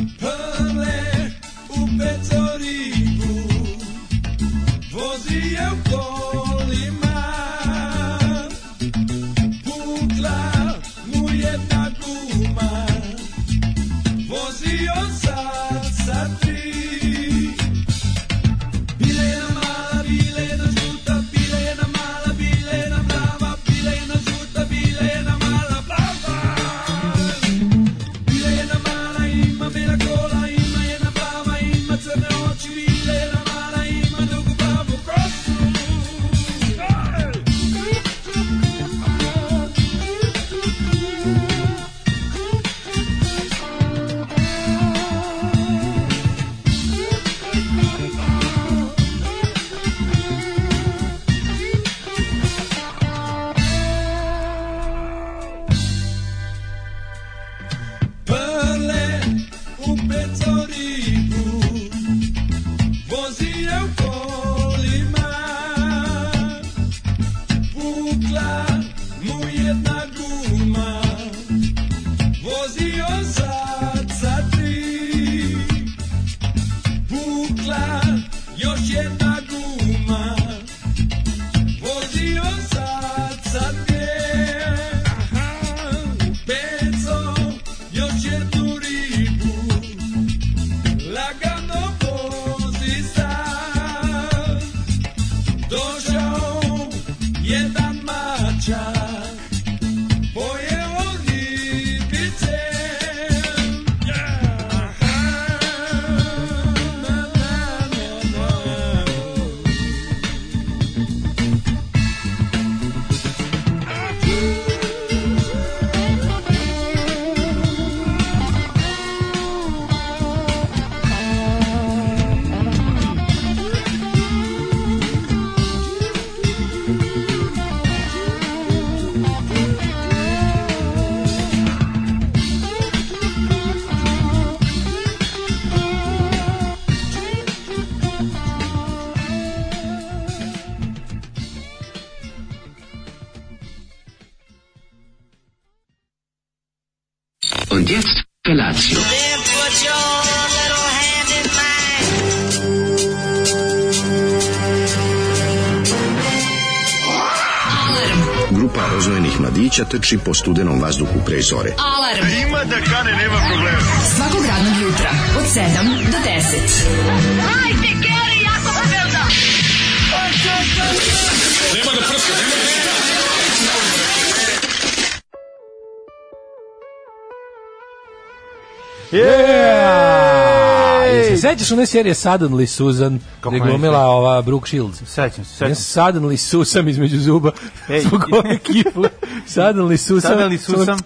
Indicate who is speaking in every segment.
Speaker 1: Hamlet, o Petorico, vozia o Colimar, Pugla, mulher da Guma, vozia o Sassatri. Pile na mala, pile na juta, pile na mala, pile na brava, pile na juta, pile na mala, brava. Milena mala ima, bela kola ima, jedna plava ima, crne oči, Milena mala ima, drugu plavu kosu. Perle, o petorico, vozia o colimar, Pukla, mulher na guma, vozia o sacatri. Pukla, još jedna guma, vozio sad za Peco još jednu ribu Lagano vozi sad Došao jedan mačak Pojeo ribice Yeah! Aha! Na, na, na, na.
Speaker 2: Und jetzt Felatio.
Speaker 3: Then put your little hand in mine.
Speaker 4: Grupa roznojenih mladića trči po studenom vazduhu pre zore.
Speaker 5: Alarm. A ima da kane, nema problema. Svakog radnog jutra, od 7 do 10. Hajde, Geri, jako se velda.
Speaker 6: Jel se E, sećaš one serije Suddenly Susan,
Speaker 7: Kako
Speaker 6: gde je
Speaker 7: ne
Speaker 6: glumila ova Brooke Shields?
Speaker 7: Sećam se,
Speaker 6: Ja
Speaker 7: sećam se.
Speaker 6: Suddenly Susam između zuba
Speaker 7: Ej.
Speaker 6: zbog ove kifle. Suddenly Susam.
Speaker 7: Sada li susam,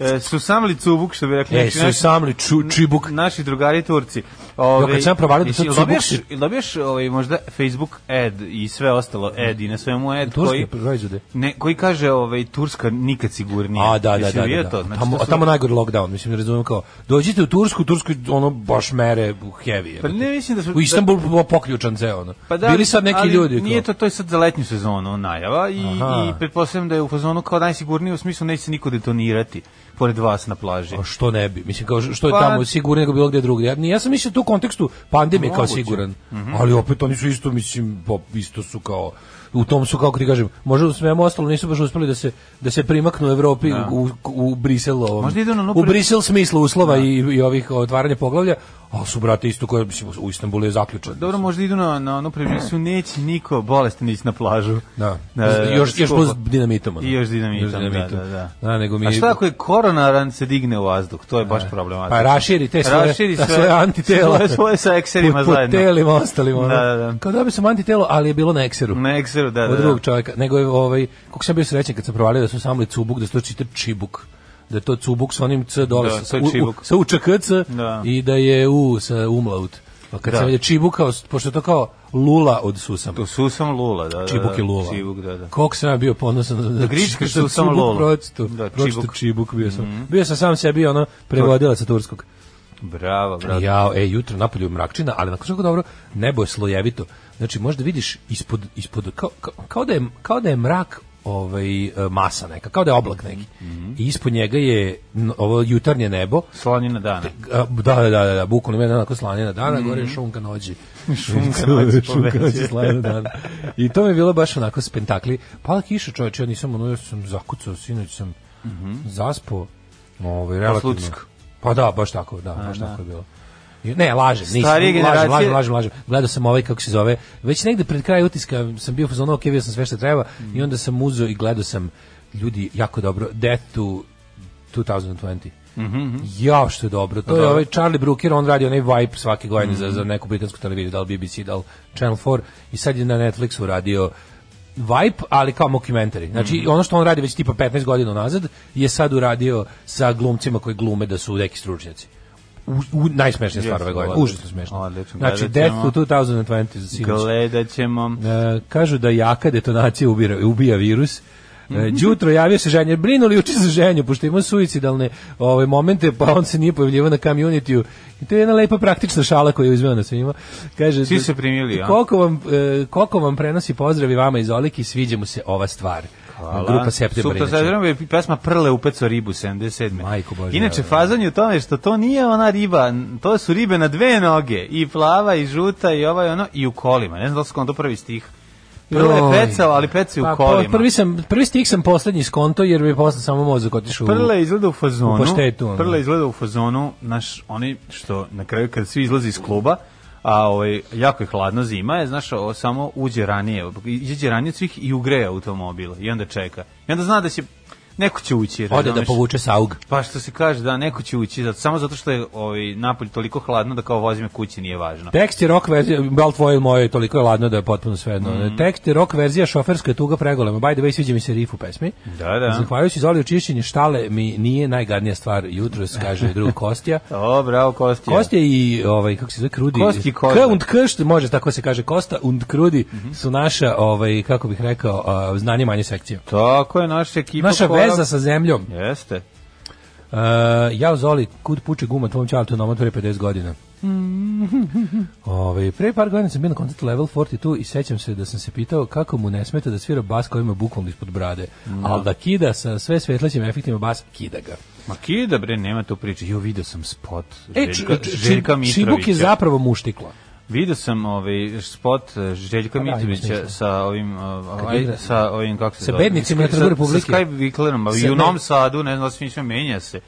Speaker 7: e, susam li cubuk, što bi rekli
Speaker 6: E,
Speaker 7: naši- naši-
Speaker 6: Susam li ču, čibuk.
Speaker 7: naši drugari Turci. Ove,
Speaker 6: kad sam ja provalio da
Speaker 7: jesi-
Speaker 6: to
Speaker 7: jel
Speaker 6: cubuk
Speaker 7: dobijaš-
Speaker 6: si-
Speaker 7: jel dobijaš ovaj, možda Facebook ad i sve ostalo ad i na svemu ad
Speaker 6: Turske
Speaker 7: koji,
Speaker 6: proizvode.
Speaker 7: ne, koji kaže ovaj, Turska nikad sigurnije.
Speaker 6: A, da, da,
Speaker 7: Jesi
Speaker 6: da.
Speaker 7: bio
Speaker 6: da,
Speaker 7: to?
Speaker 6: da.
Speaker 7: Znači,
Speaker 6: tamo,
Speaker 7: to
Speaker 6: a
Speaker 7: su-
Speaker 6: tamo najgori lockdown, mislim, ne razumijem kao, dođite u Tursku, u Turskoj, ono, baš mere heavy.
Speaker 7: Pa ne, mislim da su-
Speaker 6: U Istanbul da, poključan ceo, ono.
Speaker 7: Pa da,
Speaker 6: Bili sad neki
Speaker 7: ali
Speaker 6: ljudi.
Speaker 7: Nije
Speaker 6: kao-
Speaker 7: to, to je sad za letnju sezonu najava i,
Speaker 6: Aha.
Speaker 7: i pretpostavljam da je u fazonu kao najsigurnije u smislu neće se niko detonirati pored vas na plaži.
Speaker 6: A Pa što ne bi? Mislim kao što je
Speaker 7: Pa-
Speaker 6: tamo sigurno nego bilo gdje drugdje. Ja, ni- ja sam mislio tu u kontekstu pandemije kao
Speaker 7: Moguće. Mhm.
Speaker 6: siguran. Ali opet oni su isto mislim pa isto su kao u tom su kako ti kažem, možda u svemu ostalo nisu baš uspeli da se da se primaknu Evropi u, u Brisel ovom.
Speaker 7: Da. Možda idu na Da. ono
Speaker 6: u
Speaker 7: pre-
Speaker 6: Brisel smislu uslova i, i ovih otvaranja poglavlja, a su brate isto koje mislim u Istanbulu je zaključeno.
Speaker 7: Dobro, možda idu na, na ono premisu, neće niko bolestan ići na plažu.
Speaker 6: Da.
Speaker 7: Na-
Speaker 6: još, još
Speaker 7: E, skupo.
Speaker 6: plus dinamitom. ono.
Speaker 7: I još dinamitom, da, da, da.
Speaker 6: nego mi
Speaker 7: A
Speaker 6: je-
Speaker 7: šta ako je koronaran se digne u vazduh? To je baš problematično.
Speaker 6: Pa raširi te svoje,
Speaker 7: Raširi
Speaker 6: ta
Speaker 7: sve-
Speaker 6: svoje antitela.
Speaker 7: svoje- svoje sa ekserima
Speaker 6: po, po
Speaker 7: zajedno.
Speaker 6: telima ostalim. ono.
Speaker 7: Da, da, da.
Speaker 6: Kao dobio sam antitelo, ali je bilo na ekseru.
Speaker 7: Na ekseru, da, da,
Speaker 6: Od
Speaker 7: da.
Speaker 6: drugog čovjeka. Nego je, ovaj, kako sam bio srećen kad sam provalio da su samli cubuk, da su to čitav čibuk. Da je to cubuk sa onim c dole,
Speaker 7: Da,
Speaker 6: sa,
Speaker 7: to je
Speaker 6: u, u,
Speaker 7: čibuk.
Speaker 6: sa UČKC
Speaker 7: Da.
Speaker 6: i da je u sa umlaut. Pa kad
Speaker 7: Da.
Speaker 6: sam je čibukao, pošto je to kao lula od susam.
Speaker 7: To susam lula, da, da.
Speaker 6: Čibuk je
Speaker 7: da.
Speaker 6: lula.
Speaker 7: Čibuk, da, da.
Speaker 6: Koliko sam ja bio ponosan da
Speaker 7: gričkaš
Speaker 6: što
Speaker 7: tu samo
Speaker 6: Čibuk
Speaker 7: lolu.
Speaker 6: pročito-
Speaker 7: Da,
Speaker 6: pročito
Speaker 7: Čibuk. Mhm.
Speaker 6: čibuk bio sam. Bio sam sam sebi ono prevodilac sa turskog.
Speaker 7: Bravo, bravo.
Speaker 6: Ja, e, jutro napolju mrakčina, ali nakon svega dobro, nebo je slojevito. Znači, možda vidiš ispod, ispod kao, kao, kao da je, kao da je mrak ovaj e, masa neka, kao da je oblak neki. I ispod njega je n- ovo jutarnje nebo,
Speaker 7: Slonina dana.
Speaker 6: A, da, da, da, da, bukvalno meni onako slanjena dana, gore je šunka nođi.
Speaker 7: Šunka znači, da. nođi,
Speaker 6: šunka nođi
Speaker 7: poveće.
Speaker 6: slanjena dana. da. I to mi je bilo baš onako spentakli. Pala kiša čoveče, ja nisam ono, ja sam zakucao, sinoć sam
Speaker 7: Mhm.
Speaker 6: zaspao. Ovaj, relativno.
Speaker 7: lutisko.
Speaker 6: Pa da, baš tako, da, baš tako je bilo. I- Ne, lažem, nisam,
Speaker 7: Starije
Speaker 6: lažem,
Speaker 7: generacije-
Speaker 6: lažem, lažem, lažem. Gledao sam ovaj, kako se zove, već negde pred kraj utiska sam bio fazon, ok, vidio sam sve što treba
Speaker 7: Mhm.
Speaker 6: i onda sam uzeo i gledao sam ljudi jako dobro, Death to 2020.
Speaker 7: Mhm.
Speaker 6: Ja što je dobro. To je ovaj Charlie Brooker, on radi onaj vibe svake godine za, za neku britansku televiziju, da li BBC, da li Channel 4 i sad je na Netflixu radio vibe, ali kao mockumentary. Znači, ono što on radi već tipa 15 godina nazad je sad uradio sa glumcima koji glume da su neki stručnjaci. U, u najsmešnija stvar
Speaker 7: Jeste,
Speaker 6: ove godine.
Speaker 7: odlično.
Speaker 6: Užasno smešno.
Speaker 7: Odlično,
Speaker 6: Znači,
Speaker 7: gledat
Speaker 6: Death
Speaker 7: ćemo.
Speaker 6: to 2020 za sinoć.
Speaker 7: Gledat ćemo.
Speaker 6: E, kažu da jaka detonacija ubira, ubija virus. E, Đutro javio se ženje, brinu li uči za ženju, pošto ima suicidalne ove, momente, pa on se nije pojavljivao na community I to je jedna lepa praktična šala koju je uzmeo na svima. Kaže,
Speaker 7: Svi
Speaker 6: da-
Speaker 7: se primili, a?
Speaker 6: Koliko vam, e, koliko vam prenosi pozdravi vama iz Oliki, sviđa mu se ova stvar. Grupa Septembra.
Speaker 7: Supta
Speaker 6: inače.
Speaker 7: Septembra je pesma Prle u peco ribu 77.
Speaker 6: Majko Božja,
Speaker 7: Inače,
Speaker 6: da.
Speaker 7: fazan je u tome što to nije ona riba, to su ribe na dve noge. I plava, i žuta, i ovaj ono, i u kolima. Ne znam da li su on to prvi stih. Prle je
Speaker 6: Joj.
Speaker 7: pecao, ali pecao i
Speaker 6: Pa,
Speaker 7: u
Speaker 6: po-
Speaker 7: kolima.
Speaker 6: prvi, sam, prvi stih sam poslednji skonto, jer bi posle samo mozak otišao u-
Speaker 7: Prle izgleda u fazonu.
Speaker 6: u paštetu, ono.
Speaker 7: Prle izgleda u fazonu, naš, oni što na kraju kad svi izlazi iz kluba, a ovaj, jako je hladno zima, je, znaš, o, samo uđe ranije, iđe ranije od svih i ugreje automobil i onda čeka. I onda zna da će, neko će ući.
Speaker 6: Ode da
Speaker 7: razumeš?
Speaker 6: povuče saug.
Speaker 7: Pa što se kaže, da, neko će ući, zato, samo zato što je ovaj, napolj toliko hladno da kao vozi me kući nije važno.
Speaker 6: Tekst je rock verzija, bal tvoje ili moje, toliko je ladno da je potpuno svejedno. Tekst je rock verzija, šoferska je tuga pregolema. By the way, sviđa mi se rif u pesmi.
Speaker 7: Da, da.
Speaker 6: Zahvaljujući za olio čišćenje štale mi nije najgadnija stvar jutro, kaže drug Kostja.
Speaker 7: O, bravo, Kostija.
Speaker 6: Kostja i ovaj kako se zove Krudi.
Speaker 7: Kost i Koza.
Speaker 6: K und K što može tako se kaže Kosta und Krudi su naša ovaj kako bih rekao a, znanje manje sekcija.
Speaker 7: Tako je naša ekipa.
Speaker 6: Naša
Speaker 7: koja-
Speaker 6: veza sa zemljom.
Speaker 7: Jeste.
Speaker 6: Uh, ja u Zoli, kud puče guma tvom čaltu na pre 50 godina. Mm. Ove, pre par godina sam bio na koncertu Level 42 i sećam se da sam se pitao kako mu ne smeta da svira bas koji ima bukvalno ispod brade, ali da kida sa sve svetlećim efektima bas, kida ga.
Speaker 7: Ma kida bre, nema tu priče. Jo, video sam spot
Speaker 6: E,
Speaker 7: Željka,
Speaker 6: č- č-
Speaker 7: Željka
Speaker 6: či- Čibuk
Speaker 7: Mitrovića.
Speaker 6: je zapravo muštikla.
Speaker 7: Video sam ovaj spot eh, Željka
Speaker 6: Pa da, ima
Speaker 7: Mitrovića
Speaker 6: smisla.
Speaker 7: sa ovim eh,
Speaker 6: Kad
Speaker 7: aj,
Speaker 6: igra-
Speaker 7: sa ovim kako se
Speaker 6: Sa
Speaker 7: zove?
Speaker 6: bednicima na
Speaker 7: Sa-
Speaker 6: Trgu Republike.
Speaker 7: Sa Skype Viklerom, ali
Speaker 6: Sa-
Speaker 7: i u
Speaker 6: ne.
Speaker 7: Novom Sadu, ne znam da se sve menja se.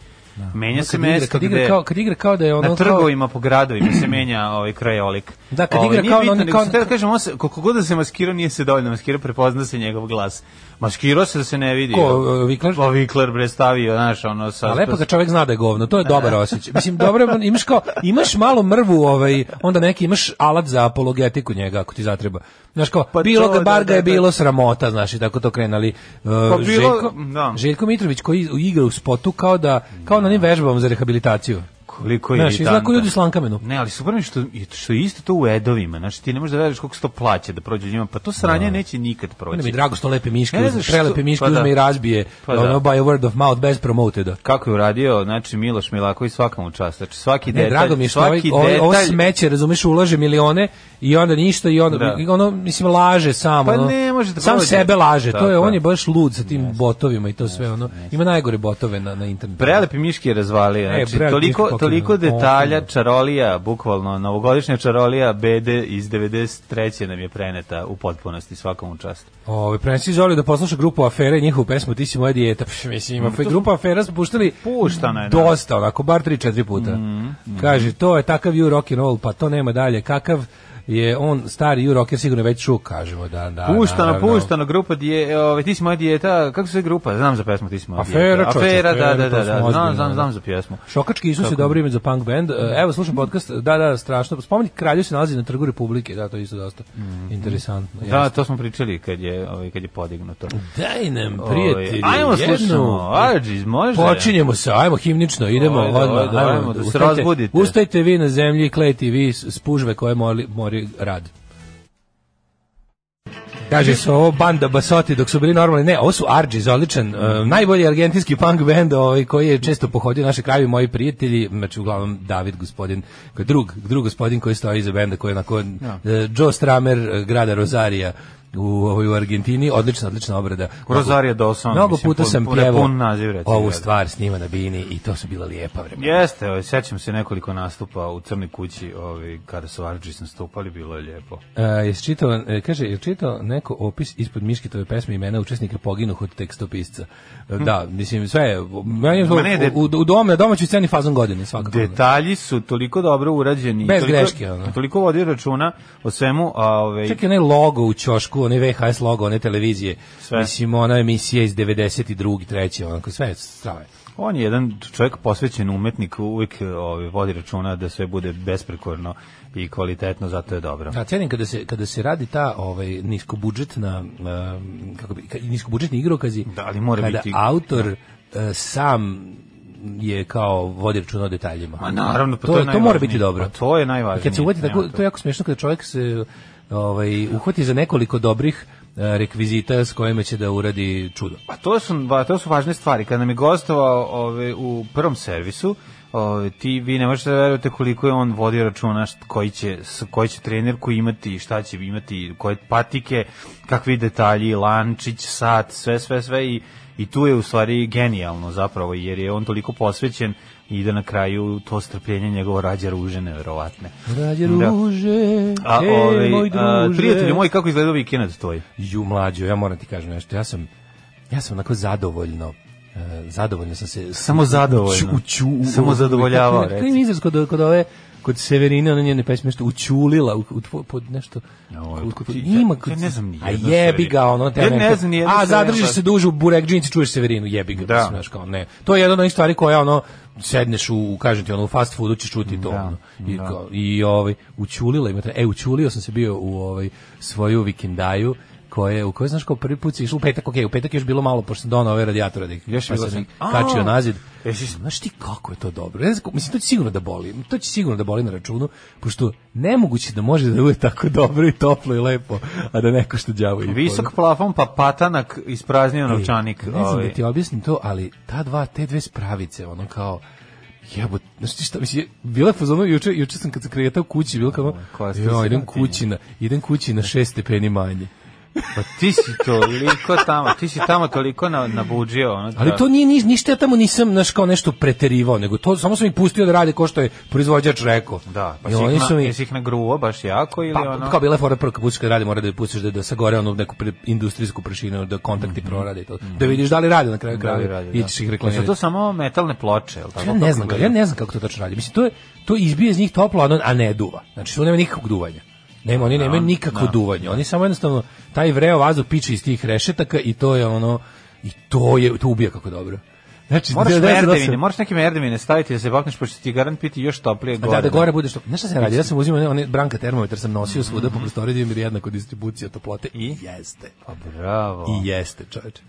Speaker 7: Menja se
Speaker 6: Kad igra-
Speaker 7: mesto
Speaker 6: kad igra
Speaker 7: gde
Speaker 6: kao- kad igra kao da je ono
Speaker 7: na
Speaker 6: kao-
Speaker 7: trgovima po gradovima se menja ovaj krajolik.
Speaker 6: Da, kad
Speaker 7: Ovaj,
Speaker 6: igra
Speaker 7: nije
Speaker 6: kao
Speaker 7: bitno,
Speaker 6: ono-
Speaker 7: nego
Speaker 6: kao-
Speaker 7: sam teo da kažem, on se, koliko god da se maskirao nije se dovoljno maskirao, prepozna se njegov glas. Maskirao se da se ne vidi.
Speaker 6: Ko, eh, Vikler?
Speaker 7: Pa Vikler bre stavio, znaš, ono sa
Speaker 6: A lepo kad čovjek zna da je govno, to je dobar osjećaj. Mislim, dobro, on- imaš kao, imaš malo mrvu, ovaj, onda neki imaš alat za apologetiku njega, ako ti zatreba. Znaš kao,
Speaker 7: Pa
Speaker 6: bilo
Speaker 7: to,
Speaker 6: ga,
Speaker 7: da,
Speaker 6: bar ga je
Speaker 7: da, da.
Speaker 6: bilo sramota, znaš, i tako to krenali. Uh,
Speaker 7: bilo-
Speaker 6: Željko,
Speaker 7: da.
Speaker 6: Željko Mitrović koji igra u spotu kao da, kao na onim vežbama za rehabilitaciju.
Speaker 7: Koliko je
Speaker 6: Znaš, izgleda
Speaker 7: iritantan.
Speaker 6: kao ljudi s lankamenu.
Speaker 7: Ne, ali super mi je što, što je isto to u edovima. Znači, ti ne možeš da veriš koliko se to plaća da prođe njima. Pa to sranje neće nikad proći.
Speaker 6: Mene mi je drago što lepe miške,
Speaker 7: Znači, Ne
Speaker 6: uzme,
Speaker 7: znam što-
Speaker 6: prelepe miške
Speaker 7: pa da.
Speaker 6: uzme i razbije,
Speaker 7: Pa
Speaker 6: ono,
Speaker 7: da.
Speaker 6: by a word of mouth, bez da. promoteda.
Speaker 7: Kako je uradio, znači, Miloš Milaković svakom čast. Znači, svaki
Speaker 6: Ne,
Speaker 7: detalj,
Speaker 6: drago mi je što ovaj,
Speaker 7: svaki
Speaker 6: ovaj- ovo
Speaker 7: detalj...
Speaker 6: smeće, razumeš, ulaže milione i onda ništa i onda,
Speaker 7: Da.
Speaker 6: i ono, mislim, laže sam.
Speaker 7: Pa
Speaker 6: ono,
Speaker 7: ne može da
Speaker 6: Sam
Speaker 7: prođe.
Speaker 6: sebe laže, to
Speaker 7: Tako
Speaker 6: je, on
Speaker 7: je.
Speaker 6: je baš lud sa tim botovima i to sve, ono, ima najgore botove na, na internetu.
Speaker 7: Prelepi miški je razvalio.
Speaker 6: E, prelepi
Speaker 7: Znači,
Speaker 6: miški
Speaker 7: toliko,
Speaker 6: pokojno.
Speaker 7: toliko detalja,
Speaker 6: Pokojno.
Speaker 7: čarolija, bukvalno, novogodišnja čarolija BD iz 93. nam je preneta u potpunosti svakom čast.
Speaker 6: Ove, prenesi Zoli da posluša grupu Afere i njihovu pesmu Ti si moja dijeta. Pš, mislim,
Speaker 7: Mm,
Speaker 6: ima grupa Afera smo puštali
Speaker 7: Puštana je, da. Mm,
Speaker 6: dosta, onako, bar 3-4 puta. Kaže, to je takav you rock and roll, pa to nema dalje. Kakav je on stari you rocker, sigurno je već šuk, kažemo. Da, da,
Speaker 7: Puštano,
Speaker 6: naravno.
Speaker 7: puštano, grupa dije, ovaj, ti si moja dijeta, kako se zove grupa? Znam za pesmu, ti si moja
Speaker 6: Afera,
Speaker 7: dijeta.
Speaker 6: čoveče,
Speaker 7: Afera, da,
Speaker 6: afera,
Speaker 7: da,
Speaker 6: to
Speaker 7: da,
Speaker 6: smo
Speaker 7: da,
Speaker 6: ozbiljno,
Speaker 7: znam, znam,
Speaker 6: da.
Speaker 7: znam za pjesmu.
Speaker 6: Šokački Isus je dobro ime za punk band. E, Evo, slušam podcast. Da, da, strašno. Spomenik kralju se nalazi na trgu Republike. Da, to je isto dosta interesantno.
Speaker 7: Mhm. Da, to smo pričali kad je, ovaj, kad je podignuto.
Speaker 6: Daj nam,
Speaker 7: Ovaj,
Speaker 6: prijatelji,
Speaker 7: ajmo
Speaker 6: jednu-
Speaker 7: slušamo, Arđis, možda je.
Speaker 6: Počinjemo se, ajmo himnično, idemo
Speaker 7: Ajde,
Speaker 6: odmah,
Speaker 7: ajde, ajmo, da se
Speaker 6: ustajte-
Speaker 7: razbudite.
Speaker 6: Ustajte vi na zemlji, klejte vi s s pužve koje mori, mori rad. Kaže se ovo banda Basoti dok su bili normalni. Ne, ovo su Arđis, odličan. e, najbolji argentinski punk band ovaj, koji je često pohodio naše krajeve moji prijatelji. Znači, uglavnom, David gospodin, koji je drug, drug gospodin koji stoji iza benda, koji je onako e, Joe Stramer e, grada Rosarija u, ovoj, u Argentini, odlična, odlična obrada.
Speaker 7: Rosario Dawson,
Speaker 6: Mnogo
Speaker 7: mislim,
Speaker 6: puta
Speaker 7: pun-
Speaker 6: sam
Speaker 7: pun-
Speaker 6: pjevao
Speaker 7: pun naziv, da. reci,
Speaker 6: ovu
Speaker 7: jel?
Speaker 6: stvar snima na Bini i to su bila lijepa vremena.
Speaker 7: Jeste, ovaj, sećam se nekoliko nastupa u Crnoj kući, ovaj, kada su Arđis nastupali, bilo je lijepo.
Speaker 6: Uh, jesi čitao, e, kaže, je čitao neko opis ispod Miškitove pesme imena učesnika poginuh od tekstopisca? E, Da, mislim, sve je, meni je to-
Speaker 7: Hm. Ma ne, de-
Speaker 6: u, u dom, na domaćoj sceni fazon godine, svakako.
Speaker 7: Detalji su toliko dobro urađeni. i
Speaker 6: Bez
Speaker 7: toliko,
Speaker 6: greške, ono.
Speaker 7: Toliko vodi računa o svemu, a ovaj,
Speaker 6: Čak i onaj logo u ćošku, onaj VHS logo, one televizije.
Speaker 7: Sve.
Speaker 6: Mislim, ona emisija iz 92. 3. Onako, sve je strave.
Speaker 7: on je jedan čovjek posvećen umetnik, uvijek ovaj, vodi računa da sve bude besprekorno i kvalitetno, zato je dobro.
Speaker 6: Da, cenim kada se, kada se radi ta ovaj, niskobudžetna, em, kako bi, ka- niskobudžetni igrokazi,
Speaker 7: Da, ali mora
Speaker 6: kada
Speaker 7: biti- da.
Speaker 6: autor e, sam je kao vodi računa o detaljima.
Speaker 7: Ma naravno, pa to,
Speaker 6: to,
Speaker 7: je
Speaker 6: to mora
Speaker 7: najvažnije.
Speaker 6: biti dobro.
Speaker 7: Pa to je najvažnije.
Speaker 6: Kad se uvati
Speaker 7: Nema
Speaker 6: tako,
Speaker 7: to.
Speaker 6: to je jako smiješno kada čovjek se ovaj, uhvati za nekoliko dobrih e, rekvizita s kojima će da uradi čudo.
Speaker 7: Pa to su, va- to su važne stvari. Kad nam je gostovao ove, u prvom servisu, ove, ti vi ne možete da verujete koliko je on vodio računa št- koji će, s- koji će trenerku imati, šta će imati, koje patike, kakvi detalji, lančić, sat, sve, sve, sve i, i tu je u stvari genijalno zapravo, jer je on toliko posvećen i da na kraju to strpljenje njegovo rađa ruže neverovatne.
Speaker 6: Rađe
Speaker 7: Da.
Speaker 6: ruže,
Speaker 7: A,
Speaker 6: ej,
Speaker 7: ove,
Speaker 6: moj druže.
Speaker 7: prijatelju moj, kako izgledao vikend tvoj?
Speaker 6: Ju mlađo, ja moram ti kažem nešto. Ja sam ja sam onako zadovoljno e, zadovoljno sam se
Speaker 7: Samo zadovoljno.
Speaker 6: Ču- ču-
Speaker 7: Samo zadovoljavao,
Speaker 6: Kako je- Kako
Speaker 7: reci.
Speaker 6: je izraz kod, kod ove kod Severine, ona njene pesme nešto učulila u, u tvoj, pod nešto.
Speaker 7: Joj,
Speaker 6: kod- kod-
Speaker 7: otkud ti-
Speaker 6: ima
Speaker 7: ja-
Speaker 6: kod-
Speaker 7: ja ne znam ni
Speaker 6: A
Speaker 7: jednu
Speaker 6: jebi ga
Speaker 7: Severinu.
Speaker 6: ono te
Speaker 7: Ja ne
Speaker 6: neka-
Speaker 7: znam ni jednu
Speaker 6: A
Speaker 7: Severinu,
Speaker 6: zadržiš
Speaker 7: baš.
Speaker 6: se duže u burek džinci čuješ Severinu, jebi ga.
Speaker 7: Da.
Speaker 6: mislim, znaš, kao ne. To je jedna od onih stvari koja ono sedneš u kažem ti ono u fast foodu ćeš čuti to
Speaker 7: Da,
Speaker 6: ono. I,
Speaker 7: da.
Speaker 6: kao, i ovaj učulila ima tre- e učulio sam se bio u ovaj svoju vikendaju koje u kojoj znaš kao prvi put si išao u petak okej u petak je još bilo malo pošto sam donao ove radijatore da ih
Speaker 7: Još
Speaker 6: pa
Speaker 7: je bilo
Speaker 6: sam
Speaker 7: sam-
Speaker 6: ih kačio
Speaker 7: A!
Speaker 6: nazad
Speaker 7: Jesi-
Speaker 6: E, znaš ti kako je to dobro ja znam, mislim to će sigurno da boli to će sigurno da boli na računu pošto nemoguće da može da bude tako dobro i toplo i lepo a da neko što đavo i
Speaker 7: Visok plafon pa patanak ispraznio novčanik.
Speaker 6: ne znam
Speaker 7: ovaj.
Speaker 6: da ti objasnim to, ali ta dva, te dve spravice, ono kao, jebot, znaš ti šta, mislim, bila je fazonu, juče, juče sam kad se kretao kući, bilo kao,
Speaker 7: koja ste
Speaker 6: jo, idem
Speaker 7: sirotinja."
Speaker 6: kući, na, idem kući na šest stepeni manje.
Speaker 7: Pa ti si toliko tamo, ti si tamo toliko na, nabuđio. Ono,
Speaker 6: Ali
Speaker 7: da-
Speaker 6: to nije niš, ništa, ja tamo nisam, znaš, kao nešto preterivao, nego to, samo sam ih pustio da rade ko što je proizvođač rekao.
Speaker 7: Da, pa
Speaker 6: I
Speaker 7: si
Speaker 6: oni
Speaker 7: ih, na,
Speaker 6: su mi,
Speaker 7: jesi ih nagruo baš jako ili
Speaker 6: pa,
Speaker 7: ono...
Speaker 6: kao bila je fora prvo kad pustiš kad radi, mora da je pustiš da, da sagore onu neku pre- industrijsku prašinu, da kontakti prorade i to. Da vidiš da li rade na kraju
Speaker 7: Mhm. Da,
Speaker 6: kraja,
Speaker 7: li
Speaker 6: da
Speaker 7: radi, da.
Speaker 6: ićeš ih
Speaker 7: Jesu
Speaker 6: reklamirati.
Speaker 7: to samo metalne ploče, jel tako?
Speaker 6: Ja ne
Speaker 7: Kako
Speaker 6: znam, kako, ja
Speaker 7: gleda?
Speaker 6: ne znam kako to tačno radi. Mislim to je to izbije iz njih toplo, a, ono- a ne duva. Znači tu nema nikakvog duvanja. Nema,
Speaker 7: Da.
Speaker 6: oni nemaju nikakvo duvanje. Oni samo jednostavno taj vreo vazduh piče iz tih rešetaka i to je ono i to je to ubija kako dobro. Znači
Speaker 7: Moraš
Speaker 6: da- da- da- da-
Speaker 7: merdevine, moraš neke merdevine staviti da se bakneš, pošto ti garant piti još toplije
Speaker 6: da,
Speaker 7: gore.
Speaker 6: da, da gore bude što. Znaš šta sam radio? Ja sam uzimao one, one branka termometar sam nosio svuda po prostoriji da mi je jednako distribucija toplote i jeste.
Speaker 7: Pa bravo.
Speaker 6: I jeste, čoveče.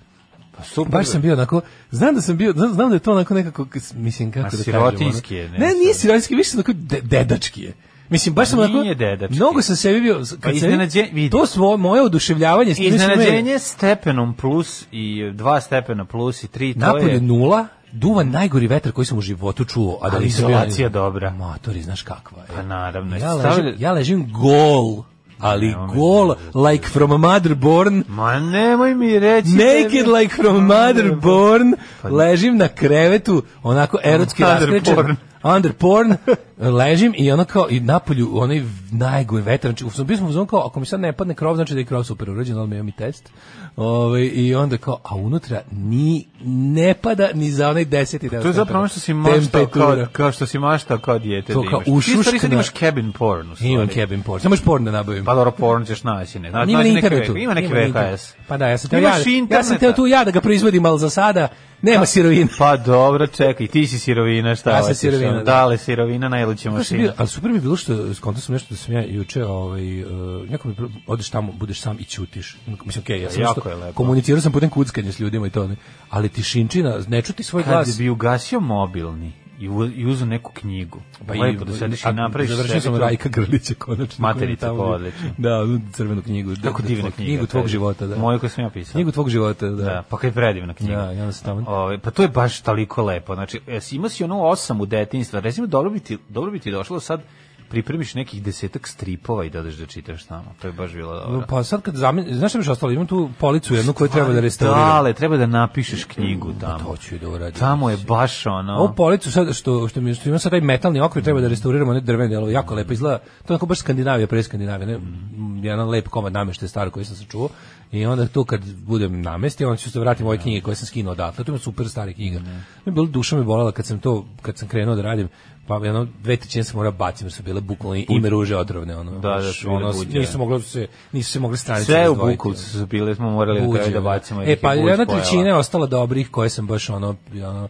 Speaker 7: pa super.
Speaker 6: Baš sam bio onako, znam da sam bio, znam, znam da je to onako nekako, k- s- mislim
Speaker 7: Ma,
Speaker 6: kako da kažem.
Speaker 7: sirotinjski
Speaker 6: ono.
Speaker 7: je, ne,
Speaker 6: Ne, nije
Speaker 7: sad.
Speaker 6: sirotinjski, više sam onako de, dedački je. Mislim, baš sam
Speaker 7: Nije
Speaker 6: onako...
Speaker 7: dedački.
Speaker 6: Mnogo sam sebi bio... s- Kad
Speaker 7: Pa
Speaker 6: sam-
Speaker 7: iznenađe- vidi.
Speaker 6: To svo, moje oduševljavanje... s tim što me-
Speaker 7: Iznenađenje stepenom plus i dva stepena plus i tri, to
Speaker 6: Napolje
Speaker 7: je...
Speaker 6: nula, duva najgori vetar koji sam u životu čuo, a da
Speaker 7: Ali
Speaker 6: nisam bio-
Speaker 7: izolacija dobra.
Speaker 6: Matori, znaš kakva je.
Speaker 7: Pa naravno,
Speaker 6: Ja ležim,
Speaker 7: stavili-
Speaker 6: ja ležim gol, ali
Speaker 7: Nemoj me
Speaker 6: gol, like from a mother born,
Speaker 7: Ma nemoj mi reći... da je- Pa-
Speaker 6: Naked like from mother born, ležim na krevetu, onako erotski
Speaker 7: Under
Speaker 6: raskrečen,
Speaker 7: porn.
Speaker 6: under porn, ležim i ono kao, i napolju, onaj najgori vetar, znači, u- bio sam uzman kao, ako mi sad ne padne krov, znači da je krov super urađen, ali mi imam i test, Ove, i onda kao, a unutra ni, ne pada ni za onaj deseti deo
Speaker 7: Pa To je zapravo ono što si maštao kao, kao što si maštao kao dijete
Speaker 6: To
Speaker 7: da
Speaker 6: kao
Speaker 7: imaš. Ti stvari sad
Speaker 6: ušuškana-
Speaker 7: imaš cabin porn u stvari.
Speaker 6: Imam cabin porn, samo još porn da nabavim.
Speaker 7: Pa dobro, porn ćeš naći, ne. Znači,
Speaker 6: Ima na
Speaker 7: naći neke
Speaker 6: internetu.
Speaker 7: ve- Ima neki
Speaker 6: na
Speaker 7: VHS.
Speaker 6: internetu. Pa da, ja sam teo ja,
Speaker 7: Imaš
Speaker 6: ja sam
Speaker 7: interneta.
Speaker 6: teo tu ja da ga proizvodim, ali za sada nema sirovina.
Speaker 7: Pa dobro, čekaj, ti si sirovina, šta
Speaker 6: Ja sam
Speaker 7: hoćeš,
Speaker 6: sirovina,
Speaker 7: ono,
Speaker 6: da.
Speaker 7: Dale, sirovina, najluće
Speaker 6: Ja sam
Speaker 7: mašina.
Speaker 6: bio, ali super mi je bilo što skontao sam nešto da sam ja juče ovaj uh, neko mi je bilo, odeš tamo budeš sam i ćutiš. Mislim okej, ja sam
Speaker 7: Jako
Speaker 6: nešto-
Speaker 7: je lepo.
Speaker 6: komunicirao sam putem kuckanja s ljudima i to ne. Ali tišinčina, ne čuti svoj
Speaker 7: Kad
Speaker 6: glas.
Speaker 7: bi ugasio mobilni i, u, i uzu neku knjigu,
Speaker 6: Pa i-
Speaker 7: lepo da sediš i
Speaker 6: a,
Speaker 7: napraviš
Speaker 6: Završio
Speaker 7: sebi
Speaker 6: sam
Speaker 7: to.
Speaker 6: Rajka Grlića konačno.
Speaker 7: Materica,
Speaker 6: koja je tamo-
Speaker 7: pa odlično.
Speaker 6: Da, onu crvenu knjigu. da-
Speaker 7: Kako
Speaker 6: da
Speaker 7: divna
Speaker 6: tvoj-
Speaker 7: knjiga.
Speaker 6: Knjigu tvog
Speaker 7: taj.
Speaker 6: života, da.
Speaker 7: Moju koju sam ja pisao.
Speaker 6: Knjigu tvog života, da.
Speaker 7: Da, pa kaj predivna knjiga.
Speaker 6: Da, i onda se tamo-
Speaker 7: Ovaj, pa to je e, baš toliko lepo. Znači, jesi imao si ono osam u detinjstvu, recimo dobro bi ti, dobro bi ti došlo sad pripremiš nekih desetak stripova i dodaš da čitaš tamo. To je baš bilo dobro.
Speaker 6: Pa sad kad zamenim, znaš šta bi još ostalo, imam tu policu jednu koju treba da restauriram.
Speaker 7: Dale, treba da napišeš knjigu tamo.
Speaker 6: To ću i da uradim.
Speaker 7: Tamo je baš ono...
Speaker 6: Ovu policu sad što što mi što ima sad taj metalni okvir treba da restauriramo ne drvene delove, jako lepo izgleda. To je onako baš Skandinavija, pre Skandinavija, ne?
Speaker 7: Mhm.
Speaker 6: Jedan lep komad nameštaja star koji sam sačuvao. I onda tu kad budem namestio, onda ću se vratiti
Speaker 7: Da.
Speaker 6: moje knjige koje sam skinuo odatle. To ima super stare knjiga.
Speaker 7: Mhm.
Speaker 6: Mi bilo duša me bolela kad sam to kad sam krenuo da radim. Pa jedno dve trećine sam morao da bacim, jer su bile bukvalno ime ruže otrovne ono.
Speaker 7: Da, da,
Speaker 6: baš,
Speaker 7: su bile
Speaker 6: ono,
Speaker 7: buđave.
Speaker 6: nisu moglo se nisu se mogle stranice
Speaker 7: Sve u
Speaker 6: razdvojiti.
Speaker 7: bukovcu su bile, smo morali na kraju
Speaker 6: Buđe,
Speaker 7: da bacimo. jer
Speaker 6: E
Speaker 7: ih je
Speaker 6: pa
Speaker 7: buđ
Speaker 6: jedna
Speaker 7: pojela.
Speaker 6: trećina je ostala dobrih koje sam baš ono ono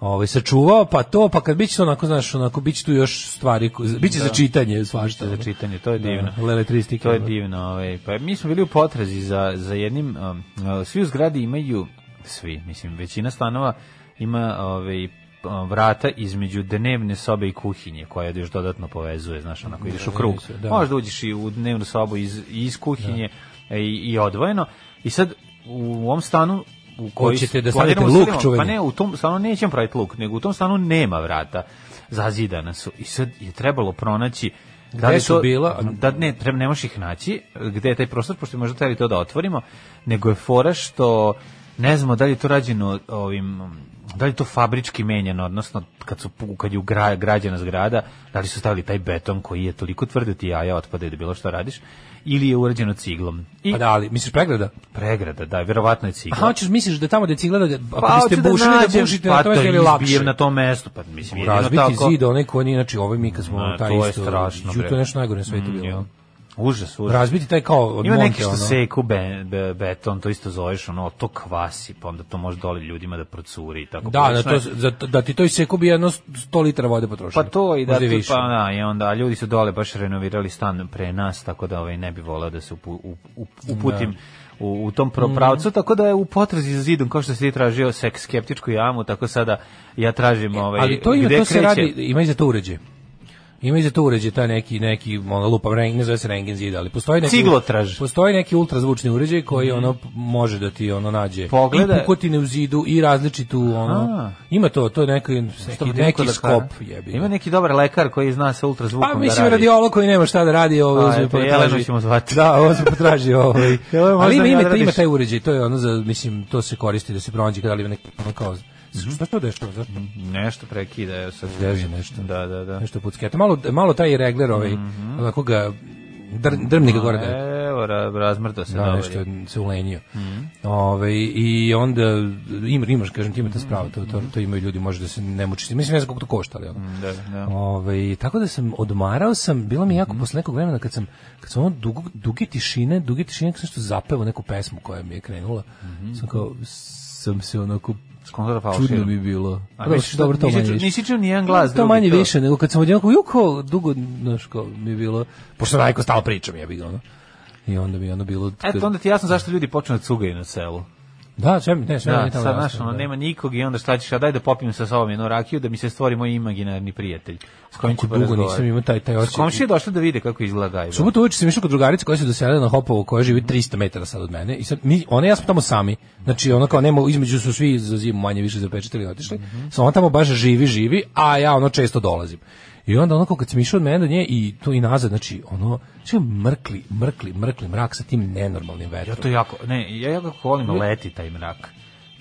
Speaker 6: ovaj sačuvao, pa to, pa kad biće to onako, znaš, onako biće tu još stvari, ko- biće
Speaker 7: Da.
Speaker 6: za čitanje svašta.
Speaker 7: za čitanje, to je divno.
Speaker 6: Da, lele tri stike,
Speaker 7: To je
Speaker 6: ono.
Speaker 7: divno. Ovaj. Pa mi smo bili u potrazi za, za jednim... um, uh, svi u zgradi imaju, svi, mislim, većina stanova ima ovaj, um, vrata između dnevne sobe i kuhinje, koja da još dodatno povezuje, znaš, onako ideš u krug.
Speaker 6: nisu, da.
Speaker 7: Možda uđeš i u dnevnu sobu iz, iz kuhinje e, i, i odvojeno. I sad u ovom stanu u koji
Speaker 6: Hoćete da
Speaker 7: planiramo
Speaker 6: stavite luk
Speaker 7: selimo-
Speaker 6: čuveni?
Speaker 7: Pa ne, u tom stanu nećemo praviti luk, nego u tom stanu nema vrata. Zazidana su. I sad je trebalo pronaći da
Speaker 6: Gde
Speaker 7: li
Speaker 6: su
Speaker 7: to,
Speaker 6: bila?
Speaker 7: Da, ne, treba, ne možeš ih naći, gde je taj prostor, pošto možda trebali to da otvorimo, nego je fora što, ne znamo da li je to rađeno ovim, da li je to fabrički menjeno, odnosno kad, su, pu- kad je ugra, građena zgrada, da li su stavili taj beton koji je toliko tvrd da ti jaja otpade da bilo što radiš, ili je urađeno ciglom. I
Speaker 6: Pa da, ali misliš pregrada?
Speaker 7: pregrada, da, verovatno je cigla.
Speaker 6: Aha, hoćeš misliš da tamo da cigla da
Speaker 7: Pa,
Speaker 6: ako biste
Speaker 7: hoću da
Speaker 6: bušili da
Speaker 7: nađem-
Speaker 6: bušite
Speaker 7: pa
Speaker 6: na tome
Speaker 7: to
Speaker 6: je
Speaker 7: izbijem
Speaker 6: lakše.
Speaker 7: na tom mestu, pa mislim, jedino
Speaker 6: Razbiti
Speaker 7: tako-
Speaker 6: zid, onaj koji nije, znači ovaj mi kad smo
Speaker 7: Ma,
Speaker 6: taj
Speaker 7: to je
Speaker 6: isto,
Speaker 7: strašno,
Speaker 6: ju,
Speaker 7: bre.
Speaker 6: to je nešto najgore na svetu bilo.
Speaker 7: Ja.
Speaker 6: ono.
Speaker 7: Užas, užas.
Speaker 6: Razbiti taj kao od
Speaker 7: Ima
Speaker 6: monte,
Speaker 7: neki što
Speaker 6: ono.
Speaker 7: seku be, be, beton, to isto zoveš, ono, to kvasi, pa onda to može dole ljudima da procuri i tako.
Speaker 6: Da, da,
Speaker 7: Prilično
Speaker 6: to,
Speaker 7: je-
Speaker 6: za, da ti to iseku bi jedno 100 litara vode
Speaker 7: Pa
Speaker 6: potrošilo.
Speaker 7: to i da,
Speaker 6: Možda
Speaker 7: to,
Speaker 6: više.
Speaker 7: pa da, i onda ljudi su dole baš renovirali stan pre nas, tako da ovaj ne bi volao da se upu, u- u- uputim u, u tom
Speaker 6: Mhm.
Speaker 7: pro- pravcu, tako da je u potrazi za zidom, kao što si ti tražio seks skeptičku jamu, tako sada ja tražim ovaj,
Speaker 6: E, ali to ima,
Speaker 7: gde
Speaker 6: to se
Speaker 7: kreće.
Speaker 6: radi, ima i za to uređaj. Ima i za to uređaj, taj neki, neki, ono, lupa, ne zove se rengen zida, ali postoji neki...
Speaker 7: Ciglotraž.
Speaker 6: Postoji neki ultrazvučni uređaj koji, ono, p- može da ti, ono, nađe
Speaker 7: Pogleda-
Speaker 6: i pukotine u zidu i različitu, ono...
Speaker 7: Aha.
Speaker 6: Ima to, to je neki,
Speaker 7: Što
Speaker 6: neki,
Speaker 7: bi
Speaker 6: neki
Speaker 7: rekao
Speaker 6: skop,
Speaker 7: lekara?
Speaker 6: jebi. ga.
Speaker 7: da Ima neki dobar lekar koji zna se ultrazvukom
Speaker 6: Pa mislim
Speaker 7: da radi.
Speaker 6: radiolog koji nema šta da radi, ovo
Speaker 7: A,
Speaker 6: uzme
Speaker 7: eto,
Speaker 6: pa
Speaker 7: Jelenu
Speaker 6: traži.
Speaker 7: ćemo zvati.
Speaker 6: Da, ovo se potraži ovaj.
Speaker 7: Jelena, možda
Speaker 6: Ali ima
Speaker 7: mi
Speaker 6: ime,
Speaker 7: odradiš.
Speaker 6: ima taj uređaj, to je ono za mislim to se koristi da se pronađe kada li ima neki ono kao
Speaker 7: Mhm.
Speaker 6: Šta to dešava? Zašto?
Speaker 7: Nešto prekida, evo sad.
Speaker 6: Veže nešto.
Speaker 7: Da, da, da.
Speaker 6: Nešto pucketa. Malo, malo taj regler ovaj,
Speaker 7: Mhm.
Speaker 6: onako ga dr, drmni ga gore da je.
Speaker 7: Evo, ra, razmrdo se
Speaker 6: Da,
Speaker 7: dobro
Speaker 6: nešto
Speaker 7: je.
Speaker 6: je se ulenio.
Speaker 7: Mhm.
Speaker 6: Ove, I onda ima, imaš, kažem ti,
Speaker 7: Mhm.
Speaker 6: imate spravo, to, to, to imaju ljudi, može da se ne mučiš. Mislim, ne znam koliko to košta, ali ono.
Speaker 7: Da, da. Mhm.
Speaker 6: Ove, tako da sam odmarao sam, bilo mi je jako posle nekog vremena kad sam kad sam ono dugo, duge tišine, duge tišine kad sam nešto zapevao neku pesmu koja mi je krenula.
Speaker 7: Mhm.
Speaker 6: Sam kao sam se onako
Speaker 7: Skonzora
Speaker 6: čudno
Speaker 7: falširu.
Speaker 6: mi je bilo.
Speaker 7: A
Speaker 6: Dobro,
Speaker 7: misliš da
Speaker 6: dobro, to
Speaker 7: nisi
Speaker 6: manje
Speaker 7: čuo-
Speaker 6: više.
Speaker 7: nisi čuo ni jedan glas
Speaker 6: To
Speaker 7: drugi,
Speaker 6: manje
Speaker 7: to?
Speaker 6: više, nego kad sam odjednom kao, juko, dugo, znaš, kao mi je bilo, pošto najko stalo pričam, ja bih ono. I onda mi je ono bilo...
Speaker 7: Eto, onda ti jasno zašto ljudi počnu da cugaju na selu.
Speaker 6: Da, sve mi, ne, sve mi
Speaker 7: Da,
Speaker 6: je tamo
Speaker 7: sad,
Speaker 6: jasno,
Speaker 7: znaš, ono,
Speaker 6: da.
Speaker 7: nema nikog i onda šta ćeš, a daj da popim sa sobom jednu rakiju da mi se stvori moj imaginarni prijatelj. S kojim ću
Speaker 6: Kako dugo
Speaker 7: porazgovarati.
Speaker 6: nisam imao taj, taj
Speaker 7: S
Speaker 6: osjećaj.
Speaker 7: komšije došli da vide kako izgleda gajba.
Speaker 6: Subotu uveče sam išao kod drugarice koja se doselila na Hopovo, koja živi 300 metara sad od mene. I sad mi, ona i ja smo tamo sami. Znači ona kao nema između su svi za zimu manje više zapečatili i otišli.
Speaker 7: Mhm.
Speaker 6: Samo ona tamo baš živi, živi, a ja ono često dolazim. I onda ono kao kad sam išao od mene do nje i tu i nazad, znači ono, sve mrkli, mrkli, mrkli mrak sa tim nenormalnim
Speaker 7: Ja
Speaker 6: vetrom.
Speaker 7: E, to jako, ne, ja jako volim leti taj mrak.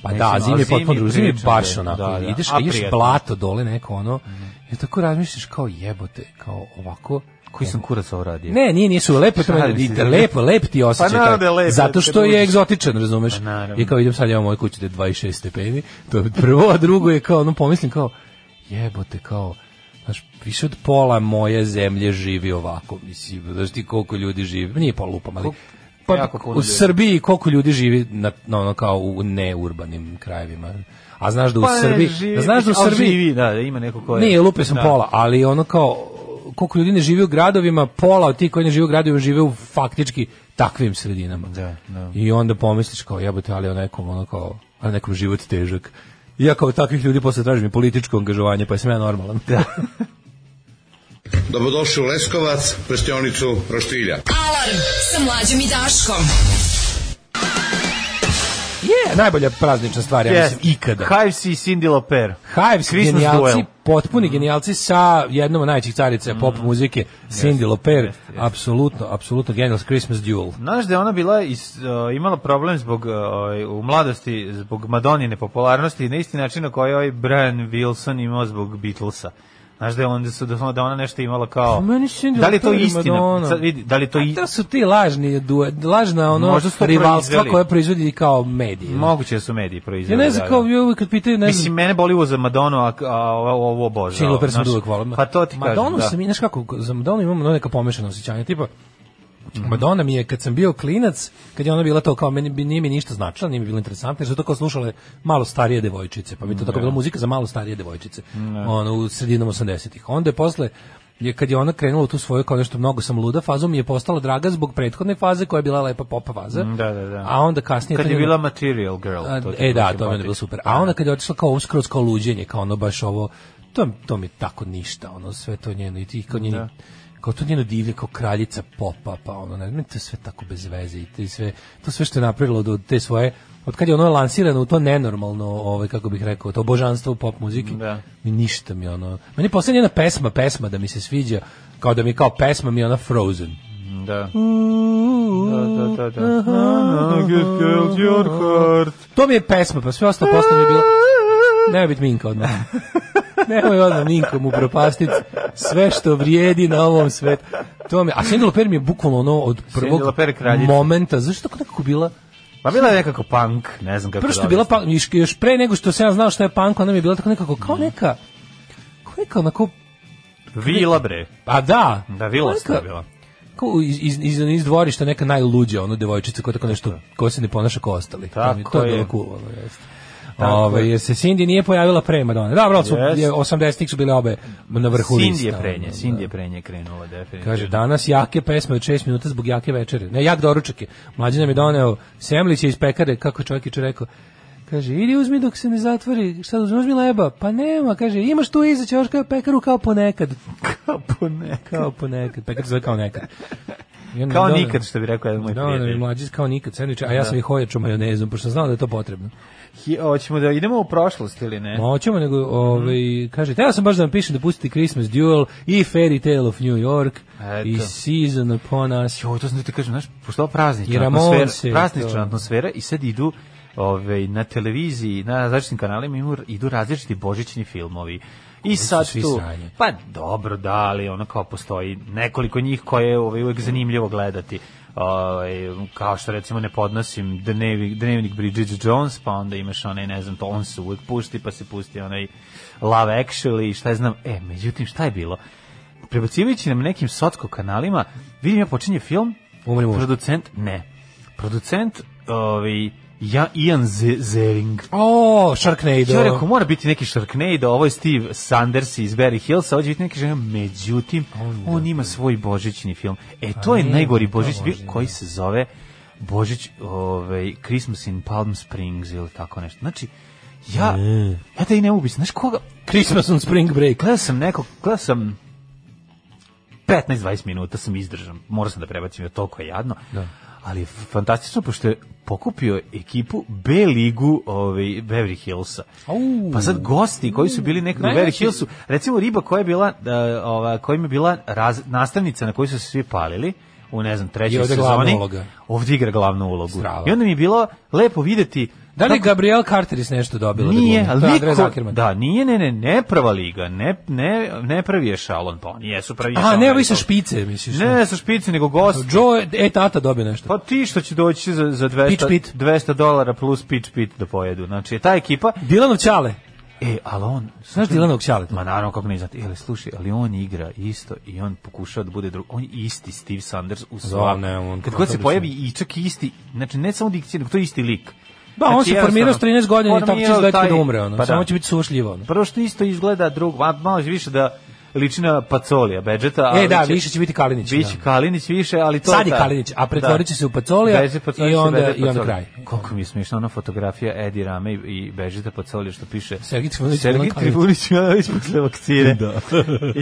Speaker 6: Pa
Speaker 7: Ne,
Speaker 6: da,
Speaker 7: mislim,
Speaker 6: zimi
Speaker 7: ali
Speaker 6: je potpuno drugo, zimi je
Speaker 7: prilično
Speaker 6: baš
Speaker 7: da je,
Speaker 6: onako,
Speaker 7: da, da.
Speaker 6: ideš,
Speaker 7: A
Speaker 6: ideš
Speaker 7: prijatno. Mhm.
Speaker 6: blato dole neko ono, i tako razmišljaš kao jebote, kao ovako,
Speaker 7: Koji sam kurac ovo radio?
Speaker 6: Ne, nije, nije su lepo, to
Speaker 7: Šalim
Speaker 6: meni-
Speaker 7: se.
Speaker 6: da, lepo, lep ti osjećaj.
Speaker 7: naravno
Speaker 6: taj.
Speaker 7: da je lepo,
Speaker 6: zato
Speaker 7: kad
Speaker 6: što je
Speaker 7: uđeš.
Speaker 6: egzotičan, razumeš?
Speaker 7: Pa naravno.
Speaker 6: I kao idem sad ja u moju kuću da je 26 stepeni, to je prvo, a drugo je kao, ono pomislim kao, jebote, kao, znaš, više od pola moje zemlje živi ovako, mislim, znaš ti koliko ljudi živi, nije pola lupam, ali... Pa,
Speaker 7: jako puno
Speaker 6: u
Speaker 7: ljudi.
Speaker 6: Srbiji koliko ljudi živi na, na ono kao u neurbanim krajevima. A znaš da u
Speaker 7: ne,
Speaker 6: Srbiji,
Speaker 7: Pa živi-
Speaker 6: a znaš da u
Speaker 7: ali
Speaker 6: Srbiji
Speaker 7: Živi, da, da, ima neko ko je...
Speaker 6: nije, lupe sam
Speaker 7: Da.
Speaker 6: pola, ali ono kao koliko ljudi ne živi u gradovima, pola od tih koji ne žive u gradovima žive u faktički takvim sredinama.
Speaker 7: Da, da.
Speaker 6: I onda pomisliš kao jebote, ali o nekom ono kao, a nekom život težak. I ja kao takvih ljudi posle tražim i političko angažovanje, pa sam ja normalan. Da.
Speaker 8: Dobrodošli u Leskovac, prštionicu Roštilja.
Speaker 5: Alarm sa mlađom i Daškom.
Speaker 6: Yeah, naj, najbolja praznična stvar, ja mislim, ikada.
Speaker 7: Hives i Cindy Loper.
Speaker 6: Hives
Speaker 7: Christmas
Speaker 6: genijalci,
Speaker 7: Duel. Mm.
Speaker 6: potpuni genijalci sa jednom od najvećih carica pop muzike, Cindy Loper, apsolutno, apsolutno genijal's Christmas Duel.
Speaker 7: Znaš da je ona bila is, uh, imala problem zbog uh, ovaj, u mladosti zbog Madonine popularnosti na isti način na koji je ovaj Brian Wilson imao zbog Beatlesa. Znaš da je onda su da da ona nešto imala kao
Speaker 6: Pa meni se Cindy
Speaker 7: Da li je to
Speaker 6: Lauper i
Speaker 7: istina?
Speaker 6: Madonna.
Speaker 7: Sad vidi, da li je to i
Speaker 6: A to su ti lažni, due- lažna ono
Speaker 7: Možda su to
Speaker 6: rivalstva
Speaker 7: proizveli.
Speaker 6: koje proizvodi kao medije.
Speaker 7: moguće da su mediji
Speaker 6: Ja
Speaker 7: proizveli.
Speaker 6: ne znam
Speaker 7: da,
Speaker 6: kao,
Speaker 7: da.
Speaker 6: ja uvijek kad pitaju, ne
Speaker 7: Mislim,
Speaker 6: znam,
Speaker 7: mene boli uvo za Madonu, a, a ovo ovo obožavam.
Speaker 6: Cindy Loper sam
Speaker 7: znaš.
Speaker 6: uvijek volim.
Speaker 7: Pa to ti kažem,
Speaker 6: Madonu
Speaker 7: da.
Speaker 6: sam, i, znaš kako, za Madonu imam ono neka pomešana osjećanja, tipa, Madonna mi je, kad sam bio klinac, kad je ona bila to kao, meni, bi- nije mi ništa značila, nije mi bilo interesantno, jer su to kao slušale malo starije devojčice, pa mi je to tako bila muzika za malo starije devojčice, ono, u sredinom 80-ih. Onda je posle, je kad je ona krenula u tu svoju kao nešto mnogo sam luda fazu, mi je postala draga zbog prethodne faze koja je bila lepa pop faza.
Speaker 7: Da, da, da.
Speaker 6: A onda kasnije
Speaker 7: Kad
Speaker 6: to
Speaker 7: je
Speaker 6: njeno-
Speaker 7: bila Material Girl.
Speaker 6: A,
Speaker 7: ti je
Speaker 6: E
Speaker 7: bilo
Speaker 6: da, to mi je
Speaker 7: simpatično.
Speaker 6: bilo super. A onda kad je otišla kao ovo skroz kao luđenje, kao ono baš ovo, to, to mi je tako ništa, ono sve to njeno i ti kao njeni,
Speaker 7: Da.
Speaker 6: kao to njeno divlje, kao kraljica popa, pa ono, ne, meni to je sve tako bez veze i to, sve, to sve što je napravilo od, od te svoje, od kad je ono lansirano u to nenormalno, ovaj, kako bih rekao, to božanstvo pop muzike,
Speaker 7: Da.
Speaker 6: mi ništa mi ono, meni je poslednja jedna pesma, pesma da mi se sviđa, kao da mi je kao pesma mi je ona Frozen.
Speaker 7: Da. Da, da, da, da. I just killed your heart.
Speaker 6: To mi je pesma, pa sve ostalo posle mi je bilo... Nemoj biti Minka odmah. Nemoj odmah Minkom upropastiti sve što vrijedi na ovom svetu. To mi, a Cindy Loper mi je bukvalno ono od prvog
Speaker 7: Cindy Lauper je kraljica.
Speaker 6: momenta. Zašto tako nekako bila?
Speaker 7: Pa bila je nekako punk, ne znam kako
Speaker 6: Prvo što
Speaker 7: da
Speaker 6: je bila punk, još- još pre nego što sam ja znao što je punk, ona mi je bila tako nekako
Speaker 7: Mm.
Speaker 6: kao neka... Kao neka onako...
Speaker 7: objasnim. Vila bre.
Speaker 6: A da.
Speaker 7: Da, vila
Speaker 6: Kao
Speaker 7: sta je
Speaker 6: neka-
Speaker 7: bila.
Speaker 6: Kao iz, iz, iz, iz dvorišta neka najluđa ono devojčica koja tako nešto koja se ne ponaša kao ostali.
Speaker 7: Da. Tako
Speaker 6: to je.
Speaker 7: je.
Speaker 6: bilo cool, ono, jeste.
Speaker 7: Tako
Speaker 6: Ove,
Speaker 7: je.
Speaker 6: jer se Cindy nije pojavila pre Madonna. Da, bro, su,
Speaker 7: Jeste.
Speaker 6: je, 80-ih su bile obe na vrhu
Speaker 7: Cindy
Speaker 6: lista,
Speaker 7: je pre nje,
Speaker 6: ono,
Speaker 7: Cindy je
Speaker 6: da.
Speaker 7: pre nje krenula, definitivno.
Speaker 6: Kaže, danas jake pesme od 6 minuta zbog jake večere. Ne, jak doručak je. Mlađe nam je doneo semliće iz pekare, kako je čovjek juče rekao. Kaže, idi uzmi dok se ne zatvori, šta da uzmi, uzmi leba. Pa nema, kaže, imaš tu iza ćoška pekaru kao ponekad.
Speaker 7: Kao po neka.
Speaker 6: Kao ponekad, pekar se zove kao nekad. I onda
Speaker 7: Kao
Speaker 6: mi doneo-
Speaker 7: nikad, što bi rekao jedan moj
Speaker 6: Da, ono mi
Speaker 7: prijatelj.
Speaker 6: mlađi kao nikad sendviče,
Speaker 7: Da.
Speaker 6: a ja sam ih hojačo majonezom, pošto sam znao da je to potrebno.
Speaker 7: Hi- Hoćemo da idemo u prošlost ili ne?
Speaker 6: Moćemo, nego, ovaj,
Speaker 7: Mhm.
Speaker 6: kaže, teo sam baš da vam pišem da pustite Christmas Duel i Fairy Tale of New York
Speaker 7: Eto.
Speaker 6: i Season upon Us.
Speaker 7: Joj, to sam da ti kažem, znaš, pošto praznična
Speaker 6: I da.
Speaker 7: atmosfera,
Speaker 6: Ramonsi, to.
Speaker 7: praznična atmosfera i sad idu ove, na televiziji, na različitim kanalima imu- idu različiti božićni filmovi. I
Speaker 6: su
Speaker 7: sad
Speaker 6: svi
Speaker 7: tu,
Speaker 6: sranje.
Speaker 7: pa dobro, da, ali ono kao postoji nekoliko njih koje je ovaj, uvek zanimljivo gledati. Ovaj, kao što recimo ne podnosim dnevnik, dnevnik Bridget Jones, pa onda imaš onaj, ne znam, to on se uvek pušti, pa se pusti onaj Love Actually, šta je znam. E, međutim, šta je bilo? Prebacivajući nam nekim sotsko kanalima, vidim ja počinje film,
Speaker 6: Umri muž.
Speaker 7: Producent, ne. Producent, ovaj, ja, Ian Ze- Zering.
Speaker 6: O, Sharknado.
Speaker 7: Ja rekao, mora biti neki Sharknado, ovo je Steve Sanders iz Barry Hillsa, ovo će biti neki žena, međutim, on ima svoj božićni film. E, to je
Speaker 6: nije
Speaker 7: najgori
Speaker 6: to
Speaker 7: božićni
Speaker 6: Božić,
Speaker 7: film koji se zove Božić, ovaj, Christmas in Palm Springs ili tako nešto. Znači, ja, ja da i ne mogu biti, znaš koga,
Speaker 6: Christmas on Spring Break.
Speaker 7: gledao sam nekog, gledao sam 15-20 minuta sam izdržan. Morao sam da prebacim, jer toliko je jadno.
Speaker 6: Da.
Speaker 7: Ali je fantastično, pošto je pokupio ekipu B ligu ovaj, Beverly Hillsa.
Speaker 6: Au.
Speaker 7: Pa sad gosti koji su bili nekad u
Speaker 6: Najveći-
Speaker 7: Beverly Hillsu, recimo riba koja je bila, da, ova, kojim je bila raz, nastavnica na koju su se svi palili, u ne znam,
Speaker 6: I
Speaker 7: trećoj
Speaker 6: ovde glavna
Speaker 7: sezoni.
Speaker 6: uloga.
Speaker 7: Ovdje igra glavnu ulogu.
Speaker 6: Strava.
Speaker 7: I onda mi je bilo lepo videti
Speaker 6: Da li je
Speaker 7: kako-
Speaker 6: Gabrielle Carteris nešto dobila? da
Speaker 7: nije,
Speaker 6: glumi?
Speaker 7: ali
Speaker 6: To je
Speaker 7: niko-
Speaker 6: Andrea Zuckerman.
Speaker 7: Da, nije, ne, ne, ne prava liga, ne, ne, ne pravi je šalon, pa oni jesu pravi
Speaker 6: A,
Speaker 7: ešalon,
Speaker 6: ne,
Speaker 7: ali
Speaker 6: ovi sa
Speaker 7: to-
Speaker 6: špice, misliš.
Speaker 7: Ne, ne, sa špici, nego gost.
Speaker 6: Joe, e, tata dobio nešto.
Speaker 7: Pa ti što će doći za, za 200,
Speaker 6: Pitch pit.
Speaker 7: 200 dolara plus pitch pit da pojedu. Znači, ta ekipa,
Speaker 6: Dilanov Ćale.
Speaker 7: e, ali on,
Speaker 6: Znaš Dilanovog Ćale?
Speaker 7: Ma naravno kako ne znate, ali slušaj, ali on igra isto i on pokušava da bude drug, on je isti Steve Sanders u svom.
Speaker 6: Da, ne, on-
Speaker 7: Kad god se
Speaker 6: odlično.
Speaker 7: pojavi i čak i isti, znači ne samo dikcija, nego to je isti lik. Znači,
Speaker 6: Da, on se formirao s 13 godina i tako će
Speaker 7: formirao
Speaker 6: izgledati
Speaker 7: taj-
Speaker 6: da umre, ono.
Speaker 7: Pa
Speaker 6: Samo
Speaker 7: da.
Speaker 6: će biti sušljivo, ono.
Speaker 7: Prvo što isto izgleda drugo, a malo je više da liči na Pacolija, Bedžeta.
Speaker 6: E, da, više će biti Kalinić,
Speaker 7: Biće
Speaker 6: da.
Speaker 7: Kalinić više, ali to
Speaker 6: Sad je
Speaker 7: ta-
Speaker 6: Kalinić, a pretvorit će se u Pacolija
Speaker 7: Beže Pacolija,
Speaker 6: i
Speaker 7: se
Speaker 6: onda-
Speaker 7: Beže
Speaker 6: i onda
Speaker 7: Pacolija.
Speaker 6: kraj.
Speaker 7: Koliko mi je smiješna ona fotografija Edi Rame i, i Bežita Pacolija što piše
Speaker 6: Sergej Trifunović,
Speaker 7: Sergej
Speaker 6: Milan Kalinić.
Speaker 7: Trifunić Milanović posle vakcine. Da.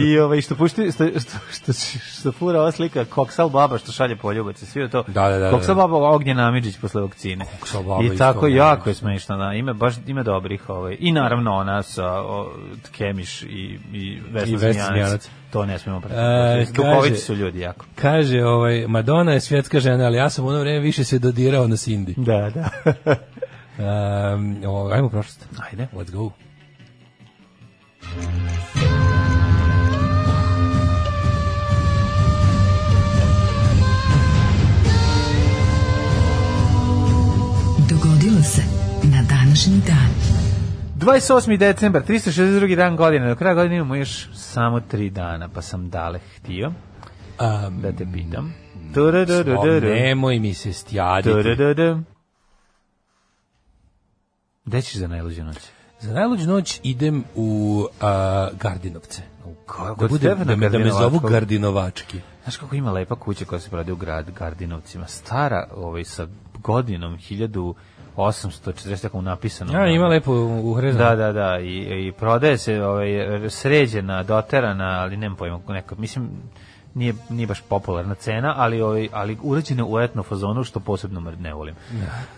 Speaker 7: I ovaj, što, pušti, što, što, što, što fura ova slika Koksal Baba što šalje poljubac i svi to.
Speaker 6: Da, da, da,
Speaker 7: Koksal
Speaker 6: da.
Speaker 7: Baba Ognjen Amidžić posle vakcine.
Speaker 6: Koksal Baba
Speaker 7: I
Speaker 6: isto,
Speaker 7: tako
Speaker 6: da.
Speaker 7: jako je smešno. Da. Ima, baš, ima dobrih. Ovaj. I naravno ona sa o, Kemiš i, i Vesna,
Speaker 6: I Vesna
Speaker 7: Zmijanac.
Speaker 6: Zmijanac.
Speaker 7: To ne smemo prati.
Speaker 6: E,
Speaker 7: Duhovići
Speaker 6: kaže-
Speaker 7: su ljudi jako.
Speaker 6: Kaže, ovaj, Madonna je svjetska žena, ali ja sam u ono vreme više se dodirao na Cindy.
Speaker 7: Da, da.
Speaker 6: Um, o, ajmo u prošlost.
Speaker 7: Ajde.
Speaker 6: Let's go.
Speaker 9: Dogodilo se na današnji dan.
Speaker 7: 28. decembar, 362. dan godine. Do kraja godine imamo još samo tri dana, pa sam dale htio
Speaker 6: Um,
Speaker 7: da te pitam.
Speaker 6: o,
Speaker 7: Turururururum.
Speaker 6: nemoj mi se stjaditi.
Speaker 7: Da-da-da-da. Gde ćeš za najluđu noć?
Speaker 6: Za najluđu noć idem u a, Gardinovce. Da,
Speaker 7: Kako
Speaker 6: bude, da, me, da me zovu Gardinovački.
Speaker 7: Znaš kako ima lepa kuća koja se prodaje u grad Gardinovcima? Stara, ovaj, sa godinom 1840, tako napisano.
Speaker 6: Ja, ima lepo u Hrezanu.
Speaker 7: Da, da, da, i, i prodaje se ovaj, sređena, doterana, ali nemam pojma, neka, mislim, nije, nije baš popularna cena, ali ovaj, ali urađena u etno fazonu, što posebno mr- ne volim,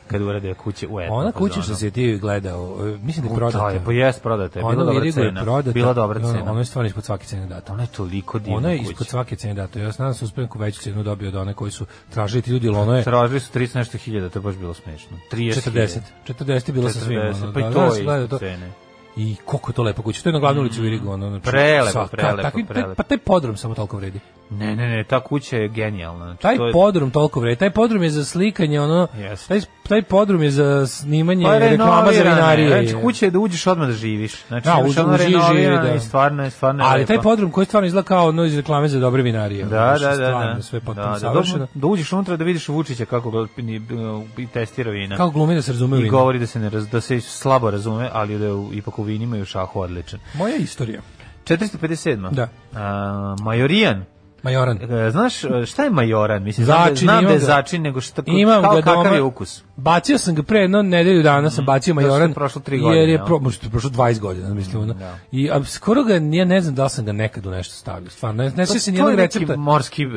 Speaker 7: kad urade kuće u etno
Speaker 6: Da. Ona kuća što
Speaker 7: fazonu.
Speaker 6: si ti gledao, e, mislim da je prodata.
Speaker 7: To da. je, pa jest prodata, je, bila
Speaker 6: Ona u
Speaker 7: dobra
Speaker 6: Irigu je
Speaker 7: cena.
Speaker 6: prodata.
Speaker 7: Bila dobra
Speaker 6: Ono-
Speaker 7: cena.
Speaker 6: Ono je stvarno ispod svake cene data.
Speaker 7: Ona je toliko divna
Speaker 6: Ona je
Speaker 7: kuća.
Speaker 6: ispod svake cene data. Ja znam da sam uspio neku veću cenu dobio od one koji su tražili ti ljudi, ali ono je
Speaker 7: Tražili su 30 nešto hiljada, to je baš bilo smešno. 30
Speaker 6: 40. 40 je bila sa svim.
Speaker 7: 40,
Speaker 6: ono,
Speaker 7: pa i
Speaker 6: da,
Speaker 7: to
Speaker 6: da,
Speaker 7: je
Speaker 6: se gleda
Speaker 7: ispod cene.
Speaker 6: I koliko je to lepo kuća. To je na glavnoj ulici u Irigu. Ono, znači,
Speaker 7: Prelepo,
Speaker 6: sa-
Speaker 7: prelepo,
Speaker 6: takvi- taj-
Speaker 7: prelepo.
Speaker 6: Pa taj podrum samo toliko vredi.
Speaker 7: Ne, ne, ne, ta kuća je genijalna. Znači,
Speaker 6: Taj
Speaker 7: to je,
Speaker 6: podrum toliko vredi. Taj podrum je za slikanje, ono...
Speaker 7: Jeste.
Speaker 6: Taj, taj podrum je za snimanje
Speaker 7: Pa
Speaker 6: reklama za
Speaker 7: renovirana je.
Speaker 6: vinarije.
Speaker 7: Znači, kuća je da uđeš odmah da živiš. Znači,
Speaker 6: Da,
Speaker 7: imaš
Speaker 6: uđe-
Speaker 7: ono
Speaker 6: uđi i živi,
Speaker 7: renovirana
Speaker 6: da.
Speaker 7: i stvarno je, stvarno je
Speaker 6: Ali
Speaker 7: lepo.
Speaker 6: taj podrum koji stvarno izgleda kao ono iz reklame za dobre vinarije. ono,
Speaker 7: Da,
Speaker 6: što
Speaker 7: da, da,
Speaker 6: stvarno
Speaker 7: da.
Speaker 6: Sve potpuno
Speaker 7: da, da,
Speaker 6: savršeno.
Speaker 7: da, da uđeš unutra da vidiš Vučića kako ga ni- e, i testira vina.
Speaker 6: Kako glumi da se razume u
Speaker 7: I
Speaker 6: vino.
Speaker 7: govori da se ne raz, da se slabo razume, ali da je u, ipak u vinima i u šahu odličan.
Speaker 6: Moja istorija.
Speaker 7: 457.
Speaker 6: Da.
Speaker 7: A, Majorijan.
Speaker 6: Majoran.
Speaker 7: E, Znaš e, šta je majoran? Mislim, znam da-
Speaker 6: Začin,
Speaker 7: znam
Speaker 6: imam
Speaker 7: da je
Speaker 6: ga.
Speaker 7: začin, nego šta,
Speaker 6: Imam
Speaker 7: kao,
Speaker 6: ga
Speaker 7: kakav
Speaker 6: doma.
Speaker 7: je ukus?
Speaker 6: Bacio sam ga pre jedno nedelju dana,
Speaker 7: Mhm.
Speaker 6: sam bacio Majoran.
Speaker 7: je prošlo tri godine,
Speaker 6: Jer
Speaker 7: jel? Da.
Speaker 6: je pro, možda je prošlo 20 godina, mislim. Ono. I a, skoro ga, ja ne znam da li sam ga nekad u nešto stavio. Stvarno, ne, ne sjećam se
Speaker 7: Pa To
Speaker 6: nijednog
Speaker 7: je neki
Speaker 6: recepta.
Speaker 7: morski e,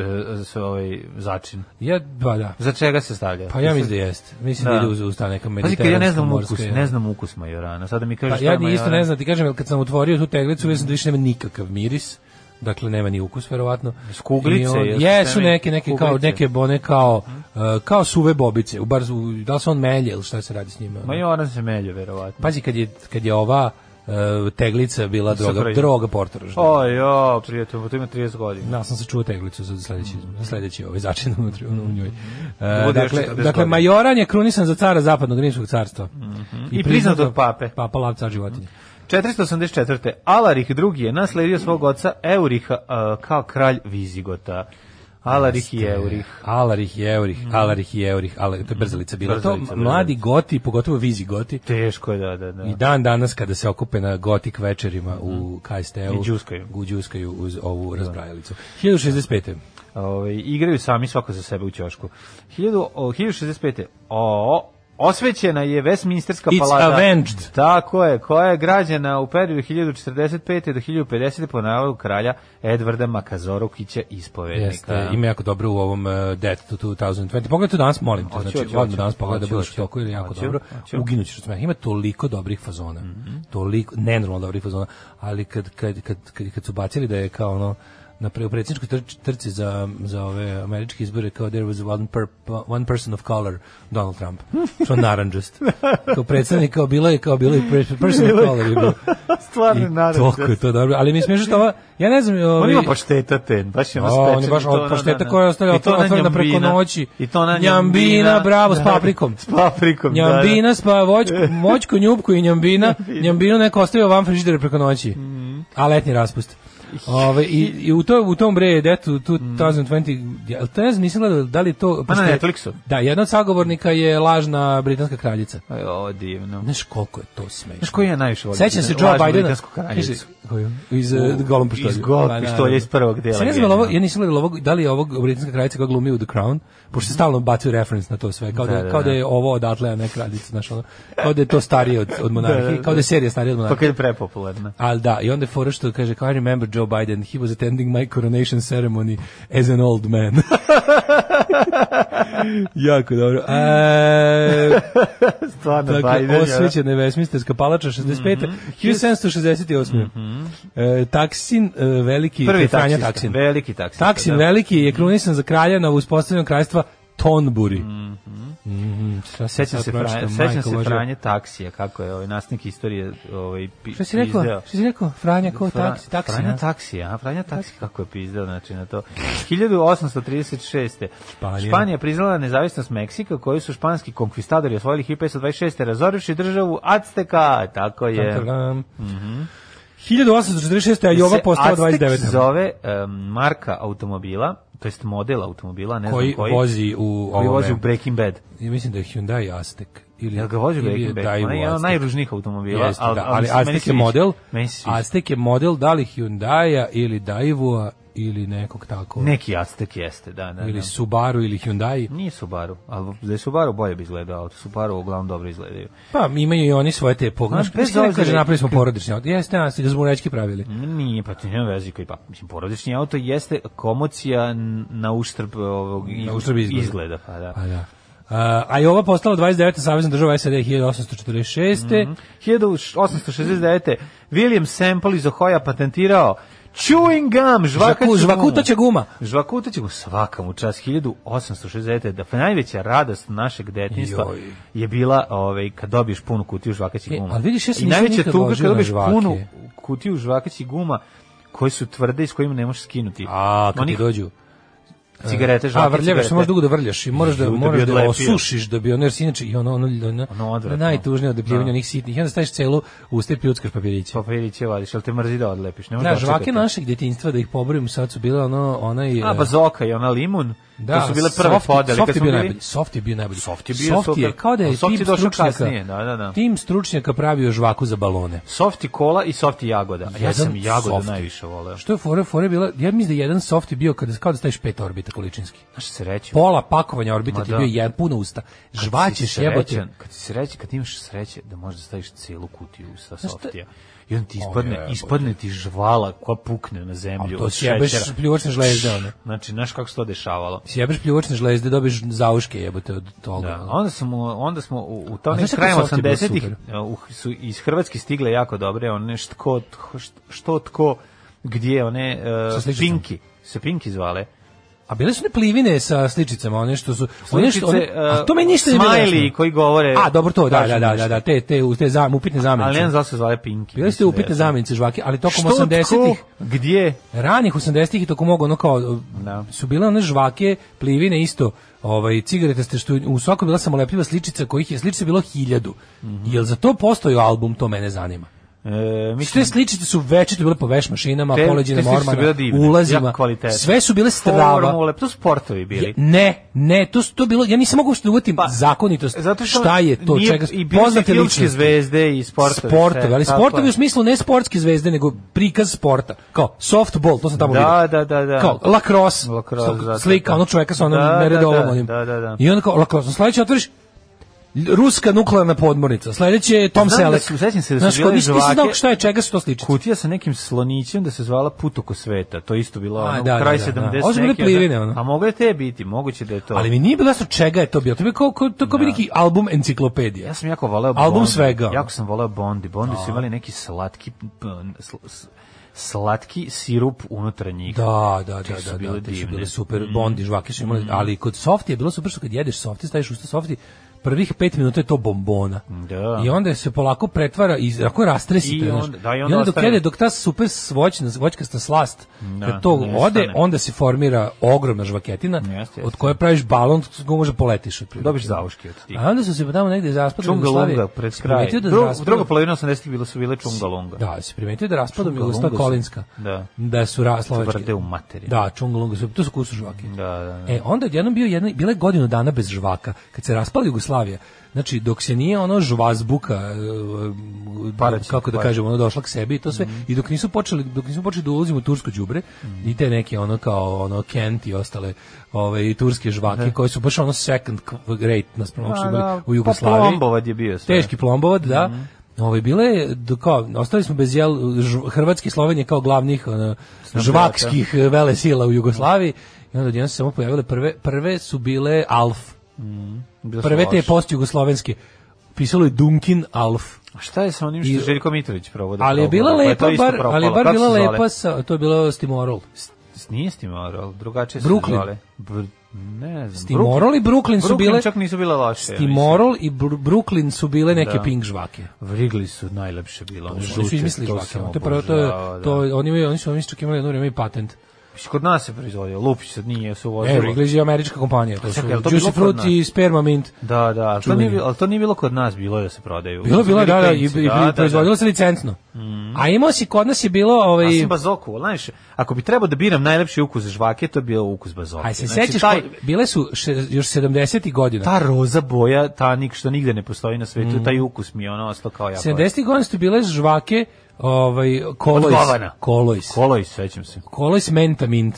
Speaker 7: s- ovaj, začin.
Speaker 6: Ja, ba, da.
Speaker 7: Za čega se stavlja?
Speaker 6: Pa ja mislim da jeste. Mislim da,
Speaker 7: Da.
Speaker 6: ide uz, uz ta neka
Speaker 7: Pazi,
Speaker 6: mediteranska
Speaker 7: kad ja ne znam
Speaker 6: morska,
Speaker 7: ukus,
Speaker 6: ja.
Speaker 7: ne znam ukus majorana. Sada mi
Speaker 6: Pa,
Speaker 7: kažeš šta
Speaker 6: ja
Speaker 7: je
Speaker 6: ni isto
Speaker 7: majoran.
Speaker 6: ne znam, ti kažem, jer kad sam otvorio tu teglicu, ja sam da više nema nikakav miris. Dakle, nema ni ukus, verovatno.
Speaker 7: kuglice,
Speaker 6: I on-
Speaker 7: jesu
Speaker 6: Jesu
Speaker 7: sve
Speaker 6: neke, neke, kao,
Speaker 7: kuglice. Mhm.
Speaker 6: neke bone kao, e, kao suve bobice. U bar, u- da li se on melje ili šta se radi s njima? ono?
Speaker 7: Majoran se melje, verovatno.
Speaker 6: Pazi kad je kad je ova e, teglica bila droga
Speaker 7: Super.
Speaker 6: droga portoruž.
Speaker 7: O, jo, prijatelj, pa to ima 30 godina.
Speaker 6: Ja sam se čuo teglicu za sledeći za sledeći ovaj začin unutra ono, u njoj.
Speaker 7: Da
Speaker 6: E,
Speaker 7: bude još
Speaker 6: dakle,
Speaker 7: 40
Speaker 6: dakle
Speaker 7: godina. Mhm.
Speaker 6: Majoran je krunisan za cara zapadnog rimskog carstva.
Speaker 7: I
Speaker 6: da-
Speaker 7: priznat od pape.
Speaker 6: Papa lav car životinje.
Speaker 7: 484. Alarih II je nasledio svog oca Euriha e, kao kralj Vizigota. Alarih i Eurih.
Speaker 6: Alarih i Eurih, Alarih i Eurih, Alarih, to je brzalica bila.
Speaker 7: Mhm. Brzalica,
Speaker 6: to mladi goti, pogotovo vizi goti,
Speaker 7: Teško je, da, da, da.
Speaker 6: i dan danas kada se okupe na gotik večerima u KST-u,
Speaker 7: Mhm. I đuskaju. Da.
Speaker 6: gu- đuskaju uz ovu razbrajalicu. 1065.
Speaker 7: Ove, Ovaj, igraju sami svako za sebe u ćošku. 1000 o, 1065. O, osvećena je Westminsterska
Speaker 6: It's
Speaker 7: palata.
Speaker 6: avenged.
Speaker 7: Tako je, koja je građena u periodu 1045. do 1050. po nalogu kralja Edvarda Makazorukića ispovednika.
Speaker 6: Jeste, ima jako dobro u ovom uh, Death to 2020. Pogledaj to danas, molim te.
Speaker 7: Hoću,
Speaker 6: Znači,
Speaker 7: hoću,
Speaker 6: odmah
Speaker 7: hoću.
Speaker 6: danas pogledaj
Speaker 7: Hoću,
Speaker 6: da budeš u
Speaker 7: hoću.
Speaker 6: toku jer je jako
Speaker 7: Hoću,
Speaker 6: dobro.
Speaker 7: hoću. Mhm.
Speaker 6: Uginućeš od smeha. Ima toliko dobrih fazona. Toliko, nenormalno dobrih fazona. Ali kad, kad, kad, kad, kad su bacili da je kao ono, na pre, u predsjedničkoj trč, trci za, za ove američke izbore kao there was one, per, one person of color Donald Trump što je naranđast kao predstavnik kao bilo je kao bilo je pre- person of color je bilo.
Speaker 7: Stvarno je
Speaker 6: i
Speaker 7: naranđast.
Speaker 6: toliko je to dobro ali mi je smiješno što ova ja ne znam
Speaker 7: On
Speaker 6: ovi-
Speaker 7: ima pašteta ten, baš je ono
Speaker 6: A, on je
Speaker 7: spečen.
Speaker 6: baš
Speaker 7: i to,
Speaker 6: od
Speaker 7: da,
Speaker 6: pašteta
Speaker 7: da, da.
Speaker 6: koja je ostavila
Speaker 7: I to na
Speaker 6: otvorena preko
Speaker 7: njambina.
Speaker 6: noći.
Speaker 7: I to na Da,
Speaker 6: Njambina, bravo, s paprikom.
Speaker 7: S paprikom, da, da.
Speaker 6: Njambina spa voćku,
Speaker 7: Mhm.
Speaker 6: moćku, njupku i njambina. Njambinu neko ostavio van frižidera preko noći. A letnji raspust. Ove, i, i u, to, u tom bre, detu,
Speaker 7: Mhm.
Speaker 6: 2020, ja, to ne znam, nisam gledao, da li je to... pošto je-
Speaker 7: Netflixu.
Speaker 6: Da, jedna od sagovornika je lažna britanska kraljica.
Speaker 7: Aj, Ovo divno.
Speaker 6: Znaš koliko je to smešno.
Speaker 7: Znaš koji ja najviše volim?
Speaker 6: Sećam se
Speaker 7: Lažnu
Speaker 6: Joe Bidena.
Speaker 7: britansku kraljicu.
Speaker 6: Kaže, koju? Iz uh, Golom pištolja.
Speaker 7: iz Golom
Speaker 6: Pa, da,
Speaker 7: pištolja iz prvog dela,
Speaker 6: Sad ne znam, jel ovo,
Speaker 7: genijalno.
Speaker 6: ja nisam gledala ovog, da li je ovog britanska kraljica koja glumi u The Crown, pošto se stalno bacio reference na to sve, kao da,
Speaker 7: Da, da,
Speaker 6: kao
Speaker 7: da.
Speaker 6: da je ovo odatle, a ne kraljica, znaš, ono, kao da je to starije od, od monarhije, kao da je serija starija od
Speaker 7: Pa
Speaker 6: monarhije.
Speaker 7: kad je prepopularna.
Speaker 6: Ali da, i onda je fora što kaže, kao I remember Joe Biden, he was attending my coronation ceremony as an old man. jako dobro. E,
Speaker 7: Stvarno,
Speaker 6: dakle,
Speaker 7: Biden, Pa ja. Mhm.
Speaker 6: osvećena je vesmistarska palača 65. 1768. e, taksin, e, veliki
Speaker 7: Prvi
Speaker 6: Franja
Speaker 7: taksin.
Speaker 6: Taksin.
Speaker 7: Veliki Da. taksin.
Speaker 6: Taksin veliki je krunisan za kralja na uspostavljanju kraljstva Tonburi. Mm -hmm.
Speaker 7: Sećam se, Franje, sećam se Franje taksija, kako je ovaj nasnik istorije ovaj, pi,
Speaker 6: Što si rekao?
Speaker 7: pizdeo.
Speaker 6: Što si rekao? Franja ko?
Speaker 7: Fra-
Speaker 6: Taksi, taksi.
Speaker 7: Franja
Speaker 6: a?
Speaker 7: taksi, a Franja taksi kako je pizdeo znači na to. 1836.
Speaker 6: Španija.
Speaker 7: Španija, priznala nezavisnost Meksika koju su španski konkvistadori osvojili 1526. razorivši državu Acteka, tako je. Mhm.
Speaker 6: Tantaram. 1846. a Jova
Speaker 7: Se
Speaker 6: postala
Speaker 7: Aztek
Speaker 6: 29.
Speaker 7: zove em, marka automobila, to jest model automobila, ne
Speaker 6: Koji
Speaker 7: znam koji.
Speaker 6: vozi u
Speaker 7: koji vozi u
Speaker 6: ovome.
Speaker 7: Breaking Bad.
Speaker 6: Ja mislim da je Hyundai Aztek. Ili,
Speaker 7: Jel ga vozi u
Speaker 6: ili
Speaker 7: Breaking
Speaker 6: je
Speaker 7: Bad?
Speaker 6: Daewoo
Speaker 7: Ona je jedan od
Speaker 6: Aztek.
Speaker 7: najružnijih automobila.
Speaker 6: Jeste, da, ali Aztek je model.
Speaker 7: Meni se sviđa.
Speaker 6: Aztek je model da li Hyundaia ili Daewoo ili nekog tako.
Speaker 7: Neki Aztek jeste, da, da.
Speaker 6: ili
Speaker 7: da.
Speaker 6: Subaru ili Hyundai.
Speaker 7: Nije Subaru, ali da je Subaru bolje bi izgledao auto. Subaru uglavnom dobro izgledaju.
Speaker 6: Pa imaju i oni svoje te pognaš.
Speaker 7: Znaš, bez
Speaker 6: Mislim da kaže
Speaker 7: obzira-
Speaker 6: napravili smo porodični. auto. Jeste, a ste ga zmurečki pravili.
Speaker 7: Nije, pa to nema veze koji pa. Mislim, porodični auto jeste komocija n- na uštrb ovog
Speaker 6: Na uštrb izgleda.
Speaker 7: pa da.
Speaker 6: Pa da. A, a i ova postala 29. savezna država SAD 1846.
Speaker 7: Mhm. 1869. William Semple iz Ohoja patentirao chewing gum, žvakaću
Speaker 6: Žvaku, žvakutaća guma.
Speaker 7: Žvakuta će mu svaka mu čas 1869. Da najveća radost našeg detinjstva
Speaker 6: Joj.
Speaker 7: je bila ovaj, kad dobiješ punu kutiju žvakaćih
Speaker 6: E,
Speaker 7: guma.
Speaker 6: ali vidiš, ja se
Speaker 7: I
Speaker 6: nisam
Speaker 7: najveća
Speaker 6: nikad
Speaker 7: tuga
Speaker 6: ložio
Speaker 7: kad
Speaker 6: na
Speaker 7: dobiješ
Speaker 6: žvake.
Speaker 7: punu kutiju žvakaćih guma koje su tvrde i s kojima ne možeš skinuti.
Speaker 6: A, kad ti
Speaker 7: Onih
Speaker 6: dođu.
Speaker 7: cigarete, žvake
Speaker 6: A vrljaviš,
Speaker 7: cigarete.
Speaker 6: možeš dugo da vrljaš i moraš da
Speaker 7: Da bi
Speaker 6: moraš da
Speaker 7: odlepio.
Speaker 6: osušiš da bi ono jer si inače i ono ono, ono,
Speaker 7: Ono odvratno.
Speaker 6: najtužnije odebljivanje
Speaker 7: Da.
Speaker 6: onih sitnih. I onda staviš celu u usta i pljuckaš papiriće.
Speaker 7: Papiriće vadiš, ali te mrzi da odlepiš. Ne možeš
Speaker 6: Da, žvake
Speaker 7: očekati.
Speaker 6: našeg djetinjstva da ih pobrojim, sad su bile ono onaj
Speaker 7: A, pa
Speaker 6: e,
Speaker 7: bazoka i ona limun.
Speaker 6: Da,
Speaker 7: to su bile prve
Speaker 6: soft,
Speaker 7: podele.
Speaker 6: Soft
Speaker 7: kad
Speaker 6: je
Speaker 7: smo
Speaker 6: bio
Speaker 7: bili-
Speaker 6: najbolji. Soft je bio najbolji.
Speaker 7: Soft je bio super.
Speaker 6: kao da je
Speaker 7: A soft
Speaker 6: tim
Speaker 7: je došao
Speaker 6: stručnjaka.
Speaker 7: kasnije, da, da, da.
Speaker 6: Tim stručnjaka pravio žvaku za balone.
Speaker 7: Softi kola i softi jagoda. A Ja
Speaker 6: Jedan
Speaker 7: sam jagodu
Speaker 6: softi.
Speaker 7: najviše voleo.
Speaker 6: Što je fore, fore je bila, ja mislim da je jedan soft je bio kada kao da staviš pet orbita količinski.
Speaker 7: Znaš sreću.
Speaker 6: Pola pakovanja orbita
Speaker 7: Ma
Speaker 6: ti je
Speaker 7: da.
Speaker 6: bio jedan puno usta. Žvaćeš
Speaker 7: si
Speaker 6: Pa, jebote.
Speaker 7: srećan, Kad si srećan, kad imaš sreće da možeš da staviš celu kutiju sa
Speaker 6: Znaš šta-
Speaker 7: softija. I on ti ispadne,
Speaker 6: jebote.
Speaker 7: ispadne ti žvala koja pukne na zemlju.
Speaker 6: A to
Speaker 7: od
Speaker 6: sjebeš
Speaker 7: šećera.
Speaker 6: pljuvačne žlezde, ono.
Speaker 7: Znači, znaš kako se to dešavalo.
Speaker 6: Sjebeš pljuvačne žlezde, dobiješ zauške jebote od toga.
Speaker 7: Da,
Speaker 6: ono.
Speaker 7: onda smo onda smo u, u
Speaker 6: A
Speaker 7: tom
Speaker 6: znaš kako
Speaker 7: krajem
Speaker 6: softi je bio
Speaker 7: 80-ih
Speaker 6: super?
Speaker 7: e, u- su iz Hrvatske stigle jako dobre one što tko, što, što tko gdje one
Speaker 6: Sa
Speaker 7: uh,
Speaker 6: sličicom.
Speaker 7: Pinki, se Pinki zvale.
Speaker 6: A bile su ne plivine sa sličicama, one što su... one što, one,
Speaker 7: Sličice, e,
Speaker 6: a to me ništa ne bilo
Speaker 7: smiley
Speaker 6: jasno.
Speaker 7: koji govore.
Speaker 6: A, dobro to, da,
Speaker 7: kažu
Speaker 6: da, da, da,
Speaker 7: nešto.
Speaker 6: da, te, te, te zam, upitne zamenice.
Speaker 7: Ali ne znam zašto se zvale Pinki.
Speaker 6: Bile ste
Speaker 7: mislim da
Speaker 6: upitne
Speaker 7: jesu.
Speaker 6: zamenice žvake, ali tokom
Speaker 7: Što,
Speaker 6: 80-ih,
Speaker 7: tko, gdje? E,
Speaker 6: ranih 80-ih i tokom mogu ono kao
Speaker 7: Da.
Speaker 6: su bile one žvake, plivine isto, ovaj cigarete ste što je u svakoj bila samolepljiva sličica kojih je sličica bilo hiljadu.
Speaker 7: Mhm.
Speaker 6: Jel za to postoji album, to mene zanima.
Speaker 7: E,
Speaker 6: Sve sličice su večito bile po veš mašinama,
Speaker 7: te-
Speaker 6: poleđine
Speaker 7: te slike su bile
Speaker 6: mormana,
Speaker 7: divne,
Speaker 6: ulazima,
Speaker 7: jako kvalitetne.
Speaker 6: sve su bile strava.
Speaker 7: Formule, to su sportovi bili.
Speaker 6: Je- Ne, ne, to su to bilo, ja nisam mogao što uvatim zakonitost,
Speaker 7: Pa, Zato što
Speaker 6: šta je to,
Speaker 7: nije-
Speaker 6: čega,
Speaker 7: I bili
Speaker 6: poznate
Speaker 7: su i filmske
Speaker 6: ličnosti.
Speaker 7: zvezde i sportovi.
Speaker 6: sportove,
Speaker 7: sve,
Speaker 6: ali
Speaker 7: tako
Speaker 6: sportovi
Speaker 7: je.
Speaker 6: u smislu ne sportske zvezde, nego prikaz sporta. Kao softball, to sam tamo vidio.
Speaker 7: Da, da, da, da.
Speaker 6: Kao lacrosse,
Speaker 7: Lacrosse,
Speaker 6: Sto-
Speaker 7: da, da,
Speaker 6: slika
Speaker 7: da.
Speaker 6: onog čoveka sa onom
Speaker 7: Da, da,
Speaker 6: meredovom
Speaker 7: da,
Speaker 6: onim.
Speaker 7: da, da, da.
Speaker 6: I onda kao lacrosse, sledeće otvoriš ruska nuklearna podmornica. Sledeće je Tom
Speaker 7: Znam da
Speaker 6: Selleck.
Speaker 7: su- sećam se da su
Speaker 6: Znaš, kao
Speaker 7: bile
Speaker 6: nisi- nisi znao
Speaker 7: žvake.
Speaker 6: šta je čega su to sličice.
Speaker 7: kutija sa nekim slonićem da se zvala Put oko sveta. To je isto bilo
Speaker 6: A,
Speaker 7: ono,
Speaker 6: da, da,
Speaker 7: kraj
Speaker 6: da,
Speaker 7: 70
Speaker 6: da.
Speaker 7: neki.
Speaker 6: Ovo su bile
Speaker 7: onda-
Speaker 6: plivine, ono.
Speaker 7: A mogle te biti, moguće da je to.
Speaker 6: Ali mi nije bilo jasno čega je to bio. To bi kao, kao, to kao bi neki album enciklopedija.
Speaker 7: Da. ja sam jako voleo
Speaker 6: Album
Speaker 7: Bondi.
Speaker 6: svega. Da.
Speaker 7: Jako sam voleo Bondi. Bondi su imali neki slatki p- sl- s- slatki sirup unutar njih.
Speaker 6: Da, da, da,
Speaker 7: Te su Mm.
Speaker 6: da, da,
Speaker 7: bile
Speaker 6: te su
Speaker 7: divne.
Speaker 6: bile super, bondi, žvake su imali, ali kod softi je bilo super što kad jedeš softi, staviš usta softi, prvih pet minuta je to bombona.
Speaker 7: Da.
Speaker 6: I onda se polako pretvara i ako rastresite,
Speaker 7: I
Speaker 6: znaš.
Speaker 7: onda- da, i
Speaker 6: i
Speaker 7: onda
Speaker 6: onda dok,
Speaker 7: ostane.
Speaker 6: jede, dok ta super svoćna, voćkasta slast,
Speaker 7: Da,
Speaker 6: kad to ode,
Speaker 7: ne ostane.
Speaker 6: onda se formira ogromna žvaketina,
Speaker 7: Jeste, jeste.
Speaker 6: od koje praviš balon, s kojom može poletiš. otprilike.
Speaker 7: Dobiš zauške od tih.
Speaker 6: A onda su se pa tamo negde raspadom
Speaker 7: Čungalunga pred kraj.
Speaker 6: Da
Speaker 7: Dru,
Speaker 6: raspadom-
Speaker 7: druga polovina 80-ih bila su bile Čungalunga.
Speaker 6: Da, se primetio da raspadom
Speaker 7: Čungalunga
Speaker 6: Jugosla
Speaker 7: su-
Speaker 6: Kolinska.
Speaker 7: da.
Speaker 6: Da su raslovački.
Speaker 7: Tvrde u materiju.
Speaker 6: Da, Čungalunga su, to su kusu žvake.
Speaker 7: Da, da, da.
Speaker 6: E, onda je jednom bio jedna, bila je godinu dana bez žvaka, kad se raspala Jugoslavija. Znači, dok se nije ono žvazbuka, e,
Speaker 7: Parać,
Speaker 6: kako da
Speaker 7: parać.
Speaker 6: kažem, ono došla k sebi i to sve,
Speaker 7: Mhm.
Speaker 6: i dok nisu počeli, dok nisu počeli da ulazimo u tursko đubre i te neke ono kao ono Kent i ostale ove, i turske žvake, koje su baš ono second rate naspram ovog što su
Speaker 7: Pa,
Speaker 6: bili
Speaker 7: da,
Speaker 6: u
Speaker 7: Pa
Speaker 6: Jugoslaviji.
Speaker 7: plombovad je bio sve.
Speaker 6: Teški plombovod, da.
Speaker 7: Mhm.
Speaker 6: Ovaj bile je do- kao ostali smo bez jel ž- Hrvatske i Slovenije kao glavnih ono,
Speaker 7: da.
Speaker 6: žvakskih e, vele sila u Jugoslaviji i onda odjednom su se samo pojavile prve prve su bile Alf.
Speaker 7: Bilo su
Speaker 6: Prve te
Speaker 7: loše.
Speaker 6: postjugoslovenske. Pisalo je Dunkin Alf.
Speaker 7: A Šta je sa onim što
Speaker 6: I-
Speaker 7: je Željko Mitrović provodi?
Speaker 6: Ali je bila
Speaker 7: pa
Speaker 6: lepa bar, ali je bar bila lepa sa to je bilo Stimorol.
Speaker 7: Nije Stimorol, drugačije se
Speaker 6: Brooklyn.
Speaker 7: zvale. Br ne znam.
Speaker 6: Stimorol i Brooklyn su
Speaker 7: Brooklyn
Speaker 6: bile
Speaker 7: čak nisu bile loše. ja
Speaker 6: Stimorol i Bru- Brooklyn su bile neke
Speaker 7: Da.
Speaker 6: pink žvake.
Speaker 7: mislim. Vrigli su najlepše bilo. one
Speaker 6: Oni
Speaker 7: žute,
Speaker 6: su izmislili
Speaker 7: to
Speaker 6: žvake.
Speaker 7: sam
Speaker 6: To je prvo to, je-
Speaker 7: obožavao, da.
Speaker 6: to oni imaju oni su oni su čak imali jedno vreme i patent.
Speaker 7: Mislim, Kod nas se proizvodio, Lupić sad nije se
Speaker 6: E,
Speaker 7: uvozilo.
Speaker 6: Wrigley's je američka kompanija, to su
Speaker 7: Čekaj, je li to bilo
Speaker 6: Juicy
Speaker 7: kod
Speaker 6: Fruit
Speaker 7: nas?
Speaker 6: i Sperma Mint.
Speaker 7: Da, da, ali to,
Speaker 6: Čuveni.
Speaker 7: nije, bilo- ali to nije bilo kod nas, bilo je da se prodaju.
Speaker 6: Bilo, bilo, da, da, i, i,
Speaker 7: Klinci, da, da, Mm. da.
Speaker 6: proizvodilo se licencno. A imao si, kod nas je bilo, ovaj,
Speaker 7: Asim Pa bazoku, ali znaš, ako bi trebao da biram najlepši ukus žvake, to bi bio ukus bazoke.
Speaker 6: aj se
Speaker 7: Znači,
Speaker 6: sećaš,
Speaker 7: taj,
Speaker 6: ko- bile su še- još 70. godina.
Speaker 7: ta roza boja, ta nik što nigde ne postoji na
Speaker 6: Mm.
Speaker 7: svetu, taj ukus mi je ono ostao kao jako.
Speaker 6: 70. godina su bile žvake, ovaj, Kolois.
Speaker 7: govana.
Speaker 6: Kolois.
Speaker 7: Koloj, sećam se.
Speaker 6: Kolois Menta Mint.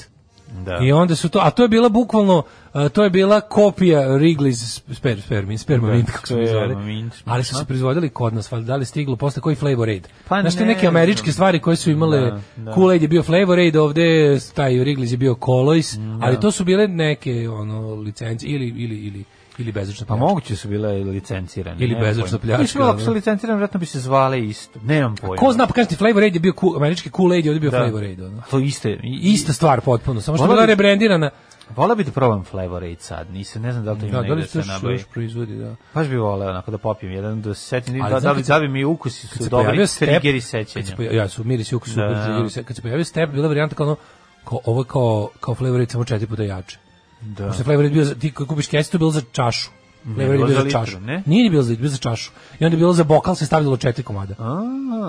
Speaker 7: Da.
Speaker 6: I onda su to, a to je bila bukvalno, a, to je bila kopija Wrigley's sper, spermin, spermamint,
Speaker 7: Da,
Speaker 6: kako se mi zvali.
Speaker 7: spermamint.
Speaker 6: Ali su se proizvodili kod nas, valjda da li stiglo posle koji Flavor Aid.
Speaker 7: Pa
Speaker 6: Znaš te
Speaker 7: ne
Speaker 6: neke
Speaker 7: znam.
Speaker 6: američke stvari koje su imale,
Speaker 7: Da, da.
Speaker 6: Kool Aid je bio Flavor Aid, ovde taj Wrigley's je bio Colois,
Speaker 7: Mm, da.
Speaker 6: ali to su bile neke ono, licence ili, ili, ili, ili bezočno
Speaker 7: Pa
Speaker 6: pljačka.
Speaker 7: moguće su bile licencirane.
Speaker 6: Ili
Speaker 7: nemam
Speaker 6: bezočno
Speaker 7: pojma.
Speaker 6: pljačka,
Speaker 7: Mislim, ako
Speaker 6: da.
Speaker 7: su licencirane, vjerojatno bi se zvale isto. Nemam pojma.
Speaker 6: Ko zna, pa kažete, Flavor Aid je bio ku- američki Kool Aid, ovde je bio
Speaker 7: Da.
Speaker 6: Flavor Aid. Ono.
Speaker 7: To iste. i-
Speaker 6: Ista stvar potpuno, samo što je
Speaker 7: Volao
Speaker 6: bila
Speaker 7: bi-
Speaker 6: rebrendirana.
Speaker 7: Vola bi da probam Flavor Aid sad, nisam, ne znam da li to ima
Speaker 6: Da, da
Speaker 7: negde
Speaker 6: li
Speaker 7: da
Speaker 6: se
Speaker 7: se
Speaker 6: još,
Speaker 7: nabavi.
Speaker 6: još proizvodi, da.
Speaker 7: Baš bi voleo onako da popijem jedan, da se setim,
Speaker 6: Ali
Speaker 7: da,
Speaker 6: znam
Speaker 7: da, li,
Speaker 6: kad se-
Speaker 7: da bi mi ukusi
Speaker 6: kad
Speaker 7: su
Speaker 6: se
Speaker 7: dobri
Speaker 6: pojavio step,
Speaker 7: triggeri
Speaker 6: Kad se
Speaker 7: sećanja.
Speaker 6: pojavio, ja su mirisi ukus super
Speaker 7: Da, da, da.
Speaker 6: triggeri se- Kad se pojavio step, bila varijanta kao ono, kao, ovo je kao, kao flavor Aid, samo četiri puta jače.
Speaker 7: Da.
Speaker 6: Pošto je flavor Aid bio, za, ti koji kupiš kesicu, bilo za čašu. Flavor Aid
Speaker 7: bilo
Speaker 6: bio
Speaker 7: za
Speaker 6: za
Speaker 7: litru,
Speaker 6: čašu.
Speaker 7: ne?
Speaker 6: Nije bilo za litru, bio za čašu. I onda je bilo za bokal, se stavljalo četiri komada.
Speaker 7: A,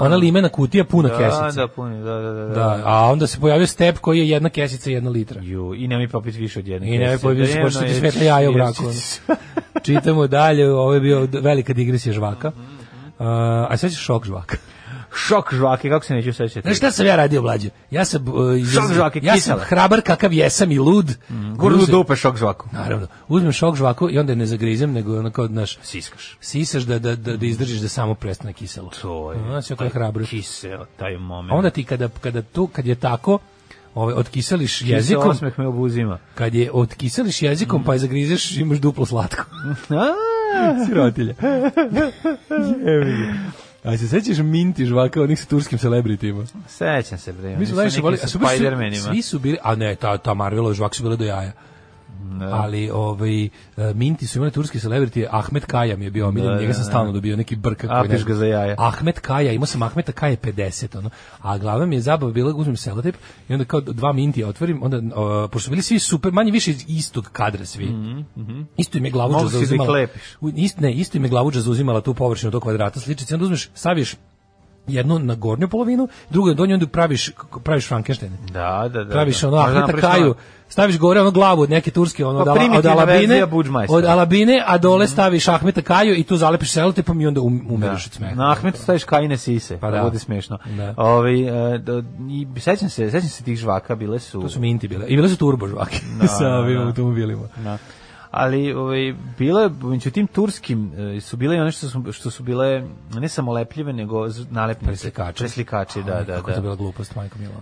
Speaker 6: Ona limena kutija puna
Speaker 7: Da,
Speaker 6: kesica.
Speaker 7: da, puni, da, da, da. da.
Speaker 6: Da, a onda se pojavio step koji je jedna kesica i jedna litra.
Speaker 7: Ju, i nemoj popiti više od jedne
Speaker 6: I ne
Speaker 7: kesice.
Speaker 6: pojavio se
Speaker 7: Jedno
Speaker 6: pošto ti
Speaker 7: je-
Speaker 6: svetla jaje u
Speaker 7: jer
Speaker 6: braku.
Speaker 7: će ti
Speaker 6: ono.
Speaker 7: se-
Speaker 6: Čitamo dalje, ovo je bio velika digresija žvaka.
Speaker 7: Mhm,
Speaker 6: A, a sad šok žvaka.
Speaker 7: Šok žvake, kako se neću sećati.
Speaker 6: Znaš šta sam ja radio, mlađe? Ja sam, uh, iz-
Speaker 7: Šok žvake,
Speaker 6: ja sam
Speaker 7: kisela.
Speaker 6: hrabar kakav jesam i lud. Mm,
Speaker 7: Gurnu dupe šok žvaku.
Speaker 6: Naravno. Uzmem šok žvaku i onda je ne zagrizem, nego ono kao, znaš,
Speaker 7: Siskaš.
Speaker 6: sisaš da, da, da, da izdržiš da samo prestane kiselo.
Speaker 7: To je.
Speaker 6: Znaš, sve
Speaker 7: taj
Speaker 6: koje hrabro.
Speaker 7: Kiseo, taj moment.
Speaker 6: A onda ti kada, kada tu, kad je tako, ovaj, otkiseliš jezikom,
Speaker 7: Osmeh me obuzima.
Speaker 6: kad je otkiseliš jezikom pa je zagrizeš, imaš duplo slatko. Sirotilje. Jebi ga. A se sećaš minti žvaka onih sa turskim celebritima?
Speaker 7: Sećam se, bre.
Speaker 6: Mi
Speaker 7: oni su
Speaker 6: smo najviše
Speaker 7: neki
Speaker 6: volili,
Speaker 7: sa
Speaker 6: a su baš svi,
Speaker 7: Spider-manima.
Speaker 6: svi su bili, a ne, ta, ta Marvelova žvaka su bile do jaja.
Speaker 7: Da.
Speaker 6: Ali ovaj e, Minti su imali turski celebrity Ahmet Kaja mi je bio
Speaker 7: Da,
Speaker 6: omiljen, njega sam stalno dobio neki brka
Speaker 7: Apiš ga za jaja.
Speaker 6: Ahmet Kaja, imao sam Ahmeta Kaja 50 ono. A glava mi je zabava bila uzmem selotip i onda kao dva Mintija otvorim, onda e, pošto su bili svi super, manje više iz istog kadra svi.
Speaker 7: Mm.
Speaker 6: Isto im je glavuđa
Speaker 7: Mogu si da ih
Speaker 6: zauzimala.
Speaker 7: lepiš.
Speaker 6: u- ist- ne, isto im je glavuđa zauzimala tu površinu do kvadrata sličice, onda uzmeš, saviš jednu na gornju polovinu, drugu na donju, onda praviš, praviš Frankensteine.
Speaker 7: Da, da, da.
Speaker 6: Praviš
Speaker 7: da.
Speaker 6: ono
Speaker 7: Možda
Speaker 6: Ahmeta
Speaker 7: napraviš
Speaker 6: Kaju,
Speaker 7: ono-
Speaker 6: staviš gore ono glavu od neke turske, ono,
Speaker 7: Pa
Speaker 6: od, Ala- od
Speaker 7: primitivna
Speaker 6: Alabine,
Speaker 7: verzija Budmajstora.
Speaker 6: od Alabine, a dole
Speaker 7: Mhm.
Speaker 6: staviš Ahmeta Kaju i tu zalepiš selotipom i onda um, umireš od smeha.
Speaker 7: Da. Na Ahmetu staviš kajine sise,
Speaker 6: Pa
Speaker 7: pa da.
Speaker 6: da.
Speaker 7: bude smešno.
Speaker 6: Da.
Speaker 7: Ove, e, da, i sećam se, sećam se tih žvaka, bile su...
Speaker 6: To su minti bile. I bile su turbo žvake sa ovim automobilima.
Speaker 7: Da. Ali ovaj bile među tim turskim e, su bile i one što su što su bile ne samo lepljive nego z- nalepnice
Speaker 6: Preslikači.
Speaker 7: preslikači da
Speaker 6: Aj,
Speaker 7: da
Speaker 6: Kako je to
Speaker 7: da.
Speaker 6: bila glupost, majko Mila.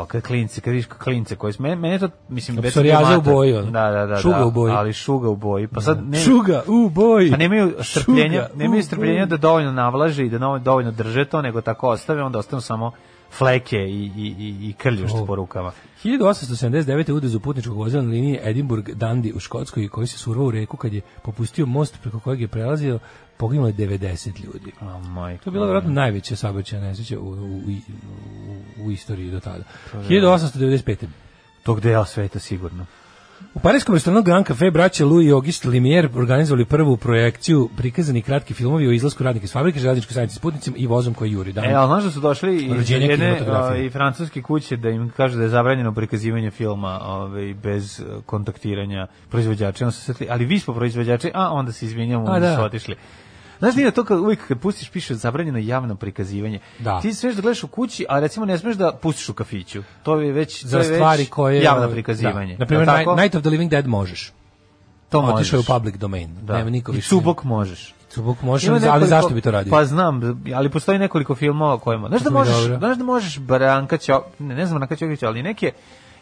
Speaker 7: Jo, kad klinci, kad vidiš klince koji su, meni, meni je to, mislim, već sam bio
Speaker 6: Psorijaza u
Speaker 7: mator.
Speaker 6: boji, ono.
Speaker 7: da, da, da,
Speaker 6: Šuga
Speaker 7: da,
Speaker 6: u boji.
Speaker 7: ali šuga u boji, pa sad ne,
Speaker 6: Šuga, u boj!
Speaker 7: pa nemaju strpljenja,
Speaker 6: Šuga,
Speaker 7: nemaju
Speaker 6: u
Speaker 7: strpljenja
Speaker 6: boj.
Speaker 7: da dovoljno navlaže i da novo- dovoljno drže to, nego tako ostave, onda ostanu samo fleke i, i, i, i krljušt po rukama.
Speaker 6: 1879. udez u putničkog vozila na liniji Edinburgh-Dundee u Škotskoj koji se survao u reku kad je popustio most preko kojeg je prelazio, poginulo je 90 ljudi.
Speaker 7: A, pa da. majko.
Speaker 6: To je bila vjerojatno najveća saobraćajna nesreća u, u, u, u istoriji do tada.
Speaker 7: Pa da.
Speaker 6: 1895.
Speaker 7: Tog dela sveta sigurno.
Speaker 6: U parijskom restoranu Grand Café braće Louis i Auguste Lumière organizovali prvu projekciju prikazani kratki filmovi o izlasku radnika iz fabrike, železničkoj stanici s putnicima i vozom koji juri. Dan.
Speaker 7: E, ali znaš da su došli iz
Speaker 6: Rođenje
Speaker 7: jedne
Speaker 6: kinematografije.
Speaker 7: a, i francuske kuće da im kažu da je zabranjeno prikazivanje filma ovaj, bez e, kontaktiranja proizvođača. I onda su se setili, ali vi smo proizvođači, a onda se izvinjamo,
Speaker 6: A,
Speaker 7: onda
Speaker 6: da.
Speaker 7: su otišli. Znaš, nije to kad uvijek kad pustiš piše zabranjeno javno prikazivanje.
Speaker 6: Da.
Speaker 7: Ti smeš da gledaš u kući, a recimo ne smeš da pustiš u kafiću. To je već to
Speaker 6: za
Speaker 7: je već
Speaker 6: stvari koje...
Speaker 7: javno prikazivanje.
Speaker 6: Da. Naprimjer,
Speaker 7: Je li tako?
Speaker 6: Night, Night of the Living Dead možeš.
Speaker 7: to
Speaker 6: Otišao je u
Speaker 7: možeš.
Speaker 6: public domain.
Speaker 7: Da.
Speaker 6: Nema niko
Speaker 7: I
Speaker 6: više.
Speaker 7: Cubok možeš.
Speaker 6: Cubok možeš,
Speaker 7: Ima
Speaker 6: ali
Speaker 7: nekoliko-
Speaker 6: zašto bi to radio?
Speaker 7: Pa znam, ali postoji nekoliko filmova o kojima. Znaš
Speaker 6: To
Speaker 7: da
Speaker 6: mi je
Speaker 7: možeš,
Speaker 6: dobro.
Speaker 7: znaš da možeš Branka Ćo, ne, ne znam Branka Ćokić, ali neke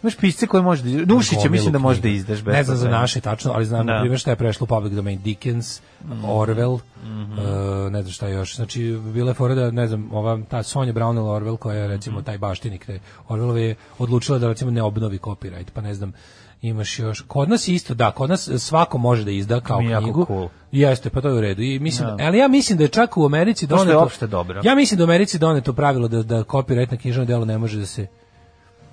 Speaker 7: imaš pisce koje možeš da izdaš. Dušića mislim da možeš da izdaš bez.
Speaker 6: Ne znam za
Speaker 7: problema.
Speaker 6: naše tačno, ali znam
Speaker 7: Da. Mhm.
Speaker 6: na primjer šta je prešlo u public domain Dickens, Orwell, e, ne znam šta još. Znači bila je fora da ne znam, ova ta Sonja Brownell Orwell koja je recimo
Speaker 7: Mhm.
Speaker 6: taj baštinik te Orwellove je odlučila da recimo ne obnovi copyright, pa ne znam imaš još. Kod nas je isto, da, kod nas svako može da izda kao
Speaker 7: Mi je jako
Speaker 6: knjigu.
Speaker 7: cool.
Speaker 6: Jeste, pa to je u redu. I mislim, ali ja mislim da je čak u Americi
Speaker 7: To što je
Speaker 6: doneto...
Speaker 7: opšte dobro.
Speaker 6: Ja mislim da u Americi doneto pravilo da, da copyright na knjižno delo ne može da se...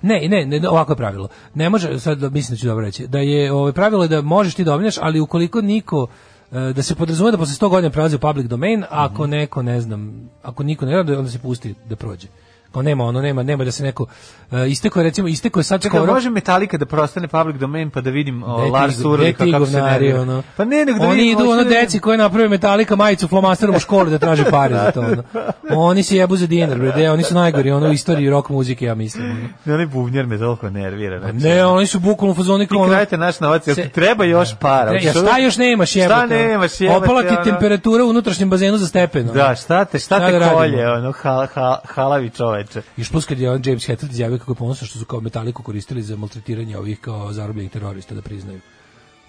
Speaker 6: Ne, ne, ne, ovako je pravilo. Ne može, sad da- mislim da ću dobro reći, da je ovaj, pravilo je da možeš ti da obneš, ali ukoliko niko e, da se podrazumije da posle 100 godina prelazi u public domain, a ako
Speaker 7: Mhm.
Speaker 6: neko, ne znam, ako niko ne radi, onda se pusti da prođe. Kao nema, ono nema, nema da se neko e, isteko je recimo, isteko je sad
Speaker 7: Čekaj,
Speaker 6: skoro.
Speaker 7: može Metallica da prostane public domain pa da vidim o,
Speaker 6: Gde ti
Speaker 7: Lars
Speaker 6: go- gde
Speaker 7: Ulrika
Speaker 6: ti
Speaker 7: kako se
Speaker 6: govnari,
Speaker 7: nervira.
Speaker 6: ono.
Speaker 7: Pa ne, nego da
Speaker 6: Oni
Speaker 7: vidim,
Speaker 6: idu
Speaker 7: hoću
Speaker 6: ono
Speaker 7: da vidim.
Speaker 6: deci koji naprave metalika majicu flomasterom u školi da traže pare za to. Ono. Oni se jebu za dinar, bre, de, oni su najgori ono, u istoriji rock muzike, ja mislim. ono.
Speaker 7: Ne, onaj bubnjar me toliko nervira. znači.
Speaker 6: Pa Ne, oni su bukvalno fazoni
Speaker 7: Ti
Speaker 6: kao ono,
Speaker 7: krajete naš novac, jel ti
Speaker 6: Se-
Speaker 7: treba još para?
Speaker 6: Tre- ja,
Speaker 7: Hoćeš
Speaker 6: šta
Speaker 7: ovo?
Speaker 6: još nemaš jebote?
Speaker 7: Šta
Speaker 6: ono?
Speaker 7: nemaš jebote?
Speaker 6: Opala ti
Speaker 7: ono?
Speaker 6: temperatura u unutrašnjem bazenu za stepen. ono.
Speaker 7: Da, šta te, šta
Speaker 6: Šta
Speaker 7: te
Speaker 6: da radimo?
Speaker 7: kolje, ono, hal, hal, halavi čoveče.
Speaker 6: Još plus kad je on James Hetfield izjavio kako je ponosan što su kao metaliku koristili za maltretiranje ovih kao zarobljenih terorista da priznaju.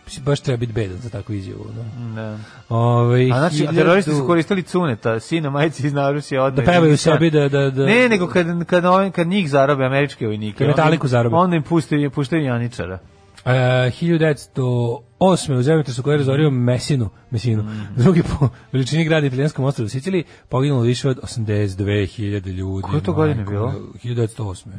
Speaker 6: Mislim, Baš treba biti bedan za takvu izjavu. No.
Speaker 7: Da.
Speaker 6: Ove,
Speaker 7: A znači,
Speaker 6: hiljadu-
Speaker 7: teroristi su koristili cuneta, sina majici iz Narusije odmah.
Speaker 6: Da pevaju sebi da- da- da-
Speaker 7: Ne, nego kad, kad, on, kad njih zarobe američke vojnike.
Speaker 6: Kad Metaliku
Speaker 7: onda im-
Speaker 6: zarobe.
Speaker 7: Onda im puštaju, puštaju janičara.
Speaker 6: E, 1908. u zemljotresu koji je razorio Mesinu, Mesinu
Speaker 7: Mhm.
Speaker 6: drugi po veličini grada italijanskom ostrovu Siciliji, poginulo više od 82.000 ljudi.
Speaker 7: Koje to godine
Speaker 6: majko,
Speaker 7: bilo?
Speaker 6: 1908.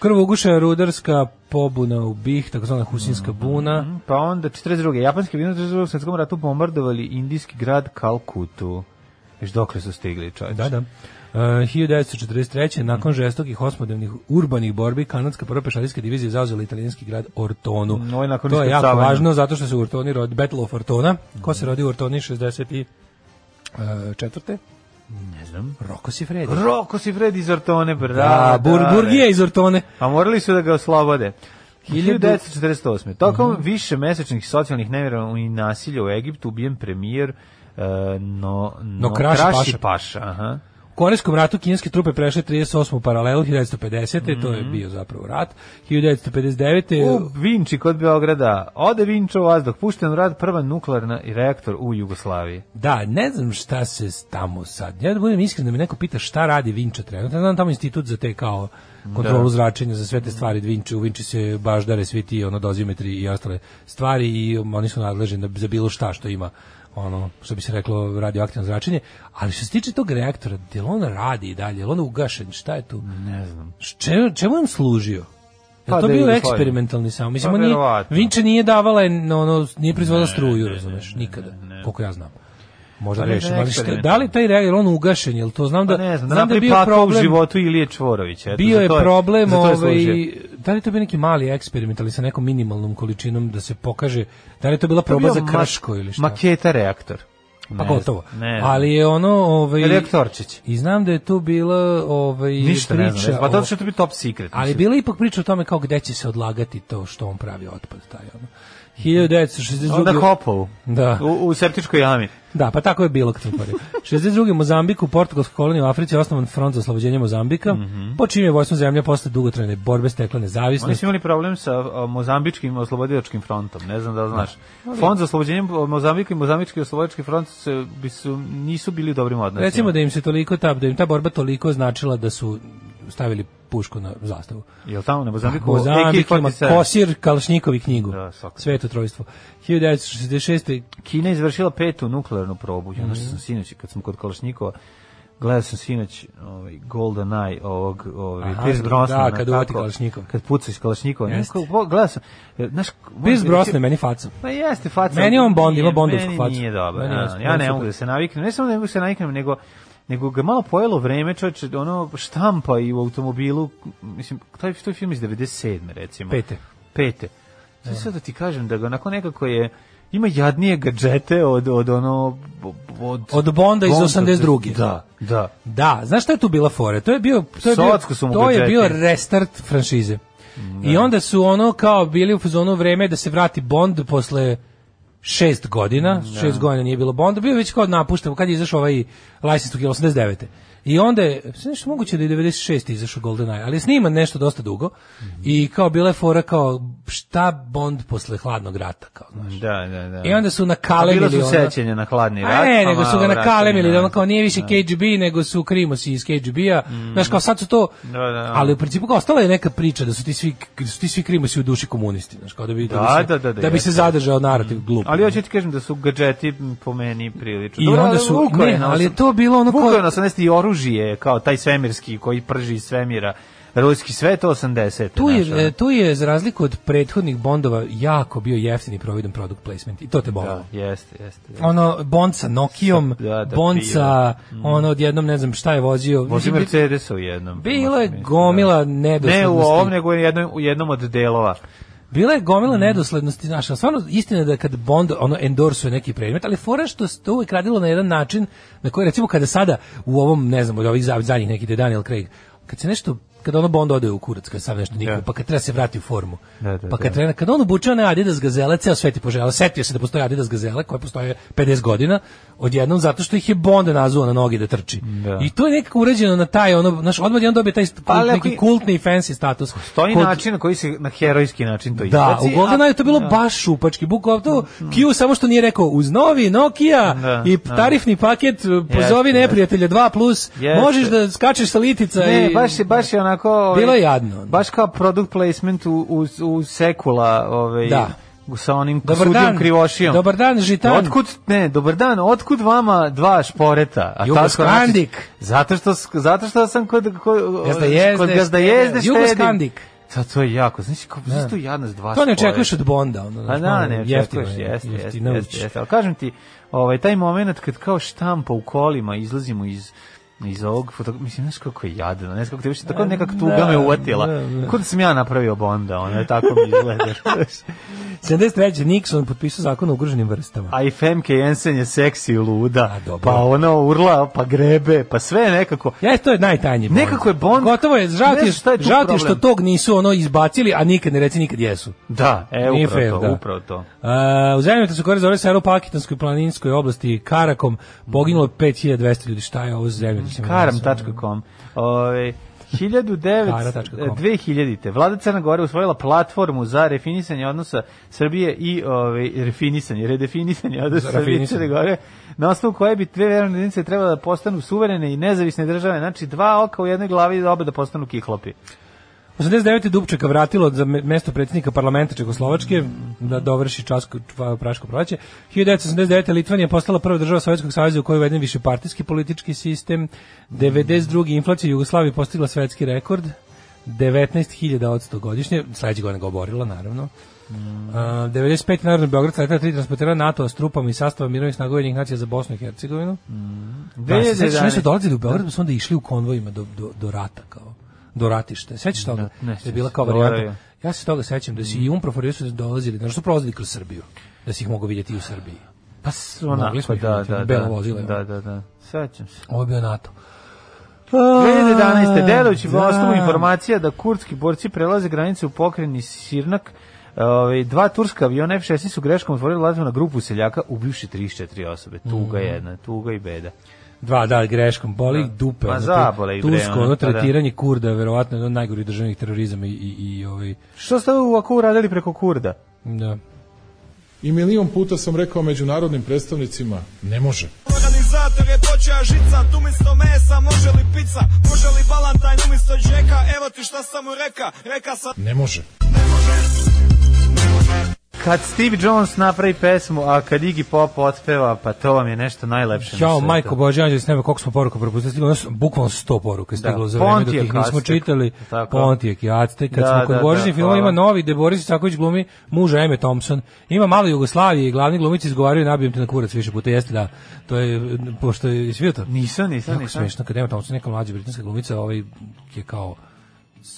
Speaker 6: Krvoguša rudarska pobuna u Bih, takozvana Husinska buna.
Speaker 7: Pa onda 42. Japanski vino u drugom svjetskom ratu bombardovali indijski grad Kalkutu. Viš dokle su stigli čovječe.
Speaker 6: Da, da. E, 1943. nakon žestokih osmodnevnih urbanih borbi kanadska prva pešadijska divizija zauzela italijanski grad Ortonu.
Speaker 7: No, i nakon
Speaker 6: to je jako
Speaker 7: iskrcavanja.
Speaker 6: važno zato što se u Ortoni rodi Battle of Ortona. Ko se rodi u Ortoni e, 64.
Speaker 7: Ne znam. Da,
Speaker 6: Roko si Fredi.
Speaker 7: Roko si Fred iz Ortone,
Speaker 6: Da,
Speaker 7: brada.
Speaker 6: Bur, Burgije iz Ortone.
Speaker 7: A morali su da ga oslobode.
Speaker 6: Hiljadu- Mhm.
Speaker 7: 1948. Tokom više mesečnih socijalnih nemira i nasilja u Egiptu ubijen premijer e, no, no,
Speaker 6: Kraši
Speaker 7: Kraši
Speaker 6: Paša.
Speaker 7: Paša. Aha.
Speaker 6: U Korejskom ratu kineske trupe prešle 38. paralelu 1950. To je bio zapravo rat. 1959.
Speaker 7: Mhm. U Vinči kod Beograda. Ode Vinča u vazduh. Pušten u rad prva nuklearna i reaktor u Jugoslaviji.
Speaker 6: Da, ne znam šta se s- tamo sad. Ja da budem iskren da mi neko pita šta radi Vinča trenutno. Ja znam tamo institut za te kao kontrolu zračenja za sve te stvari Vinče, u Vinči se baždare svi ti ono dozimetri i ostale stvari i um, oni su nadležni da, za bilo šta što ima ono što bi se reklo radioaktivno zračenje, ali što se tiče tog reaktora, jel on radi i dalje, jel on ugašen, šta je tu?
Speaker 7: Ne znam.
Speaker 6: Š- Čemu, čemu je on služio? Je
Speaker 7: Pa
Speaker 6: to
Speaker 7: da
Speaker 6: bio
Speaker 7: Jugoslavija.
Speaker 6: eksperimentalni samo. Mislim,
Speaker 7: Pa
Speaker 6: on nije,
Speaker 7: verovatno.
Speaker 6: Vinče nije davala, je, no, ono, nije proizvodila struju, razumeš, nikada, koliko ja znam. Možda
Speaker 7: Pa ne,
Speaker 6: grešim,
Speaker 7: ne,
Speaker 6: ali šta- da
Speaker 7: eksperimentalni.
Speaker 6: li taj reagir, on ugašen, jel to znam da,
Speaker 7: Pa ne znam,
Speaker 6: znam da je
Speaker 7: napravi
Speaker 6: bio
Speaker 7: pakao u
Speaker 6: problem,
Speaker 7: životu Ilije Čvorovića. Eto,
Speaker 6: bio
Speaker 7: za
Speaker 6: je
Speaker 7: to
Speaker 6: problem,
Speaker 7: za to je
Speaker 6: ovaj,
Speaker 7: služio.
Speaker 6: da li je to bio neki mali eksperiment, ali sa nekom minimalnom količinom da se pokaže, da li je to bila
Speaker 7: To je
Speaker 6: proba
Speaker 7: bio
Speaker 6: za
Speaker 7: ma-
Speaker 6: kraško ili šta?
Speaker 7: Maketa reaktor.
Speaker 6: pa
Speaker 7: Ne
Speaker 6: gotovo.
Speaker 7: znam, ne znam.
Speaker 6: Ali je ono, ovaj,
Speaker 7: Reaktorčić.
Speaker 6: i znam da je tu bila ovaj,
Speaker 7: Ništa ne znam.
Speaker 6: priča
Speaker 7: ne znam. Pa to
Speaker 6: o-
Speaker 7: što to bi top secret.
Speaker 6: Ali
Speaker 7: mislim.
Speaker 6: bila je ipak priča o tome kao gde će se odlagati to što on pravi otpad taj ono. 1962.
Speaker 7: Onda Hopovu.
Speaker 6: Da.
Speaker 7: U, u septičkoj jami.
Speaker 6: Da, pa tako je bilo kad sam otvorio. 62. Mozambik u portugalskoj koloniji u Africi je osnovan front za oslobođenje Mozambika, po čim je vojstvo zemlja posle dugotrajne borbe stekla
Speaker 7: Mhm. Oni
Speaker 6: nezavisnost.
Speaker 7: su imali problem sa a, mozambičkim oslobodilačkim frontom, ne znam da li znaš. Fond za oslobođenje Mozambika i mozambički oslobodilački front se, bi su, nisu bili u dobrim odnosima.
Speaker 6: Recimo da im se toliko ta, da im ta borba toliko značila da su stavili pušku na zastavu.
Speaker 7: Jel tamo na Mozambiku?
Speaker 6: Ah, Mozambik ima
Speaker 7: AK-47.
Speaker 6: Kosir Kalašnjikovi knjigu.
Speaker 7: Da, svakako.
Speaker 6: Sveto trojstvo. 1966.
Speaker 7: Kina je izvršila petu nuklearnu probu. Ja
Speaker 6: Mhm.
Speaker 7: nešto sam sinoć, kad sam kod Kalašnikova, gledao sam sinoć ovaj, Golden Eye ovog, ovaj,
Speaker 6: Aha,
Speaker 7: Pierce
Speaker 6: da,
Speaker 7: Brosnana.
Speaker 6: kad uvati
Speaker 7: kako-
Speaker 6: Kalašnjikov.
Speaker 7: Kad puca iz Kalašnikova.
Speaker 6: Jeste.
Speaker 7: Neko- Gledao sam, e, znaš...
Speaker 6: Pierce
Speaker 7: možda-
Speaker 6: Brosnan, meni faca.
Speaker 7: Pa jeste, faca.
Speaker 6: Meni on Bond, ima
Speaker 7: Nije,
Speaker 6: bondovsku
Speaker 7: meni
Speaker 6: facu.
Speaker 7: Nije dobar.
Speaker 6: Meni
Speaker 7: ja,
Speaker 6: jeste,
Speaker 7: ja
Speaker 6: meni
Speaker 7: ne
Speaker 6: super.
Speaker 7: mogu da se naviknem. Ne samo da ne mogu da se naviknem, nego nego ga malo pojelo vreme, čoveče, ono štampa i u automobilu, mislim, taj, to je film iz 97. recimo.
Speaker 6: Pete.
Speaker 7: Pete. Sad sad da ti kažem da ga onako nekako je, ima jadnije gadžete od, od ono... Od,
Speaker 6: Od Bonda iz 82..
Speaker 7: Da, da.
Speaker 6: Da, znaš šta je tu bila fora? To je bio to je bio,
Speaker 7: Socko su mu
Speaker 6: to je
Speaker 7: budžeti. Mm, da.
Speaker 6: bio restart franšize. I onda su ono kao bili u fazonu vreme da se vrati Bond posle šest godina,
Speaker 7: Mm, da.
Speaker 6: šest godina nije bilo Bonda, bio je već kao napušten, kad je izašao ovaj License to Kill 89. I onda je, sve nešto moguće da je 96. izašao GoldenEye, ali je sniman nešto dosta dugo
Speaker 7: Mhm.
Speaker 6: i kao bila je fora kao šta Bond posle hladnog rata, kao znaš.
Speaker 7: Da, da, da.
Speaker 6: I onda su nakalemili
Speaker 7: Bilo su
Speaker 6: ono-
Speaker 7: sećenje na hladni rat.
Speaker 6: a ne,
Speaker 7: pa
Speaker 6: nego su
Speaker 7: malo
Speaker 6: ga nakalemili,
Speaker 7: vraćanje,
Speaker 6: da ono kao nije više KGB, nego su krimosi iz KGB-a. Znaš, kao sad su to...
Speaker 7: Mm. Da, da.
Speaker 6: Ali u principu kao ostala je neka priča da su ti svi, da su ti svi krimosi u duši komunisti. Znaš, kao da bi,
Speaker 7: Da,
Speaker 6: bi se,
Speaker 7: da, da, da,
Speaker 6: bi se
Speaker 7: jeste. Mm.
Speaker 6: zadržao narativ glup.
Speaker 7: Ali hoću ti kažem da su gadžeti m, po meni prilično.
Speaker 6: I onda su- ne, ali je to bilo ono
Speaker 7: kao...
Speaker 6: kao-
Speaker 7: Vukoje 18 i oružje, kao taj svemirski koji prži iz svemira. Ruski sve to 80.
Speaker 6: tu je,
Speaker 7: znaš,
Speaker 6: e, tu je, za razliku od prethodnih Bondova, jako bio jeftin i providan product placement. I to te bolo.
Speaker 7: ono. Da, jeste, jeste.
Speaker 6: Ono, Bond sa Nokijom,
Speaker 7: Da, da,
Speaker 6: Bond
Speaker 7: pivo.
Speaker 6: sa, ono, odjednom, ne znam šta je vozio.
Speaker 7: Vozi
Speaker 6: Mislim,
Speaker 7: Mercedes u jednom.
Speaker 6: Bilo je
Speaker 7: mislim, da.
Speaker 6: gomila
Speaker 7: Ne u
Speaker 6: nedoslednosti.
Speaker 7: ovom, nego u jednom, u jednom od delova.
Speaker 6: Bila je gomila nedoslednosti, znaš, ali stvarno istina je da kad Bond ono endorsuje neki predmet, ali fora što se to uvijek radilo na jedan način na koji recimo kada sada u ovom, ne znam, od ovih za- zadnjih nekih da je Daniel Craig, kad se nešto kad ono Bond ode u kurac, kad sam nešto nikne,
Speaker 7: Da.
Speaker 6: pa kad treba se vrati u formu.
Speaker 7: Da, da,
Speaker 6: pa kad,
Speaker 7: da.
Speaker 6: treba, kad on obuče one Adidas gazele, ceo svet je poželao. Setio se da postoje Adidas gazele koje postoje 50 godina, odjednom zato što ih je Bond nazvao na noge da trči.
Speaker 7: Da. Pa,
Speaker 6: I to je nekako urađeno na taj, ono, znaš, odmah je on dobije taj st-
Speaker 7: Ali ako
Speaker 6: neki
Speaker 7: i-
Speaker 6: kultni i fancy status.
Speaker 7: To je
Speaker 6: Kod-
Speaker 7: način na koji se na herojski način
Speaker 6: da,
Speaker 7: to izbaci.
Speaker 6: u Goldeneye
Speaker 7: a- Mm,
Speaker 6: je to bilo baš šupački, bukvalno to Q samo što nije rekao uz novi Nokia
Speaker 7: Da,
Speaker 6: i
Speaker 7: da.
Speaker 6: tarifni paket e, pozovi
Speaker 7: Jeste,
Speaker 6: neprijatelja 2 plus,
Speaker 7: Jeste.
Speaker 6: možeš da skačeš sa litica
Speaker 7: Ne,
Speaker 6: i
Speaker 7: baš je baš je onako ovaj,
Speaker 6: Bilo je jadno.
Speaker 7: Baš kao product placement u u, u sekula, ovaj
Speaker 6: Da.
Speaker 7: sa onim
Speaker 6: Dobar
Speaker 7: sudijom
Speaker 6: dan.
Speaker 7: krivošijom.
Speaker 6: Dobar dan, Žitan.
Speaker 7: Otkud ne, dobar dan. Otkud vama dva šporeta? A
Speaker 6: Jugoskandik.
Speaker 7: tako, znači, zato što s- zato što sam kod kod
Speaker 6: Jezda jezde,
Speaker 7: kod gazda jezde
Speaker 6: štede.
Speaker 7: štedim.
Speaker 6: Jugoskandik.
Speaker 7: Ta to je jako. Znači kako da. jadnost dva.
Speaker 6: to ne
Speaker 7: šporeta.
Speaker 6: očekuješ od Bonda. Ono,
Speaker 7: A
Speaker 6: znaš,
Speaker 7: da,
Speaker 6: malo
Speaker 7: ne,
Speaker 6: jeftino
Speaker 7: očekuješ,
Speaker 6: je,
Speaker 7: jeste, jeste,
Speaker 6: jeftino
Speaker 7: jeste,
Speaker 6: ući.
Speaker 7: jeste. Ali kažem ti, ovaj, taj moment kad kao štampa u kolima izlazimo iz iz ovog foto, mislim, znaš kako je jadno, ne znam kako te više, tako nekak tuga
Speaker 6: da,
Speaker 7: me uvatila.
Speaker 6: da, da.
Speaker 7: Kako da sam ja napravio Bonda, ono, tako mi izgleda.
Speaker 6: 73. Nixon potpisao zakon o ugroženim vrstama.
Speaker 7: A i Femke Jensen je seksi i luda,
Speaker 6: A, dobro.
Speaker 7: pa ona urla, pa grebe, pa sve je nekako,
Speaker 6: Ja, E, to je najtanji Bond.
Speaker 7: Nekako je Bond-
Speaker 6: Gotovo je, žao ti je,
Speaker 7: Znaš šta je tu
Speaker 6: žao ti je što
Speaker 7: problem?
Speaker 6: tog nisu ono izbacili, a nikad ne reci nikad jesu.
Speaker 7: da, e,
Speaker 6: Nije
Speaker 7: upravo
Speaker 6: fair,
Speaker 7: to,
Speaker 6: da.
Speaker 7: upravo to.
Speaker 6: Uh, u zemljometu su gore zove sero Pakitanskoj planinskoj oblasti Karakom poginulo je 5200 ljudi. Šta je ovo zemljomet?
Speaker 7: Karam.com. Ove, 1900,
Speaker 6: Kara.com.
Speaker 7: 2000. Vlada Crna Gora usvojila platformu za refinisanje odnosa Srbije i ove, refinisanje, redefinisanje odnosa
Speaker 6: Za
Speaker 7: Srbije i Crne
Speaker 6: refinisanje.
Speaker 7: Gore, na osnovu koje bi dve verovne jedinice trebala da postanu suverene i nezavisne države. Znači, dva oka u jednoj glavi da oba da postanu kihlopi.
Speaker 6: 89. Dubčeka vratilo za me- mesto predsjednika parlamenta Čekoslovačke da dovrši časko, čva- praško proleće. 1989. Litvanija je postala prva država Sovjetskog saveza u kojoj je uveden višepartijski politički sistem. 92. inflacija u Jugoslaviji postigla svetski rekord. 19.000 od 100 godišnje, sledećeg godina ga oborila, naravno. Uh, 95. Narodno Beograd sletela tri transportera NATO s trupama i sastava mirovnih snaga Ujedinjenih nacija za Bosnu i Hercegovinu. Da, se sećaš, mi smo
Speaker 7: 2011.
Speaker 6: dolazili u Beograd, pa smo onda išli u konvojima do, do, do rata, kao, do ratišta. Sećaš toga?
Speaker 7: Da, ne
Speaker 6: Da je
Speaker 7: sjećam
Speaker 6: bila
Speaker 7: se.
Speaker 6: kao
Speaker 7: Dobro je.
Speaker 6: varijanta. Ja se toga sećam da si i Umprofor i su dolazili, da su prolazili kroz Srbiju, da si ih mogu vidjeti i u Srbiji.
Speaker 7: Pa, s- onako,
Speaker 6: Mogli smo ih
Speaker 7: da,
Speaker 6: vidjeti,
Speaker 7: da,
Speaker 6: belo
Speaker 7: da,
Speaker 6: vozilo,
Speaker 7: da,
Speaker 6: evo.
Speaker 7: da, da, sećam se.
Speaker 6: Ovo je bio NATO.
Speaker 7: 2011. Delujući
Speaker 6: Da.
Speaker 7: da. osnovu informacija da kurdski borci prelaze granice u pokreni Sirnak, Ove, dva turska aviona F-16 su greškom otvorili lazima na grupu seljaka, ubivši 34 osobe.
Speaker 6: Mm.
Speaker 7: Tuga jedna, tuga i beda.
Speaker 6: Dva, da, greškom, boli ih dupe.
Speaker 7: Ma
Speaker 6: ono,
Speaker 7: zabole ih, bre,
Speaker 6: Tursko, ono,
Speaker 7: ono, pa da.
Speaker 6: tretiranje Kurda, je verovatno, jedan od najgorih državnih terorizama i, i, i ovaj,
Speaker 7: Što ste ovako uradili preko Kurda?
Speaker 6: da.
Speaker 10: I milion puta sam rekao međunarodnim predstavnicima, ne može.
Speaker 1: Organizirani Organizator je počeo žica, tu umjesto mesa može li pizza, može li balantajn umjesto džeka, evo ti šta sam mu reka, reka sam...
Speaker 7: Kad Steve Jones napravi pesmu, a kad Iggy Pop otpeva, pa to vam je nešto najlepše. na
Speaker 6: Ćao,
Speaker 7: svetu.
Speaker 6: majko Bože, anđeli s neba, koliko smo poruka propustili, stiglo, je nas bukvalno 100 poruka je stiglo
Speaker 7: Da,
Speaker 6: za vreme dok ih
Speaker 7: Pontijek,
Speaker 6: nismo
Speaker 7: Aztek.
Speaker 6: čitali.
Speaker 7: Tako.
Speaker 6: Pontijek i Aztek, kad
Speaker 7: Da,
Speaker 6: smo kod
Speaker 7: da,
Speaker 6: Božićnih
Speaker 7: da,
Speaker 6: filmova ima
Speaker 7: hvala.
Speaker 6: novi, gde Boris Isaković glumi muža Eme Thompson. Ima malo Jugoslavije i glavni glumici izgovaraju nabijem te na kurac više puta, jeste da. To je, pošto je, jesi vidio to?
Speaker 7: Nisam, nisam,
Speaker 6: Jako
Speaker 7: nisam.
Speaker 6: smešno, kad Emma Thompson, neka mlađa britanska glumica, ovaj je kao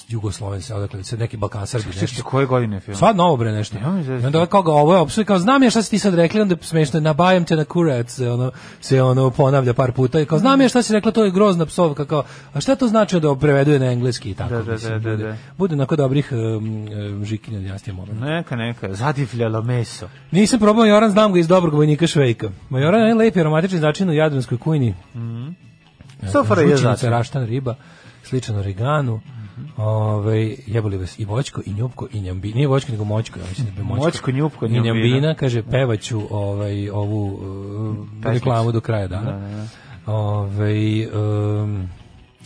Speaker 6: Jugosloven, se odakle, se neki Balkan Srbi,
Speaker 7: Čekaj,
Speaker 6: nešto.
Speaker 7: koje godine je film?
Speaker 6: Sva novo bre nešto.
Speaker 7: Ja da mi zezam.
Speaker 6: I onda ovaj kao ga ovo je opsuje, kao znam ja šta si ti sad rekli, onda je smešno, nabajam te na kurac, se ono, se ono ponavlja par puta i kao znam ja šta si rekla, to je grozna psovka, kao, a šta to znači da preveduje na engleski i tako.
Speaker 7: Da, da,
Speaker 6: mislim,
Speaker 7: da, da,
Speaker 6: bude-
Speaker 7: da.
Speaker 6: Bude onako dobrih um, um, žikinja dinastije momenta.
Speaker 7: Neka, neka, zadivljalo meso.
Speaker 6: Nisam probao Majoran, znam ga iz dobrog vojnika Švejka. Majoran je lepi aromatični začin u jadranskoj kujni.
Speaker 7: Sofara je
Speaker 6: Žućenica,
Speaker 7: začin. Mhm.
Speaker 6: raštan riba, sličan origanu. Ovaj jebali vas i voćko i njupko i njambi. Nije voćko nego moćko, ja mislim da bi moćko.
Speaker 7: Moćko, njupko,
Speaker 6: I
Speaker 7: njambina.
Speaker 6: njambina, kaže pevaću ovaj ovu uh, reklamu do kraja
Speaker 7: Da,
Speaker 6: dana. Ovaj um,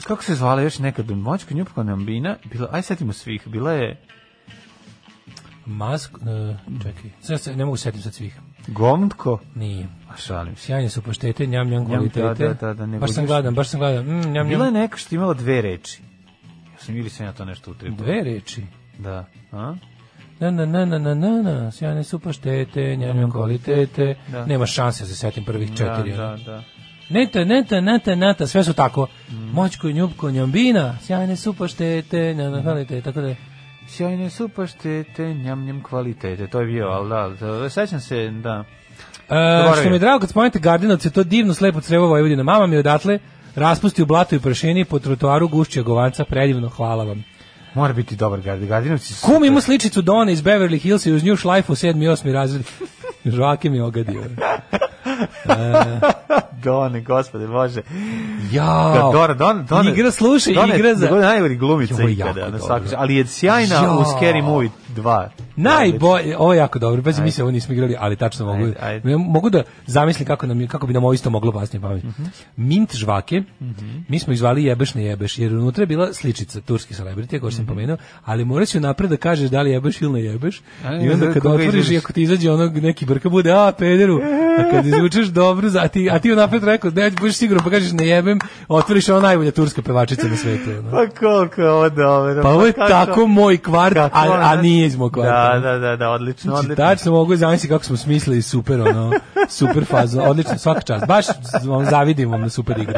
Speaker 7: Kako se zvala još nekad? Moćko Njupko Nambina? Bila, aj setimo svih. Bila je
Speaker 6: mask, uh, čekaj. Sad se ne mogu setim sad svih.
Speaker 7: Gomtko?
Speaker 6: Nije.
Speaker 7: A šalim se.
Speaker 6: Sjajne su paštete, njam njam kvalitete.
Speaker 7: da, da, da, ne
Speaker 6: baš sam
Speaker 7: budiš.
Speaker 6: gladan, baš sam gladan. Mm, njam,
Speaker 7: Bila je
Speaker 6: njam.
Speaker 7: neka što je imala dve reči. Ja sam ili sam ja to nešto utripao.
Speaker 6: Dve reči.
Speaker 7: Da. A?
Speaker 6: Na, na, na, na, na, na, na, sjajne su paštete, njam, njam kvalitete.
Speaker 7: Da.
Speaker 6: Nema šanse da se setim prvih četiri.
Speaker 7: Da,
Speaker 6: ono.
Speaker 7: da, da.
Speaker 6: Neta, neta, neta, neta, sve su tako.
Speaker 7: Mm.
Speaker 6: Moćko, njubko, njambina, sjajne su paštete, njam, njam kvalitete, tako da.
Speaker 7: Sjajne su paštete, njam njam kvalitete. To je bio, ali da, da, sećam se, da.
Speaker 6: E, što
Speaker 7: je.
Speaker 6: mi je drago kad spomenete Gardinovce, to divno slepo crevo Vojvodina. Mama mi je odatle raspusti u blatu i prašini po trotoaru gušća govanca, predivno, hvala vam.
Speaker 7: Mora biti dobar gardi. Gardinovci su...
Speaker 6: Kum ima sličicu Done iz Beverly Hills i uz nju šlajfu 7. i 8. razred. Žvake mi je ogadio.
Speaker 7: Done, gospode, bože.
Speaker 6: Jao!
Speaker 7: Da, Dora, Don, Don,
Speaker 6: Pa, Igra, slušaj,
Speaker 7: Dona je
Speaker 6: igra za-
Speaker 7: Dona je najgori glumica
Speaker 6: Joj,
Speaker 7: ikada,
Speaker 6: jako
Speaker 7: na
Speaker 6: dobro.
Speaker 7: svaku, ali je sjajna
Speaker 6: Jao.
Speaker 7: u Scary Movie 2.
Speaker 6: Najbolje, ovo je jako dobro, bez mi se ovo nismo igrali, ali tačno mogu,
Speaker 7: Ajde, ajde.
Speaker 6: Ja mogu da zamislim kako, nam, je- kako bi nam ovo isto moglo basnije pamet.
Speaker 7: Mhm.
Speaker 6: Mint žvake, mi smo izvali jebeš ne jebeš, jer unutra je bila sličica turski celebrity, ako
Speaker 7: Mhm.
Speaker 6: sam pomenuo, ali morat ću napred da kažeš da li jebeš ili ne jebeš,
Speaker 7: Ajde,
Speaker 6: i onda
Speaker 7: da
Speaker 6: kad
Speaker 7: koga
Speaker 6: otvoriš i
Speaker 7: izvadiš.
Speaker 6: ako ti izađe onog neki brka bude, a pederu, a kad izvučeš dobro, za, a ti, a ti unapred rekao, ne, budeš sigurno, pa kažeš ne jebem, otvoriš ona najbolja turska pevačica na svetu. ono.
Speaker 7: Pa koliko je ovo dobro.
Speaker 6: Pa ovo je
Speaker 7: kako-
Speaker 6: tako moj kvart, a,
Speaker 7: kako je,
Speaker 6: a
Speaker 7: znaš?
Speaker 6: nije iz mog kvarta.
Speaker 7: Da, da, da, da, odlično,
Speaker 6: Znači,
Speaker 7: odlično.
Speaker 6: tačno mogu zamisliti kako smo smislili super, ono, super fazu. Odlično, svaka čast. Baš vam zavidim vam na super igru.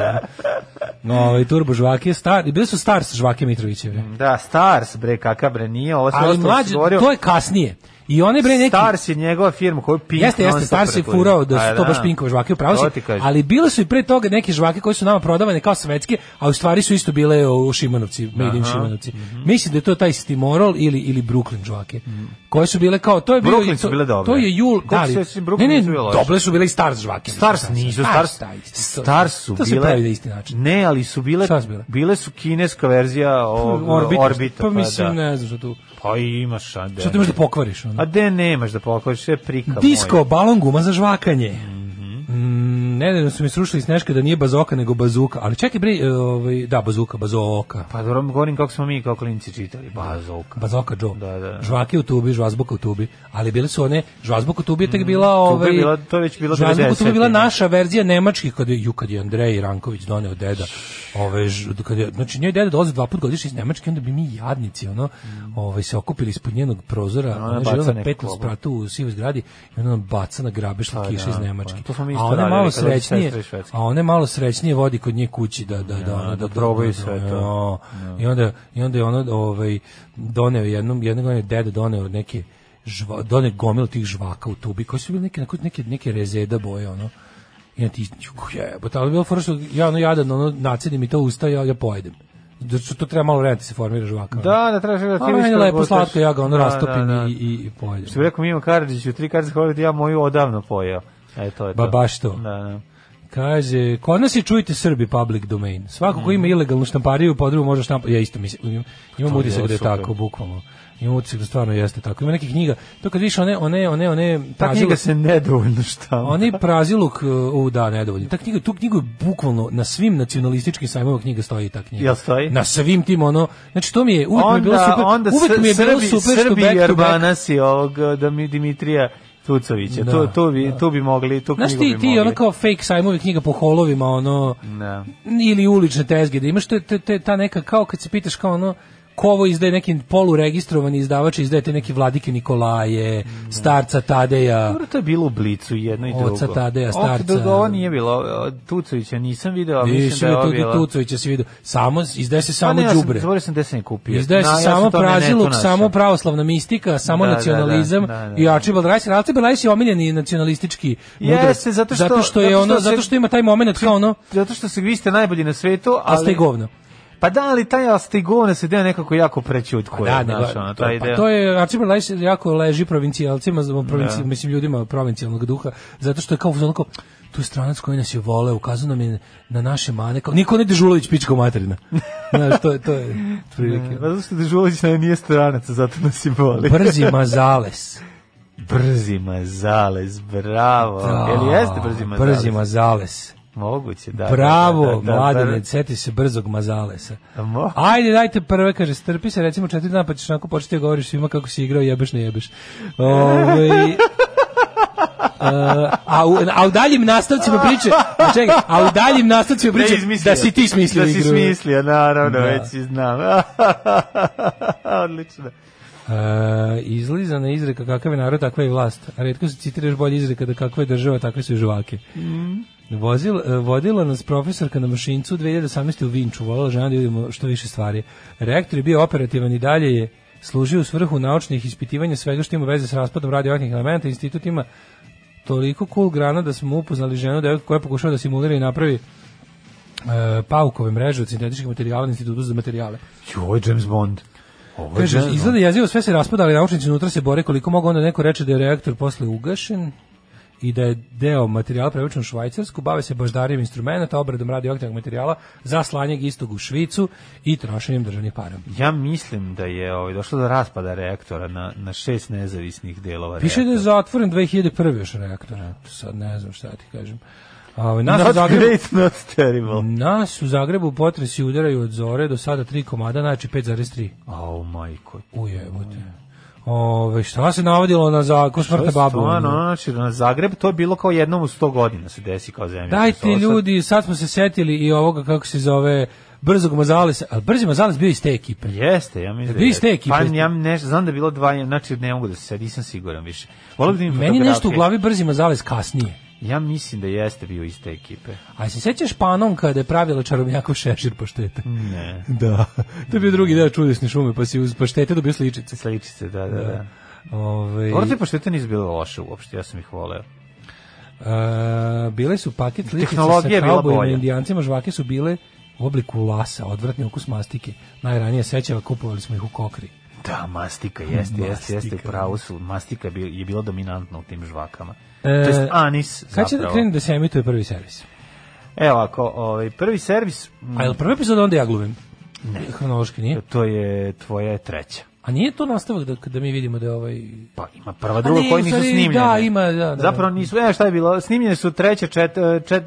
Speaker 6: No, ovaj Turbo žvake, star, i bili su stars žvake Mitrovićeve.
Speaker 7: Da, Stars, bre, kakav bre, nije, ovo se
Speaker 6: Ali
Speaker 7: ostalo
Speaker 6: mlađe,
Speaker 7: se govorio.
Speaker 6: to je kasnije. I one bre neki
Speaker 7: Stars je njegova firma koju Pink
Speaker 6: Jeste, jeste,
Speaker 7: non-stop
Speaker 6: Stars je
Speaker 7: reklamira.
Speaker 6: furao da su
Speaker 7: A,
Speaker 6: to baš pinkove žvake, upravo si,
Speaker 7: To ti kažem.
Speaker 6: ali bile su i pre toga neke žvake koje su nama prodavane kao svetske, a u stvari su isto bile u Šimanovci, made in Šimanovci.
Speaker 7: mhm.
Speaker 6: Mislim da je to taj Stimorol ili, ili Brooklyn žvake, koje su bile kao, to je bilo...
Speaker 7: Brooklyn su
Speaker 6: to-
Speaker 7: bile dobre.
Speaker 6: To je jul,
Speaker 7: Kako
Speaker 6: da li-
Speaker 7: se sjećam, Brooklyn
Speaker 6: ne, ne,
Speaker 7: su bile loše.
Speaker 6: dobre su bile i Stars žvake.
Speaker 7: Stars nisu,
Speaker 6: Pa,
Speaker 7: Stars,
Speaker 6: taj isti, to-
Speaker 7: Stars su
Speaker 6: To se
Speaker 7: bile...
Speaker 6: pravi na isti način.
Speaker 7: Ne, ali su bile,
Speaker 6: Šta su bile? Pa,
Speaker 7: bile su kineska verzija ovog
Speaker 6: Orbit,
Speaker 7: orbita. orbita
Speaker 6: pa mislim,
Speaker 7: da.
Speaker 6: ne znam što tu,
Speaker 7: Pa imaš, a de.
Speaker 6: što tu možeš da pokvariš. Ono.
Speaker 7: A de nemaš da pokoriš, sve prika
Speaker 6: Disko,
Speaker 7: moja.
Speaker 6: balon guma za žvakanje. Mm Nedavno su mi srušili s neške da nije bazoka nego bazuka, ali čekaj bre, e, ovaj, da, bazuka, bazoka.
Speaker 7: Pa dobro, govorim kako smo mi kao klinici čitali. Pa, Bazovka.
Speaker 6: Bazoka Joe.
Speaker 7: Da, da.
Speaker 6: Žvake u tubi, žvazbuka u tubi. Ali bile su one, žvazbuka u tubi je tek bila... ovaj,
Speaker 7: bila- to Mm, je već bilo
Speaker 6: Žvazbuka u tubi je bila
Speaker 7: 90-te.
Speaker 6: naša verzija nemačkih, kad je, ju, kad je Andrej Ranković doneo deda. Ove, ž, kad je, znači, njoj deda dolazi dva put godišnje iz Nemačke, onda bi mi jadnici, ono, ovaj, se okupili ispod njenog prozora,
Speaker 7: Mm. Ona
Speaker 6: ona je
Speaker 7: baca
Speaker 6: živjela na
Speaker 7: neku
Speaker 6: petom
Speaker 7: klobu.
Speaker 6: spratu u sivoj zgradi i ona nam baca na grabiš kiša iz
Speaker 7: da,
Speaker 6: Nemačke.
Speaker 7: pa, to smo mi
Speaker 6: a
Speaker 7: isto
Speaker 6: ona
Speaker 7: radili
Speaker 6: malo
Speaker 7: kad dođe
Speaker 6: srećnije,
Speaker 7: sestra iz Švedske.
Speaker 6: a one malo srećnije vodi kod nje kući da da da ono,
Speaker 7: da probaju
Speaker 6: da-
Speaker 7: sve
Speaker 6: da-
Speaker 7: to.
Speaker 6: o, I onda i onda je ono ovaj doneo jednom jednog godine deda doneo neke žva, doneo gomilu tih žvaka u tubi koji su bili neke neke neke, neke rezeda boje ono. I onda ti jebote, ali bilo fora što ja ono jadan ono nacedim i to usta ja ja pojedem. Da su to treba malo vremena da ti se formira žvaka. ono.
Speaker 7: Da, da, trebaš da ti
Speaker 6: A meni je
Speaker 7: vidiš
Speaker 6: lepo
Speaker 7: kako
Speaker 6: slatko, ja ga ono
Speaker 7: Da,
Speaker 6: rastopim
Speaker 7: da, da.
Speaker 6: i, i, i pojedem.
Speaker 7: Što bi rekao Mimo Karadžiću, tri kartice hvala da ja moju odavno pojeo. E, to je to.
Speaker 6: Ba, baš to.
Speaker 7: Da, da.
Speaker 6: Kaže, kod nas je čujte Srbi public
Speaker 7: Mm.
Speaker 6: domain. Svako ko ima ilegalnu štampariju u podrumu može štampati. Ja isto mislim, imam, imam utisak da je
Speaker 7: super.
Speaker 6: tako, bukvalno. Ima utisak da stvarno jeste tako. Ima nekih knjiga, to kad vidiš one, one, one, one,
Speaker 7: Ta
Speaker 6: praziluk-
Speaker 7: knjiga se nedovoljno štala.
Speaker 6: Oni praziluk, u da, nedovoljno. Ta knjiga, tu knjigu je bukvalno na svim nacionalističkim sajmovima knjiga stoji ta knjiga.
Speaker 7: Jel stoji?
Speaker 6: Na svim tim ono, znači to mi je uvek mi je bilo
Speaker 7: Onda-
Speaker 6: super.
Speaker 7: onda
Speaker 6: uvek
Speaker 7: Sr-
Speaker 6: mi je bilo
Speaker 7: Srbi-
Speaker 6: super što
Speaker 7: Srbi
Speaker 6: back
Speaker 7: i
Speaker 6: to back
Speaker 7: Arbanas i ovog eh, Dami- Dimitrija Tucovića.
Speaker 6: Da,
Speaker 7: to, to, bi,
Speaker 6: da.
Speaker 7: to bi mogli, tu
Speaker 6: Znaš
Speaker 7: knjigu
Speaker 6: ti,
Speaker 7: bi
Speaker 6: ti ono
Speaker 7: mogli.
Speaker 6: kao fake sajmovi knjiga po holovima, ono,
Speaker 7: Da.
Speaker 6: ili ulične tezge, da imaš te, te, te, ta neka, kao kad se pitaš kao ono, ko ovo izdaje neki poluregistrovani izdavač, izdaje te neki Vladike Nikolaje,
Speaker 7: Mm.
Speaker 6: starca Tadeja.
Speaker 7: Dobro, to je bilo u Blicu jedno i drugo.
Speaker 6: Oca Tadeja,
Speaker 7: Ok,
Speaker 6: starca.
Speaker 7: dok ovo nije bilo, o, Tucovića nisam video, a mislim
Speaker 6: Više
Speaker 7: da je
Speaker 6: mi
Speaker 7: ovo
Speaker 6: tu
Speaker 7: bilo.
Speaker 6: Tucovića se vidio. Samo, izdaje se samo
Speaker 7: ne, ja sam-
Speaker 6: đubre.
Speaker 7: Zaboravio sam gde sam je kupio.
Speaker 6: Izdaje se
Speaker 7: Na, ja sam
Speaker 6: samo
Speaker 7: to na netu
Speaker 6: praziluk,
Speaker 7: našao.
Speaker 6: samo pravoslavna mistika, samo
Speaker 7: Da, da, da,
Speaker 6: nacionalizam
Speaker 7: da, da, da.
Speaker 6: i Archibald Rice. Ali Archibald Rice je omiljeni nacionalistički mudrac.
Speaker 7: Jeste, zato što-
Speaker 6: zato što, je
Speaker 7: zato što
Speaker 6: ono,
Speaker 7: se-
Speaker 6: zato što ima taj moment kao ono,
Speaker 7: Zato što se vi ste najbolji na svetu,
Speaker 6: a
Speaker 7: ali...
Speaker 6: ste govno.
Speaker 7: Pa da, ali taj Astigovna se deo nekako jako prećutkuje.
Speaker 6: Da,
Speaker 7: znaš,
Speaker 6: nego,
Speaker 7: ono,
Speaker 6: to,
Speaker 7: taj
Speaker 6: pa
Speaker 7: deo. Da.
Speaker 6: to je Archibald Rice jako leži provincijalcima, za- provinci, mislim ljudima provincijalnog duha, zato što je kao onako tu je stranac koji nas je vole, ukazao nam je na naše mane, kao Nikola Dežulović pičko materina. Znaš, to, je- to je otprilike.
Speaker 7: Pa Zato što Dežulović nam nije stranac, zato nas i voli.
Speaker 6: Brzi mazales.
Speaker 7: Brzi mazales, bravo.
Speaker 6: Da,
Speaker 7: Jel jeste brzi mazales?
Speaker 6: Brzi mazales.
Speaker 7: Moguće, da.
Speaker 6: Bravo,
Speaker 7: da, da, da,
Speaker 6: mladine,
Speaker 7: br-
Speaker 6: seti se brzog mazalesa.
Speaker 7: Mo-
Speaker 6: Ajde, dajte prve, kaže, strpi se, recimo četiri dana, pa ćeš onako početi da govoriš svima kako si igrao, jebeš, ne jebeš. Ovaj, e, a, u, a u daljim nastavcima priče, a čekaj, a u daljim nastavcima
Speaker 7: Ne,
Speaker 6: priče
Speaker 7: izmislio.
Speaker 6: da si ti smislio
Speaker 7: Da si
Speaker 6: igru.
Speaker 7: smislio, naravno,
Speaker 6: Da.
Speaker 7: već i znam. Odlično.
Speaker 6: E, izlizana izreka kakva je narod, takva je i vlast. A redko se citiraš bolje izreka da kakva je država, takve su i žvake. Vozil, e, vodila nas profesorka na mašincu u 2018. u Vinču. Volala žena da vidimo što više stvari. Reaktor je bio operativan i dalje je služio u svrhu naučnih ispitivanja svega što ima veze sa raspadom radioaktivnih elementa. Institut ima toliko cool grana da smo upoznali ženu devojku koja je pokušava da simulira i napravi e, paukove mreže od sintetičkih materijala na institutu za materijale.
Speaker 7: Ju, ovo je James Bond. Ovo je
Speaker 6: Kaže,
Speaker 7: James Bond.
Speaker 6: izgleda jezivo, sve se raspada, ali naučnici unutra se bore koliko mogu, onda neko reče da je reaktor posle ugašen i da je deo materijala prevučen u Švajcarsku, bave se baždarijom instrumenta, obradom radioaktivnog materijala za slanje istog u Švicu i trošenjem državnih para.
Speaker 7: Ja mislim da je ovaj, došlo do raspada reaktora na, na šest nezavisnih delova
Speaker 6: Piše da je
Speaker 7: reaktora.
Speaker 6: zatvoren 2001. još reaktor, eto, sad ne znam šta ti kažem. A, da nas, u
Speaker 7: Not
Speaker 6: Zagrebu,
Speaker 7: great, not terrible.
Speaker 6: nas u Zagrebu potresi udaraju od zore do sada tri komada, znači 5,3.
Speaker 7: Oh, majko.
Speaker 6: Ujebote. Ove, šta se navodilo na zakon smrta babu?
Speaker 7: Stvarno, ono, znači, na Zagreb to je bilo kao jednom u 100 godina se desi kao zemlja.
Speaker 6: Dajte ljudi, sad smo se setili i ovoga kako se zove brzog Mazalesa, ali brzi Mazales bio iz te ekipe.
Speaker 7: Pa Jeste, ja mislim.
Speaker 6: Jel E, vi iz te
Speaker 7: je.
Speaker 6: ekipe?
Speaker 7: Pa ja nešto, znam da je bilo dva, znači ne mogu da se sad, nisam siguran više. Volio bi da imam
Speaker 6: Meni nešto u
Speaker 7: fotografije.
Speaker 6: glavi brzi Mazales kasnije.
Speaker 7: Ja mislim da jeste bio iz te ekipe.
Speaker 6: A se sećaš panom kada je pravila čarobnjakov šešir paštete?
Speaker 7: Ne.
Speaker 6: Da. To je bio drugi deo čudesne šume, pa si uz paštete dobio sličice. Ovaj,
Speaker 7: Sličice, da, da, da.
Speaker 6: Ove,
Speaker 7: Ovo te poštete nisu bile loše uopšte, ja sam ih voleo.
Speaker 6: a, bile su paket sličice sa
Speaker 7: Tehnologija je bila
Speaker 6: kaubojima i
Speaker 7: bolja.
Speaker 6: indijancima, žvake su bile u obliku lasa, odvratni ukus mastike. Najranije sećava kupovali smo ih u kokri.
Speaker 7: Da, mastika, jeste, jeste, jeste,
Speaker 6: Mastika.
Speaker 7: pravo su. Mastika je, bil- je bila dominantna u tim žvakama.
Speaker 6: E,
Speaker 7: to jest anis,
Speaker 6: Kad da- će da
Speaker 7: zapravo.
Speaker 6: krenu da se emituje prvi servis?
Speaker 7: Evo, ako, ovaj, prvi servis, m,
Speaker 6: A je li prvi epizod onda ja glumim? Ne. Hronološki nije.
Speaker 7: to je tvoja treća.
Speaker 6: A nije to nastavak da, da mi vidimo da je ovaj...
Speaker 7: Pa ima prva, druga,
Speaker 6: ne,
Speaker 7: koji
Speaker 6: u
Speaker 7: nisu
Speaker 6: stvari,
Speaker 7: snimljene.
Speaker 6: da, ima, da, da.
Speaker 7: Zapravo nisu, e, šta je bilo, snimljene su treće, čet, e, čet,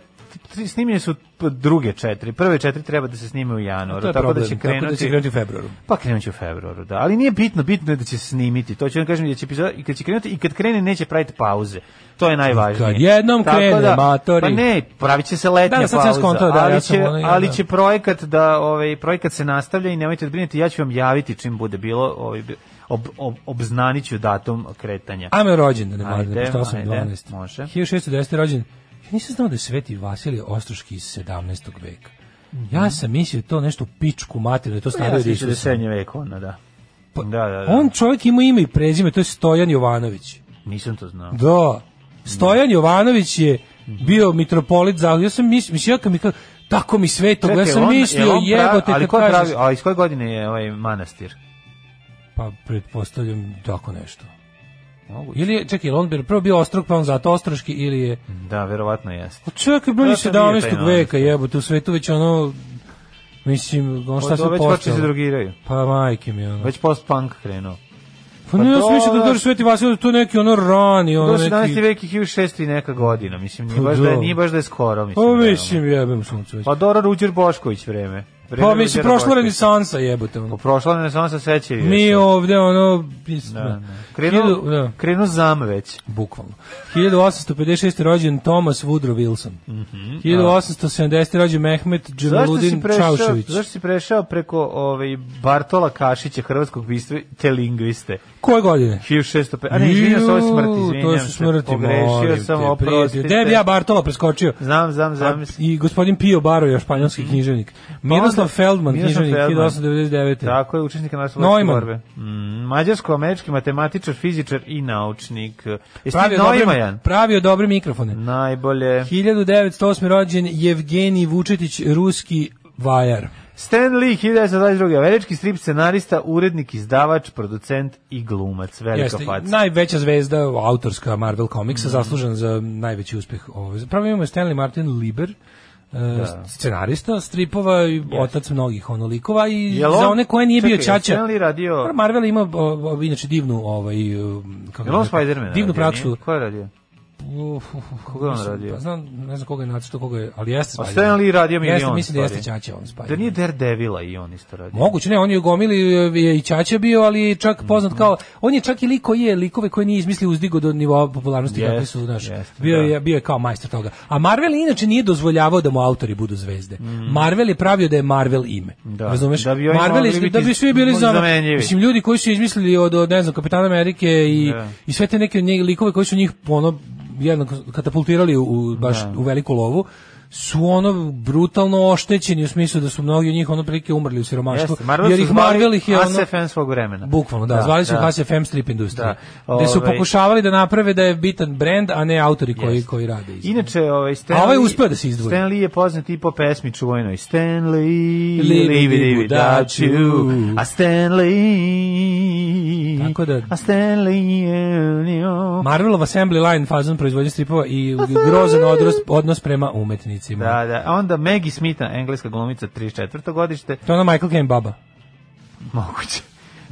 Speaker 7: tri- snimljene su p- druge četiri. Prve četiri treba da se snime u januaru,
Speaker 6: To je
Speaker 7: tako
Speaker 6: problem,
Speaker 7: da će
Speaker 6: tako da će krenuti u februaru.
Speaker 7: Pa krenut će u februaru, da. Ali nije bitno, bitno je da će se snimiti. To ću vam kažem da će epizoda, i kad će krenuti, i kad krene neće praviti pauze. To je najvažnije.
Speaker 6: Kad jednom
Speaker 7: Tako
Speaker 6: krene,
Speaker 7: da-
Speaker 6: matori.
Speaker 7: Pa ne, pravit će se letnja
Speaker 6: Da, da, sad sam ja
Speaker 7: pauza.
Speaker 6: skontao, da,
Speaker 7: ali,
Speaker 6: ja sam
Speaker 7: će,
Speaker 6: ono,
Speaker 7: ali
Speaker 6: da.
Speaker 7: će projekat da, ovaj, projekat se nastavlja i nemojte da brinete, ja ću vam javiti čim bude bilo, ovaj, ob, ob, obznanit ću datum kretanja.
Speaker 6: Ajme rođen, da ne mladim,
Speaker 7: Ajde,
Speaker 6: pošto
Speaker 7: ajde,
Speaker 6: 8.12.
Speaker 7: može.
Speaker 6: 1610. rođen. Ja nisam znao da je Sveti Vasilije Ostroški iz 17. veka.
Speaker 7: Mhm.
Speaker 6: Ja sam mislio da to nešto pičku mater, da je to
Speaker 7: Ja
Speaker 6: stavio
Speaker 7: sam
Speaker 6: da
Speaker 7: mislio da je srednje vek onda, da.
Speaker 6: Pa,
Speaker 7: da, da, da.
Speaker 6: On čovjek ima ime i prezime, to je Stojan Jovanović.
Speaker 7: Nisam to znao.
Speaker 6: Da.
Speaker 7: Mhm.
Speaker 6: Stojan Jovanović je bio mitropolit za... Ja sam mislio, mislim, ja kad mi kao, tako mi svetog, ja
Speaker 7: Čekaj,
Speaker 6: sam
Speaker 7: on- jel
Speaker 6: mislio,
Speaker 7: on pravi-
Speaker 6: jebote,
Speaker 7: ali
Speaker 6: kad
Speaker 7: ko je
Speaker 6: kažeš...
Speaker 7: pravi, a iz koje godine je ovaj manastir?
Speaker 6: Pa, pretpostavljam tako nešto.
Speaker 7: Moguće.
Speaker 6: Ili je, čekaj, jel on bi prvo bio ostrog, pa on zato ostroški, ili je...
Speaker 7: Da, verovatno jeste.
Speaker 6: Pa čekaj, bro,
Speaker 7: Da,
Speaker 6: je
Speaker 7: to nije
Speaker 6: 17.
Speaker 7: taj
Speaker 6: veka, jebote, u svetu već ono... Mislim, on šta
Speaker 7: Šta
Speaker 6: se
Speaker 7: se Pa već počeli se
Speaker 6: postao?
Speaker 7: drogiraju.
Speaker 6: Pa majke mi, ono.
Speaker 7: Već post-punk krenuo.
Speaker 6: Pa ne, ja sam mislio da Dor Sveti Vasil, to neki ono rani, ono
Speaker 7: Do 17.
Speaker 6: Pa neki...
Speaker 7: veki 1600 i neka godina, mislim, nije
Speaker 6: Pa
Speaker 7: baš da je,
Speaker 6: da.
Speaker 7: nije baš da je skoro, mislim.
Speaker 6: Pa
Speaker 7: da je ono.
Speaker 6: mislim, jebem suncu već.
Speaker 7: Pa Dora Ruđer Bošković vreme. vreme
Speaker 6: Pa mislim,
Speaker 7: Ruđera
Speaker 6: prošla
Speaker 7: Boškovića.
Speaker 6: renesansa jebote, ono.
Speaker 7: Prošla renesansa sećaju.
Speaker 6: Mi
Speaker 7: se.
Speaker 6: ovde, ono... Mislim,
Speaker 7: Da, da.
Speaker 6: Hiljadu-
Speaker 7: Krenu,
Speaker 6: da.
Speaker 7: krenu zam već.
Speaker 6: Bukvalno. 1856. rođen Thomas Woodrow Wilson. 1870. rođen Mehmet
Speaker 7: Mhm. Zašto si,
Speaker 6: Džemaludin
Speaker 7: prešao,
Speaker 6: Čaušević.
Speaker 7: zašto si prešao preko ovaj, Bartola Kašića, hrvatskog bistve, te lingviste?
Speaker 6: Koje godine?
Speaker 7: 1605. A ne, izvinjam se, ovo je smrt,
Speaker 6: Ju,
Speaker 7: izvinjam
Speaker 6: To su
Speaker 7: se.
Speaker 6: smrti,
Speaker 7: Pogrešio
Speaker 6: molim
Speaker 7: sam,
Speaker 6: te,
Speaker 7: oprostite.
Speaker 6: prijatelju. Gde bi ja Bartola preskočio?
Speaker 7: Znam, znam, znam.
Speaker 6: I gospodin Pio Baro, još španjolski književnik. Miroslav Feldman,
Speaker 7: Mhm. Pa Miroslav
Speaker 6: književnik,
Speaker 7: Feldman.
Speaker 6: 1899.
Speaker 7: Tako je, učesnik naslobodne
Speaker 6: Neumann.
Speaker 7: borbe. Mm, Mađarsko-američki matematičar, fizičar i naučnik. Jesi ti
Speaker 6: Pravio dobre,
Speaker 7: Neumann?
Speaker 6: pravio dobre mikrofone.
Speaker 7: Mhm. Najbolje.
Speaker 6: 1908. rođen Evgenij Vučetić, ruski vajar.
Speaker 7: Stan Lee, 1922. Američki strip scenarista, urednik, izdavač, producent i glumac. Velika
Speaker 6: Jeste,
Speaker 7: faca.
Speaker 6: najveća zvezda autorska Marvel Comicsa,
Speaker 7: Mhm.
Speaker 6: zaslužen za najveći uspeh. Ove. Zapravo imamo Stanley Martin Lieber, e,
Speaker 7: Da.
Speaker 6: scenarista stripova i otac mnogih ono likova i
Speaker 7: Jel
Speaker 6: za
Speaker 7: on-
Speaker 6: one koje nije bio
Speaker 7: čekaj,
Speaker 6: ćaća.
Speaker 7: Stan Lee radio-
Speaker 6: Pa, Marvel ima o, o, inače divnu ovaj e, kako
Speaker 7: Jel on
Speaker 6: bih rekao,
Speaker 7: Spider-Man?
Speaker 6: Divnu
Speaker 7: radio,
Speaker 6: praksu.
Speaker 7: nije? Ko je radio?
Speaker 6: Uf, uf, uf,
Speaker 7: Koga je on
Speaker 6: mislim,
Speaker 7: radio?
Speaker 6: Pa znam, ne znam koga je nacrto, koga je, ali jeste
Speaker 7: A
Speaker 6: Spider-Man.
Speaker 7: Stan Lee radio
Speaker 6: Jeste,
Speaker 7: milion
Speaker 6: mislim da jeste
Speaker 7: stvari.
Speaker 6: ćaća on Spider-Man.
Speaker 7: Da nije Daredevila i on isto radio.
Speaker 6: Moguće, ne, on je u gomili e, je i Ćaća bio, ali je čak poznat kao, on je čak i lik koji je likove koje nije izmislio uzdigo do nivoa popularnosti
Speaker 7: Jest,
Speaker 6: kakvi su, znaš,
Speaker 7: jeste,
Speaker 6: bio,
Speaker 7: da.
Speaker 6: je, bio je kao majstor toga. A Marvel inače nije dozvoljavao da mu autori budu zvezde. Marvel je pravio da je Marvel ime.
Speaker 7: Mm. Da.
Speaker 6: Razumeš?
Speaker 7: Da bi oni
Speaker 6: Marvel
Speaker 7: mogli
Speaker 6: je-
Speaker 7: biti
Speaker 6: da bi svi bili za-
Speaker 7: zamenjivi.
Speaker 6: Mislim, ljudi koji su izmislili od, od ne znam, Kapitana Amerike i,
Speaker 7: Da.
Speaker 6: i sve te neke nje- likove koji su njih ono, jednako katapultirali u, u- baš
Speaker 7: Da.
Speaker 6: u veliku lovu, su ono brutalno oštećeni u smislu da su mnogi od njih ono prilike umrli u siromaštvu
Speaker 7: Jeste, Marvel
Speaker 6: jer
Speaker 7: su
Speaker 6: ih
Speaker 7: zvali
Speaker 6: Marvel ih je ono
Speaker 7: ASFN svog vremena.
Speaker 6: bukvalno da, zvali su ih ASFM strip industrija
Speaker 7: Da,
Speaker 6: gde su
Speaker 7: ovaj-
Speaker 6: pokušavali da naprave da je bitan brend a ne autori koji
Speaker 7: Jeste.
Speaker 6: koji rade iz
Speaker 7: Inače, ovaj Stan
Speaker 6: A ovaj
Speaker 7: Lee-
Speaker 6: uspeo da se izdvoji.
Speaker 7: Stan Lee je poznat i po pesmi čuvenoj Stanley,
Speaker 6: Live
Speaker 7: live, live,
Speaker 6: it
Speaker 7: without
Speaker 6: without
Speaker 7: you,
Speaker 6: you.
Speaker 7: a Stanley,
Speaker 6: Tako da-
Speaker 7: a Stanley, you know.
Speaker 6: Marvelov assembly line fazon proizvodnje stripova i grozan odnos, odnos prema umetnicima
Speaker 7: Pa Da, da. A onda Maggie Smitha, engleska glumica 34. godište,
Speaker 6: to je ono Michael Caine baba
Speaker 7: moguće.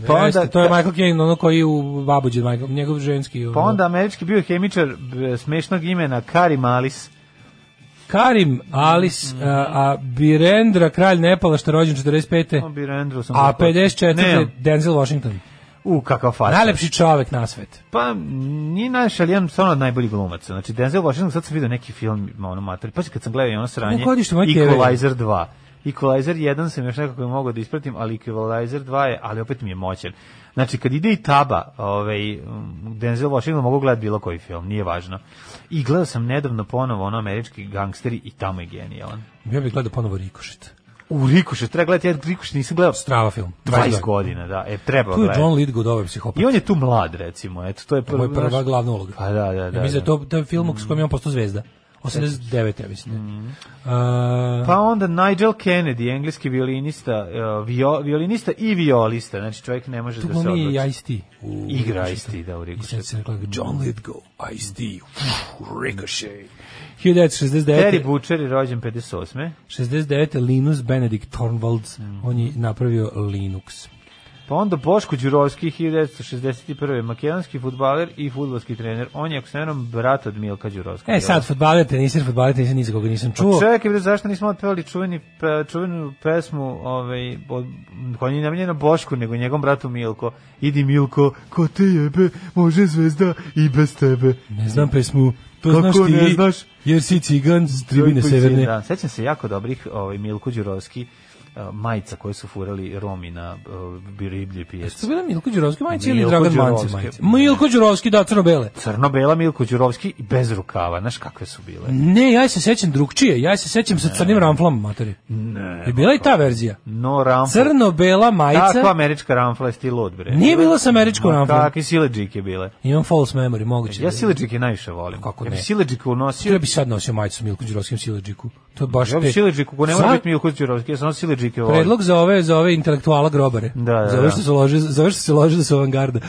Speaker 6: pa to je Michael Caine ono koji u babuđe Michael, njegov ženski ono.
Speaker 7: pa onda američki biohemičar b- smešnog imena Karim Alis.
Speaker 6: Karim Alis
Speaker 7: Mm.
Speaker 6: a, a Birendra kralj Nepala što je rođen
Speaker 7: Pa,
Speaker 6: 45. A 54.
Speaker 7: Ne,
Speaker 6: Denzel Washington.
Speaker 7: u, kakav faca.
Speaker 6: Najlepši čovek na svet.
Speaker 7: Pa, nije najviše, ali jedan stvarno od najboljih glumaca. Znači, Denzel Washington, sad sam vidio neki film, ima ono mater, pa kad sam gledao i ono sranje,
Speaker 6: Ne, godište moje keve.
Speaker 7: Equalizer 2. Equalizer 1 sam još nekako mogao da ispratim, ali Equalizer 2 je, ali opet mi je moćan. Znači, kad ide i taba, ovaj, mm, Denzel Washington mogu gledati bilo koji film, nije važno. I gledao sam nedavno ponovo ono američki gangsteri i tamo je genijalan.
Speaker 6: Ja bih gledao ponovo Rikošet.
Speaker 7: U Rikuše, treba gledati, ja Rikuše nisam gledao
Speaker 6: Strava film.
Speaker 7: 20 godina, da, e,
Speaker 6: Tu
Speaker 7: treba
Speaker 6: je
Speaker 7: gledati.
Speaker 6: John Lithgow dobar psihopat.
Speaker 7: I on je tu mlad, recimo, eto, to je prvo,
Speaker 6: Ovo je prva
Speaker 7: znaš-
Speaker 6: glavna uloga.
Speaker 7: Pa da, da, da.
Speaker 6: ja mislim
Speaker 7: da.
Speaker 6: da je to, to je film s kojim je on postao zvezda. 89. ja mislim. Mm. Uh,
Speaker 7: Pa onda Nigel Kennedy, engleski violinista, uh, vio, violinista i violista, znači čovjek ne može
Speaker 6: tu
Speaker 7: da se
Speaker 6: glumi
Speaker 7: odluči.
Speaker 6: i Ice-T. u
Speaker 7: Igra
Speaker 6: Rikošetu.
Speaker 7: isti, da, u
Speaker 6: I
Speaker 7: Rikušu.
Speaker 6: sad se rekla John Lithgow, Ice-T, Ricochet. 1969.
Speaker 7: Terry Butcher je rođen 58.
Speaker 6: 69. Linus Benedict Torvalds,
Speaker 7: Mm.
Speaker 6: on je napravio Linux.
Speaker 7: Pa onda Boško Đurovski, 1961. Makedonski futbaler i futbolski trener. On je, ako se ne varam, brat od Milka Đurovska.
Speaker 6: E sad, fudbaler, tenisir, fudbaler, tenisir, nisam koga nisam čuo.
Speaker 7: Čovjek je bilo zašto nismo otpevali čuveni, pe, čuvenu pesmu ovaj, od, koja nije namenjena Bošku, nego njegovom bratu Milko. Idi Milko, ko te jebe, može zvezda i bez tebe.
Speaker 6: Ne znam pesmu, to
Speaker 7: Kako
Speaker 6: znaš ti,
Speaker 7: ne znaš?
Speaker 6: jer si cigan s tribine
Speaker 7: Koji- koji-
Speaker 6: severne.
Speaker 7: Da, sećam se jako dobrih ovaj, Milko Đurovski eh, majica koje su furali Romi na uh, Biriblje
Speaker 6: Su
Speaker 7: pijacu.
Speaker 6: bile Milko Đurovski majice ili
Speaker 7: Milko
Speaker 6: Dragan Mance
Speaker 7: Đurovski.
Speaker 6: majice? Milko Đurovski, da, crno-bele.
Speaker 7: Crno-bela Milko Đurovski i bez rukava, znaš kakve su bile.
Speaker 6: Ne, ja se sećam drugčije, ja se sećam sa crnim ramflom, materi.
Speaker 7: Ne.
Speaker 6: Je bila i ta verzija?
Speaker 7: No rampa.
Speaker 6: Crno-bela
Speaker 7: Takva
Speaker 6: majica,
Speaker 7: američka ramfla je stil od bre.
Speaker 6: Nije bila sa američkom
Speaker 7: Ma,
Speaker 6: ramflom.
Speaker 7: Kakvi sileđik je bile.
Speaker 6: imam false memory, moguće.
Speaker 7: E, Ja
Speaker 6: da-
Speaker 7: sileđik je najviše volim.
Speaker 6: Kako
Speaker 7: Ja bi
Speaker 6: ne?
Speaker 7: sileđika unosio.
Speaker 6: Ja bi sad nosio majicu s Milko Đurovskim Sileđiku. To je baš
Speaker 7: Ja bi
Speaker 6: te-
Speaker 7: sileđiku, ko ne
Speaker 6: Sva-
Speaker 7: mora biti Milko Đurovski, ja sam sileđike volim.
Speaker 6: Predlog za ove za ove intelektuala grobare.
Speaker 7: Da, da,
Speaker 6: za
Speaker 7: da.
Speaker 6: ove što se lože, za ove što se lože da su avangarda.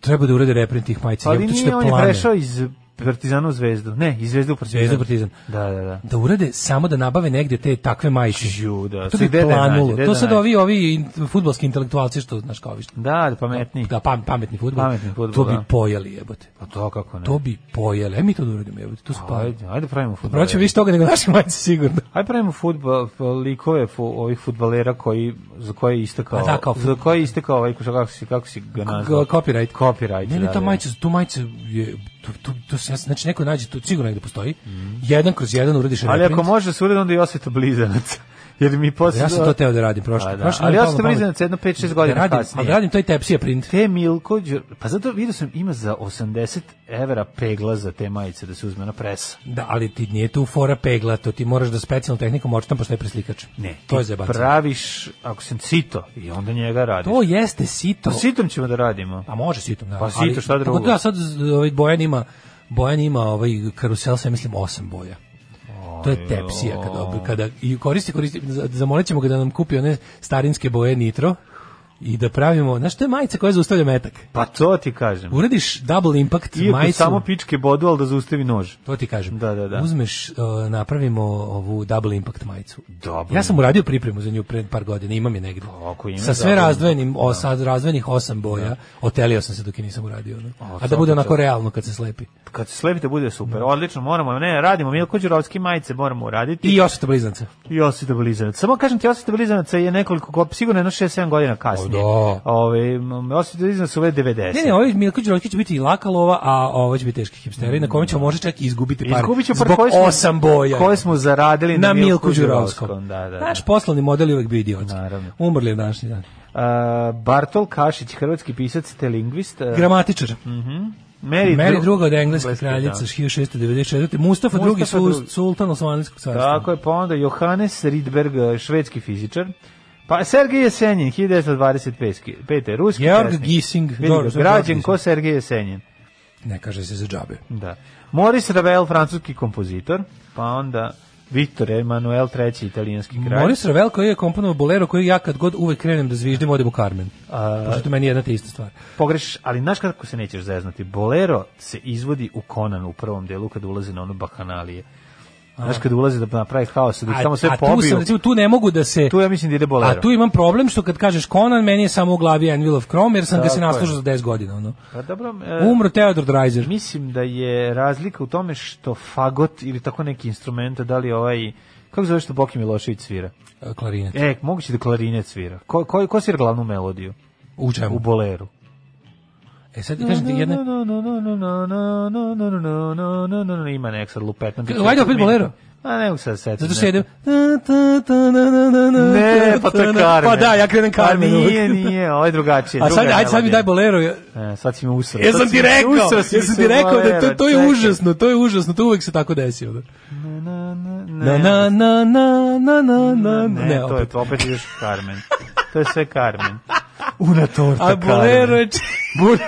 Speaker 6: Treba da urede reprint tih majica.
Speaker 7: Ali
Speaker 6: jebote, će
Speaker 7: Pa nije,
Speaker 6: da
Speaker 7: on je
Speaker 6: plane.
Speaker 7: prešao iz Partizanu zvezdu. Ne, i zvezdu u Partizanu.
Speaker 6: Zvezdu u Partizan.
Speaker 7: Da, da, da.
Speaker 6: da urade samo da nabave negde te takve majice.
Speaker 7: Ju, da.
Speaker 6: To
Speaker 7: Sve
Speaker 6: bi
Speaker 7: gde da je
Speaker 6: planulo.
Speaker 7: nađe, gde
Speaker 6: to
Speaker 7: da
Speaker 6: sad
Speaker 7: nađe.
Speaker 6: ovi, ovi in- futbolski intelektualci što, znaš, kao ovi što-
Speaker 7: Da, da pametni.
Speaker 6: Da, pam, pametni futbol.
Speaker 7: Pametni fudbal,
Speaker 6: To bi
Speaker 7: da.
Speaker 6: pojeli, jebote.
Speaker 7: Pa to kako ne.
Speaker 6: To bi pojeli. E, mi to da uradimo, jebote. To su
Speaker 7: Pa,
Speaker 6: pali.
Speaker 7: ajde, ajde pravimo fudbal.
Speaker 6: Proćemo više toga nego naše majice sigurno.
Speaker 7: Ajde da pravimo fudbal likove fu, ovih fudbalera koji za koje je istekao.
Speaker 6: A da, kao
Speaker 7: za
Speaker 6: fudbal.
Speaker 7: koje je istekao ovaj kuša kako si kako si ga nazvao.
Speaker 6: K- copyright.
Speaker 7: Copyright.
Speaker 6: Ne,
Speaker 7: da,
Speaker 6: ne, ta
Speaker 7: da.
Speaker 6: majica, tu majica je, to, to, to, se- znači neko nađe, to sigurno negde postoji, jedan kroz jedan uradiš
Speaker 7: Mhm. Ali ako
Speaker 6: reprint.
Speaker 7: može se uredi onda i osveta blizanac. Jer mi posle
Speaker 6: Ja sam to teo da radim prošle.
Speaker 7: Pa da,
Speaker 6: prošle
Speaker 7: ali
Speaker 6: mi je
Speaker 7: ja
Speaker 6: palo
Speaker 7: sam
Speaker 6: na pamet.
Speaker 7: blizanac jedno 5-6 godina
Speaker 6: da radim,
Speaker 7: kasnije.
Speaker 6: Ali radim taj tepsija print.
Speaker 7: Te Milko, Đur- pa zato vidio sam ima za 80 evra pegla za te majice da se uzme na presa.
Speaker 6: Da, ali ti nije tu fora pegla, to ti moraš da specijalnom tehnikom očitam pošto je preslikač.
Speaker 7: Ne,
Speaker 6: to je
Speaker 7: ti
Speaker 6: zabacano.
Speaker 7: Praviš, ako sam cito, i onda njega radiš.
Speaker 6: To jeste sito.
Speaker 7: Pa sitom ćemo da radimo.
Speaker 6: A može sitom, da.
Speaker 7: Pa sito, šta drugo?
Speaker 6: Da, sad z- ovaj Bojan ima, Bojan ima ovaj karusel, sa mislim, osam boja. To je tepsija kada, ob- kada i koristi, koristi, za- zamolit ćemo ga da nam kupi one starinske boje nitro i da pravimo, znaš, to je majica koja zaustavlja metak.
Speaker 7: Pa to ti kažem.
Speaker 6: Uradiš double impact
Speaker 7: Iako
Speaker 6: majicu.
Speaker 7: samo pičke bodu, ali da zaustavi nož.
Speaker 6: To ti kažem.
Speaker 7: Da, da, da.
Speaker 6: Uzmeš, uh, napravimo ovu double impact majicu.
Speaker 7: Double
Speaker 6: Ja sam uradio pripremu za nju pred par godina, imam je negde.
Speaker 7: ako ima
Speaker 6: sa sve
Speaker 7: double
Speaker 6: razdvojenim, o, sa razdvojenih osam boja, otelio sam se dok je nisam uradio. no. Da. A da bude onako realno kad se slepi.
Speaker 7: Kad se slepite, bude super. Odlično, moramo, ne, radimo. Milko Đurovski majice moramo uraditi.
Speaker 6: I osveta blizanca.
Speaker 7: I Osveta Blizanac. Samo kažem ti, Osveta Blizanaca je nekoliko, go- sigurno jedno 6-7 godina kasnije.
Speaker 6: O, da.
Speaker 7: Ove, m, Osveta Blizanac su ove 90.
Speaker 6: Ne, ne, ovaj Milko Đorđević će biti i laka lova, a ovo će biti teški hipsteri, na kome ćemo možda čak i izgubiti Da. par.
Speaker 7: Izgubit ću par
Speaker 6: zbog
Speaker 7: koje smo-
Speaker 6: osam boja.
Speaker 7: koje smo zaradili
Speaker 6: na,
Speaker 7: na
Speaker 6: Milku
Speaker 7: Milku
Speaker 6: Đurovskom.
Speaker 7: Đurovskom, da, da, da.
Speaker 6: Naš poslovni model je uvek bio idiotski.
Speaker 7: Naravno.
Speaker 6: Umrli je današnji dan.
Speaker 7: A, Bartol Kašić, hrvatski pisac te lingvist. a,
Speaker 6: Gramatičar.
Speaker 7: Mary,
Speaker 6: Meri
Speaker 7: Dru-
Speaker 6: druga od Da. engleske
Speaker 7: Engleske,
Speaker 6: kraljice
Speaker 7: da.
Speaker 6: 1694. Mustafa, drugi
Speaker 7: Mustafa
Speaker 6: su
Speaker 7: drugi.
Speaker 6: sultan Osmanlijskog carstva.
Speaker 7: Tako je, pa onda Johannes Rydberg, e, švedski fizičar. Pa Sergej Jesenjin, 1925. Pete, ruski
Speaker 6: Georg
Speaker 7: pesnik.
Speaker 6: Gissing,
Speaker 7: Vidi ga,
Speaker 6: dobro, za
Speaker 7: Građen
Speaker 6: Georg
Speaker 7: ko Sergej Jesenjin.
Speaker 6: Ne kaže se za džabe.
Speaker 7: Da. Maurice Ravel, francuski kompozitor. Pa onda Viktor Emanuel III, italijanski kralj.
Speaker 6: Maurice Ravel koji da je komponovao bolero koji ja kad god uvek krenem da zviždim odem u Carmen.
Speaker 7: A-
Speaker 6: Pošto je to meni jedna te ista stvar.
Speaker 7: Pogreš, ali znaš kako se nećeš zeznati? Bolero se izvodi u Konanu u prvom delu kad ulazi na ono bakanalije. Znaš, kad ulazi da napravi haos, da ih samo sve
Speaker 6: a tu sam,
Speaker 7: pobiju.
Speaker 6: recimo, tu ne mogu da se...
Speaker 7: Tu ja mislim da ide bolero.
Speaker 6: A tu imam problem što kad kažeš Conan, meni je samo u glavi Anvil of Chrome, jer sam ga se
Speaker 7: Tako je.
Speaker 6: naslužao za 10 godina. Ono.
Speaker 7: Pa dobro, e,
Speaker 6: Umro Theodor Dreiser.
Speaker 7: Mislim da je razlika u tome što fagot ili tako neki instrument, da li ovaj kako zove što Boki Milošević svira?
Speaker 6: e, Klarinet.
Speaker 7: E, moguće da klarinet svira. Ko, ko, ko svira glavnu melodiju?
Speaker 6: U
Speaker 7: U
Speaker 6: čemu?
Speaker 7: boleru.
Speaker 6: E sad ti kažem ti jedna...
Speaker 7: Ima nek sad lupetno.
Speaker 6: Ajde opet bolero.
Speaker 7: A ne mogu sad setim.
Speaker 6: Zato što idem... ta, ta, ta, na, na, na, na,
Speaker 7: Ne, pa to je
Speaker 6: ta, na.
Speaker 7: Carmen.
Speaker 6: Pa da, ja krenem Carmen.
Speaker 7: Pa
Speaker 6: uvek.
Speaker 7: nije, nije, ovo je drugačije.
Speaker 6: A sad,
Speaker 7: druga
Speaker 6: ajde, sad mi
Speaker 7: melodija.
Speaker 6: daj bolero. Ja
Speaker 7: E, sad si mi usrao.
Speaker 6: ja sam
Speaker 7: Sad si
Speaker 6: ti
Speaker 7: mi-
Speaker 6: rekao,
Speaker 7: usrao
Speaker 6: ja
Speaker 7: si mi
Speaker 6: sam
Speaker 7: sa
Speaker 6: ti rekao da to,
Speaker 7: bolera,
Speaker 6: to je
Speaker 7: čekaj.
Speaker 6: užasno, to je užasno, to uvek se tako desi. Da.
Speaker 7: Na, na,
Speaker 6: Na, na, na, na, na, na, na,
Speaker 7: Ne,
Speaker 6: ne,
Speaker 7: to je
Speaker 6: opet.
Speaker 7: to, opet ideš u Carmen. To je sve Carmen. Una torta
Speaker 6: A bolero je...
Speaker 7: Bur...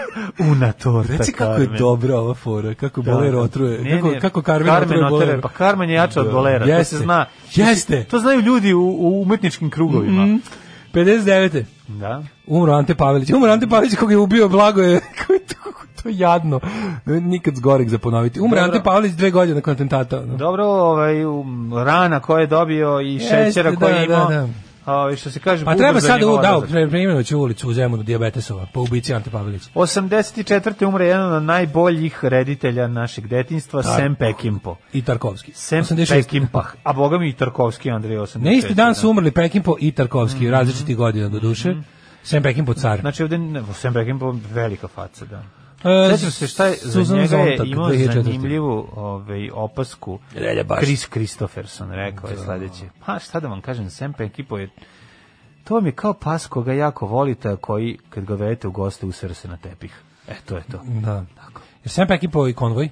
Speaker 7: Una torta
Speaker 6: Reci kako je
Speaker 7: Carmen.
Speaker 6: dobra ova fora, kako
Speaker 7: Da,
Speaker 6: bolero otruje,
Speaker 7: Ne,
Speaker 6: kako,
Speaker 7: ne,
Speaker 6: kako Carmen, otruje
Speaker 7: otruje,
Speaker 6: bolero. Da.
Speaker 7: Pa Carmen je jača od bolera, to
Speaker 6: Jeste.
Speaker 7: se zna.
Speaker 6: Jeste.
Speaker 7: To znaju ljudi u, u umetničkim krugovima.
Speaker 6: Mhm. 59.
Speaker 7: Da.
Speaker 6: Umro Ante Pavelić. Umro Ante Pavelić koga je ubio blago je kako je to, kako je to jadno. Nikad zgorek za ponoviti. Umro
Speaker 7: Dobro.
Speaker 6: Ante Pavelić dve godine nakon atentata. ono.
Speaker 7: Dobro, ovaj, um, rana koje je dobio i
Speaker 6: Jeste,
Speaker 7: šećera koje
Speaker 6: da,
Speaker 7: je imao.
Speaker 6: da,
Speaker 7: ovaj, što se kaže,
Speaker 6: Pa
Speaker 7: bubu
Speaker 6: treba
Speaker 7: za
Speaker 6: sad
Speaker 7: njegov
Speaker 6: u, da,
Speaker 7: odlazak.
Speaker 6: primjeno ću ulicu u Zemunu Diabetesova, po ubici Ante Pavelić.
Speaker 7: 84. umre jedan od najboljih reditelja našeg detinjstva, Sam Peckinpah.
Speaker 6: I Tarkovski.
Speaker 7: Sam
Speaker 6: 86.
Speaker 7: Peckinpah, a boga mi i Tarkovski Andrej da. 86.
Speaker 6: Na Pa, isti dan su umrli Pekinpo i Tarkovski,
Speaker 7: Mhm.
Speaker 6: različitih godina do duše. Sam Pekinpo car.
Speaker 7: Znači ovde, ne, Sam Peckinpah, velika faca, da.
Speaker 6: E,
Speaker 7: Sećam se šta je, za
Speaker 6: Susan
Speaker 7: njega je
Speaker 6: Sontag,
Speaker 7: imao
Speaker 6: 2004..
Speaker 7: zanimljivu ovaj, opasku Chris Christopherson, rekao je sledeće. Pa šta da vam kažem, Sam Peckinpah je To vam je kao pas koga jako volite, a koji, kad ga vedete u goste, usere se na tepih. E, to je to.
Speaker 6: Da. Jer Sam Pekinpo i konvoj.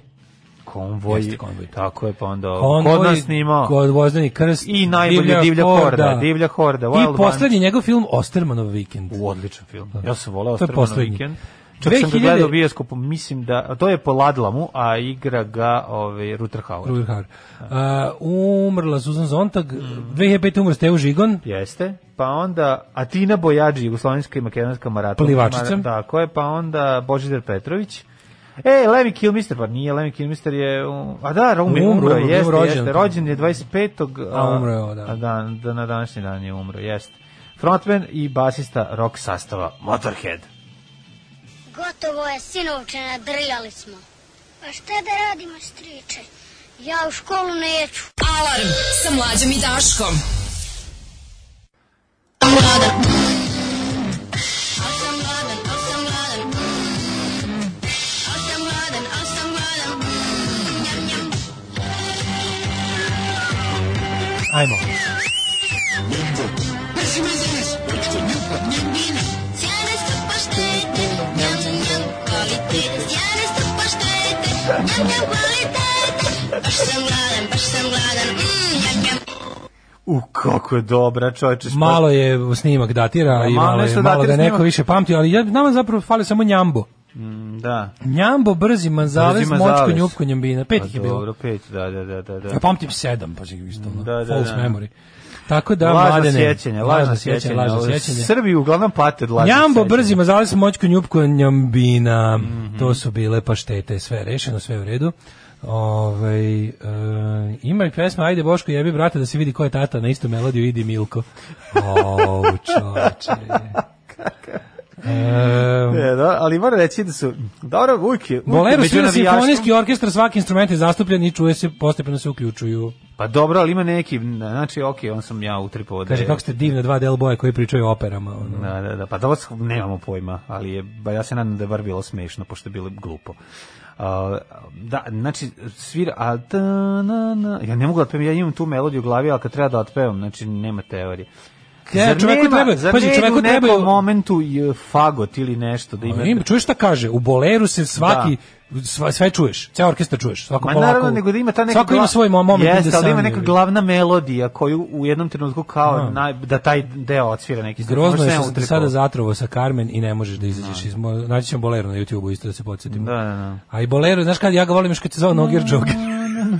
Speaker 7: Konvoj.
Speaker 6: Jeste konvoj. da.
Speaker 7: Tako je, pa onda
Speaker 6: Konvoj,
Speaker 7: kod nas snimao.
Speaker 6: Kod Vozdani krst.
Speaker 7: I najbolja divlja horda, divlja horda, Wild
Speaker 6: I poslednji njegov film Ostermanov vikend.
Speaker 7: U odličan film. Ja sam
Speaker 6: Da.
Speaker 7: voleo
Speaker 6: To je
Speaker 7: Strmano
Speaker 6: poslednji.
Speaker 7: vikend. Čak sam ga
Speaker 6: 2000
Speaker 7: gledao u bioskopu, mislim da, a to je po Ladlamu, a igra ga ovaj, Ruter Hauer.
Speaker 6: Ruger Hauer.
Speaker 7: Da.
Speaker 6: Uh, umrla Susan Zontag,
Speaker 7: Mhm.
Speaker 6: 2005. umrla Stevo Žigon,
Speaker 7: Jeste. Pa onda Atina Bojađi, jugoslovenska i makedonska maratonka.
Speaker 6: Plivačica.
Speaker 7: Mara- Tako je, pa onda Božidar Petrović. Ej, Lemmy Kilmister, pa nije Lemmy Kilmister je, um, a da, umro, umro,
Speaker 6: Umro,
Speaker 7: umro,
Speaker 6: umro,
Speaker 7: jeste, jeste,
Speaker 6: rođen.
Speaker 7: rođen, rođen je 25.
Speaker 6: A, umro je, o, da.
Speaker 7: A da, da, na današnji dan je umro, jeste. Frontman i basista rock sastava Motorhead.
Speaker 10: Gotovo je, sinovče, nadrljali smo. Pa šta da radimo, striče? Ja u školu neću.
Speaker 11: Alarm sa mlađom i Daškom. Alarm.
Speaker 7: Ajmo. U, kako je dobra, čovječe. šta-
Speaker 6: Malo je snimak datira i
Speaker 7: malo
Speaker 6: malo, je,
Speaker 7: nešto
Speaker 6: malo
Speaker 7: datira
Speaker 6: ga neko
Speaker 7: snimak.
Speaker 6: više pamti, ali ja, nama zapravo fali samo njambo.
Speaker 7: Da.
Speaker 6: Njambo, brzi, manzavez,
Speaker 7: Brzi
Speaker 6: močko,
Speaker 7: manzavez.
Speaker 6: njupko, njambina. Pet
Speaker 7: Pa
Speaker 6: ih je
Speaker 7: Dobro,
Speaker 6: bilo.
Speaker 7: pet, da, da, da, da. da.
Speaker 6: Ja pamtim sedam, pa čekaj, isto. ono,
Speaker 7: Da, da,
Speaker 6: false
Speaker 7: da.
Speaker 6: memory. Tako da,
Speaker 7: lažno
Speaker 6: mladene,
Speaker 7: sjećanje, lažno sjećanje.
Speaker 6: lažno
Speaker 7: Ovo,
Speaker 6: sjećanje.
Speaker 7: Srbi uglavnom pate od lažno
Speaker 6: Jambo,
Speaker 7: sjećanja.
Speaker 6: brzi, mazali smo moćku njupku njambina.
Speaker 7: Mhm.
Speaker 6: To su bile paštete, sve je rešeno, sve je u redu. Ovaj e, ima i pesma Ajde Boško jebi brate da se vidi ko je tata na istu melodiju idi Milko. O, čoveče. E,
Speaker 7: E, da, ali moram reći da su, dobro, uvijek je... uvijek je
Speaker 6: Bolero
Speaker 7: među
Speaker 6: svira
Speaker 7: navijaštvom-
Speaker 6: simfonijski orkestar, svaki instrument je zastupljen i čuje se, postepeno se uključuju.
Speaker 7: Pa dobro, ali ima neki, znači, okej, on sam ja utripovao da
Speaker 6: Kaže,
Speaker 7: je-
Speaker 6: kako ste divne dva del boje koji pričaju o operama. Ono.
Speaker 7: Da, da, da, pa dobro, nemamo pojma, ali je, ba, ja se nadam da je bar bilo smešno, pošto je bilo glupo. A, da, znači, svira, a ta, na, na, ja ne mogu da otpevam, ja imam tu melodiju u glavi, ali kad treba da otpevam, znači, nema teorije.
Speaker 6: Ja, čoveku treba-
Speaker 7: zar
Speaker 6: pazi,
Speaker 7: ne
Speaker 6: čoveku
Speaker 7: u nekom
Speaker 6: trebaju-
Speaker 7: momentu i, e, fagot ili nešto da ima...
Speaker 6: Ima, čuješ šta kaže? U boleru se svaki sva, sve čuješ, ceo orkestar čuješ. Svako
Speaker 7: Da. Ma
Speaker 6: polako-
Speaker 7: naravno, nego da ima ta neka...
Speaker 6: Svako
Speaker 7: gla-
Speaker 6: ima svoj mo- moment.
Speaker 7: Jeste,
Speaker 6: ide
Speaker 7: ali da ima
Speaker 6: sam,
Speaker 7: neka
Speaker 6: jebi.
Speaker 7: glavna melodija koju u jednom trenutku kao naj- da taj deo odsvira neki stvar.
Speaker 6: Grozno
Speaker 7: Možda
Speaker 6: je
Speaker 7: sam
Speaker 6: što
Speaker 7: ja
Speaker 6: sam te
Speaker 7: utripao.
Speaker 6: sada zatrovao sa Carmen i ne možeš da izađeš iz... mo- Naći ćemo bolero na YouTube-u isto da se podsjetimo.
Speaker 7: Da, da, da.
Speaker 6: A i bolero, znaš kad ja ga volim još kad se zove Nogir Joker.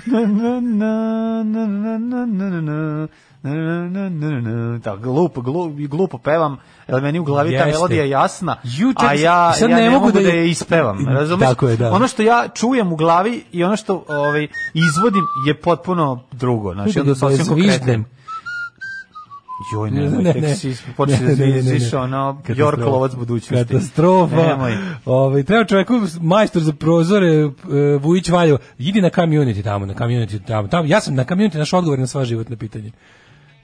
Speaker 7: Na, na, na, na, na, na, na, na, na, na, na, na. Tako, glupo, glupo, glupo pevam, jer meni u glavi ta
Speaker 6: Jeste.
Speaker 7: melodija je jasna,
Speaker 6: Ju, čak
Speaker 7: a
Speaker 6: se-
Speaker 7: ja,
Speaker 6: sad
Speaker 7: ja ne mogu da
Speaker 6: ju-
Speaker 7: je ispevam, razumeš?
Speaker 6: Tako je, da.
Speaker 7: Ono što ja čujem u glavi i ono što ovaj, izvodim je potpuno drugo, znači
Speaker 6: Da
Speaker 7: onda
Speaker 6: ga
Speaker 7: sasvim konkretno.
Speaker 6: zviždem.
Speaker 7: Joj, nemoj,
Speaker 6: Ne,
Speaker 7: tek
Speaker 6: ne.
Speaker 7: si počeli da
Speaker 6: Ne, ne, ne, ne, ne.
Speaker 7: zviždiš, ono,
Speaker 6: Katastrofa.
Speaker 7: Jork Lovac budućnosti.
Speaker 6: Katastrofa.
Speaker 7: Nemoj.
Speaker 6: Ovaj treba čovjeku majstor za prozore e, Vujić Valjevo. Idi na community tamo, na community tamo. Tamo ja sam na community naš odgovor na sva životna pitanja.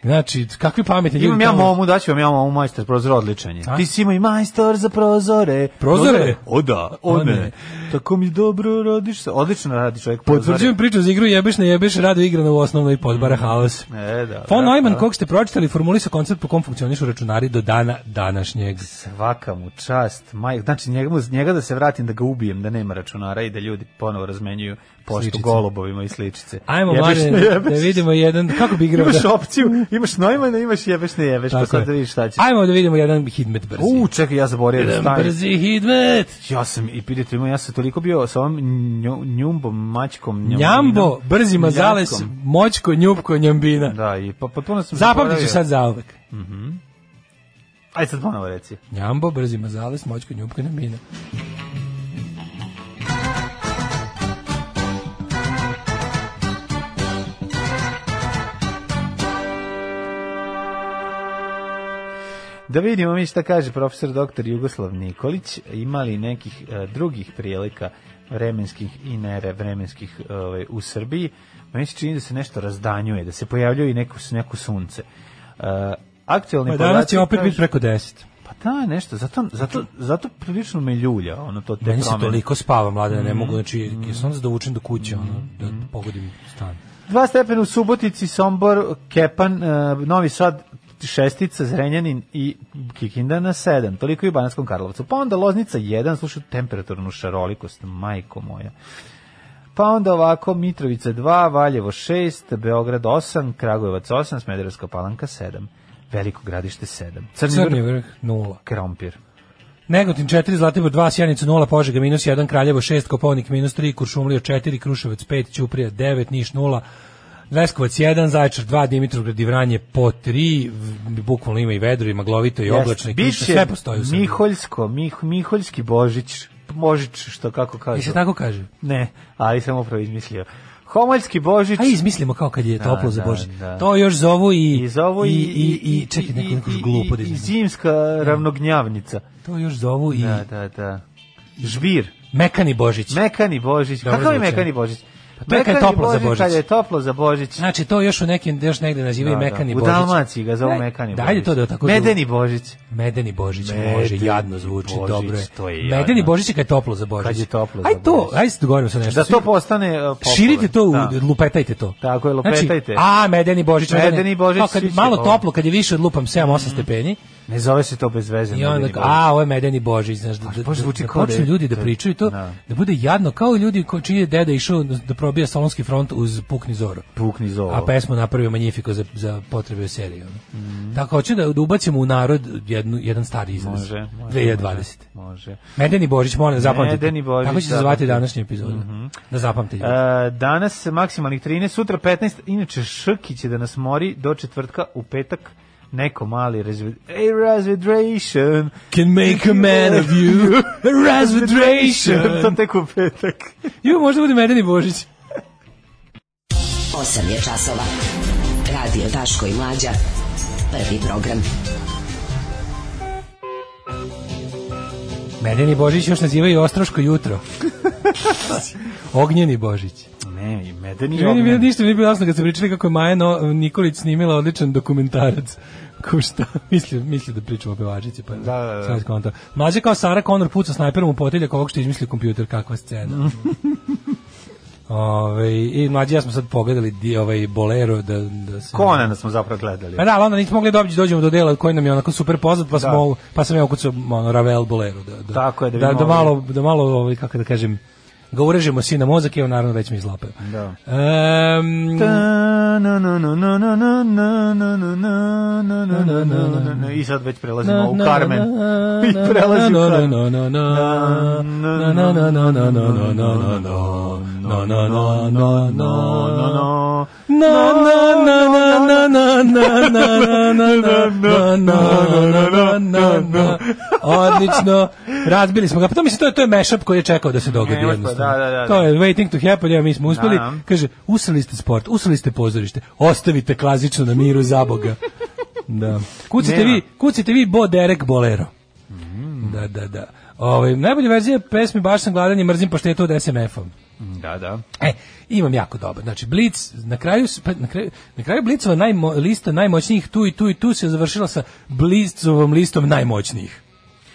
Speaker 6: Znači, kakvi pametni ljudi.
Speaker 7: Imam ja
Speaker 6: tamo-
Speaker 7: momu, daću vam ja momu majstor prozor odličan je.
Speaker 6: A?
Speaker 7: Ti si imao i majstor za prozore.
Speaker 6: Prozore?
Speaker 7: O da, o
Speaker 6: O ne.
Speaker 7: ne. Tako mi dobro radiš se. Odlično radi čovjek prozore.
Speaker 6: Potvrđujem priču za igru jebeš ne jebeš, rado igra na u osnovnoj podbara haos.
Speaker 7: E, da.
Speaker 6: Von
Speaker 7: da,
Speaker 6: Neumann,
Speaker 7: da.
Speaker 6: kog ste pročitali, formulisa koncept po kom funkcionišu računari do dana današnjeg.
Speaker 7: Svaka mu čast. Maj, znači, njega, mu- njega da se vratim, da ga ubijem, da nema računara i da ljudi ponovo razmenjuju poštu
Speaker 6: Sličice.
Speaker 7: golubovima i sličice.
Speaker 6: Ajmo,
Speaker 7: Jebeš,
Speaker 6: Mladen,
Speaker 7: ne jebeš.
Speaker 6: da vidimo jedan, kako bi igrao
Speaker 7: Imaš
Speaker 6: da...
Speaker 7: opciju, imaš Neumana, imaš jebeš, ne jebeš, pa
Speaker 6: Tako
Speaker 7: sad
Speaker 6: je.
Speaker 7: da vidiš šta će.
Speaker 6: Ajmo da vidimo jedan hidmet brzi.
Speaker 7: U, čekaj, ja zaboravio da
Speaker 6: jedan
Speaker 7: stavim.
Speaker 6: brzi hidmet!
Speaker 7: Ja sam i pidite ima, ja sam toliko bio sa ovom njo- njumbom, mačkom, njombinom.
Speaker 6: Njambo, brzi mazales,
Speaker 7: Njačkom.
Speaker 6: moćko, njupko, njambina.
Speaker 7: Da, i pa potpuno sam
Speaker 6: Zapamtit ću
Speaker 7: zaboravio.
Speaker 6: sad zauvek.
Speaker 7: Ajde sad ponovo reci.
Speaker 6: Njambo, brzi mazales, moćko, njupko, njambina.
Speaker 7: Da vidimo mi šta kaže profesor doktor Jugoslav Nikolić, ima li nekih e, drugih prilika vremenskih i nere vremenskih ovaj, u Srbiji. Meni se čini da se nešto razdanjuje, da se pojavljuje i neko, neko sunce. E, aktualni
Speaker 6: Pa danas
Speaker 7: podaci
Speaker 6: će opet
Speaker 7: kažu-
Speaker 6: biti preko deset.
Speaker 7: Pa da, nešto, zato, zato, zato prilično me ljulja, ono to te
Speaker 6: Meni se
Speaker 7: promene. Mhm.
Speaker 6: toliko spava, mlade, ne mogu, znači, jesam da dovučem do kuće, ono, da pogodim stan.
Speaker 7: Dva stepena u Subotici, Sombor, Kepan, eh, Novi Sad, šestica, Zrenjanin i Kikinda na sedam. Toliko i u Bananskom Karlovcu. Pa onda Loznica jedan, slušaj temperaturnu šarolikost, majko moja. Pa onda ovako, Mitrovica 2, Valjevo 6, Beograd 8, Kragujevac 8, Smederevska palanka 7, Veliko gradište 7, Crni,
Speaker 6: Crni
Speaker 7: vrh,
Speaker 6: vrh, nula.
Speaker 7: Krompir.
Speaker 6: Negotin 4, Zlatibor 2, Sjanica 0, Požega minus 1, Kraljevo 6, Kopovnik minus 3, Kuršumlija 4, Kruševac 5, Ćuprija 9, Niš 0, Leskovac 1, Zaječar 2, Dimitrovgrad i Vranje po 3, v- bukvalno ima i vedro, i maglovito, i oblačno, i
Speaker 7: Jeste,
Speaker 6: kišno,
Speaker 7: biće
Speaker 6: sve postoji u Srbiji.
Speaker 7: Miholjsko, Mih, Miholjski Božić Božić, što kako kaže.
Speaker 6: I se tako kaže.
Speaker 7: Ne, ali sam upravo izmislio. Homoljski Božić.
Speaker 6: A izmislimo kao kad je toplo
Speaker 7: Da,
Speaker 6: za
Speaker 7: da,
Speaker 6: Božić.
Speaker 7: da.
Speaker 6: To još zovu i
Speaker 7: I zovu i,
Speaker 6: i i, i čekaj
Speaker 7: i-
Speaker 6: neko neko
Speaker 7: i-
Speaker 6: glupo da
Speaker 7: i, i
Speaker 6: izmislim.
Speaker 7: zimska ravnognjavnica.
Speaker 6: To još zovu i
Speaker 7: Da, da, da. Žbir.
Speaker 6: mekani Božić.
Speaker 7: Mekani Božić.
Speaker 6: Dobro
Speaker 7: Kakav je
Speaker 6: zvuči.
Speaker 7: mekani Božić?
Speaker 6: Pa to je kad je
Speaker 7: Mekani
Speaker 6: toplo za Božić.
Speaker 7: Kad je toplo za Božić.
Speaker 6: Znači to još u nekim još negde nazivaju
Speaker 7: Da, da.
Speaker 6: mekani
Speaker 7: U
Speaker 6: Božić.
Speaker 7: Dalmaciji ga zovu
Speaker 6: Daj-
Speaker 7: mekani Božić.
Speaker 6: Dajde to da tako
Speaker 7: Medeni Božić.
Speaker 6: Medeni Božić
Speaker 7: Medeni
Speaker 6: može jadno zvuči,
Speaker 7: Božić,
Speaker 6: dobro je.
Speaker 7: to je
Speaker 6: Medeni
Speaker 7: jadno.
Speaker 6: Božić je kad je toplo za Božić.
Speaker 7: Kad je toplo za
Speaker 6: aj to,
Speaker 7: Božić.
Speaker 6: aj se dogovorimo sa nešto.
Speaker 7: Da to postane uh, popularno.
Speaker 6: Širite to, u-
Speaker 7: Da.
Speaker 6: lupetajte to.
Speaker 7: Tako je, lupetajte.
Speaker 6: Znači, a, medeni Božić.
Speaker 7: Medeni Božić,
Speaker 6: Kao kad
Speaker 7: svi će
Speaker 6: malo
Speaker 7: ovo.
Speaker 6: toplo, kad je više od lupam 7-8 stepeni,
Speaker 7: Da. Ne zove se to bez veze.
Speaker 6: I onda,
Speaker 7: Medeni
Speaker 6: kao,
Speaker 7: Božić.
Speaker 6: a, ovo je medeni Božić, znaš, da, da,
Speaker 7: baš zvuči
Speaker 6: da
Speaker 7: kao da
Speaker 6: počnu
Speaker 7: je-
Speaker 6: ljudi da
Speaker 7: da-
Speaker 6: pričaju to,
Speaker 7: da.
Speaker 6: da bude jadno, kao i ljudi ko, čiji je deda išao da probija Solonski front uz Pukni Zoro.
Speaker 7: Pukni zovo.
Speaker 6: A pesmu napravio Magnifico za, za potrebe serije. ono. Tako, hoću da, da ubacimo u narod jednu, jedan stari izraz.
Speaker 7: Može, može.
Speaker 6: 2020.
Speaker 7: Može.
Speaker 6: Medeni Božić, molim, da zapamtite.
Speaker 7: Medeni Božić,
Speaker 6: Tako će se
Speaker 7: zapamtite.
Speaker 6: zvati današnji epizod. Da zapamtite.
Speaker 7: E, danas maksimalnih 13, sutra 15, inače Šrki će da nas mori do četvrtka u petak neko mali razvid... Ej, razvidration!
Speaker 6: Can make a man of you.
Speaker 7: to
Speaker 6: Resvedration.
Speaker 7: tek u petak.
Speaker 6: Ju, možda bude Medeni Božić.
Speaker 9: 8 je časova. Radio Daško i Mlađa. Prvi program.
Speaker 6: Medeni Božić još nazivaju Ostroško jutro. Ognjeni Božić.
Speaker 7: Ne, i medeni
Speaker 6: Meni
Speaker 7: ognjen.
Speaker 6: bilo ništa nije bilo jasno kad ste pričali kako je Maja No- Nikolić snimila odličan dokumentarac. Ko šta? Misli, misli da pričamo o pevačici, pa da,
Speaker 7: da, da.
Speaker 6: sad skonto. Mlađe kao Sara Connor puca snajperom u poteljak ovog što je izmislio kompjuter, kakva scena. Ove, I mlađi ja smo sad pogledali di, ovaj bolero da, da se...
Speaker 7: Konana smo zapravo gledali.
Speaker 6: Pa da, ali onda nismo mogli doći, dođemo do dela koji nam je onako super poznat, pa, smo, pa sam ja ukucao ono, Ravel Bolero. Da, da,
Speaker 7: Da. Tako je, da
Speaker 6: da,
Speaker 7: vidimo ovaj-
Speaker 6: malo, da malo ovaj, kako da kažem, ga urežemo si na mozak i on naravno već mi izlapaju.
Speaker 7: Da.
Speaker 6: Ehm,
Speaker 7: Ta, na, na, na, na, na, na, na, na, na, na, na, na, na, na, na, na. I sad već prelazimo u Carmen. I prelazi u Carmen.
Speaker 6: Odlično. Razbili smo ga. Pa to mislim to je to je mashup koji je čekao da se dogodi
Speaker 7: Mashup,
Speaker 6: jednostavno.
Speaker 7: da, da, da.
Speaker 6: To je waiting to happen, ja mi smo uspeli.
Speaker 7: Da, da.
Speaker 6: Kaže, usrali ste sport, usrali ste pozorište. Ostavite klasično na miru za boga. Da. Kucite
Speaker 7: Nema. Mm.
Speaker 6: vi, kucite vi Bo Derek Bolero. Da, da, da. Ovaj najbolja verzija pesme baš sam gladan i mrzim paštetu od SMF-om.
Speaker 7: Da, da.
Speaker 6: E, imam jako dobar. Znači Blitz na kraju s- pa, na kraju na kraju Blitzova najmo, lista najmoćnijih tu i tu i tu se završila sa Blitzovom listom najmoćnijih.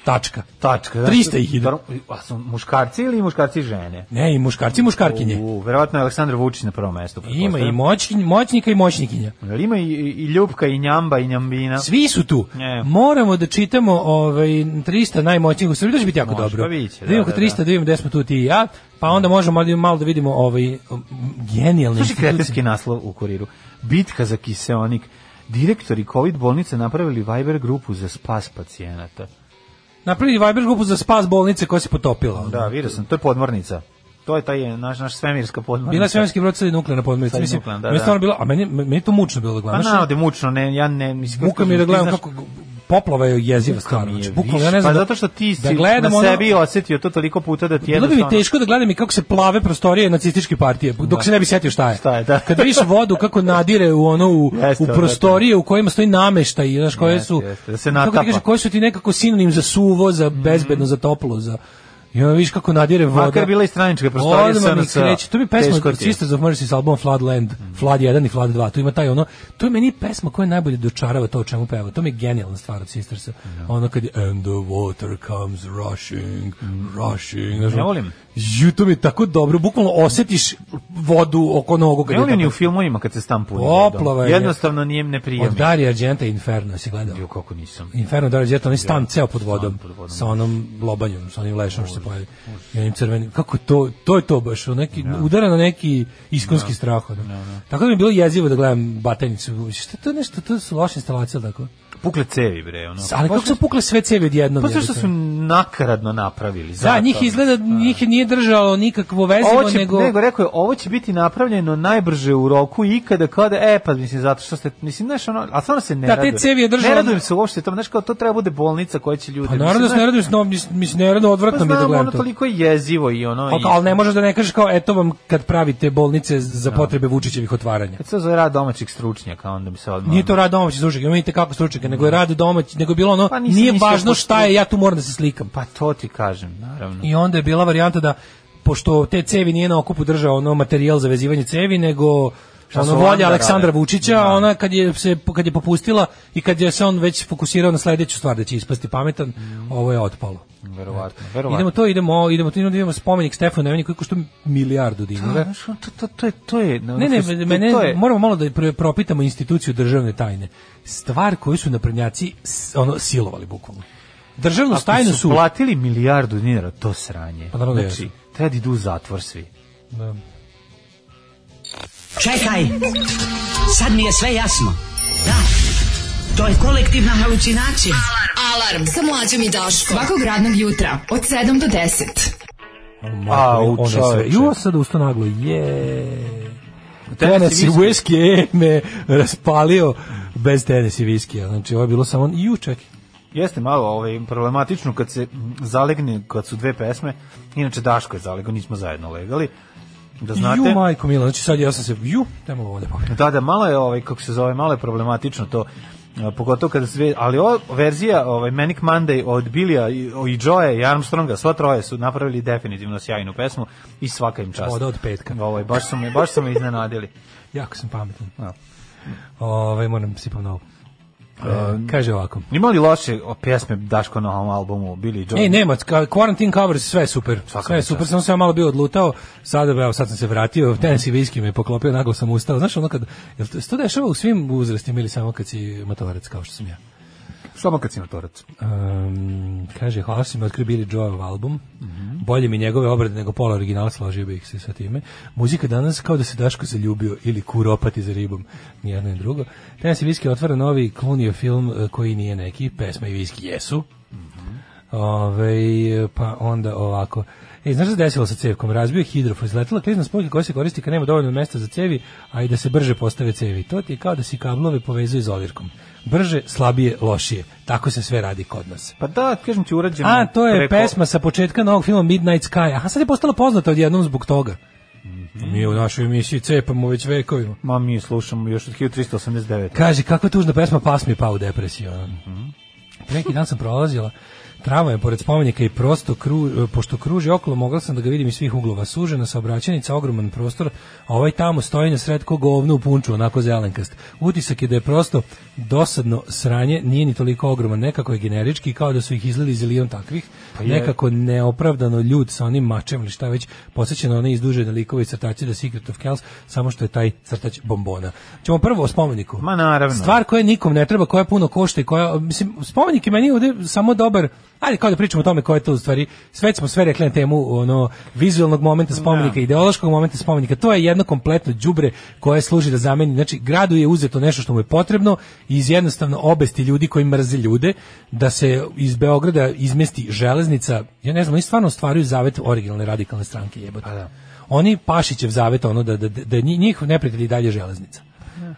Speaker 6: Tačka.
Speaker 7: Tačka.
Speaker 6: 300 ih ide.
Speaker 7: Prvo- A su muškarci ili muškarci i žene?
Speaker 6: Ne, i muškarci i muškarkinje.
Speaker 7: U, pa verovatno je Aleksandar Vučić na prvom mestu.
Speaker 6: Ima i
Speaker 7: pretpostavljam.
Speaker 6: moćkinj, moćnika i moćnikinja.
Speaker 7: Jel Ima i, i Ljubka i Njamba i Njambina.
Speaker 6: Svi su tu.
Speaker 7: Ne.
Speaker 6: Moramo da čitamo ovaj 300 najmoćnijih u Srbiji, to će biti jako
Speaker 7: Može,
Speaker 6: dobro.
Speaker 7: pa vidit će,
Speaker 6: da, vidimo
Speaker 7: da,
Speaker 6: kod
Speaker 7: da,
Speaker 6: 300, da.
Speaker 7: da.
Speaker 6: vidimo gde smo tu ti i ja, pa onda možemo da malo da vidimo ovaj um, genijalne
Speaker 7: Slušaj
Speaker 6: institucije.
Speaker 7: kretenski naslov u kuriru. Bitka za kiseonik. Direktori COVID bolnice napravili Viber grupu za spas pacijenata.
Speaker 6: Napravili Viber grupu za spas bolnice koja se potopila.
Speaker 7: Da, vidio sam, to je podmornica. To je taj naš, naš svemirska podmornica.
Speaker 6: Bila je svemirski brod sad je nuklearna podmornica.
Speaker 7: Pa Sad je
Speaker 6: Mislim,
Speaker 7: nuklearna, da,
Speaker 6: meni
Speaker 7: da.
Speaker 6: stvarno bilo, a meni, meni je to mučno bilo da
Speaker 7: Pa
Speaker 6: gledam.
Speaker 7: na,
Speaker 6: Znaš,
Speaker 7: ovde mučno, ne, ja ne, mislim...
Speaker 6: Muka mi je da
Speaker 7: ti
Speaker 6: gledam
Speaker 7: znaš-
Speaker 6: kako poplava je jeziva
Speaker 7: Muka
Speaker 6: stvar.
Speaker 7: mi je
Speaker 6: Znači, bukvalno ja
Speaker 7: više.
Speaker 6: ne znam.
Speaker 7: Pa
Speaker 6: da-
Speaker 7: zato što ti
Speaker 6: da
Speaker 7: si
Speaker 6: gledam
Speaker 7: na
Speaker 6: ono-
Speaker 7: sebi osetio to toliko puta da ti
Speaker 6: Bilo bi mi
Speaker 7: jednostavno- Da.
Speaker 6: teško da gledam i kako se plave prostorije nacističke partije, dok se ne bi setio šta je.
Speaker 7: Šta je, da.
Speaker 6: Kad vidiš vodu kako nadire u ono u,
Speaker 7: Jeste,
Speaker 6: u prostorije u kojima stoji nameštaj, znaš koje
Speaker 7: Jeste,
Speaker 6: su
Speaker 7: jeste, da se
Speaker 6: kako ti
Speaker 7: natapa.
Speaker 6: kažeš, koji su ti nekako sinonim za suvo, za bezbedno, za toplo, za I onda vidiš kako nadire voda.
Speaker 7: Makar bila i stranička prostorija
Speaker 6: Odmah mi
Speaker 7: SNS.
Speaker 6: kreće. To mi je pesma
Speaker 7: Teško
Speaker 6: od
Speaker 7: ti je.
Speaker 6: Sisters of Mercy s albumom Floodland, Flood 1 i Flood 2. Tu ima taj ono, to je meni pesma koja najbolje dočarava to o čemu peva. To mi je genijalna stvar od Sistersa.
Speaker 7: Da.
Speaker 6: Ono kad je, and the water comes rushing, rushing. Znaš,
Speaker 7: Ne
Speaker 6: ono,
Speaker 7: volim.
Speaker 6: Ju, to mi je tako dobro. Bukvalno osjetiš vodu oko nogu. kad
Speaker 7: Ne
Speaker 6: je
Speaker 7: volim ni u
Speaker 6: tako-
Speaker 7: filmovima kad se stampuni.
Speaker 6: Poplava je-
Speaker 7: Jednostavno nije ne prijemno.
Speaker 6: Od Dario Argenta Inferno si gledao.
Speaker 7: Jo, kako nisam.
Speaker 6: Inferno da Dario Argento, onaj stan ceo pod vodom,
Speaker 7: pod vodom. da.
Speaker 6: sa onom lobanjom, sa onim lešom što se pojavi. I onim crvenim. Kako to, to je to baš, ono neki,
Speaker 7: Da.
Speaker 6: udara na neki iskonski da strah. ono. Tako da mi je bilo jezivo da gledam batajnicu. Šta je to nešto, to su loše instalacije, ili tako?
Speaker 7: pukle cevi, bre. Ono.
Speaker 6: Ali kako su pukle sve cevi odjednom?
Speaker 7: Pa zato što
Speaker 6: jebote?
Speaker 7: su nakaradno napravili.
Speaker 6: Da,
Speaker 7: zato.
Speaker 6: njih izgleda, njih nije držalo nikakvo
Speaker 7: Ovo
Speaker 6: vezimo,
Speaker 7: će,
Speaker 6: nego...
Speaker 7: nego... rekao je, ovo će biti napravljeno najbrže u roku ikada, kada, e, pa mislim, zato što ste, mislim, znaš, ono, a stvarno se ne
Speaker 6: Da, te
Speaker 7: radujem.
Speaker 6: cevi je držala-
Speaker 7: Ne radujem se uopšte tom, znaš, kao to treba bude bolnica koja će ljude...
Speaker 6: Pa naravno da se ne radujem, no, mis- mislim, ne radujem,
Speaker 7: Pa
Speaker 6: odvratno mi je da
Speaker 7: znam,
Speaker 6: gledam
Speaker 7: ono
Speaker 6: to.
Speaker 7: toliko je jezivo i ono...
Speaker 6: Ali,
Speaker 7: i-
Speaker 6: ali ne možeš da ne kažeš kao, eto vam kad pravite bolnice
Speaker 7: Da.
Speaker 6: za potrebe Vučićevih otvaranja.
Speaker 7: Kad se to zove rad domaćih stručnjaka, onda mi se odmah...
Speaker 6: Nije to rad domaći stručnjaka, imate kako stručnjaka, nego je rad domać, nego je bilo ono,
Speaker 7: Pa nisam
Speaker 6: nije
Speaker 7: mislio
Speaker 6: važno
Speaker 7: pošto-
Speaker 6: šta je, ja tu moram da se slikam.
Speaker 7: Pa to ti kažem, naravno.
Speaker 6: I onda je bila varijanta da, pošto te cevi nije na okupu držao ono materijal za vezivanje cevi, nego
Speaker 7: Šta su
Speaker 6: ono
Speaker 7: Da. onda
Speaker 6: volja
Speaker 7: radile?
Speaker 6: Aleksandra Vučića, a ona kad je, se, kad je popustila i kad je se on već fokusirao na sledeću stvar da će ispasti pametan,
Speaker 7: Mm.
Speaker 6: ovo je otpalo.
Speaker 7: Verovatno, verovatno.
Speaker 6: Idemo to, idemo, idemo, idemo, idemo spomenik Stefanu Nemanji koji košta milijardu dinara.
Speaker 7: Znaš, ono, to, to, to, je, to je...
Speaker 6: Ne, ne,
Speaker 7: to-
Speaker 6: mene,
Speaker 7: to je-
Speaker 6: moramo malo da pre- propitamo instituciju državne tajne. Stvar koju su naprednjaci s- ono, silovali bukvalno. Državnu
Speaker 7: Ako
Speaker 6: tajnu
Speaker 7: su
Speaker 6: su...
Speaker 7: platili milijardu dinara, to sranje.
Speaker 6: Pa naravno da
Speaker 7: znači,
Speaker 6: jesu.
Speaker 7: treba da idu u zatvor svi.
Speaker 6: Da,
Speaker 9: Čekaj, sad mi je sve jasno. Da, to je kolektivna halucinacija.
Speaker 11: Alarm sa mlađom i Daškom. Svakog radnog jutra od 7 do 10.
Speaker 7: A, u
Speaker 6: Ono sve.
Speaker 7: čoveče.
Speaker 6: Juo sad usto naglo, je.
Speaker 7: Tennessee
Speaker 6: Tennessee
Speaker 7: whisky.
Speaker 6: whisky e, me raspalio bez Tennessee whisky. Znači, ovo je bilo samo ju čekaj.
Speaker 7: Jeste malo ovaj, problematično kad se mm, zalegne, kad su dve pesme, inače Daško je zalegao, nismo zajedno legali, da znate.
Speaker 6: Ju, majko mila, znači sad ja sam se, ju, nema ovdje pa.
Speaker 7: Da, da, malo je, ovaj, kako se zove, malo je problematično to, e, pogotovo kada sve, ali ova verzija ovaj, Manic Monday od Billija i, o, i Joe i Armstronga, sva troje su napravili definitivno sjajnu pesmu i svaka im čast.
Speaker 6: Voda od petka.
Speaker 7: Ovaj, baš su me, baš su me iznenadili.
Speaker 6: Jako sam pametan.
Speaker 7: Da.
Speaker 6: Ovaj moram sipam novo.
Speaker 7: Um,
Speaker 6: E, kaže ovako.
Speaker 7: Ima li loše o, pjesme Daško na ovom albumu Billy Joe?
Speaker 6: Ej, nema, ka- quarantine covers, sve je super.
Speaker 7: Svaka
Speaker 6: sve je
Speaker 7: mi
Speaker 6: super,
Speaker 7: čast.
Speaker 6: sam sam malo bio odlutao, sada, evo, sad sam se vratio, Tennessee whisky me poklopio, naglo sam ustao. Znaš, ono kad, jel to, se to dešava u svim uzrastima ili samo kad si matovarec kao što sam ja?
Speaker 7: Samo kad si na torac.
Speaker 6: Um, kaže, hvala što si mi otkrio Billy Joelov album.
Speaker 7: Mhm.
Speaker 6: Bolje mi njegove obrade nego pola originala, složio bih se sa time. Muzika danas kao da se Daško zaljubio ili kuropati za ribom. Nijedno i drugo. Tennessee Whiskey otvara novi klonio film eh, koji nije neki. Pesma i Whiskey jesu. Ove, pa onda ovako. E, znaš šta se desilo sa cevkom? Razbio je hidrof, izletela klizna spojka koja se koristi kad nema dovoljno mesta za cevi, a i da se brže postave cevi. To ti je kao da si kablove povezuje izolirkom. Brže, slabije, lošije. Tako se sve radi kod nas.
Speaker 7: Pa da, kažem ti urađeno.
Speaker 6: A, to je
Speaker 7: preko-
Speaker 6: pesma sa početka novog filma Midnight Sky. Aha, sad je postala poznata odjednom zbog toga. Mi u našoj emisiji cepamo već vekovima.
Speaker 7: Ma mi slušamo još od 1389.
Speaker 6: Kaže, kakva tužna pesma, pas mi je pao u depresiju. ono. Pre Neki dan sam prolazila tramvaj pored spomenika i prosto kru, pošto kruži okolo, mogla sam da ga vidim iz svih uglova. Sužena saobraćenica, ogroman prostor, a ovaj tamo stoji na sred ko govno u punču, onako zelenkast. Utisak je da je prosto dosadno sranje, nije ni toliko ogroman, nekako je generički, kao da su ih izlili zilion takvih, nekako neopravdano ljud sa onim mačem ili šta već, posjeća na one izdužene likove i crtače da Secret of Kells, samo što je taj crtač bombona. Ćemo prvo o spomeniku.
Speaker 7: Ma naravno.
Speaker 6: Stvar koja nikom ne treba, koja puno košta i koja, mislim, spomenik je meni ovde samo dobar, ajde kao da pričamo o tome koja je to u stvari, sve smo sve rekli na temu ono, vizualnog momenta spomenika, ideološkog momenta spomenika, to je jedno kompletno đubre koje služi da zameni, znači gradu je uzeto nešto što mu je potrebno i iz jednostavno obesti ljudi koji mrze ljude, da se iz Beograda izmesti železnica, ja ne znam, oni stvarno ostvaruju zavet originalne radikalne stranke jebote. Oni Pašićev zavet ono da, da, da nji- njih neprijatelji i dalje železnica.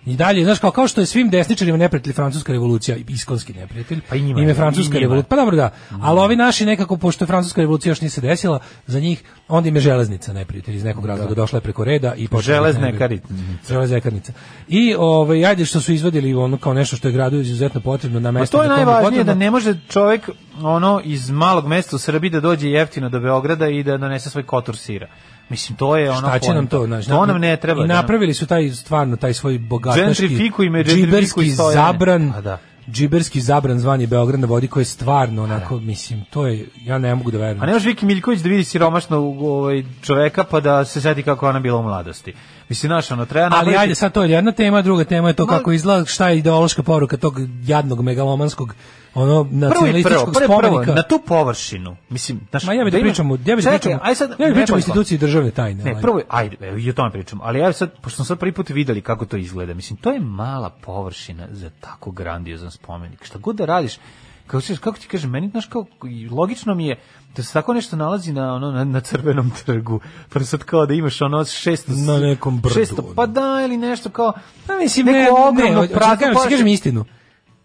Speaker 6: I dalje, znaš, kao, kao što je svim desničarima neprijatelj Francuska revolucija, iskonski neprijatelj,
Speaker 7: Pa i njima
Speaker 6: im je
Speaker 7: je, i
Speaker 6: Francuska
Speaker 7: njima.
Speaker 6: revolucija, pa dobro da, ali ovi naši nekako, pošto Francuska revolucija još nije se desila, za njih, onda im je železnica neprijatelj iz nekog razloga, došla je preko reda i počela da ih
Speaker 7: Da. Železna je
Speaker 6: nervira.
Speaker 7: karita.
Speaker 6: Železna je karnica. I ovaj, ajde što su izvadili ono kao nešto što je gradu izuzetno potrebno na
Speaker 7: Pa
Speaker 6: mesto.
Speaker 7: to je
Speaker 6: gde mu
Speaker 7: najvažnije
Speaker 6: potrebno.
Speaker 7: da ne može čovjek ono iz malog mesta u Srbiji da dođe jeftino do Beograda i da donese svoj kotor sira. Mislim to je ono
Speaker 6: Šta će nam
Speaker 7: poenta.
Speaker 6: to, znaš,
Speaker 7: to nam ne treba.
Speaker 6: I
Speaker 7: da nam-
Speaker 6: napravili su taj stvarno taj svoj bogataški
Speaker 7: Gentrifikuj me, gentrifikuj
Speaker 6: džiberski
Speaker 7: Stojane.
Speaker 6: zabran.
Speaker 7: Pa da.
Speaker 6: Džiberski zabran zvani Beograd na vodi koji je stvarno onako mislim to je ja ne mogu da verujem.
Speaker 7: da. A ne može Viki Miljković da vidi siromašno ovaj čoveka pa da se seti kako je ona bila u mladosti. Mislim naš ono treba
Speaker 6: Ali
Speaker 7: napraviti-
Speaker 6: ajde, sad to je jedna tema, druga tema je to
Speaker 7: Ma-
Speaker 6: kako izgleda, šta je ideološka poruka tog jadnog megalomanskog ono nacionalističkog
Speaker 7: prvo, prvo,
Speaker 6: spomenika.
Speaker 7: na tu površinu. Mislim, znaš,
Speaker 6: Ma ja bih da
Speaker 7: ima-
Speaker 6: pričamo, ja bih da
Speaker 7: Čekaj,
Speaker 6: pričamo,
Speaker 7: aj sad,
Speaker 6: ja bih pričamo o
Speaker 7: nekoliko.
Speaker 6: instituciji državne tajne.
Speaker 7: Ne,
Speaker 6: ovaj.
Speaker 7: prvo, je- ajde, evo, i o tome pričamo, ali ja sad, pošto smo sad prvi put videli kako to izgleda, mislim, to je mala površina za tako grandiozan spomenik. Šta god da radiš, kako, ćeš, kako ti kažem, meni, znaš, kao, i logično mi je da se tako nešto nalazi na, ono, na, na crvenom trgu, pa sad kao da imaš ono 600...
Speaker 6: Na nekom brdu,
Speaker 7: 600,
Speaker 6: ono.
Speaker 7: pa da, ili nešto kao,
Speaker 6: Pa mislim,
Speaker 7: neko
Speaker 6: ne,
Speaker 7: ogromno
Speaker 6: ne,
Speaker 7: prazno
Speaker 6: prazno
Speaker 7: površinu.
Speaker 6: kažem istinu.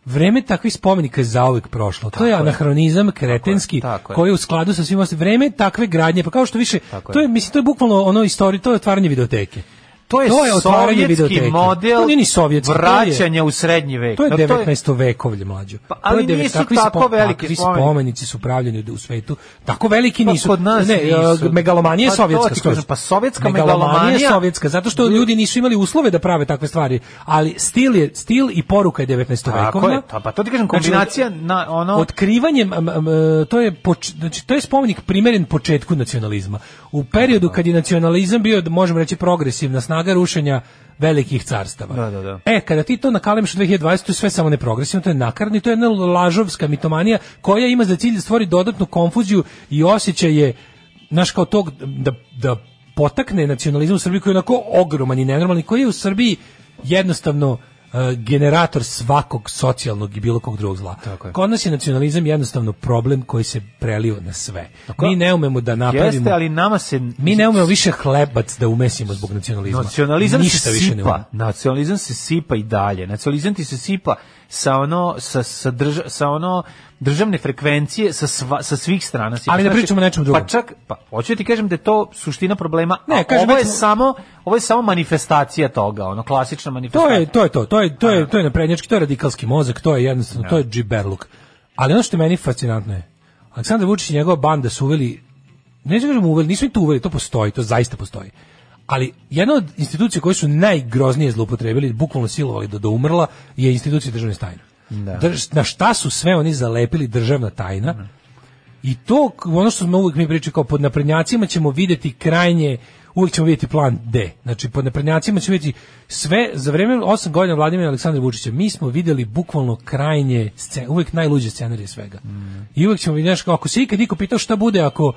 Speaker 6: Vreme takvih spomenika je zauvek prošlo. to je, anahronizam kretenski
Speaker 7: tako je.
Speaker 6: koji je u skladu sa svim ostalim. Vreme takve gradnje, pa kao što više,
Speaker 7: Tako je.
Speaker 6: to je, mislim, to je bukvalno ono istorije, to je otvaranje videoteke.
Speaker 7: To je,
Speaker 6: To je otvaranje
Speaker 7: sovjetski
Speaker 6: videoteke.
Speaker 7: model
Speaker 6: To nije ni sovjetski, to je-
Speaker 7: vraćanja u srednji vek.
Speaker 6: To
Speaker 7: Pa
Speaker 6: je
Speaker 7: No,
Speaker 6: 19. vekovlje mlađo.
Speaker 7: Pa,
Speaker 6: To
Speaker 7: ali
Speaker 6: je devet-
Speaker 7: nisu
Speaker 6: takvi
Speaker 7: tako veliki
Speaker 6: takvi
Speaker 7: spomenici.
Speaker 6: spomenici su pravljeni u svetu. Tako veliki
Speaker 7: Pa
Speaker 6: nisu.
Speaker 7: kod nas
Speaker 6: ne,
Speaker 7: nisu.
Speaker 6: e, megalomanija je
Speaker 7: Pa to
Speaker 6: sovjetska
Speaker 7: ti kažem,
Speaker 6: skroz.
Speaker 7: pa sovjetska
Speaker 6: je
Speaker 7: megalomanija-
Speaker 6: sovjetska zato što ljudi nisu imali uslove da prave takve stvari, ali stil je stil i poruka je 19.
Speaker 7: Tako
Speaker 6: vekovna.
Speaker 7: je, to- pa to ti kažem,
Speaker 6: Znači,
Speaker 7: kombinacija na ono...
Speaker 6: Otkrivanje m, m, m, to je poč, znači to je spomenik primeren početku nacionalizma. U periodu kad je nacionalizam bio da možemo reći progresivna snaga rušenja velikih carstava.
Speaker 7: Da, da, da.
Speaker 6: E, kada ti to nakalemiš u 2020, to je sve samo neprogresivno, to je nakarni, to je jedna lažovska mitomanija koja ima za cilj da stvori dodatnu konfuziju i osjećaje, znaš, kao tog, da, da potakne nacionalizam u Srbiji koji je onako ogroman i nenormalan i koji je u Srbiji jednostavno e, generator svakog socijalnog i bilo kog drugog zla.
Speaker 7: Tako je.
Speaker 6: Kod nas je nacionalizam jednostavno problem koji se prelio na sve. Mi ne umemo da napravimo...
Speaker 7: Jeste, ali nama se...
Speaker 6: Mi ne umemo više hlebac da umesimo zbog nacionalizma.
Speaker 7: Nacionalizam
Speaker 6: Ništa
Speaker 7: se
Speaker 6: više ne
Speaker 7: sipa.
Speaker 6: umemo.
Speaker 7: Nacionalizam se sipa i dalje. Nacionalizam ti se sipa sa ono sa sa, drž, sa ono državne frekvencije sa sva, sa svih strana. sipa.
Speaker 6: Ali da
Speaker 7: Znači,
Speaker 6: pričamo o nečem drugom.
Speaker 7: Pa čak pa hoću ti kažem da je to suština problema.
Speaker 6: Ne,
Speaker 7: Ne,
Speaker 6: kažem,
Speaker 7: ovo je
Speaker 6: recimo-
Speaker 7: samo ovo je samo manifestacija toga, ono klasična
Speaker 6: To
Speaker 7: manifestacija.
Speaker 6: je to je to, to je to je to je naprednjački, to je radikalski mozak, to je jednostavno to je džiberluk. Ali ono što je meni fascinantno je Aleksandar Vučić i njegova banda su uveli neću da kažem uveli, nisu im to uveli, to postoji, to zaista postoji. Ali jedna od institucija koje su najgroznije zloupotrebili, bukvalno silovali do, do umrla, je institucija državne tajne. Drž- na šta su sve oni zalepili državna tajna? I to, k- ono što smo uvijek mi pričali, kao pod naprednjacima ćemo vidjeti krajnje, uvijek ćemo vidjeti plan D. Znači, pod naprednjacima ćemo vidjeti sve, za vrijeme 8 godina Vladimira Aleksandra Vučića, mi smo vidjeli bukvalno krajnje, scen, uvijek najluđe scenarije svega. I uvijek ćemo vidjeti, znaš, kao, ako se ikad niko pitao šta bude ako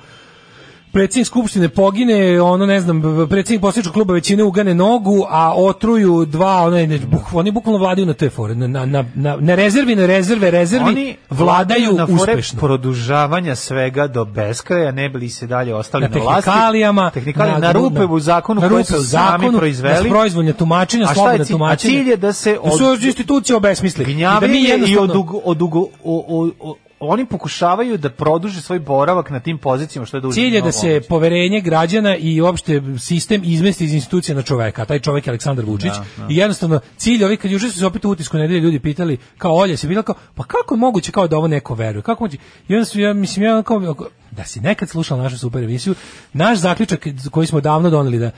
Speaker 6: predsjednik skupštine pogine, ono ne znam, b- b- predsjednik posljednog kluba većine ugane nogu, a otruju dva, one, ne, buk- oni bukvalno vladaju na te fore, na, na, na, na, na rezervi, na rezerve, rezervi,
Speaker 7: Oni
Speaker 6: vladaju
Speaker 7: na fore
Speaker 6: uspešno.
Speaker 7: produžavanja svega do beskraja, ne bili se dalje ostali
Speaker 6: na
Speaker 7: na, vlasti.
Speaker 6: tehnikalijama,
Speaker 7: Tehnikalijama, na, rupe u zakonu
Speaker 6: na
Speaker 7: koji
Speaker 6: rupe
Speaker 7: su
Speaker 6: u
Speaker 7: sami
Speaker 6: zakonu,
Speaker 7: proizveli.
Speaker 6: na proizvoljne tumačenja,
Speaker 7: A šta
Speaker 6: slobodne
Speaker 7: je cilj? A
Speaker 6: tumačenja.
Speaker 7: cilj je da se
Speaker 6: da su
Speaker 7: od-
Speaker 6: institucije obesmisli. I da mi
Speaker 7: Gnjavljenje i
Speaker 6: jednostavno-
Speaker 7: odugo, odugo, o, o, o, oni pokušavaju da produže svoj boravak na tim pozicijama što je duže.
Speaker 6: Cilj je da se poverenje građana i uopšte sistem izmesti iz institucije na čoveka. a Taj čovek je Aleksandar Vučić. I jednostavno, cilj ovih, kad juče su se opet u utisku nedelje ljudi pitali, kao Olja se vidjela, kao, pa kako je moguće kao da ovo neko veruje? Kako moguće? I onda su, ja mislim, ja kao, ako- da si nekad slušao našu super emisiju, naš zaključak koji smo davno doneli da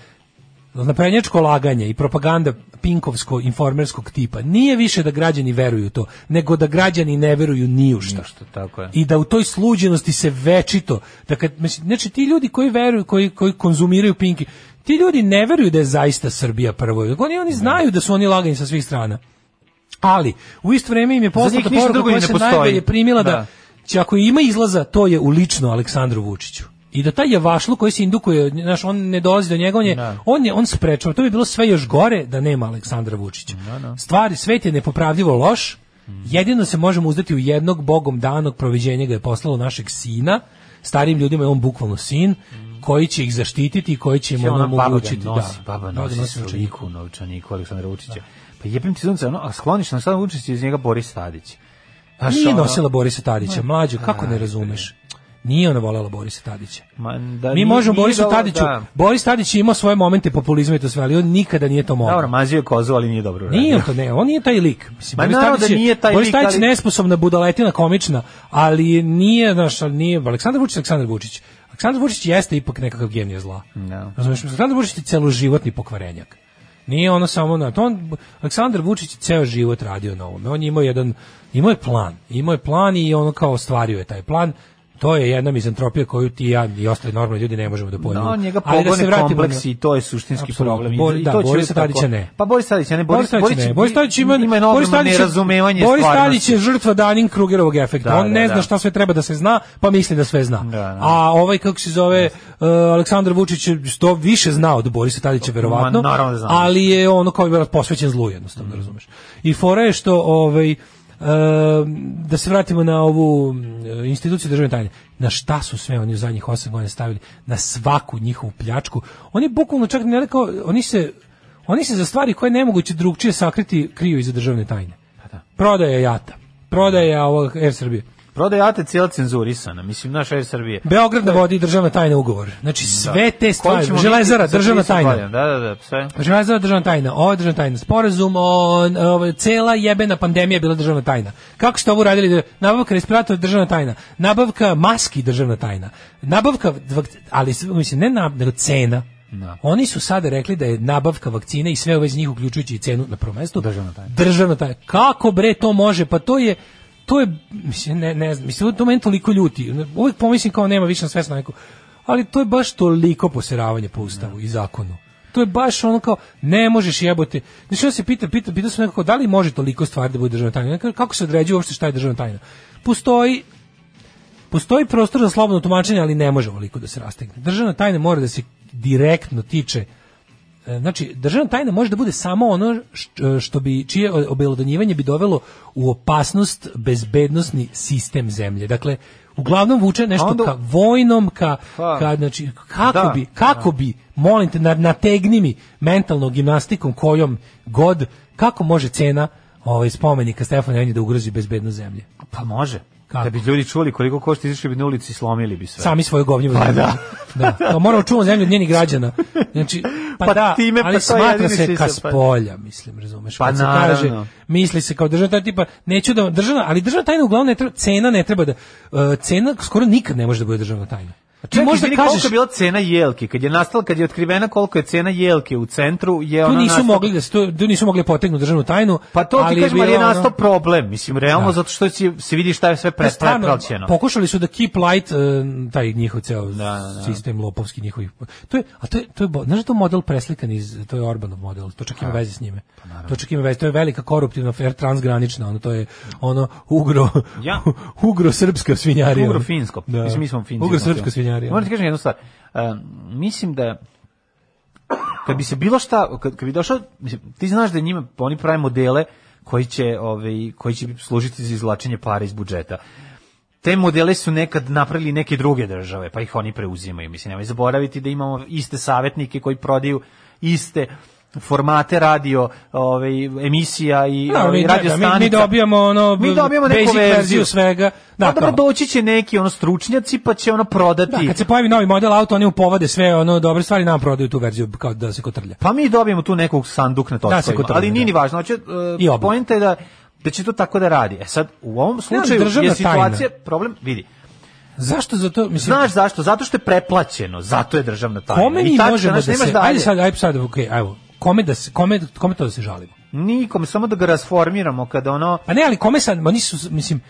Speaker 6: naprednjačko laganje i propaganda pinkovsko informerskog tipa nije više da građani veruju u to, nego da građani ne veruju ni u šta
Speaker 7: Tako je.
Speaker 6: i da u toj sluđenosti se večito da kad mislim, znači ti ljudi koji veruju koji koji konzumiraju Pinki ti ljudi ne veruju da je zaista Srbija prvo nego oni oni znaju da su oni lagani sa svih strana ali u isto vrijeme im je
Speaker 7: njih
Speaker 6: poslata
Speaker 7: ništa
Speaker 6: poruka
Speaker 7: drugo i
Speaker 6: koja
Speaker 7: ne
Speaker 6: se
Speaker 7: postoji.
Speaker 6: najbolje primila da,
Speaker 7: Da.
Speaker 6: će ako ima izlaza to je u lično Aleksandru Vučiću i da taj javašlu koji se indukuje, znaš, on ne dolazi do njega, on je,
Speaker 7: Da.
Speaker 6: on je, on sprečava. To bi bilo sve još gore da nema Aleksandra Vučića.
Speaker 7: Da,
Speaker 6: Stvari, svet je nepopravljivo loš, jedino se možemo uzdati u jednog bogom danog proviđenja ga je poslalo našeg sina, starim ljudima je on bukvalno sin, koji će ih zaštititi i koji će im
Speaker 7: Mm. Ona
Speaker 6: ono
Speaker 7: baba
Speaker 6: omogućiti.
Speaker 7: ga nosi,
Speaker 6: da.
Speaker 7: baba
Speaker 6: Da,
Speaker 7: nosi,
Speaker 6: da nosi u učeniku.
Speaker 7: sliku u novčaniku Aleksandra Vučića. Pa jebim ti sunce, ono, a skloniš na sada Vučića iz njega Boris Tadić. Znaš,
Speaker 6: Nije
Speaker 7: ono,
Speaker 6: nosila Borisa Tadića, mlađo, kako ne razumeš? Nije ona volela Borisa Tadića.
Speaker 7: ma, da
Speaker 6: Mi
Speaker 7: nije-
Speaker 6: možemo
Speaker 7: nije
Speaker 6: Borisu
Speaker 7: dalo-
Speaker 6: Tadiću,
Speaker 7: da.
Speaker 6: Boris Tadić je imao svoje momente populizma i to sve, ali on nikada nije to mogao.
Speaker 7: Dobro, mazio je kozu, ali nije dobro. uradio.
Speaker 6: Nije on to, ne, on nije taj lik. Mislim,
Speaker 7: Ma
Speaker 6: Boris
Speaker 7: naravno
Speaker 6: Tadić
Speaker 7: da
Speaker 6: je-
Speaker 7: nije taj
Speaker 6: Boris
Speaker 7: lik,
Speaker 6: Tadić je
Speaker 7: ali-
Speaker 6: nesposobna budaletina komična, ali nije, znaš, ali nije, Aleksandar Vučić, je Aleksandar Vučić. Aleksandar Vučić jeste ipak nekakav genije zla.
Speaker 7: Da.
Speaker 6: Razumeš, Aleksandar Vučić je celoživotni pokvarenjak. Nije ono samo na to. On, Aleksandar Vučić je ceo život radio na ovome. On je imao jedan, imao je plan. Imao je plan i ono kao ostvario je taj plan. To je jedna mizantropija koju ti i ja i ostali normalni ljudi ne možemo da pojmemo.
Speaker 7: No, njega
Speaker 6: Ali
Speaker 7: pogone
Speaker 6: vratimo
Speaker 7: kompleks i to je suštinski
Speaker 6: Apsolutno.
Speaker 7: problem. I-
Speaker 6: Bori-
Speaker 7: i
Speaker 6: da,
Speaker 7: to će
Speaker 6: Boris
Speaker 7: uvijek tako-
Speaker 6: Tadića ne.
Speaker 7: Pa Boris Tadić, ne,
Speaker 6: Boris
Speaker 7: Boris,
Speaker 6: Tadić ne. Boris Tadić ima,
Speaker 7: ima
Speaker 6: Boris
Speaker 7: enormno
Speaker 6: Tadić je-
Speaker 7: nerazumevanje
Speaker 6: Boris
Speaker 7: stvarnosti.
Speaker 6: Tadić je žrtva danin Krugerovog efekta.
Speaker 7: Da,
Speaker 6: On
Speaker 7: da,
Speaker 6: ne
Speaker 7: da.
Speaker 6: zna šta sve treba da se zna, pa misli da sve zna.
Speaker 7: da.
Speaker 6: A ovaj kako se zove uh, Aleksandar Vučić je što više zna od Borisa Tadića verovatno.
Speaker 7: Ma, naravno da Mhm. zna.
Speaker 6: Ali je ono kao je posvećen zlu jednostavno, razumeš. I fora je što ovaj e, da se vratimo na ovu e, instituciju državne tajne. Na šta su sve oni u zadnjih 8 godina stavili? Na svaku njihovu pljačku. Oni bukvalno čak ne rekao, oni se oni se za stvari koje je nemoguće drugčije sakriti kriju iza državne tajne.
Speaker 7: Pa da.
Speaker 6: Prodaja jata, prodaja ovog Air Srbije.
Speaker 7: Prodaj ATE cijela cenzurisana, mislim, naš Air Srbije.
Speaker 6: Beograd navodi državna tajna ugovor. Znači sve te
Speaker 7: Da. Koji
Speaker 6: stvari,
Speaker 7: ćemo
Speaker 6: železara,
Speaker 7: biti za
Speaker 6: državna
Speaker 7: 30
Speaker 6: tajna.
Speaker 7: godina, Da, da, da, sve.
Speaker 6: Železara državna tajna, ovo Znači, je državna tajna. Sporazum o, o cela jebena pandemija je bila državna tajna. Kako ste ovo uradili? Nabavka respiratora državna tajna. Nabavka maski državna tajna. Nabavka, vak- ali mislim, ne nab, nego cena.
Speaker 7: Da.
Speaker 6: Oni su sada rekli da je nabavka vakcine i sve u vezi njih uključujući i cenu na prvom mestu
Speaker 7: Državna tajna.
Speaker 6: Državna tajna. Kako bre to može? Pa to je to je mislim ne ne znam, mislim to meni toliko ljuti. Uvijek pomislim kao nema više na svesno neko. Ali to je baš toliko poseravanje po ustavu i zakonu. To je baš ono kao ne možeš jebote. Znači ja se pita pita pita se nekako da li može toliko stvari da bude državna tajna. Kako- Kako se određuje uopšte šta je državna tajna? Postoji Postoji prostor za slobodno tumačenje, ali ne može ovoliko da se rastegne. Državna tajna mora da se direktno tiče E, znači državna tajna može da bude samo ono š- što bi čije obelodanjivanje bi dovelo u opasnost bezbednosni sistem zemlje. Dakle, uglavnom vuče nešto
Speaker 7: A onda-
Speaker 6: ka vojnom, ka,
Speaker 7: Pa,
Speaker 6: ka znači kako
Speaker 7: da,
Speaker 6: bi kako bi molim te na- nategni mi mentalnom gimnastikom kojom god kako može cena ovaj spomenika Stefana Nemanje da ugrozi bezbednost zemlje.
Speaker 7: Pa može.
Speaker 6: Kako?
Speaker 7: Da bi ljudi čuli koliko košta izašli bi na ulici i slomili bi sve.
Speaker 6: sami svoje govnjivo
Speaker 7: Pa
Speaker 6: zemlje.
Speaker 7: da.
Speaker 6: da. Pa moramo čuvati zemlju od njenih građana. Znači, pa,
Speaker 7: Pa
Speaker 6: da,
Speaker 7: time,
Speaker 6: ali
Speaker 7: pa to
Speaker 6: smatra
Speaker 7: jedini
Speaker 6: se ka
Speaker 7: sistem, pa-
Speaker 6: spolja, mislim, razumeš.
Speaker 7: Pa
Speaker 6: Kad se
Speaker 7: naravno.
Speaker 6: kaže, misli se kao državna tajna, tipa, neću da, državna, ali državna tajna uglavnom ne treba, cena ne treba da, e, cena skoro nikad ne može da bude državna tajna. Ti da
Speaker 7: Čekaj,
Speaker 6: možda
Speaker 7: izvini, koliko je bila cena jelke? Kad je nastala, kad je otkrivena koliko je cena jelke u centru, je
Speaker 6: tu
Speaker 7: ona
Speaker 6: nisu
Speaker 7: nastala-
Speaker 6: mogli da se, tu, tu nisu mogli potegnuti državnu tajnu.
Speaker 7: Pa to
Speaker 6: ali
Speaker 7: ti
Speaker 6: je
Speaker 7: kažem, ali je
Speaker 6: bilo ono-
Speaker 7: nastao problem. Mislim, realno,
Speaker 6: Da.
Speaker 7: zato što si- se vidi šta je sve pre,
Speaker 6: Pa stvarno,
Speaker 7: prepraćeno.
Speaker 6: Pokušali su da keep light e, taj njihov ceo
Speaker 7: da, da.
Speaker 6: sistem lopovski njihovih. To je a to je to je bo- znaš da je to model preslikan iz to je Orbanov model. To čak ima
Speaker 7: Pa,
Speaker 6: veze s njime. to čak ima veze, to je velika koruptivna fer transgranična, ono to je ono ugro
Speaker 7: Ja.
Speaker 6: ugro srpska svinjarija.
Speaker 7: Ugro finsko.
Speaker 6: Da.
Speaker 7: Mislim, mi smo finci. znači,
Speaker 6: Ugro srpska svinjarija. da.
Speaker 7: Moram ti kažem jednu stvar. Um, mislim da kad bi se bilo šta, kad, kad bi došao, mislim, ti znaš da njima oni prave modele koji će, ovaj, koji će služiti za izvlačenje para iz budžeta. Te modele su nekad napravili neke druge države, pa ih oni preuzimaju. Mislim, nemoj zaboraviti da imamo iste savjetnike koji prodaju iste formate radio, ovaj emisija i
Speaker 6: Da,
Speaker 7: ovaj,
Speaker 6: mi,
Speaker 7: radio
Speaker 6: da, mi, mi dobijamo ono
Speaker 7: mi dobijamo neku
Speaker 6: basic
Speaker 7: verziju.
Speaker 6: verziju svega.
Speaker 7: Da,
Speaker 6: Da,
Speaker 7: dobro,
Speaker 6: kao-
Speaker 7: doći će neki ono stručnjaci pa će ono
Speaker 6: da,
Speaker 7: prodati.
Speaker 6: kad se pojavi novi model auto, oni upovade sve ono dobre stvari, nam prodaju tu verziju kao da se kotrlja.
Speaker 7: Pa mi dobijemo tu nekog sanduk na
Speaker 6: Da, se
Speaker 7: točkovima,
Speaker 6: kotrlja,
Speaker 7: ali nije
Speaker 6: da.
Speaker 7: ni važno. Hoće,
Speaker 6: I
Speaker 7: uh,
Speaker 6: oblak.
Speaker 7: poenta je da, da će to tako da radi. E sad, u ovom slučaju
Speaker 6: državna
Speaker 7: je situacija,
Speaker 6: tajna.
Speaker 7: problem, vidi,
Speaker 6: Zašto za to, mislim,
Speaker 7: znaš zašto? Zato što je preplaćeno, zato je državna tajna.
Speaker 6: Kome
Speaker 7: I
Speaker 6: mi
Speaker 7: tačno,
Speaker 6: možemo da
Speaker 7: znaš,
Speaker 6: se...
Speaker 7: nemaš dalje.
Speaker 6: Ajde sad, ajde sad, okej, evo. Kome, da se, kome, kome to da se žalimo?
Speaker 7: Nikom, samo da ga rasformiramo kada ono...
Speaker 6: Pa ne, ali kome sad, oni su, mislim,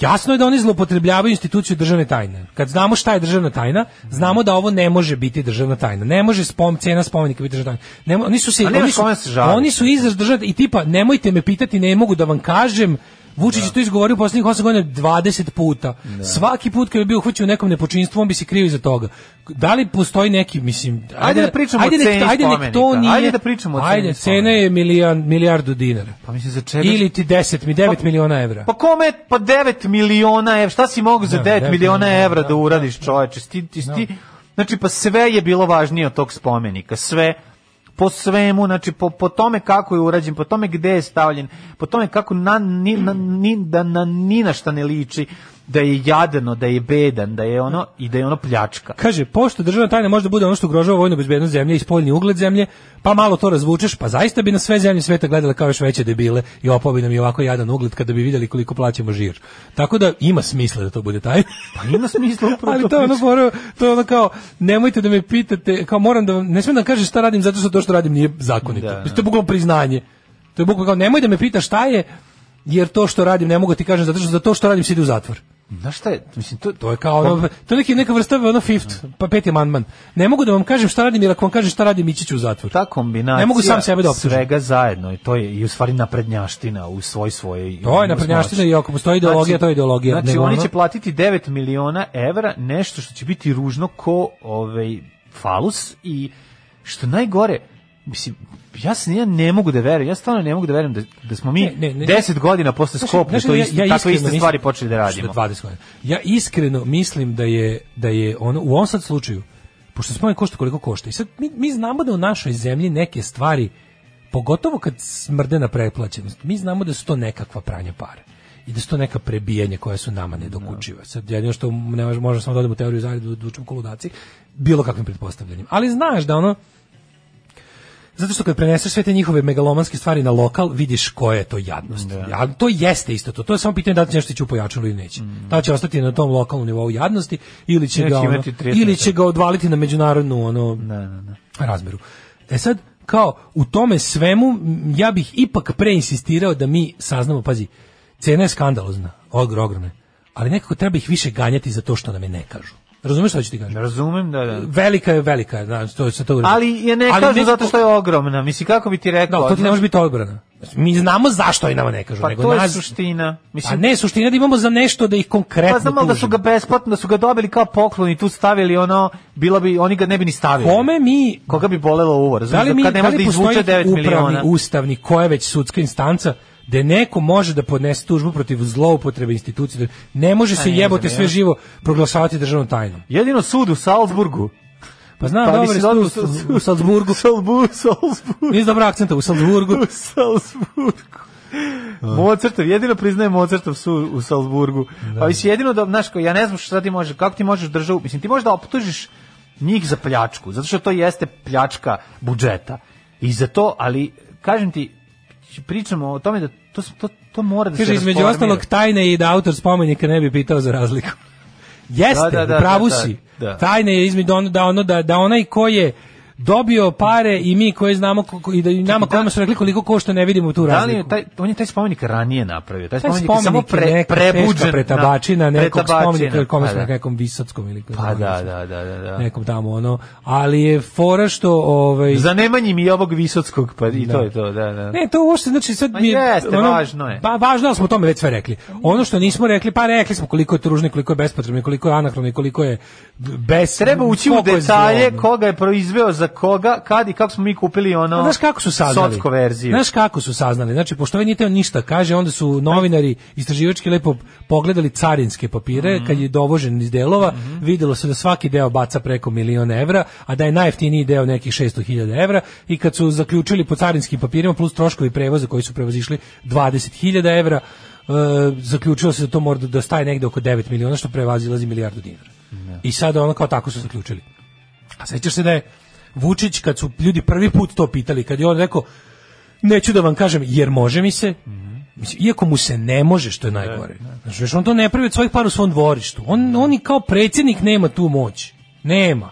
Speaker 6: jasno je da oni zloupotrebljavaju instituciju državne tajne. Kad znamo šta je državna tajna, znamo da ovo ne može biti državna tajna. Ne može spom, cena spomenika biti državna tajna. Ne, mo- oni su se,
Speaker 7: A Pa nemaš
Speaker 6: oni su,
Speaker 7: kome se žaliti.
Speaker 6: oni su izraz državne i tipa, nemojte me pitati, ne mogu da vam kažem, Vučić
Speaker 7: Da.
Speaker 6: je to izgovorio u poslednjih 8 godina 20 puta. Svaki put kad bi bio uhvaćen u nekom nepočinstvu, on bi se krio iza toga. Da li postoji neki, mislim,
Speaker 7: Ajde da pričamo
Speaker 6: ajde
Speaker 7: o
Speaker 6: nek-
Speaker 7: ceni
Speaker 6: ajde nek
Speaker 7: spomenika.
Speaker 6: to nije-
Speaker 7: Ajde da pričamo o ceni
Speaker 6: Ajde, cena
Speaker 7: spomenika.
Speaker 6: je milijan, milijardu dinara.
Speaker 7: Pa mislim, za čega...
Speaker 6: Ili ti 10, mi 9 miliona evra.
Speaker 7: Pa kome, pa 9 miliona evra, šta si mogu za
Speaker 6: Da,
Speaker 7: 9
Speaker 6: devet
Speaker 7: miliona
Speaker 6: miliona,
Speaker 7: evra
Speaker 6: da,
Speaker 7: da uradiš čoveče, sti, ti, sti, znači pa sve je bilo važnije od tog spomenika, sve, po svemu, znači po, po tome kako je urađen, po tome gde je stavljen, po tome kako na, ni, na, ni, da, na, ni na šta ne liči, da je jadno, da je bedan, da je ono, i da je ono pljačka.
Speaker 6: Kaže, pošto državna tajna može da bude ono što ugrožava vojnu bezbednost zemlje i spoljni ugled zemlje, pa malo to razvučeš, pa zaista bi na sve zemlje sveta gledale kao još veće debile i opao bi nam i ovako jadan ugled kada bi vidjeli koliko plaćamo žir. Tako da ima smisla da to bude taj.
Speaker 7: Pa ima smisla upravo
Speaker 6: Ali to je ono
Speaker 7: pričam.
Speaker 6: fora, to je ono kao nemojte da me pitate, kao moram da vam, ne smem da vam kažem šta radim zato što to što radim nije zakonito.
Speaker 7: Da, da.
Speaker 6: Mislim, To je bukvalno priznanje. da To je bukvalno kao nemoj da me pitaš šta je jer to što radim ne mogu ti kažem zato što za to što radim se ide u zatvor.
Speaker 7: Znaš šta je, mislim, to,
Speaker 6: to je kao ono, to je neki neka vrsta ono fifth, pa peti amandman. Ne mogu da vam kažem šta radim, jer ako vam kažem šta radim, ići ću u zatvor.
Speaker 7: Ta kombinacija
Speaker 6: Ne mogu sam sebe da optužim.
Speaker 7: svega zajedno i to je i u stvari naprednjaština u svoj svoje
Speaker 6: To je naprednjaština i ako postoji ideologija, to je ideologija,
Speaker 7: Znači
Speaker 6: nego
Speaker 7: oni
Speaker 6: ono-
Speaker 7: će platiti 9 miliona evra, nešto što će biti ružno ko ovaj falus i što je najgore, mislim Ja se ja ne mogu da verujem, ja stvarno ne mogu da verujem da, da smo mi
Speaker 6: Ne, ne, ne.
Speaker 7: 10 godina posle
Speaker 6: Znaš,
Speaker 7: Skoplja
Speaker 6: znaš
Speaker 7: to
Speaker 6: li,
Speaker 7: isto, takve
Speaker 6: iskreno
Speaker 7: iste
Speaker 6: mislim-
Speaker 7: stvari počeli da radimo.
Speaker 6: Što je 20 godina. Ja iskreno mislim da je, da je ono, u ovom sad slučaju, pošto spomen košta koliko košta, i sad mi, mi znamo da u našoj zemlji neke stvari, pogotovo kad smrde na preplaćenost, mi znamo da su to nekakva pranja para i da su to neka prebijanja koja su nama
Speaker 7: Da.
Speaker 6: nedokučiva. Sad jedino što ne možemo, možemo samo da odemo u teoriju zajedno da učimo koludaci, bilo kakvim pretpostavljanjem. Ali znaš da ono, zato što kad preneseš sve te njihove megalomanske stvari na lokal, vidiš koja je to jadnost.
Speaker 7: Da.
Speaker 6: Ali to jeste isto to. To je samo pitanje da li će nešto ići u pojačalu ili neće. Da li će ostati na tom lokalnom nivou jadnosti ili će,
Speaker 7: Mm. Neće
Speaker 6: ga, ono-
Speaker 7: imati Da, tretman.
Speaker 6: ili će ga odvaliti na međunarodnu ono, razmeru. E sad, kao u tome svemu, m, ja bih ipak preinsistirao da mi saznamo, pazi, cena je skandalozna, ogr, ogromna, ali nekako treba ih više ganjati za to što nam je ne kažu. Razumeš što ću ti kažem?
Speaker 7: Razumem da, da.
Speaker 6: Velika je velika, znači to se to
Speaker 7: Ali je ne
Speaker 6: Ali
Speaker 7: kažu
Speaker 6: nekako-
Speaker 7: zato što je ogromna. Mislim, kako bi ti rekao?
Speaker 6: Da, to ti ne može biti odbrana. Mi znamo zašto i nama ne kažu.
Speaker 7: Pa
Speaker 6: nego
Speaker 7: to je
Speaker 6: nas-
Speaker 7: suština. Mislim,
Speaker 6: Pa ne, suština je da imamo za nešto da ih konkretno
Speaker 7: Pa znam ali da su
Speaker 6: tužimo.
Speaker 7: ga besplatno, da su ga dobili kao poklon i tu stavili ono, bila bi, oni ga ne bi ni stavili.
Speaker 6: Kome mi
Speaker 7: Koga bi bolelo uvo, razumiješ?
Speaker 6: da li mi
Speaker 7: kad ne
Speaker 6: da
Speaker 7: može
Speaker 6: li
Speaker 7: da
Speaker 6: postoji
Speaker 7: izvuče 9
Speaker 6: upravni,
Speaker 7: miliona.
Speaker 6: ustavni, koja je već sudska instanca da neko može da podnese tužbu protiv zloupotrebe institucije. da Ne može se
Speaker 7: Pa ne
Speaker 6: jebote
Speaker 7: znam,
Speaker 6: sve
Speaker 7: ja.
Speaker 6: živo proglašavati državnom tajnom.
Speaker 7: Jedino sud u Salzburgu.
Speaker 6: Pa znam,
Speaker 7: Pa
Speaker 6: dobro,
Speaker 7: mislim,
Speaker 6: jesi tu
Speaker 7: odmah
Speaker 6: u
Speaker 7: su-
Speaker 6: Sal- u Salzburgu,
Speaker 7: Salzburg, Salzburg,
Speaker 6: nisi dobro akcenta, u Salzburgu.
Speaker 7: u Salzburgu. Mozartov, jedino priznaje Mozartov su u Salzburgu. Da. A mislim, jedino da, znaš, kao, ja ne znam šta ti može, kako ti možeš državu, mislim, ti možeš da optužiš njih za pljačku, zato što to jeste pljačka budžeta. I za to, ali, kažem ti, pričamo o tome da to, to, to mora da se
Speaker 6: Kaže, između
Speaker 7: rasformira.
Speaker 6: ostalog, tajne i da autor spomenika ne bi pitao za razliku. Jeste,
Speaker 7: Da, da, da,
Speaker 6: u pravu
Speaker 7: da, da,
Speaker 6: si.
Speaker 7: da.
Speaker 6: Tajna je između ono, da, ono, da, da onaj ko je dobio pare i mi koji znamo ko- ko- i da i nama
Speaker 7: Čekaj, da-
Speaker 6: kojima su rekli koliko košta ne vidimo tu
Speaker 7: Da li je
Speaker 6: razliku.
Speaker 7: taj, on je taj spomenik ranije napravio, taj,
Speaker 6: Taj
Speaker 7: spomenik, je samo pre,
Speaker 6: neka
Speaker 7: prebuđen.
Speaker 6: teška pretabačina
Speaker 7: na-
Speaker 6: nekog
Speaker 7: pretabačina,
Speaker 6: spomenika ili kome
Speaker 7: pa
Speaker 6: su
Speaker 7: da.
Speaker 6: rekli, nekom visockom ili
Speaker 7: Pa da, da, da, da. da.
Speaker 6: nekom tamo ono, ali je fora što ovaj,
Speaker 7: Za nemanji mi je ovog visockog, pa i to je to, da, da.
Speaker 6: Ne, to uopšte, znači sad
Speaker 7: Ma
Speaker 6: mi je...
Speaker 7: jeste, važno je.
Speaker 6: Ba, važno, ali smo o tome već sve rekli. Ono što nismo rekli, pa rekli smo koliko je tužno, i koliko je bespotrebno, i koliko je anahrono, i koliko je bez...
Speaker 7: Treba ući u
Speaker 6: koliko je
Speaker 7: detalje
Speaker 6: zlobno.
Speaker 7: koga je proizveo, za koga, kad i kako smo mi kupili ono...
Speaker 6: A Znaš kako su saznali?
Speaker 7: Socko verziju.
Speaker 6: Znaš kako su saznali? Znači, pošto ovaj nije teo ništa kaže, onda su novinari istraživački lepo pogledali carinske
Speaker 7: Mhm.
Speaker 6: papire, kad je dovožen iz delova, videlo se da svaki deo baca preko milion evra, a da je najjeftiniji deo nekih 600.000 evra, i kad su zaključili po carinskim papirima, plus troškovi prevoza koji su prevozišli 20.000 evra, e, zaključilo se da to mora da- da staje negde oko 9 miliona, što prevazilazi milijardu dinara.
Speaker 7: Da.
Speaker 6: I sad ono kao tako su zaključili. A sećaš se da je Vučić, kad su ljudi prvi put to pitali, kad je on rekao, neću da vam kažem, jer može mi se, Mislim, iako mu se Mhm. ne može, što je najgore. Znači, još on to ne pravi od svojih par u svom dvorištu. On, on i kao predsjednik nema tu moć. Nema.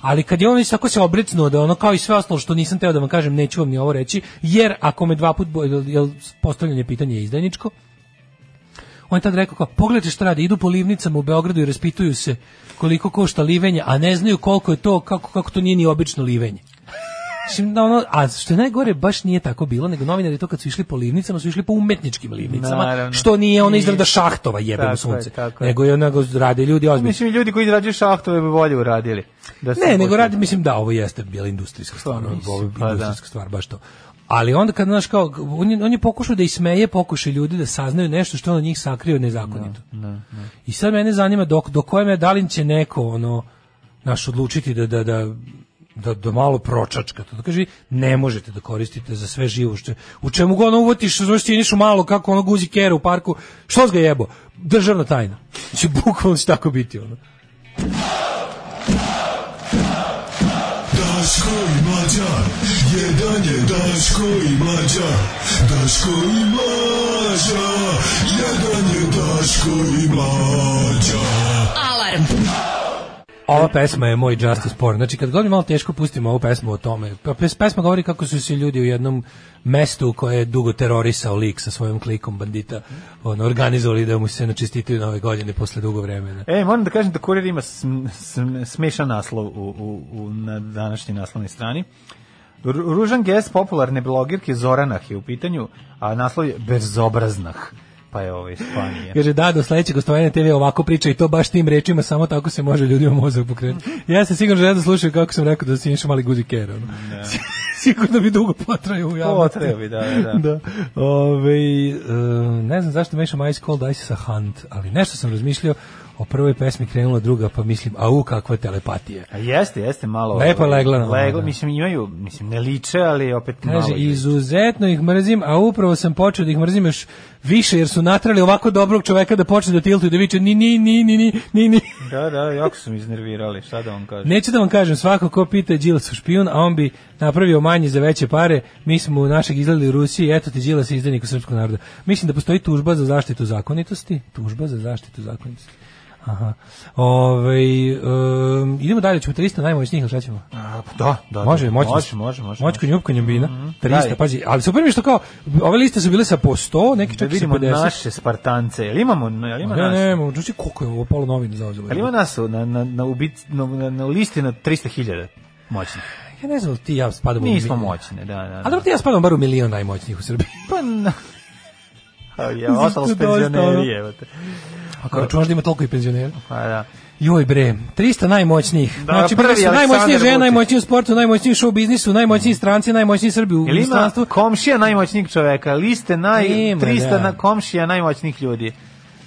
Speaker 6: Ali kad je on već tako se obrecnuo da ono kao i sve ostalo što nisam teo da vam kažem, neću vam ni ovo reći, jer ako me dva put, bo- jel, jel postavljanje pitanja je izdajničko, on je tad rekao kao, pogledajte šta radi, idu po livnicama u Beogradu i raspituju se koliko košta livenje, a ne znaju koliko je to, kako, kako to nije ni obično livenje. Mislim, da ono, a što je najgore, baš nije tako bilo, nego novinari to kad su išli po livnicama, su išli po umetničkim livnicama,
Speaker 7: Naravno.
Speaker 6: što nije ona izrada šahtova jebeno
Speaker 7: Tako
Speaker 6: sunce,
Speaker 7: je, tako je.
Speaker 6: nego je onako rade ljudi ozbiljno.
Speaker 7: Mislim, ljudi koji rađaju šahtove bi bolje uradili. Da su
Speaker 6: Ne, nego
Speaker 7: pušteni.
Speaker 6: radi, mislim da, ovo jeste bila industrijska stvar,
Speaker 7: Pa, mislim,
Speaker 6: ovo je
Speaker 7: pa da.
Speaker 6: industrijska stvar, baš to. Ali onda kad, znaš, kao, on je, on je pokušao da ismeje pokušaj ljudi da saznaju nešto što je on od njih sakrio nezakonito. I sad mene zanima dok, do koje me, da li će neko, ono, naš odlučiti da, da, da, da, da malo pročačka to da kaže vi ne možete da koristite za sve živo što je- u čemu god ono uvotiš znaš ti u malo kako ono guzi kera u parku što ga jebo državna tajna znači bukvalno će tako biti ono
Speaker 1: Daško i Mlađa, jedan je Daško i Mlađa, Daško i Mlađa, jedan je Daško i Mlađa.
Speaker 11: Alarm.
Speaker 6: Ova pesma je moj Justice Porn. Znači, kad govorim malo teško, pustimo ovu pesmu o tome. Pa pes- Pesma govori kako su se ljudi u jednom mestu koje je dugo terorisao lik sa svojim klikom bandita ono, organizovali da mu se načistitaju nove godine posle dugo vremena.
Speaker 7: E, moram da kažem da kurir ima sm, sm- smešan naslov u, u, u, na današnjoj naslovnoj strani. Ru- Ružan gest popularne blogirke Zoranah je u pitanju, a naslov je Bezobraznah. Pa je ovo iz Španije.
Speaker 6: Kaže, da, do sledećeg gostovanja TV ovako priča i to baš tim rečima, samo tako se može ljudima mozak pokrenuti. Ja se sigurno želim da slušaju kako sam rekao da si inšao mali guzi kero. ono. sigurno bi dugo potrajao u javnosti.
Speaker 7: Potrajao bi, da, da, da.
Speaker 6: da. Ovaj, e, ne znam zašto mešam Ice Cold Ice sa Hunt, ali nešto sam razmišljao o prvoj pesmi krenula druga, pa mislim, au, kakva telepatija.
Speaker 7: A Pa jeste, jeste malo.
Speaker 6: Lepo je legla na ono,
Speaker 7: Leglo,
Speaker 6: da.
Speaker 7: mislim imaju, mislim ne liče, ali opet
Speaker 6: Kaže,
Speaker 7: malo. iz...
Speaker 6: izuzetno ih mrzim, a upravo sam počeo da ih mrzim još više, jer su natrali ovako dobrog čoveka da počne da tiltuje, da viče ni, ni, ni, ni, ni, ni, ni.
Speaker 7: Da, da, jako su mi iznervirali, šta da vam kažem.
Speaker 6: Neću da vam kažem, svako ko pita je Đilas u špijun, a on bi napravio manje za veće pare, mi smo u našeg izgledali u Rusiji, eto ti Đilas je izdenik srpskog naroda. Mislim da postoji tužba za zaštitu zakonitosti, tužba za zaštitu zakonitosti. Aha. Ove, um, idemo dalje, ćemo 300 najmoćnijih, ili šta ćemo?
Speaker 7: A, pa da, da, da,
Speaker 6: može, moćno.
Speaker 7: može, može, može. Mhm.
Speaker 6: Moćko njupkanjem vina.
Speaker 7: Daj.
Speaker 6: 300, pazi. Ali super mi je što kao, ove liste su bile sa po 100, neki
Speaker 7: Da
Speaker 6: čak i sa
Speaker 7: vidimo
Speaker 6: 50.
Speaker 7: naše Spartance. Jel imamo, jel ima
Speaker 6: Ne,
Speaker 7: nas?
Speaker 6: ne, ne, znači koliko je ovo polo novina zauzelo.
Speaker 7: Jel ima nas na, na, na, ubit, na, na, na listi na 300.000 moćnih?
Speaker 6: Ja ne znam, jel ti i ja spadamo. u
Speaker 7: Nismo
Speaker 6: milion.
Speaker 7: moćne, da, da. da.
Speaker 6: A dobro ti i ja spadamo bar u milion najmoćnijih u Srbiji.
Speaker 7: Pa na... A Ja, ostalo s
Speaker 6: Dosta, ono.
Speaker 7: penzioneri, evo te.
Speaker 6: Ako računaš da ima toliko i penzionera.
Speaker 7: Pa da.
Speaker 6: Joj bre, 300 najmoćnijih.
Speaker 7: Da,
Speaker 6: znači,
Speaker 7: prvi
Speaker 6: prvi su najmoćnije
Speaker 7: Aleksandar
Speaker 6: žene,
Speaker 7: Vučić.
Speaker 6: najmoćniji u sportu, najmoćniji u show biznisu, najmoćniji stranci, najmoćniji Srbi u
Speaker 7: Jel ima
Speaker 6: inostranstvu.
Speaker 7: komšija najmoćnijeg čoveka, liste naj...
Speaker 6: Ima,
Speaker 7: 300
Speaker 6: da.
Speaker 7: na komšija najmoćnijih ljudi.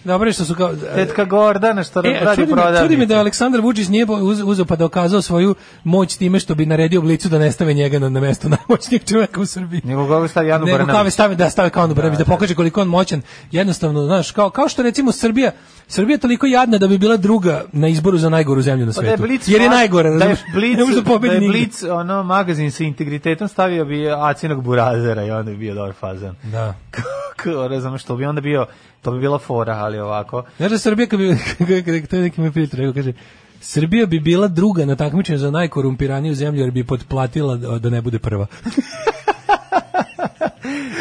Speaker 6: Dobro je što su kao...
Speaker 7: Tetka Gordana što
Speaker 6: E,
Speaker 7: e,
Speaker 6: a
Speaker 7: radi
Speaker 6: čudi, me,
Speaker 7: prodavnice.
Speaker 6: čudi me da Aleksandar Vučić nije bo- uz- uzeo pa dokazao svoju moć time što bi naredio oblicu da ne stave njega na, na mesto najmoćnijeg čoveka u Srbiji.
Speaker 7: Nego kako stavi Janu
Speaker 6: Nego kao
Speaker 7: Brnabić.
Speaker 6: stave da stave kao da, da pokaže koliko je on moćan. Jednostavno, znaš, kao kao što recimo Srbija Srbija je toliko jadna da bi bila druga na izboru za najgoru zemlju na
Speaker 7: Pa da je
Speaker 6: svetu.
Speaker 7: Blic,
Speaker 6: jer je
Speaker 7: ma-
Speaker 6: najgora,
Speaker 7: da je
Speaker 6: razumeš?
Speaker 7: Blic,
Speaker 6: ne može da
Speaker 7: da
Speaker 6: pobedi
Speaker 7: je
Speaker 6: nigde.
Speaker 7: Blic, ono magazin sa integritetom stavio bi Acinog Burazera i onda bi bio dobar fazan.
Speaker 6: Da.
Speaker 7: Kako, razumem što bi onda bio, to bi bila fora, ali ovako.
Speaker 6: Znaš da Srbija, kad bi, to je neki mi prijatelj rekao, kaže, Srbija bi bila druga na takmičenju za najkorumpiraniju zemlju jer bi potplatila da da ne bude prva.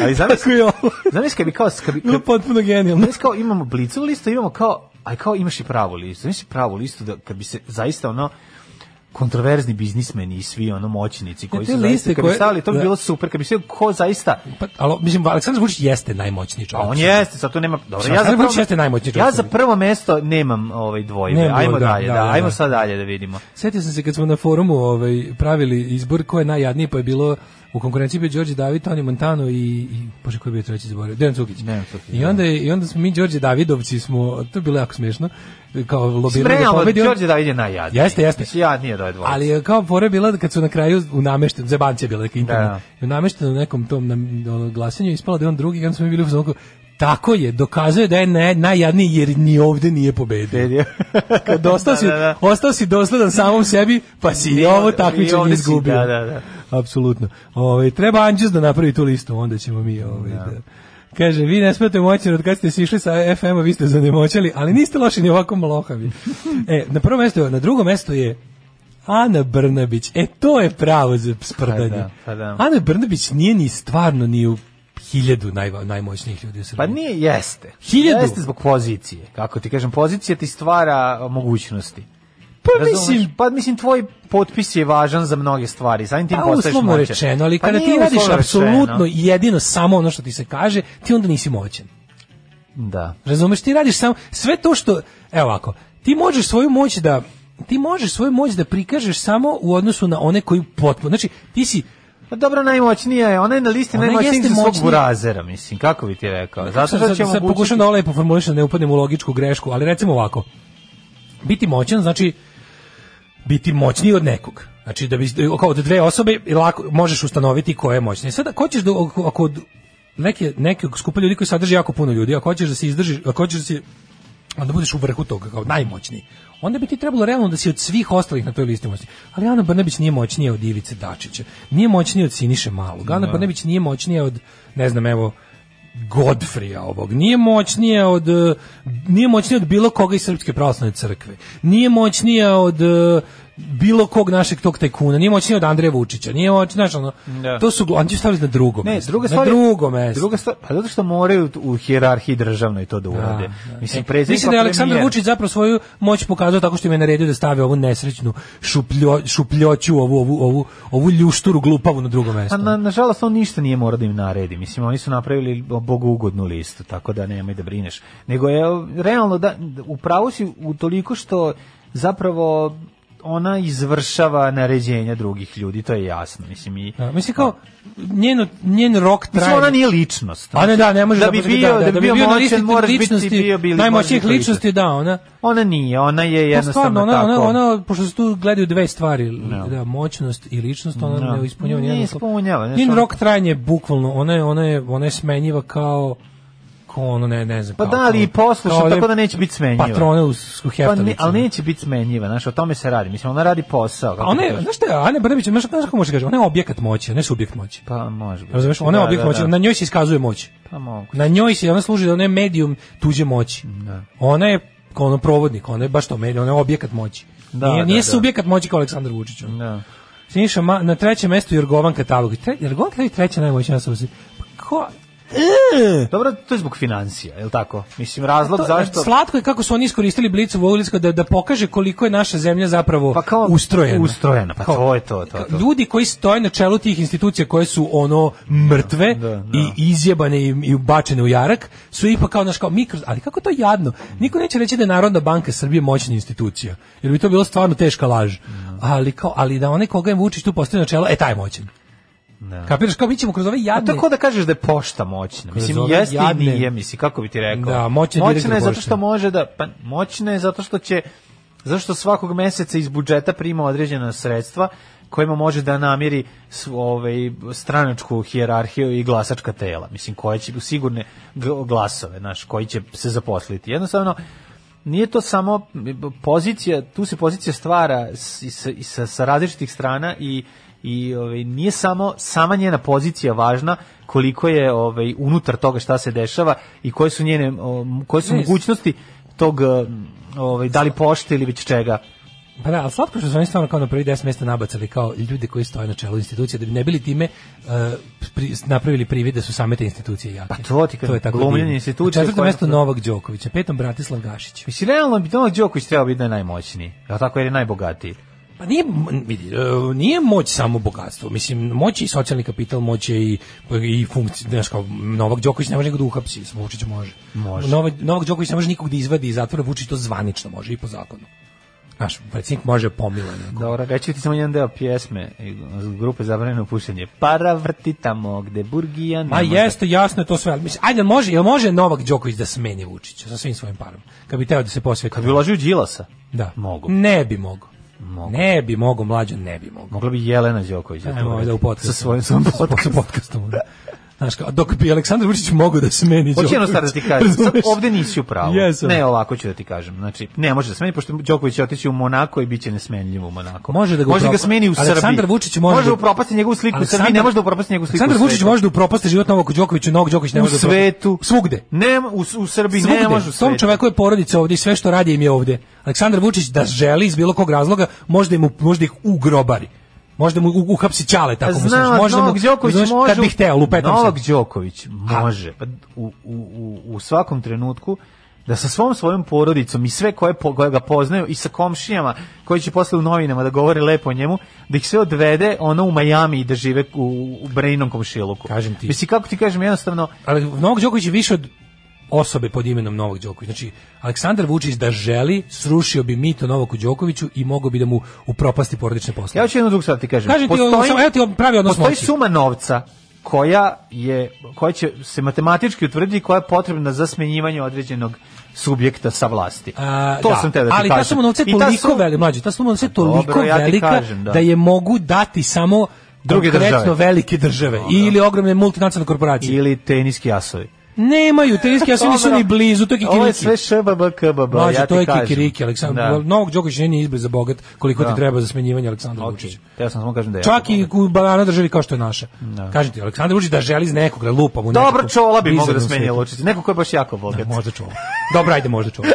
Speaker 7: Ali
Speaker 6: Tako je
Speaker 7: zamisli,
Speaker 6: ovo.
Speaker 7: zamisli kad bi kao, kad bi,
Speaker 6: No,
Speaker 7: kad,
Speaker 6: potpuno genijalno.
Speaker 7: zamisli kao imamo blicu listu, imamo kao, aj kao imaš i pravu listu, zamisli pravu listu da kad bi se zaista ono, kontroverzni biznismeni i svi ono moćnici koji
Speaker 6: E, te
Speaker 7: su
Speaker 6: liste
Speaker 7: zaista, kad bi
Speaker 6: koje-
Speaker 7: stavili, to bi
Speaker 6: da.
Speaker 7: bilo super, kad bi se ko zaista,
Speaker 6: Pa, ali, mislim, Aleksandar Vučić jeste najmoćniji
Speaker 7: A
Speaker 6: čovjek.
Speaker 7: Pa on jeste, sad tu nema... Dobro,
Speaker 6: Sad
Speaker 7: ja za
Speaker 6: Aleksandar
Speaker 7: prvo,
Speaker 6: Vučić jeste najmoćniji čovjek
Speaker 7: ja
Speaker 6: u
Speaker 7: za
Speaker 6: Srbiji.
Speaker 7: prvo mesto nemam ovaj dvojbe.
Speaker 6: Nemam
Speaker 7: ajmo
Speaker 6: dvojbe, da,
Speaker 7: dalje, da,
Speaker 6: da, da,
Speaker 7: ajmo
Speaker 6: da.
Speaker 7: sad dalje da vidimo.
Speaker 6: Sjetio sam se kad smo na forumu ovaj, pravili izbor ko je najjadniji, pa je bilo u konkurenciji bio Đorđe David, Toni Montano i, i bože koji je bio treći zaboravio, Dejan Cukić.
Speaker 7: Dejan Cukić, da.
Speaker 6: I onda, je- I onda smo mi Đorđe Davidovci smo, to je bilo jako smiješno, kao lobirali da
Speaker 7: Spremamo,
Speaker 6: pobedi. on-
Speaker 7: Đorđe David je najjadniji.
Speaker 6: Jeste, jeste.
Speaker 7: Mislim, jadnije od ove dvoje.
Speaker 6: Ali je kao fora bila da kad su na kraju u nameštenom, zebanci je bila neka interna,
Speaker 7: Da.
Speaker 6: i u nameštenom nekom tom nam, ono, glasanju ispalo da je on drugi, i onda smo mi bili u fazonu kao, tako je, dokazuje da je naj, najjadniji jer ni ovde nije pobedio.
Speaker 7: Bedio.
Speaker 6: Kad ostao si,
Speaker 7: Da, da, da.
Speaker 6: ostao si dosledan samom sebi, pa si i
Speaker 7: I
Speaker 6: ovo
Speaker 7: ovde- i
Speaker 6: takmičenje
Speaker 7: ovde si,
Speaker 6: izgubio.
Speaker 7: da, da, da.
Speaker 6: Apsolutno. Ovaj treba Anđus da napravi tu listu, onda ćemo mi ovaj da. Kaže, vi ne smete moćni, od kad ste sišli sa FM-a, vi ste zanemoćali, ali niste loši ni ovako malohavi. E, na prvo mesto, na drugo mesto je Ana Brnabić. E, to je pravo za sprdanje.
Speaker 7: Pa da, pa da.
Speaker 6: Ana Brnabić nije ni stvarno ni u hiljadu naj, najmoćnijih ljudi u Srbiji.
Speaker 7: Pa nije, jeste.
Speaker 6: Hiljadu.
Speaker 7: Jeste zbog pozicije. Kako ti kažem, pozicija ti stvara uh, mogućnosti.
Speaker 6: Pa
Speaker 7: Razumeš?
Speaker 6: mislim,
Speaker 7: pa mislim tvoj potpis je važan za mnoge stvari. Samim tim
Speaker 6: Pa
Speaker 7: postaješ
Speaker 6: uslovno
Speaker 7: moćan.
Speaker 6: rečeno, ali
Speaker 7: Pa
Speaker 6: kada ti
Speaker 7: nije
Speaker 6: radiš
Speaker 7: uslovno rečeno.
Speaker 6: apsolutno i jedino samo ono što ti se kaže, ti onda nisi moćan.
Speaker 7: Da.
Speaker 6: Razumeš, ti radiš samo sve to što, evo ovako, ti možeš svoju moć da ti možeš svoju moć da prikažeš samo u odnosu na one koji potpuno, znači ti si
Speaker 7: Pa dobro, najmoćnija je. Ona je na listi
Speaker 6: Ona
Speaker 7: najmoćnijih
Speaker 6: jeste
Speaker 7: za svog
Speaker 6: moćnija.
Speaker 7: burazera, mislim. Kako bi ti rekao? Zato što će
Speaker 6: sad, sad
Speaker 7: omogućiti...
Speaker 6: pokušam da ovo lepo formulišem, da ne upadnem u logičku grešku, ali recimo ovako, biti moćan znači biti moćniji od nekog. Znači da bi kao od dve osobe lako možeš ustanoviti ko je moćniji. Sada ko ćeš da ako, ako od neke nekog skupa ljudi koji sadrži jako puno ljudi, ako hoćeš da se izdržiš, ako hoćeš da si onda budeš u vrhu toga kao najmoćniji. Onda bi ti trebalo realno da si od svih ostalih na toj listi moćniji. Ali Ana Brnabić nije moćnija od
Speaker 7: Da.
Speaker 6: Ivice Dačića. Nije moćnija od Siniše Malog. Ana Brnabić nije moćnija od ne znam, evo Godfrija ovog. Nije moćnije od eh, nije moćnije od bilo koga iz srpske pravoslavne crkve. Nije moćnije od eh, bilo kog našeg tog tajkuna, nije moćnije od Andreja Vučića, nije moćnije, znaš, ono,
Speaker 7: Da.
Speaker 6: to su, gl- oni će staviti na drugo
Speaker 7: Ne,
Speaker 6: mesto,
Speaker 7: druga
Speaker 6: na
Speaker 7: stvar je-
Speaker 6: drugo mesto.
Speaker 7: Druga stvar, pa zato što moraju t- u hijerarhiji državnoj to da urade. Mislim, predsjednik
Speaker 6: Mislim da je
Speaker 7: pa
Speaker 6: Aleksandar
Speaker 7: premijer.
Speaker 6: Vučić zapravo svoju moć pokazao tako što im je naredio da stave ovu nesrećnu šupljo, šupljoću, ovu, ovu, ovu, ovu ljušturu glupavu na drugo mesto.
Speaker 7: Pa na, nažalost on ništa nije morao da im naredi. Mislim oni su napravili bogougodnu listu, tako da nemoj da brineš. Nego je realno da u pravu si u toliko što zapravo ona izvršava naređenja drugih ljudi, to je jasno. Mislim i
Speaker 6: Da, mislim kao, njen, njen rok traje...
Speaker 7: Mislim, ona nije ličnost.
Speaker 6: A ne, da, ne može
Speaker 7: da bi bio, da, bi bio,
Speaker 6: na
Speaker 7: moćan,
Speaker 6: listi
Speaker 7: moraš biti
Speaker 6: ličnosti,
Speaker 7: bio Billy-
Speaker 6: najmoćnijih
Speaker 7: moraš biti
Speaker 6: ličnosti, da, ona...
Speaker 7: Ona nije, ona je
Speaker 6: Pa
Speaker 7: jednostavno
Speaker 6: stvarno, ona, ona,
Speaker 7: tako.
Speaker 6: ona, pošto se tu gledaju dve stvari, da, moćnost i ličnost, ona
Speaker 7: No.
Speaker 6: ne ispunjava
Speaker 7: Nije
Speaker 6: nijedno.
Speaker 7: Da. ispunjava, znaš,
Speaker 6: Njen
Speaker 7: ona-
Speaker 6: rok trajanja je bukvalno, ona je, ona je, ona je smenjiva kao kao ono, ne, ne znam.
Speaker 7: Pa
Speaker 6: kao-
Speaker 7: da, ali i poslušno,
Speaker 6: kao one
Speaker 7: tako da neće biti smenjiva.
Speaker 6: Patrone u sku
Speaker 7: Pa ne, ali neće biti smenjiva, znaš, o tome se radi. Mislim, ona radi posao.
Speaker 6: A
Speaker 7: kako
Speaker 6: ona
Speaker 7: ti
Speaker 6: je,
Speaker 7: Pa kažeš.
Speaker 6: znaš šta je, Ana Brnabić, znaš znaš kako može da kaže, ona je objekat moći, a ne subjekt moći.
Speaker 7: Pa može biti.
Speaker 6: Razumeš, ona je
Speaker 7: Da,
Speaker 6: objekat
Speaker 7: da,
Speaker 6: moći,
Speaker 7: da.
Speaker 6: na njoj se iskazuje moć.
Speaker 7: Pa mogu.
Speaker 6: Na njoj se, ona služi da ona je medijum tuđe moći.
Speaker 7: Da.
Speaker 6: Ona je kao ono provodnik, ona je baš to medijum, ona je objekat moći.
Speaker 7: Da,
Speaker 6: nije
Speaker 7: da,
Speaker 6: nije
Speaker 7: da.
Speaker 6: subjekat moći kao Aleksandar Vučić. ono.
Speaker 7: Da.
Speaker 6: Siniša, ma, na trećem mestu Jorgovan Katalog. Tre, Jorgovan Katalog je treća najmoćnija osoba. u Srbiji. Pa ko,
Speaker 7: Dobro, to je zbog financija, je li tako? Mislim, razlog
Speaker 6: To-
Speaker 7: Pa zašto...
Speaker 6: Slatko je kako su oni iskoristili blicu Vojvodinsko da, da pokaže koliko je naša zemlja zapravo
Speaker 7: Pa kao
Speaker 6: ustrojena.
Speaker 7: ustrojena, pa to je to, to, to.
Speaker 6: Ljudi koji stoje na čelu tih institucija koje su ono mrtve
Speaker 7: Da, da.
Speaker 6: i izjebane i, i bačene u jarak, su ipak kao naš kao mikro, ali kako to jadno. Niko neće reći da je Narodna banka Srbije moćna institucija, jer bi to bilo stvarno teška laž. Ali kao ali da onaj koga je Vučić tu postavio na čelo, e taj je moćan.
Speaker 7: Da.
Speaker 6: Kapiraš kao mi ćemo kroz ove
Speaker 7: A
Speaker 6: jadne
Speaker 7: tako da kažeš da je pošta moćna. Mislim,
Speaker 6: ove
Speaker 7: jeste
Speaker 6: jadne-
Speaker 7: i nije, mislim, kako bi ti rekao.
Speaker 6: Da, moćna je direktor
Speaker 7: moćna je zato
Speaker 6: pošte.
Speaker 7: što može da... Pa, moćna je zato što će... Zato što svakog meseca iz budžeta prima određena sredstva kojima može da namiri sv, ovaj, stranačku hijerarhiju i glasačka tela. Mislim, koje će sigurne gl- glasove, znaš, koji će se zaposliti. Jednostavno, nije to samo pozicija, tu se pozicija stvara s, i sa, i sa, sa različitih strana i i ovaj nije samo sama njena pozicija važna koliko je ovaj unutar toga šta se dešava i koje su njene o, m, koje su
Speaker 6: Ne,
Speaker 7: mogućnosti tog m, ovaj da li pošte ili već čega.
Speaker 6: Pa da, ali slatko što su oni stvarno kao na prvi 10 mjesta nabacali kao ljude koji stoje na čelu institucije, da bi ne bili time uh, pri- napravili privid da su same te institucije jake.
Speaker 7: Pa to ti kažem,
Speaker 6: je tako
Speaker 7: glumljenje
Speaker 6: divno.
Speaker 7: institucija
Speaker 6: Na četvrtom
Speaker 7: koje-
Speaker 6: mjestu Novak Đoković, na petom Bratislav Gašić.
Speaker 7: Mislim realno bi Novak Đoković trebao biti da je najmoćniji, jel tako jer je najbogatiji.
Speaker 6: Pa nije, m- vidi, e, nije moć samo bogatstvo, mislim, moć je i socijalni kapital, moć je i, i funkcija, znaš kao, Novak Đoković ne može nikog da uhapsi, samo Vučić može.
Speaker 7: Može.
Speaker 6: Novak, Novak Đoković ne može nikog da izvadi iz zatvora, Vučić to zvanično može i po zakonu. Znaš, predsjednik može pomilati.
Speaker 7: Dobro, reći ti samo jedan deo pjesme iz grupe Zabranjeno pušenje. Para vrti tamo gde burgija ne
Speaker 6: Ma
Speaker 7: može.
Speaker 6: jeste, jasno je to sve. ali Mislim, ajde, jel može, jel može Novak Đoković da smeni Vučića sa svim svojim parom? Kad bi teo da se posveti.
Speaker 7: Kad bi uložio Đilasa,
Speaker 6: Da.
Speaker 7: Mogu.
Speaker 6: Ne bi mogao.
Speaker 7: Mogu.
Speaker 6: Ne bi mogao, mlađo, ne bi mogao.
Speaker 7: mogla bi Jelena Đoković. da to
Speaker 6: Ajmo
Speaker 7: uradi.
Speaker 6: da u podcastu.
Speaker 7: Sa svojim svom
Speaker 6: Sa pod- sa
Speaker 7: podcastom.
Speaker 6: podcastom. Da. Znaš, kao, dok bi Aleksandar Vučić mogao da smeni Đoković.
Speaker 7: Hoće jedno stvar da ti kažem, sad
Speaker 6: razumeš?
Speaker 7: ovde nisi u pravu.
Speaker 6: Jesam.
Speaker 7: Ne, ovako ću da ti kažem. Znači, ne može da smeni, pošto Đoković će otići u Monako i bit će nesmenljiv u Monako.
Speaker 6: Može da ga,
Speaker 7: može ga
Speaker 6: upro-
Speaker 7: smeni u Srbiji.
Speaker 6: Aleksandar Vučić može,
Speaker 7: može
Speaker 6: da-
Speaker 7: da upropasti njegovu sliku u Srbiji, ne može da upropasti njegovu sliku
Speaker 6: Aleksandar
Speaker 7: u
Speaker 6: Vučić
Speaker 7: svetu.
Speaker 6: može da upropasti život Novaku Đokoviću, Novak Đoković ne
Speaker 7: u
Speaker 6: može da upropasti-
Speaker 7: svetu.
Speaker 6: Svugde.
Speaker 7: Ne, u, u Srbiji ne
Speaker 6: Svugde.
Speaker 7: može u
Speaker 6: Tom
Speaker 7: svetu.
Speaker 6: čoveku je porodica ovdje i sve što radi im je ovdje. Aleksandar Vučić da želi iz bilo kog razloga, možda mu možda ih ugrobari. Možda mu u- uhapsi ćale tako mu
Speaker 7: Znam,
Speaker 6: znaš. Možda mu
Speaker 7: Novak Đoković
Speaker 6: znaš,
Speaker 7: može.
Speaker 6: kad bih hteo lupetam se.
Speaker 7: Novak Đoković može. Pa u, u, u, u svakom trenutku da sa svom svojom porodicom i sve koje, po, koje ga poznaju i sa komšijama koji će posle u novinama da govore lepo o njemu, da ih sve odvede ono u Majami i da žive u, u Brejnom komšiluku.
Speaker 6: Kažem ti.
Speaker 7: Mislim, kako ti kažem, jednostavno,
Speaker 6: Ali Novak Đoković je više od osobe pod imenom Novak Đoković. Znači, Aleksandar Vučić da želi, srušio bi mito Novaku Đokoviću i mogao bi da mu upropasti porodične poslove.
Speaker 7: ja ću jednu drugu stvar ti kažem.
Speaker 6: Kažem ti, ovo, samo- evo ti pravi odnos
Speaker 7: postoji
Speaker 6: moći.
Speaker 7: suma novca koja je koja će se matematički utvrditi koja je potrebna za smenjivanje određenog subjekta sa vlasti.
Speaker 6: A,
Speaker 7: to sam te da ti
Speaker 6: ali ta
Speaker 7: kažem.
Speaker 6: suma novca
Speaker 7: I
Speaker 6: je
Speaker 7: ta
Speaker 6: toliko
Speaker 7: suma-
Speaker 6: velika, mlađe, ta suma novca je toliko
Speaker 7: Dobro, ja ti
Speaker 6: velika
Speaker 7: kažem,
Speaker 6: da.
Speaker 7: da.
Speaker 6: je mogu dati samo
Speaker 7: Druge
Speaker 6: konkretno
Speaker 7: države.
Speaker 6: velike države
Speaker 7: Dobro.
Speaker 6: ili ogromne multinacionalne korporacije.
Speaker 7: Ili teniski jasovi.
Speaker 6: Nemaju, te riske, ja sve nisu
Speaker 7: Dobro.
Speaker 6: ni blizu, to je kikiriki.
Speaker 7: Ovo je sve šbb, kbb,
Speaker 6: Mlađe,
Speaker 7: ja ti
Speaker 6: to je
Speaker 7: kažem.
Speaker 6: kikiriki, Aleksandar.
Speaker 7: Da.
Speaker 6: Novog Đoković nije ni izbliza za bogat koliko
Speaker 7: Da.
Speaker 6: ti treba za smenjivanje Aleksandra Vučića.
Speaker 7: Ja sam samo kažem da je.
Speaker 6: Čak
Speaker 7: jako
Speaker 6: i
Speaker 7: dobro.
Speaker 6: u banana državi kao što je naša. Kažem ti, Aleksandar Vučić da želi iz nekog, da lupa mu
Speaker 7: Dobro
Speaker 6: nekog
Speaker 7: čola bi mogao da
Speaker 6: bizarnog
Speaker 7: smenja
Speaker 6: sveta.
Speaker 7: Lučić. Neko ko je baš jako bogat.
Speaker 6: Da, možda čuo. Dobro, ajde, možda čuo.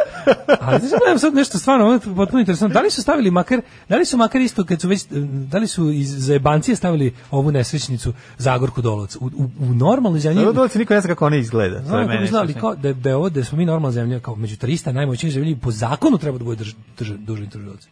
Speaker 6: Ali znaš, gledam sad nešto stvarno, ovo je potpuno interesantno. Da li su stavili makar, da li su makar isto kad su već, da li su iz zajebancije stavili ovu nesrećnicu Zagorku Dolovac? U, u, u normalnoj zemlji...
Speaker 7: Dobro, dolazi niko ne zna kako ona izgleda. To je
Speaker 6: Znam kako bi
Speaker 7: meni.
Speaker 6: znali kao da, je- da je ovo, da smo mi normalna zemlja, kao među 300 najmoćnijih zemlji, po zakonu treba da bude drž, drž, dužni tužilac.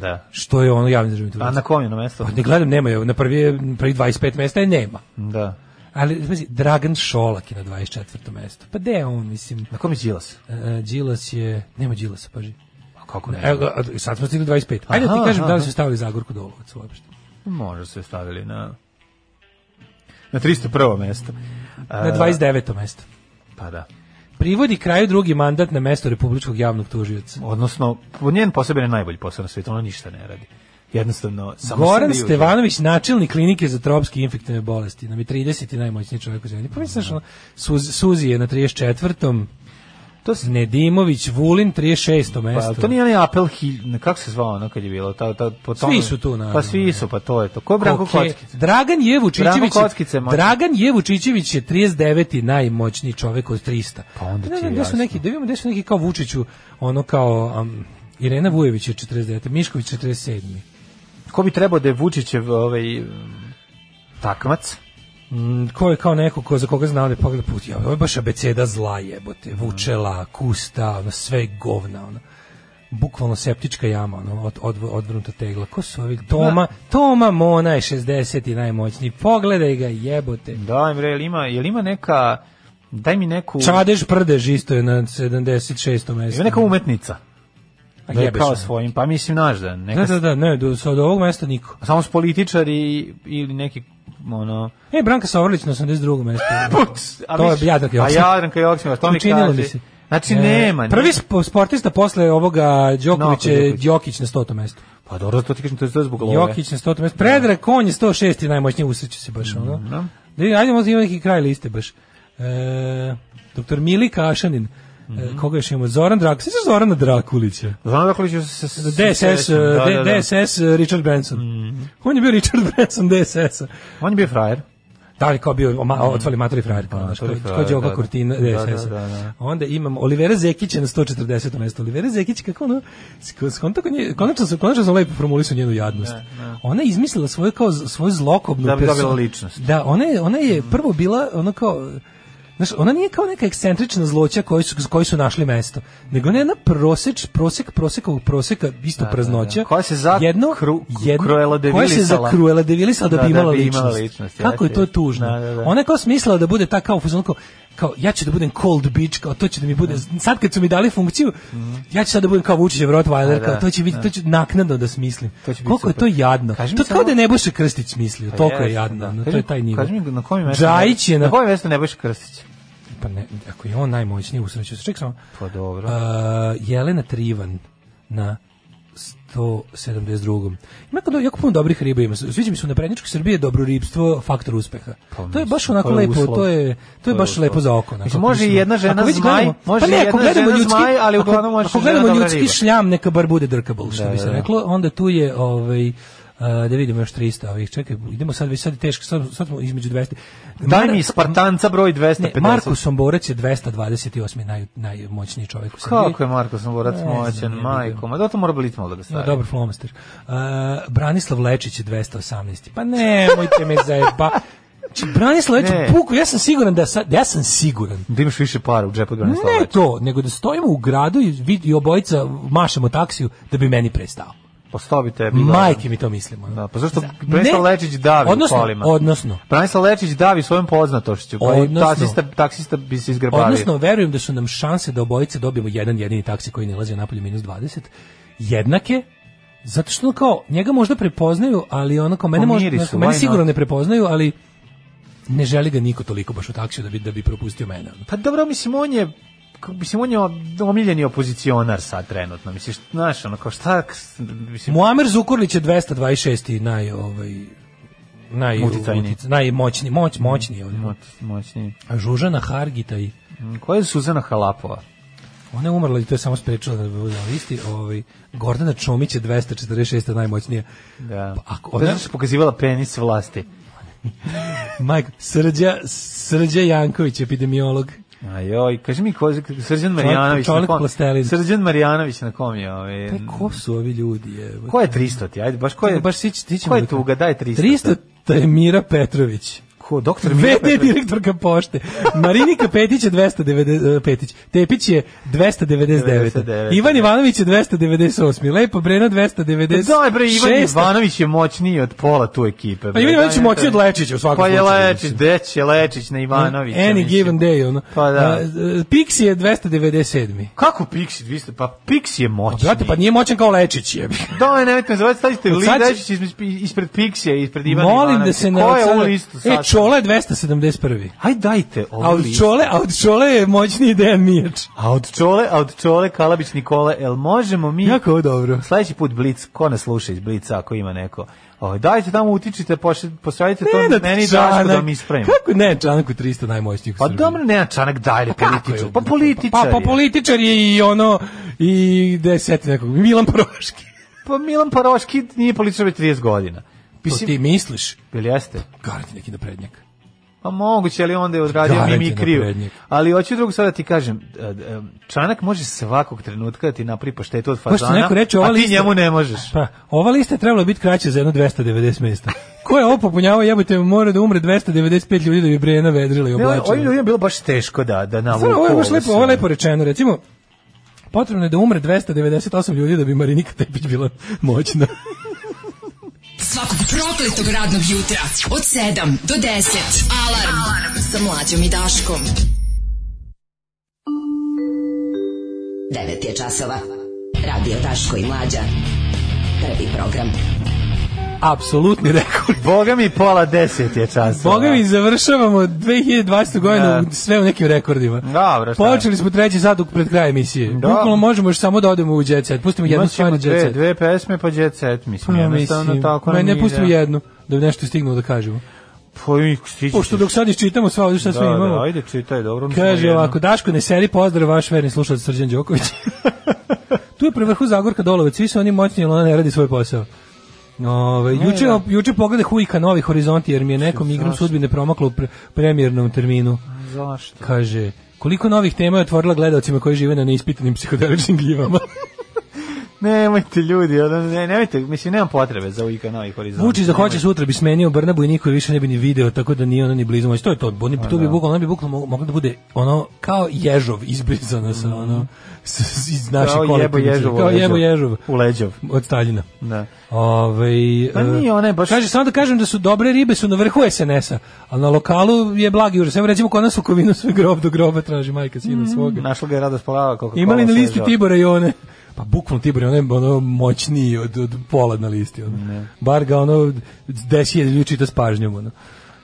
Speaker 7: Da.
Speaker 6: Što je ono javni državni tužilac?
Speaker 7: A na kom je na mesto?
Speaker 6: Pa ne gledam, nema je, na prvi, je- na prvi 25 mesta je nema.
Speaker 7: Da.
Speaker 6: Ali, pazi, Dragan Šolak je na 24. mesto. Pa gde je on, mislim?
Speaker 7: Na kom je Đilas?
Speaker 6: E, Đilas je, nema Đilasa, paži.
Speaker 7: A Kako ne?
Speaker 6: Pa Evo, a- sad smo stigli 25. Ajde da ti
Speaker 7: Aha,
Speaker 6: kažem da li
Speaker 7: aha.
Speaker 6: su stavili Zagorku Dolovac uopšte.
Speaker 7: Pa Može se stavili na na 301. mesto. E.
Speaker 6: Na 29. mesto.
Speaker 7: Pa da.
Speaker 6: Privodi kraju drugi mandat na mesto republičkog javnog tužioca.
Speaker 7: Odnosno, po- njen posebno je najbolji posao na svijetu, ona ništa ne radi. Jednostavno, samo
Speaker 6: Goran
Speaker 7: sebi uživa.
Speaker 6: Stevanović, načelnik klinike za tropske infektivne bolesti, nam je 30. najmoćniji čovjek u zemlji. Pa misliš, ono, Suz, Suzi je na 34.
Speaker 7: To se
Speaker 6: Nedimović, Vulin, 36.
Speaker 7: Pa,
Speaker 6: mesto.
Speaker 7: to nije onaj apel hil... ne, kako se zvao ono kad je bilo? Ta, ta, po tome-
Speaker 6: Svi su tu, naravno.
Speaker 7: Pa svi su, pa to je to. Ko je Branko
Speaker 6: Koke-
Speaker 7: Kockica?
Speaker 6: Dragan
Speaker 7: Branko
Speaker 6: Jevučićević
Speaker 7: Kockica je moćan.
Speaker 6: Dragan Jevučićević je 39. najmoćniji čovjek od 300.
Speaker 7: Pa onda
Speaker 6: Ne,
Speaker 7: ti
Speaker 6: ne,
Speaker 7: je
Speaker 6: gde su
Speaker 7: jasno.
Speaker 6: neki, da vidimo gde su neki kao Vučiću, ono kao um, Irena Vujević je 49. Mišković 47.
Speaker 7: Ko bi trebao da je Vučićev ovaj, takmac?
Speaker 6: Mm, ko je kao neko ko, za koga znam da je pogleda put, ja, ovo je baš abeceda zla jebote, vučela, kusta, ono, sve je govna, ono. Bukvalno septička jama, ono, od, od, odvrnuta tegla. Ko su ovi? Toma, Toma Mona je 60. i najmoćniji. Pogledaj ga, jebote.
Speaker 7: Da, im re, jel ima, jel ima neka, daj mi neku,
Speaker 6: Čadež Prdež isto je na 76. mestu.
Speaker 7: ima neka umetnica. Da je
Speaker 6: jebe
Speaker 7: kao
Speaker 6: se.
Speaker 7: svojim, pa mislim naš da, neka,
Speaker 6: Da, da, da, ne, do, sa- od ovog mesta niko.
Speaker 7: samo s političari ili neki, ono,
Speaker 6: E, Branka Savrlić na 82. mestu.
Speaker 7: Pa, a
Speaker 6: To je
Speaker 7: viš-
Speaker 6: Jadranka
Speaker 7: A
Speaker 6: Joksimović.
Speaker 7: Jadranka Joksimović, to mi
Speaker 6: Učinilo
Speaker 7: kaže.
Speaker 6: mi se.
Speaker 7: Znači,
Speaker 6: E,
Speaker 7: nema.
Speaker 6: Prvi
Speaker 7: nema.
Speaker 6: spo- sportista posle ovoga Đoković
Speaker 7: Novak
Speaker 6: je
Speaker 7: Đoković.
Speaker 6: Đokić na 100. mestu.
Speaker 7: Pa dobro, to ti kažem, to je to zbog love.
Speaker 6: Jokić na 100.
Speaker 7: Da.
Speaker 6: mestu. Predrag Konj je 106. i najmoćniji usreću se baš ono. Da vidimo, ajde, možda ima neki kraj liste baš. E, doktor Mili Kašanin.
Speaker 7: Mhm.
Speaker 6: E, koga još imamo? Zoran Drakulić. Sjećaš Zorana Drakulića?
Speaker 7: Zoran Rakulić je se... se-
Speaker 6: DSS,
Speaker 7: se- da,
Speaker 6: D-
Speaker 7: da, Mhm. da.
Speaker 6: DSS Richard Branson. On je bio Richard Branson DSS-a.
Speaker 7: On je bio frajer.
Speaker 6: Da li kao bio ma, otvali matori frajer, kao, znaš,
Speaker 7: Matori
Speaker 6: kao-
Speaker 7: Mhm. frajer,
Speaker 6: kao Đoka
Speaker 7: da, da.
Speaker 6: Kurtina,
Speaker 7: Da,
Speaker 6: DSS.
Speaker 7: da, da, da.
Speaker 6: Onda imamo Olivera Zekića na 140. mesto. Olivera Zekić, kako ono, sk- skonto kod nje- konačno, sam, konačno sam lepo formulisao njenu jadnost. Ona je izmislila svoju, kao, z- svoju zlokobnu
Speaker 7: Da bi
Speaker 6: perso-
Speaker 7: dobila ličnost. Mhm.
Speaker 6: Da, ona je, ona je prvo bila, ono kao, Znaš, ona nije kao neka ekscentrična zloća koji su, koji su našli mesto, nego ona je jedna proseč, prosek, prosekovog proseka,
Speaker 7: Da,
Speaker 6: isto praznoća.
Speaker 7: Koja se za kru-
Speaker 6: koja se
Speaker 7: krueladevilisala.
Speaker 6: za krueladevilisala da,
Speaker 7: Da,
Speaker 6: bi
Speaker 7: da
Speaker 6: imala
Speaker 7: bi
Speaker 6: ličnost.
Speaker 7: imala ličnost,
Speaker 6: Kako je
Speaker 7: jeste,
Speaker 6: to
Speaker 7: jeste.
Speaker 6: tužno.
Speaker 7: Da, da, da.
Speaker 6: Ona je kao smislila da bude ta kao, u fazonu kao, kao ja ću da budem cold bitch, kao to će da mi bude, sad kad su mi dali funkciju, ja ću sad da budem kao Vučićev Rottweiler,
Speaker 7: Da,
Speaker 6: kao
Speaker 7: da,
Speaker 6: to će biti, to ću naknadno da smislim.
Speaker 7: To će biti
Speaker 6: Koliko je to
Speaker 7: super.
Speaker 6: jadno.
Speaker 7: Kaži mi
Speaker 6: to kao
Speaker 7: samo-
Speaker 6: da je Nebojša Krstić smislio,
Speaker 7: Pa
Speaker 6: toliko je
Speaker 7: jeste,
Speaker 6: jadno. no,
Speaker 7: Kaži
Speaker 6: to je
Speaker 7: mi-
Speaker 6: taj nivo.
Speaker 7: Kaži mi na kojem mestu...
Speaker 6: Džajić je
Speaker 7: na...
Speaker 6: na...
Speaker 7: kojem mestu ne boš Krstić?
Speaker 6: Pa ne, ako je on najmoćniji u sreću, ček samo.
Speaker 7: Pa dobro.
Speaker 6: A, Jelena Trivan na 172. Ima kod jako puno dobrih riba ima. Sviđa mi se u naprednjačkoj Srbiji je dobro ribstvo faktor uspeha.
Speaker 7: Pa
Speaker 6: to je baš
Speaker 7: mislim,
Speaker 6: onako
Speaker 7: to je
Speaker 6: lepo,
Speaker 7: uslov.
Speaker 6: to je to je
Speaker 7: je
Speaker 6: baš
Speaker 7: uslov.
Speaker 6: lepo za oko. onako,
Speaker 7: Mislim, može i
Speaker 6: prisilno.
Speaker 7: jedna žena
Speaker 6: Ako već
Speaker 7: zmaj,
Speaker 6: gledamo- Pa
Speaker 7: može i
Speaker 6: ako
Speaker 7: jedna
Speaker 6: gledamo
Speaker 7: žena zmaj, ali
Speaker 6: ako-
Speaker 7: uglavnom može
Speaker 6: ako
Speaker 7: žena
Speaker 6: gledamo
Speaker 7: dobra
Speaker 6: ljudski
Speaker 7: riba.
Speaker 6: šljam neka bar bude drkable, što bi se
Speaker 7: da, da.
Speaker 6: reklo, onda tu je ovaj a, da vidimo još 300 ovih. Čekaj, idemo sad, već sad je teško, sad, sad smo između 200.
Speaker 7: Daj
Speaker 6: Mara-
Speaker 7: mi Spartanca broj 250.
Speaker 6: ne, Marko Somborac je 228. Naj, najmoćniji čovjek u Srbiji.
Speaker 7: Kako je Marko Samborac
Speaker 6: Ne znam,
Speaker 7: moćan,
Speaker 6: ne
Speaker 7: majko? Ma zato mora biti malo da ga
Speaker 6: No,
Speaker 7: stavi.
Speaker 6: dobar flomaster. Uh, Branislav Lečić je 218. Pa nemojte me zajeba. Znači, Branislav Lečić,
Speaker 7: Ne.
Speaker 6: puku, ja sam siguran da sad, ja sam siguran.
Speaker 7: Da imaš više para u džepu od Branislava
Speaker 6: Ne
Speaker 7: Lečića.
Speaker 6: to, nego da stojimo u gradu i, vid, i obojica mašemo taksiju da bi meni prestao.
Speaker 7: Pa sto bi tebi. da.
Speaker 6: Majke mi to mislimo.
Speaker 7: Da, pa zašto
Speaker 6: Za-
Speaker 7: Branislav
Speaker 6: Ne.
Speaker 7: Lečić davi
Speaker 6: odnosno,
Speaker 7: u kolima?
Speaker 6: Odnosno,
Speaker 7: Branislav Lečić davi svojom poznatošću. Pa i
Speaker 6: Odnosno-
Speaker 7: taksista, taksista bi se izgrabavio.
Speaker 6: Odnosno, verujem da su nam šanse da obojice dobijemo jedan jedini taksi koji ne lazi napolje minus 20, jednake, zato što ono kao, njega možda prepoznaju, ali ono kao, mene, možda,
Speaker 7: Pomiri
Speaker 6: znaš,
Speaker 7: Pa su,
Speaker 6: mene
Speaker 7: why
Speaker 6: sigurno
Speaker 7: not?
Speaker 6: ne prepoznaju, ali ne želi ga niko toliko baš u taksiju da bi, da bi propustio mene. ono.
Speaker 7: Pa dobro, mislim, on je k- mislim, on je omiljeni opozicionar sad trenutno. Misliš, znaš, ono, kao šta, k- s- mislim,
Speaker 6: Muamer Zukorlić je 226. naj, ovaj, naj,
Speaker 7: Uticajniji. Mm.
Speaker 6: utic- najmoćni, moć, moćni. je ovdje.
Speaker 7: moć- moćni.
Speaker 6: A Žužana Hargitaj
Speaker 7: Koja je Suzana Halapova?
Speaker 6: Ona je umrla i to je samo sprečilo da bude na listi. Ovaj, Gordana Čomić je 246. najmoćnija.
Speaker 7: Da.
Speaker 6: Pa ako
Speaker 7: Ona
Speaker 6: ona,
Speaker 7: je pokazivala penis vlasti.
Speaker 6: Majko, Srđa, Srđa Janković, epidemiolog.
Speaker 7: Ajoj, kaži mi ko je Srđan Marjanović
Speaker 6: čovjek
Speaker 7: na kom.
Speaker 6: plastelin.
Speaker 7: Srđan Marjanović na kom je ovaj.
Speaker 6: E, ko su ovi ljudi? Je?
Speaker 7: Ko je 300 ti? Ajde, baš ko je?
Speaker 6: Baš sići, ti ćemo
Speaker 7: Ko je
Speaker 6: da-
Speaker 7: tuga? Daj 300.
Speaker 6: 300 to je Mira Petrović.
Speaker 7: Ko? Doktor Mira
Speaker 6: VD
Speaker 7: Petrović?
Speaker 6: direktorka pošte. Marinika Petić je 290, Petić. Tepić je 299.
Speaker 7: 99.
Speaker 6: Ivan Ivanović je 298. Lepo Brena 296.
Speaker 7: Pa Daj bre, Ivan Ivanović je moćniji od pola tu ekipe.
Speaker 6: Pa
Speaker 7: bre.
Speaker 6: Ivan Ivanović
Speaker 7: Daj,
Speaker 6: je moćniji od
Speaker 7: daj.
Speaker 6: Lečića u svakom
Speaker 7: Pa je
Speaker 6: slučaju,
Speaker 7: Lečić,
Speaker 6: mislim.
Speaker 7: gde će Lečić na Ivanovića?
Speaker 6: Any
Speaker 7: mislim.
Speaker 6: given day, ono.
Speaker 7: Pa da.
Speaker 6: Pixi je 297.
Speaker 7: Kako Pixi 200? Pa Pixi je
Speaker 6: Pa,
Speaker 7: moćni.
Speaker 6: brate, pa nije moćan kao Lečić, jebi. ga.
Speaker 7: Da, nemojte me zvati, stavite
Speaker 6: Od
Speaker 7: Li
Speaker 6: sad će-
Speaker 7: Lečić ispred, ispred Pixija, ispred Ivana
Speaker 6: Molim
Speaker 7: Ivanovića.
Speaker 6: da se ne...
Speaker 7: Ko je u
Speaker 6: odsada-
Speaker 7: listu sad?
Speaker 6: E, Čola je 271.
Speaker 7: Aj dajte ovu
Speaker 6: A od
Speaker 7: listu.
Speaker 6: Čole, a od Čole je moćniji Dejan Mijač.
Speaker 7: A od čole, a od čole Kalabić Nikole, el možemo mi...
Speaker 6: Jako je ovo dobro.
Speaker 7: Sledeći put Blic, ko nas sluša iz Blica, ako ima neko. Ovaj, dajte tamo utičite, pošli- pošaljite to
Speaker 6: Nenad
Speaker 7: meni i
Speaker 6: Čanak.
Speaker 7: Daško da mi ispravimo.
Speaker 6: Kako ne, Čanak u 300 najmoćnijih u
Speaker 7: Pa
Speaker 6: Srbiji.
Speaker 7: dobro, ne, Čanak dalje političar. Pa političar
Speaker 6: Pa, pa
Speaker 7: je.
Speaker 6: političar je i ono, i deseti nekog, Milan Proški.
Speaker 7: Pa Milan Paroški nije političar već 30 godina.
Speaker 6: To Pa ti misliš?
Speaker 7: Ili jeste?
Speaker 6: Garanti neki naprednjak.
Speaker 7: Pa moguće, ali onda je odradio
Speaker 6: Garant je
Speaker 7: mimikriju.
Speaker 6: naprednjak.
Speaker 7: Ali hoću drugo sada da ti kažem, e, e, Čanak može svakog trenutka da ti napravi paštetu od
Speaker 6: Možete
Speaker 7: fazana,
Speaker 6: neko reći, ova
Speaker 7: a ti
Speaker 6: lista-
Speaker 7: njemu ne možeš.
Speaker 6: Pa, ova lista je trebala biti kraća za jedno 290 mesta. Ko je ovo popunjavao, jebote, mora da umre 295 ljudi da bi Brena vedrila i
Speaker 7: Ne,
Speaker 6: oblačila.
Speaker 7: Ovim ljudima je bilo baš teško da, da navuku.
Speaker 6: Stvarno, ovo je baš lepo,
Speaker 7: sve.
Speaker 6: ovo je lepo rečeno. Recimo, potrebno je da umre 298 ljudi da bi Marinika Tepić bila moćna.
Speaker 11: Svakog prokletog radnog jutra od 7 do 10. Alarm, Alarm. sa mlađom i Daškom.
Speaker 12: 9 je časova. Radio Daško i Mlađa. Prvi program.
Speaker 6: Apsolutni rekord.
Speaker 7: Boga mi pola deset je čas.
Speaker 6: Boga mi završavamo 2020. godinu u- sve u nekim rekordima.
Speaker 7: Dobro, Da. šta je?
Speaker 6: Počeli smo treći zaduk pred kraj emisije.
Speaker 7: Da.
Speaker 6: Bukvalno možemo još samo da odemo u jet set. Pustimo jednu
Speaker 7: Imat
Speaker 6: stvar
Speaker 7: ćemo
Speaker 6: i jet
Speaker 7: dve,
Speaker 6: set.
Speaker 7: dve pesme pa jet set, mislim,
Speaker 6: Pa,
Speaker 7: jednostavno
Speaker 6: mislim,
Speaker 7: tako
Speaker 6: ma
Speaker 7: nam
Speaker 6: ne
Speaker 7: ide.
Speaker 6: pustimo jednu da bi nešto stignu da kažemo.
Speaker 7: Pa i stići
Speaker 6: Pošto
Speaker 7: ćeš.
Speaker 6: dok sad iščitamo sva ovdje šta sve
Speaker 7: Da,
Speaker 6: imamo.
Speaker 7: da, ajde, čitaj, dobro. mi
Speaker 6: Kaže
Speaker 7: smo jedno.
Speaker 6: ovako, Daško, ne seri, pozdrav, vaš verni slušalac Srđan Đoković. tu je pre vrhu Zagorka Dolovac, svi su oni moćni, ali ona ne radi svoj posao. Ove, juče, juče poglede Hujka Novi Horizonti, jer mi je nekom igrom sudbine promaklo u pre, premijernom terminu.
Speaker 7: Zašto?
Speaker 6: Kaže, koliko novih tema je otvorila gledalcima koji žive na neispitanim psihodeličnim gljivama.
Speaker 7: Nemojte ljudi, ono, ne, nemojte, mislim, nemam potrebe za uvijek novi horizont.
Speaker 6: Vučić da hoće sutra bi smenio Brnabu i niko je više ne bi ni video, tako da nije ono ni blizu moći. To je to, oni,
Speaker 7: Pa
Speaker 6: to bi bukvalno, ona bi bukvalno mo- mogla da bude ono kao ježov izbrizana sa ono s, s- iz naše
Speaker 7: Kao jebo
Speaker 6: kolektivne
Speaker 7: Ježov
Speaker 6: srce.
Speaker 7: u
Speaker 6: Kao
Speaker 7: leđov.
Speaker 6: jebo ježov
Speaker 7: U leđov.
Speaker 6: od Staljina.
Speaker 7: Da.
Speaker 6: Ovaj
Speaker 7: Pa nije, ona je baš-
Speaker 6: Kaže samo da kažem da su dobre ribe su na vrhu SNS-a, ali na lokalu je blagi užas. Evo recimo kod nas u Kovinu sve grob do groba traži majka
Speaker 7: Mhm.
Speaker 6: sina svoga.
Speaker 7: Našla ga je Radoš Polava. Coca-Cola,
Speaker 6: Imali na
Speaker 7: sve
Speaker 6: listi
Speaker 7: žao.
Speaker 6: Tibora i one? Pa bukvalno Tibor i one ono moćniji od, od pola na listi. Ono. Bar ga ono desi je da ljudi čita s pažnjom. Ono.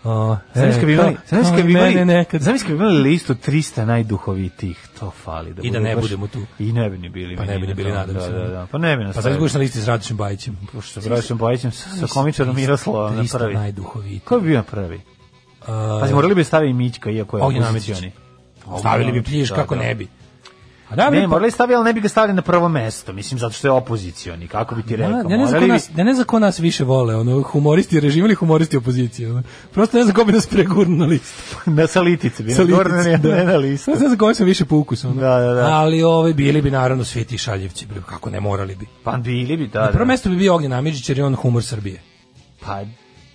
Speaker 6: O,
Speaker 7: Znaš kad bi imali,
Speaker 6: kao-
Speaker 7: znaš
Speaker 6: kao
Speaker 7: kad bi
Speaker 6: i
Speaker 7: imali,
Speaker 6: mene nekad.
Speaker 7: znaš kad bi imali listu 300 najduhovitih, to fali. Da
Speaker 6: I da
Speaker 7: budemo
Speaker 6: ne
Speaker 7: baš-
Speaker 6: budemo tu.
Speaker 7: I ne bi ni bili.
Speaker 6: Pa ne
Speaker 7: meni
Speaker 6: bi ni
Speaker 7: na
Speaker 6: bili,
Speaker 7: tom,
Speaker 6: nadam
Speaker 7: da,
Speaker 6: se.
Speaker 7: Da, da, pa ne bi nas.
Speaker 6: Pa znaš budeš na listi s Radošem Bajićem.
Speaker 7: Pošto Brašom Bojićem sa, sa komičarom Miroslavom na
Speaker 6: 300
Speaker 7: prvi.
Speaker 6: da najduhovitiji. Uh,
Speaker 7: Ko bi bio na prvi? Pazi, morali bi staviti Mićka, iako je
Speaker 6: Ognjen Amidžić.
Speaker 7: opozicioni.
Speaker 6: Stavili bi plješ
Speaker 7: Da,
Speaker 6: kako
Speaker 7: da.
Speaker 6: ne bi. A da,
Speaker 7: Ne,
Speaker 6: bi-
Speaker 7: morali stavili, ali ne bi ga stavili na prvo mesto, mislim, zato što je opozicioni, kako bi ti
Speaker 6: Ja,
Speaker 7: rekao.
Speaker 6: ja Da, ne znam ko
Speaker 7: morali bi-
Speaker 6: nas, ja ne znam ko nas više vole, ono, humoristi režima ili humoristi opozicije. Ono. Prosto ne znam ko bi nas pregurno na listu.
Speaker 7: na salitici bi,
Speaker 6: Sa
Speaker 7: na gornje, ne,
Speaker 6: listice, da.
Speaker 7: ne na listu.
Speaker 6: Ne znam za koje sam više po ukusu. ono.
Speaker 7: Da, da, da.
Speaker 6: Ali ovaj, bili bi naravno svi ti šaljevci, bre, kako ne morali bi.
Speaker 7: Pa bili bi, da,
Speaker 6: Na prvo
Speaker 7: da.
Speaker 6: mesto bi bio Ognjen Amidžić jer je on humor Srbije.
Speaker 7: Pa,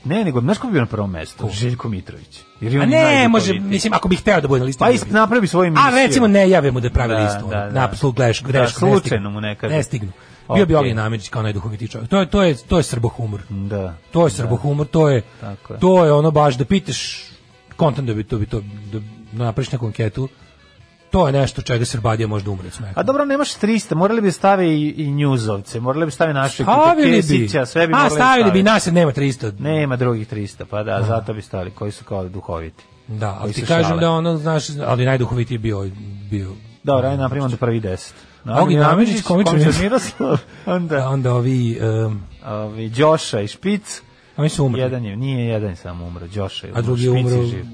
Speaker 7: ne, nego, znaš ko bi bio na prvom mestu? Željko Mitrović. Jer je
Speaker 6: A
Speaker 7: on
Speaker 6: ne,
Speaker 7: najduhovitiji.
Speaker 6: može, mislim, ako bih hteo da bude na listi.
Speaker 7: Pa
Speaker 6: ne bi.
Speaker 7: ist, napravi svoju emisiju.
Speaker 6: A recimo ne jave mu da pravi
Speaker 7: Da,
Speaker 6: listu.
Speaker 7: da,
Speaker 6: Da,
Speaker 7: da.
Speaker 6: da. Apsolutno gledaš greška.
Speaker 7: Da,
Speaker 6: ne
Speaker 7: slučajno
Speaker 6: stignu.
Speaker 7: mu nekad.
Speaker 6: Ne stignu. Bio bi
Speaker 7: Ok.
Speaker 6: Ognjen Amidžić kao najduhovitiji čovjek. To je, to je, to je srbohumor.
Speaker 7: Da.
Speaker 6: To je srbohumor, to je,
Speaker 7: Tako je.
Speaker 6: to je ono baš da pitaš kontent da bi to bi to da napraviš neku anketu. To je nešto čega Srbadija može da umre od smeha.
Speaker 7: A dobro, nemaš 300, morali bi stavi i, i njuzovce, morali bi stavi naše
Speaker 6: Stavili bi.
Speaker 7: Kesića, sve bi
Speaker 6: A,
Speaker 7: morali da
Speaker 6: stavili bi,
Speaker 7: staviti.
Speaker 6: nas nema 300.
Speaker 7: Nema drugih 300, pa da, zato bi stali, koji su kao duhoviti.
Speaker 6: Da, ali
Speaker 7: Koji
Speaker 6: ti
Speaker 7: se
Speaker 6: kažem
Speaker 7: šale.
Speaker 6: da ono, znaš, ali najduhovitiji je bio, bio
Speaker 7: Dobro, ajde napravimo da prvi 10.
Speaker 6: Ognjen Amidžić, Znači- komičar
Speaker 7: Miroslav,
Speaker 6: A
Speaker 7: onda
Speaker 6: onda Pa ovi, um,
Speaker 7: ovi, Đoša i Špic,
Speaker 6: Oni su umrli.
Speaker 7: Jedan je, nije jedan samo umro, Đoša je.
Speaker 6: A drugi je
Speaker 7: Špic
Speaker 6: umro.
Speaker 7: živ.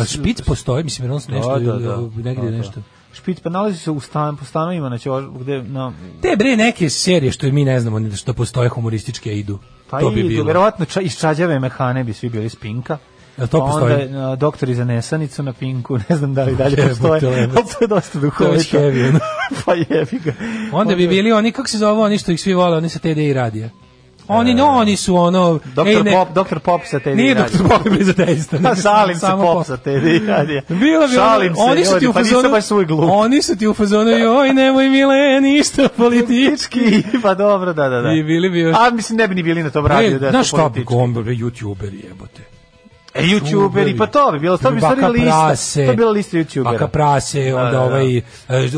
Speaker 6: A špic postoji, mislim, jer on se nešto,
Speaker 7: Da, da, da.
Speaker 6: negdje
Speaker 7: Da, da.
Speaker 6: nešto.
Speaker 7: Špic pa nalazi se u stan, po stanovima na Ćoš, gde na
Speaker 6: Te bre neke serije što mi ne znamo ni da što postoje humorističke a idu.
Speaker 7: pa
Speaker 6: to bi
Speaker 7: idu,
Speaker 6: bilo.
Speaker 7: verovatno ča, iz Čađave mehane bi svi bili spinka.
Speaker 6: Jel E, to
Speaker 7: Pa
Speaker 6: postoji?
Speaker 7: Onda a, doktori za nesanicu na pinku, ne znam da li dalje
Speaker 6: Jebote,
Speaker 7: postoje,
Speaker 6: jebote.
Speaker 7: ali to je dosta
Speaker 6: To je već
Speaker 7: duhovito.
Speaker 6: heavy, ono.
Speaker 7: pa jebi ga.
Speaker 6: Onda bi bili oni, kako se zove oni što ih svi vole, oni sa TD i radija. Oni, no, oni su ono...
Speaker 7: E, Doktor
Speaker 6: ej, ne-
Speaker 7: Pop, doktor Pop sa TV
Speaker 6: Nije
Speaker 7: radija.
Speaker 6: doktor Pop je brizateista.
Speaker 7: Pa šalim se
Speaker 6: Samo
Speaker 7: Pop sa TV radija.
Speaker 6: Bilo bi ono-
Speaker 7: šalim se,
Speaker 6: oni su ti
Speaker 7: ljudi,
Speaker 6: u
Speaker 7: pa nisam
Speaker 6: fazonu,
Speaker 7: baš svoj glup.
Speaker 6: oni su ti u fazonu, joj, nemoj mile, ništa politički.
Speaker 7: pa dobro, da, da, da.
Speaker 6: I bili bi još...
Speaker 7: A mislim ne bi ni bili na tom radiju
Speaker 6: Ej,
Speaker 7: da je
Speaker 6: Znaš
Speaker 7: to
Speaker 6: šta bi
Speaker 7: politički.
Speaker 6: gombe, bre, youtuberi jebote.
Speaker 7: E, youtuberi, pa to bi bilo, to bi stvari
Speaker 6: Baka
Speaker 7: lista,
Speaker 6: prase.
Speaker 7: to bi bila lista youtubera.
Speaker 6: Baka prase, onda
Speaker 7: da, da.
Speaker 6: ovaj, eh,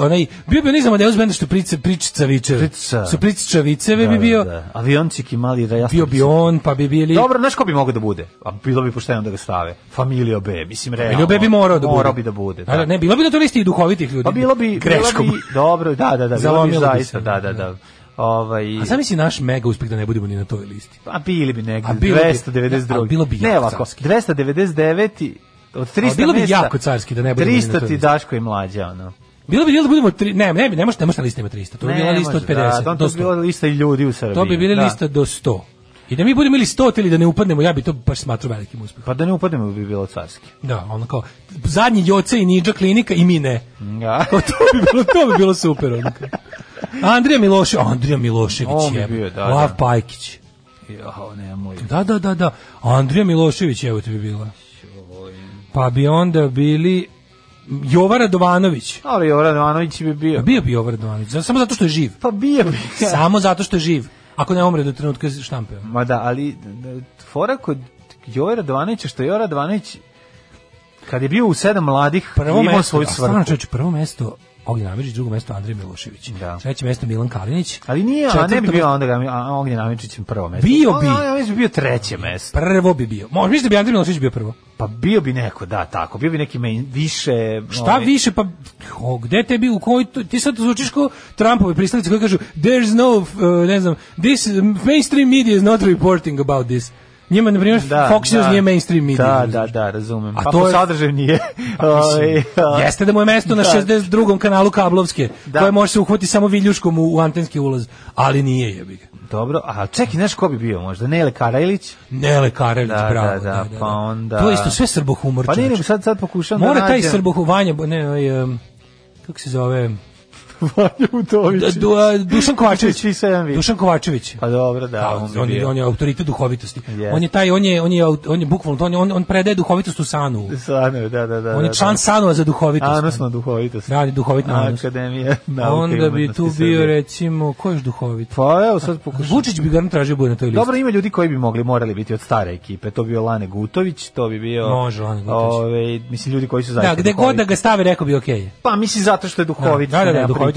Speaker 6: onaj, bio bi onaj za Amadeus benda što prica, pričica vičeve.
Speaker 7: Pričica.
Speaker 6: Su pričica viceve bi bio,
Speaker 7: Da, da. Aviončiki mali rajastici.
Speaker 6: bio bi on, pa bi bili...
Speaker 7: Dobro, znaš ko bi mogao da bude? A bilo bi pošteno da ga stave. Familio B, mislim realno.
Speaker 6: Ili bi morao da bude.
Speaker 7: Morao bi da bude, da.
Speaker 6: Da, da, ne, bilo bi na to listi i duhovitih ljudi.
Speaker 7: Pa bilo bi,
Speaker 6: greškom.
Speaker 7: bilo bi, dobro, da, da, da, bilo bi
Speaker 6: Zalomilo bi
Speaker 7: zaista,
Speaker 6: se.
Speaker 7: da, da, da. Ovaj,
Speaker 6: A sam misli naš mega uspeh da ne budemo ni na toj listi.
Speaker 7: a bili bi negde,
Speaker 6: A bilo bi-
Speaker 7: 292.
Speaker 6: ali bilo bi
Speaker 7: ne
Speaker 6: jako
Speaker 7: ovako,
Speaker 6: carski.
Speaker 7: 299. Od 300
Speaker 6: Ali bilo bi
Speaker 7: mesta,
Speaker 6: jako carski da ne budemo ni na toj
Speaker 7: 300 ti
Speaker 6: listi.
Speaker 7: Daško i mlađa, ono.
Speaker 6: Bilo bi bilo da budemo tri, ne, ne, bi- ne možete, ne možete na listi ima 300. To bi
Speaker 7: Ne
Speaker 6: bila lista
Speaker 7: može,
Speaker 6: od 50
Speaker 7: Da,
Speaker 6: do
Speaker 7: to bi
Speaker 6: 100.
Speaker 7: bila lista i ljudi u Srbiji.
Speaker 6: To bi bili
Speaker 7: da.
Speaker 6: lista do 100. I da mi budemo ili 100 ili da ne upadnemo, ja bi to baš smatrao velikim uspehom.
Speaker 7: Pa da ne upadnemo bi bilo carski.
Speaker 6: Da, ono kao, zadnji Joce i Niđa klinika i mi ne.
Speaker 7: Da.
Speaker 6: Kao, to, bi bilo, to bi bilo super. Ono kao. Andrija Milošević, Andrija Milošević
Speaker 7: On bi
Speaker 6: je,
Speaker 7: bio, da,
Speaker 6: Lav
Speaker 7: da.
Speaker 6: Pajkić.
Speaker 7: Jao, nemoj.
Speaker 6: Da, da, da, da. Andrija Milošević, evo ti bi bila. Pa bi onda bili Jovan Radovanović.
Speaker 7: Ali Jovan Ivanović bi bio.
Speaker 6: Pa bio bi Jovan Radovanović, za- samo zato što je živ.
Speaker 7: Pa bio bi.
Speaker 6: Samo zato što je živ. Ako ne umre do trenutka štampe.
Speaker 7: Ma da, ali da, fora kod Jovan Radovanovića, što je Jovan Radovanović kad je bio u sedam mladih
Speaker 6: Prvo
Speaker 7: imao
Speaker 6: mesto,
Speaker 7: svoju
Speaker 6: a
Speaker 7: svrhu.
Speaker 6: Stvarno čovječe, prvo mesto Ognjen Amidžić, drugo mesto Andrija Milošević.
Speaker 7: Da.
Speaker 6: Treće mesto Milan Kalinić.
Speaker 7: Ali nije, a ne bi
Speaker 6: Četvrto
Speaker 7: bio onda ga, a Ognjen Amičićem prvo mesto. Pa,
Speaker 6: Bio bi.
Speaker 7: Ognjen Amičić bi da bio treće mesto.
Speaker 6: Prvo bi bio. Možda mislim da bi Andrija Milošević bio prvo.
Speaker 7: Pa bio bi neko, da, tako. Bio bi neki main, više...
Speaker 6: Šta
Speaker 7: ovaj,
Speaker 6: više, pa o, gde tebi, u koji, to- ti sad zvučiš kao Trumpove pristalice koji kažu there's no, uh, ne znam, this mainstream media is not reporting about this. Njima, na primjer, Fox News nije mainstream media.
Speaker 7: Da, da, da, razumem.
Speaker 6: A
Speaker 7: pa
Speaker 6: to
Speaker 7: po
Speaker 6: je- Pa
Speaker 7: sadržaju nije.
Speaker 6: Mislim,
Speaker 7: Ovaj, a-
Speaker 6: Jeste da mu je mesto na
Speaker 7: Da.
Speaker 6: 62. kanalu kablovske,
Speaker 7: Da.
Speaker 6: koje može se uhvati samo viljuškom u, u antenski ulaz, ali nije jebi ga.
Speaker 7: Dobro, a čekaj, znaš ko bi bio možda? Nele Karajlić? Pa
Speaker 6: Nele Karelić,
Speaker 7: Da,
Speaker 6: bravo.
Speaker 7: da, da, pa onda-
Speaker 6: To je isto sve srbohumor.
Speaker 7: Pa nije,
Speaker 6: čoveče.
Speaker 7: nego sad, sad pokušam da
Speaker 6: Mora taj
Speaker 7: nađem.
Speaker 6: srbohuvanje, ne, ovaj, em, kako se zove,
Speaker 7: Vanja Udović.
Speaker 6: Da, du, a, Dušan Kovačević.
Speaker 7: Svi sedam vi.
Speaker 6: Dušan Kovačević.
Speaker 7: Pa dobro, da, on bi
Speaker 6: on, je,
Speaker 7: bio.
Speaker 6: on je autoritet duhovitosti.
Speaker 7: Jeste.
Speaker 6: On je taj, on je, on je, aut- on je bukvalno, on, je- on, on predaje duhovitost u sanu.
Speaker 7: Sanove, da, da, da.
Speaker 6: On
Speaker 7: da,
Speaker 6: je
Speaker 7: da.
Speaker 6: član Da, sanova za duhovitost.
Speaker 7: Anus na duhovitost.
Speaker 6: Radi duhovit na anus.
Speaker 7: Akademija nauke i
Speaker 6: Onda bi
Speaker 7: umetnosti
Speaker 6: tu bio,
Speaker 7: Srbije.
Speaker 6: recimo, ko je još duhovit?
Speaker 7: Pa evo sad pokušam.
Speaker 6: Vučić bi garant tražio da bude na toj listi.
Speaker 7: Dobro, ima ljudi koji bi mogli, morali biti od stare ekipe. To bi bio Lane Gutović, to bi bio...
Speaker 6: Može, Lane Gutović.
Speaker 7: Ove, mislim, ljudi koji su zaista
Speaker 6: da, gde god da ga stave, rekao bi okej. je.
Speaker 7: Pa misli zato što je duhovit.
Speaker 6: Da, da, da,
Speaker 7: nema
Speaker 6: duhovit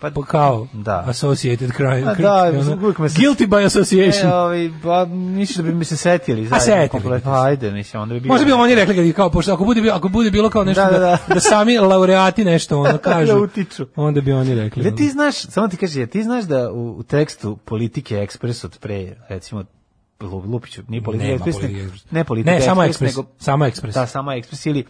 Speaker 7: Pa,
Speaker 6: Pa kao
Speaker 7: Da.
Speaker 6: associated crime.
Speaker 7: A
Speaker 6: cr-
Speaker 7: da,
Speaker 6: ono,
Speaker 7: uvijek me se-
Speaker 6: Guilty by association.
Speaker 7: E, ovaj, pa, mislim da bi mi se setili. zajedno
Speaker 6: setili bi
Speaker 7: kompletno.
Speaker 6: se.
Speaker 7: Pa, ajde, mislim, onda bi bio.
Speaker 6: Možda bi oni rekli kad je kao pošto ako bude bilo ako bude bilo kao nešto da,
Speaker 7: Da, da, da.
Speaker 6: da sami laureati nešto ono kažu.
Speaker 7: Da utiču.
Speaker 6: Onda bi oni rekli.
Speaker 7: Jel
Speaker 6: ono.
Speaker 7: ti znaš, samo ti kaže, jel ti znaš da u, u tekstu Politike Ekspres od pre, recimo, Lu- Lupiću, nije Politika
Speaker 6: Nema
Speaker 7: Ekspres,
Speaker 6: Politike
Speaker 7: nego-
Speaker 6: Ekspres.
Speaker 7: ne Politika
Speaker 6: Ne, samo Ekspres,
Speaker 7: nego,
Speaker 6: samo Ekspres.
Speaker 7: Da, samo Ekspres, ili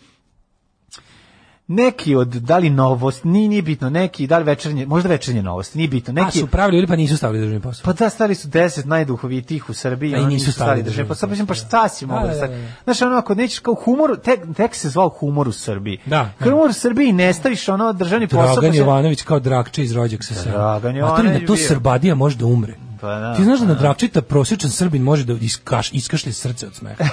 Speaker 7: neki od, da li novost, nije, nije bitno, neki, da li večernje, možda večernje novosti, nije bitno,
Speaker 6: A
Speaker 7: neki,
Speaker 6: su pravili ili pa nisu stavili državni posao.
Speaker 7: pa da, stari su 10 najduhovitijih u Srbiji,
Speaker 6: A i
Speaker 7: oni
Speaker 6: nisu
Speaker 7: nisu
Speaker 6: stavili
Speaker 7: stari države. Pa sad mislim, pa
Speaker 6: države.
Speaker 7: šta si
Speaker 6: Da,
Speaker 7: mogao
Speaker 6: da,
Speaker 7: da
Speaker 6: da,
Speaker 7: stavi?
Speaker 6: da.
Speaker 7: Znaš, ono, ako nećeš kao humor, tek, tek se zvao humor u Srbiji.
Speaker 6: Da,
Speaker 7: Kao
Speaker 6: da.
Speaker 7: humor u Srbiji ne staviš ono državni posao.
Speaker 6: Dragan
Speaker 7: pa se-
Speaker 6: Jovanović kao Drakče iz rođak sa sela.
Speaker 7: Dragan
Speaker 6: A to li na
Speaker 7: Jovanović
Speaker 6: to
Speaker 7: bio.
Speaker 6: Srbadija može da umre.
Speaker 7: Pa da,
Speaker 6: ti znaš da na
Speaker 7: pa
Speaker 6: Drakčita prosječan Srbin može da iskaš, iskašlje srce od smeha.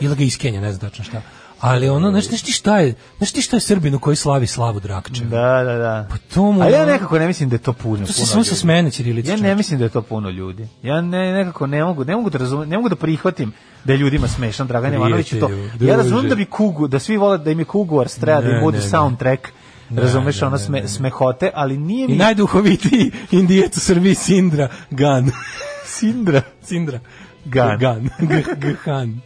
Speaker 6: Ili ga iskenja, ne znam tačno šta. Ali ono, znaš, znaš ti šta je, znaš ti šta je Srbin u koji slavi slavu Drakče?
Speaker 7: Da, da, da.
Speaker 6: Pa to mu-
Speaker 7: A ja nekako ne mislim da je to puno.
Speaker 6: To se
Speaker 7: puno
Speaker 6: samo sa
Speaker 7: ljudi.
Speaker 6: smene ćirilice.
Speaker 7: Ja ne
Speaker 6: čoveče.
Speaker 7: mislim da je to puno ljudi. Ja ne, nekako ne mogu, ne mogu da razumem, ne mogu da prihvatim da je ljudima smešan Dragan Jovanović i to.
Speaker 6: Prijatelju,
Speaker 7: Ja razumem
Speaker 6: druže.
Speaker 7: da bi kugu, da svi vole da im je kuguar treba da
Speaker 6: Ne,
Speaker 7: im bude
Speaker 6: ne, ne.
Speaker 7: soundtrack razumeš, ono sme, smehote, ali nije mi...
Speaker 6: I najduhovitiji indijec u Srbiji Sindra Gan.
Speaker 7: Sindra?
Speaker 6: Sindra.
Speaker 7: Gan.
Speaker 6: Gan. Ghan.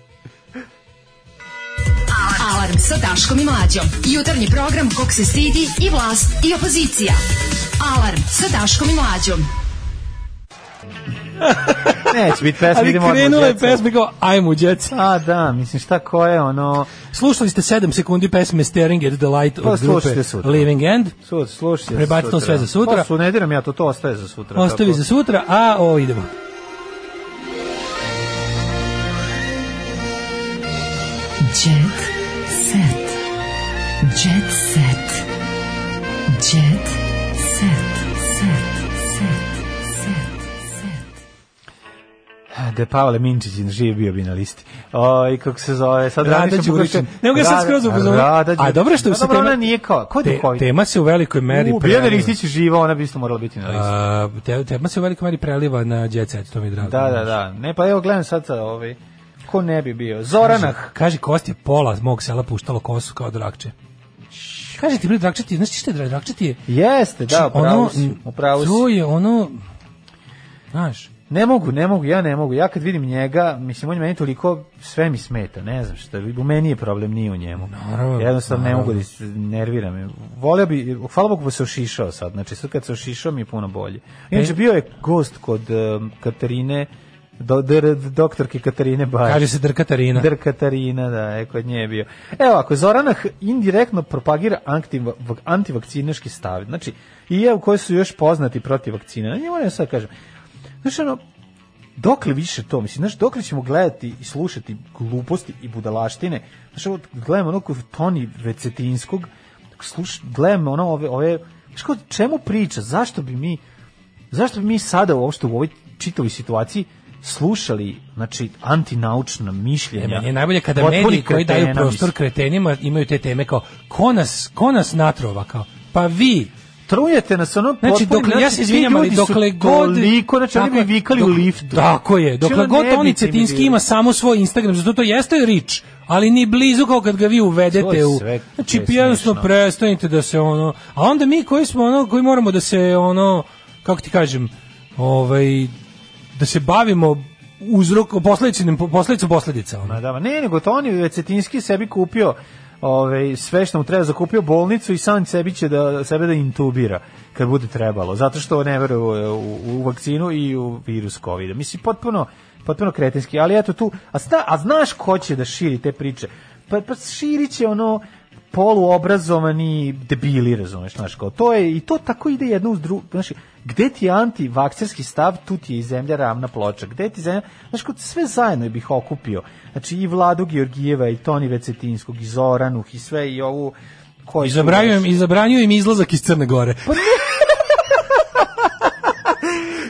Speaker 11: Alarm sa Daškom i Mlađom. Jutarnji program kog se stidi i vlast i opozicija. Alarm sa Daškom i Mlađom.
Speaker 7: Neće biti pesma,
Speaker 6: Ali
Speaker 7: idemo odmah u
Speaker 6: krenula je
Speaker 7: Jet Set.
Speaker 6: pesma kao ajmo u Jet Set.
Speaker 7: A da, mislim šta ko je ono...
Speaker 6: Slušali ste 7 sekundi pesme Staring at the Light
Speaker 7: Pa
Speaker 6: od grupe
Speaker 7: slušajte sutra.
Speaker 6: Living End.
Speaker 7: Sud, slušaj.
Speaker 6: Prebacite to sve za sutra.
Speaker 7: Pa su, ne diram ja to, to ostaje za sutra.
Speaker 6: Ostavi
Speaker 7: tako.
Speaker 6: za
Speaker 7: da.
Speaker 6: sutra, a ovo idemo.
Speaker 11: Jet set. Jet set. Jet set. Set. Set. Set. Set.
Speaker 7: Da je Pavle Minčić živ bio bi na listi. O, i kako se zove, sad
Speaker 6: Rada
Speaker 7: razmišljam kako
Speaker 6: Đuričić.
Speaker 7: će-
Speaker 6: Ne mogu ja sad
Speaker 7: Rada-
Speaker 6: skroz upozoriti.
Speaker 7: Rada
Speaker 6: A
Speaker 7: Đuričić.
Speaker 6: dobro što
Speaker 7: A
Speaker 6: se
Speaker 7: dobro,
Speaker 6: tema...
Speaker 7: ona nije kao, ko je
Speaker 6: Te-
Speaker 7: duhovit?
Speaker 6: tema se u velikoj meri
Speaker 7: U, da Biljana
Speaker 6: preliva.
Speaker 7: Ristić je živa, ona bi isto morala biti na listi.
Speaker 6: A, te- tema se u velikoj meri preliva na Jet Set, to mi je drago.
Speaker 7: Da, da, da. Ne, pa evo gledam sad sa ovaj. Ko ne bi bio? Zoranah.
Speaker 6: Kaže, Kosti je pola mog sela puštalo kosu kao drakče. Kaže ti, bre, drakče ti, znaš ti šta je dra- drakče ti je?
Speaker 7: Jeste, da, upravo
Speaker 6: Znači, Ono,
Speaker 7: si. Upravo si.
Speaker 6: To je ono, znaš,
Speaker 7: Ne mogu, ne mogu, ja ne mogu. Ja kad vidim njega, mislim, on je meni toliko, sve mi smeta, ne znam šta, u meni je problem, nije u njemu.
Speaker 6: Naravno,
Speaker 7: Jednostavno ne
Speaker 6: naravno.
Speaker 7: mogu da se nerviram. Voleo bi, hvala Bogu da se ošišao sad, znači sad kad se ošišao mi je puno bolje.
Speaker 6: E-
Speaker 7: Inače, bio je gost kod em, Katarine, do, dr, doktorke Katarine Bajić.
Speaker 6: kaže se drkatarina.
Speaker 7: Dr Katarina, da, je kod nje je bio. Evo, ako Zoranah indirektno propagira antiv, antivakcinaški stav, znači, i evo koji su još poznati protiv vakcina, na njemu ne sad kažem, znaš, ono, dokle više to, mislim, znaš, dokle ćemo gledati i slušati gluposti i budalaštine, znaš, ovo, gledamo ono kod Toni Vecetinskog, sluš, gledamo ono ove, ove, znaš, kao, čemu priča, zašto bi mi, zašto bi mi sada uopšte u ovoj čitavoj situaciji slušali znači antinaučna mišljenja.
Speaker 6: E, meni je najbolje kada
Speaker 7: potpunih
Speaker 6: mediji koji daju
Speaker 7: kretena,
Speaker 6: prostor
Speaker 7: mislim.
Speaker 6: kretenima imaju te teme kao ko nas, ko nas natrova kao pa vi
Speaker 7: trujete nas ono
Speaker 6: Znači,
Speaker 7: potpuno,
Speaker 6: dokle, ja se
Speaker 7: ti
Speaker 6: izvinjam, ali
Speaker 7: ljudi su
Speaker 6: dokle god...
Speaker 7: Toliko, znači, oni
Speaker 6: Tako
Speaker 7: bi
Speaker 6: je,
Speaker 7: vikali u
Speaker 6: dok-
Speaker 7: liftu.
Speaker 6: Tako je, dokle
Speaker 7: Znači, ono,
Speaker 6: god
Speaker 7: ne
Speaker 6: Toni
Speaker 7: bi ti mi
Speaker 6: Cetinski
Speaker 7: bilo.
Speaker 6: ima samo svoj Instagram, zato to jeste rič, ali ni blizu kao kad ga vi
Speaker 7: To
Speaker 6: uvedete
Speaker 7: je
Speaker 6: u...
Speaker 7: sve
Speaker 6: Znači,
Speaker 7: presmešno.
Speaker 6: jednostavno prestanite da se ono... A onda mi koji smo ono, koji moramo da se ono, kako ti kažem, ovaj, da se bavimo uzrokom, posledicom, posledicom posledica. Ono.
Speaker 7: Ma da, ma ne, nego Toni Vecetinski sebi kupio ove, sve što mu treba zakupio bolnicu i sam sebi će da, sebe da intubira kad bude trebalo, zato što ne veruje u, u vakcinu i u virus covid Mislim, potpuno, potpuno kretinski, ali eto tu, a, sta, a znaš ko će da širi te priče? Pa, pa širit će ono poluobrazovani debili, razumeš, znaš, kao, to je, i to tako ide jedno uz drugo, znaš, gde ti je antivakcerski stav, tu ti je i zemlja ravna ploča, gde ti zemlja, znaš, kao, sve zajedno bih okupio, znači, i Vladu Georgijeva, i Toni Vecetinskog, i Zoranuh, i sve, i ovu, koji
Speaker 6: I zabranjujem, i zabranjujem izlazak iz Crne Gore.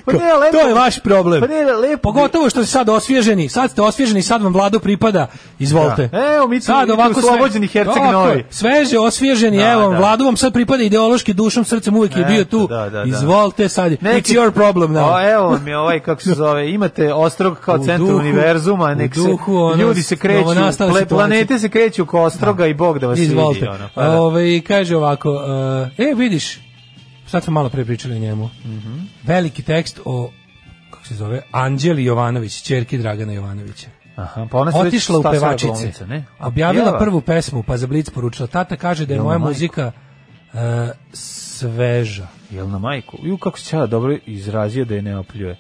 Speaker 7: pa ne, lepo,
Speaker 6: to je vaš problem.
Speaker 7: pa ne, lepo,
Speaker 6: Pogotovo što ste sad osvježeni, sad ste osvježeni, sad vam vladu pripada, izvolite.
Speaker 7: Da. Evo, mi smo- mi smo
Speaker 6: sve-
Speaker 7: oslobođeni Herceg
Speaker 6: Tako je,
Speaker 7: Novi.
Speaker 6: Sveže, osvježeni,
Speaker 7: Da,
Speaker 6: evo, vam,
Speaker 7: da.
Speaker 6: vladu vam sad pripada ideološki, dušom, srcem, uvijek je
Speaker 7: Eto,
Speaker 6: bio tu.
Speaker 7: da, da, da.
Speaker 6: Izvolite sad,
Speaker 7: Neki-
Speaker 6: it's your problem now.
Speaker 7: A, evo mi ovaj, kako se zove, imate ostrog kao
Speaker 6: U
Speaker 7: centar
Speaker 6: duhu-
Speaker 7: univerzuma,
Speaker 6: u
Speaker 7: nek se,
Speaker 6: duhu, ono,
Speaker 7: ljudi se kreću,
Speaker 6: novonastale
Speaker 7: ple-
Speaker 6: situacije.
Speaker 7: planete se kreću oko ostroga i Bog da vas
Speaker 6: Izvolite.
Speaker 7: vidi. Ono, pa da.
Speaker 6: Ove, kaže ovako, uh, e, vidiš, sad smo malo pre pričali o njemu,
Speaker 7: Mhm.
Speaker 6: veliki tekst o, kako se zove, Anđeli Jovanović, čerki Dragana Jovanovića.
Speaker 7: Aha, pa ona se već
Speaker 6: otišla u
Speaker 7: stasala
Speaker 6: pevačice.
Speaker 7: glumica, ne?
Speaker 6: Objavila
Speaker 7: Pjeva.
Speaker 6: prvu pesmu, pa za Blic poručila. Tata kaže da je
Speaker 7: Jel,
Speaker 6: moja
Speaker 7: majko?
Speaker 6: muzika e, sveža.
Speaker 7: Jel na majku? Ju, kako se ja dobro izrazio da je ne opljuje.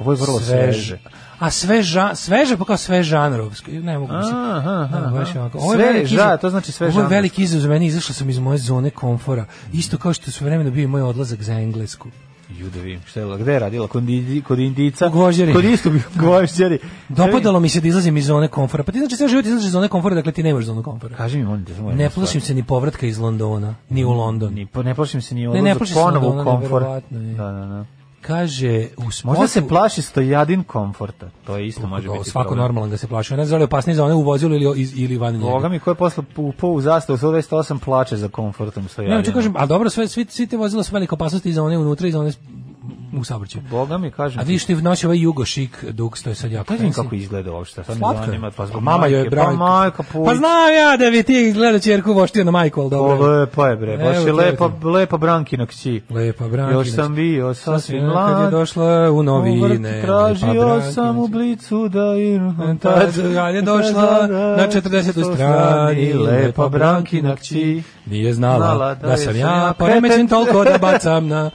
Speaker 7: Ovo je vrlo sveže.
Speaker 6: A sveža, sveža pa kao sve žanrovsko. Ne mogu mislim.
Speaker 7: Aha, aha,
Speaker 6: Ne, baš
Speaker 7: aha.
Speaker 6: ovako.
Speaker 7: Sveža,
Speaker 6: veliki izazov-
Speaker 7: to znači sve
Speaker 6: Ovo je
Speaker 7: žanrovsko.
Speaker 6: veliki izazov za mene, izašla sam iz moje zone komfora. Isto kao što su vremena bio i moj odlazak za Englesku.
Speaker 7: Ju da vidim, šta je, radila? gde je radila? Kod, indi, kod indica?
Speaker 6: U Gvožđeri.
Speaker 7: Kod istog gvožđeri.
Speaker 6: Da. Dopadalo mi se da izlazim iz zone komfora. Pa ti znači sve život izlaziš iz zone komfora, dakle ti nemaš zonu komfora.
Speaker 7: Kaži mi, molim te, samo
Speaker 6: Ne
Speaker 7: jednu
Speaker 6: plašim se ni povratka iz Londona, ni u London.
Speaker 7: stvar. Ni, po- ne plašim se ni
Speaker 6: ne
Speaker 7: odlaza
Speaker 6: plašim se
Speaker 7: ponovo
Speaker 6: Londona,
Speaker 7: u komfor.
Speaker 6: neverovatno je.
Speaker 7: Da, da, da.
Speaker 6: Kaže, u
Speaker 7: Možda se
Speaker 6: spotu-
Speaker 7: plaši stojadin komforta. To je isto može
Speaker 6: Kako,
Speaker 7: biti.
Speaker 6: svako
Speaker 7: problem.
Speaker 6: normalan ga se plaši. Ne znam da li je opasniji za one u vozilu ili, iz- ili van njega.
Speaker 7: Boga mi ko je posle upao u zastavu 128 plače za komfortom
Speaker 6: Ne,
Speaker 7: stojadina.
Speaker 6: hoću kažem, ali dobro, sve, svi, svi te vozila su velika opasnost i za one unutra i za one u saobraćaju.
Speaker 7: Boga mi kažem.
Speaker 6: A vi što je nosi ovaj jugo šik duks, to je sad jako.
Speaker 7: Kažem
Speaker 6: fancy.
Speaker 7: Pa kako izgleda uopšte. Sad me
Speaker 6: Slatka.
Speaker 7: zanima, pa zbog
Speaker 6: mama joj je
Speaker 7: majke,
Speaker 6: bravo.
Speaker 7: Pa majka Pujić.
Speaker 6: Pa znam ja da bi ti gledao ćerku voštio na majku, al dobro.
Speaker 7: O, lepa je bre, baš
Speaker 6: Evo,
Speaker 7: je lepa,
Speaker 6: gledajte.
Speaker 7: lepa Brankina kći.
Speaker 6: Lepa Brankina
Speaker 7: Još sam
Speaker 6: kći.
Speaker 7: bio sasvim
Speaker 6: Sasvim,
Speaker 7: mlad.
Speaker 6: kad je došla u novine, pa
Speaker 7: vrt
Speaker 6: lepa
Speaker 7: Tražio
Speaker 6: Brankina
Speaker 7: sam u blicu da iram.
Speaker 6: Tad kad E, da, je
Speaker 7: da
Speaker 6: došla na 40. strani, lepa Brankina kći. pa Nije znala da sam ja poremećen toliko da bacam na...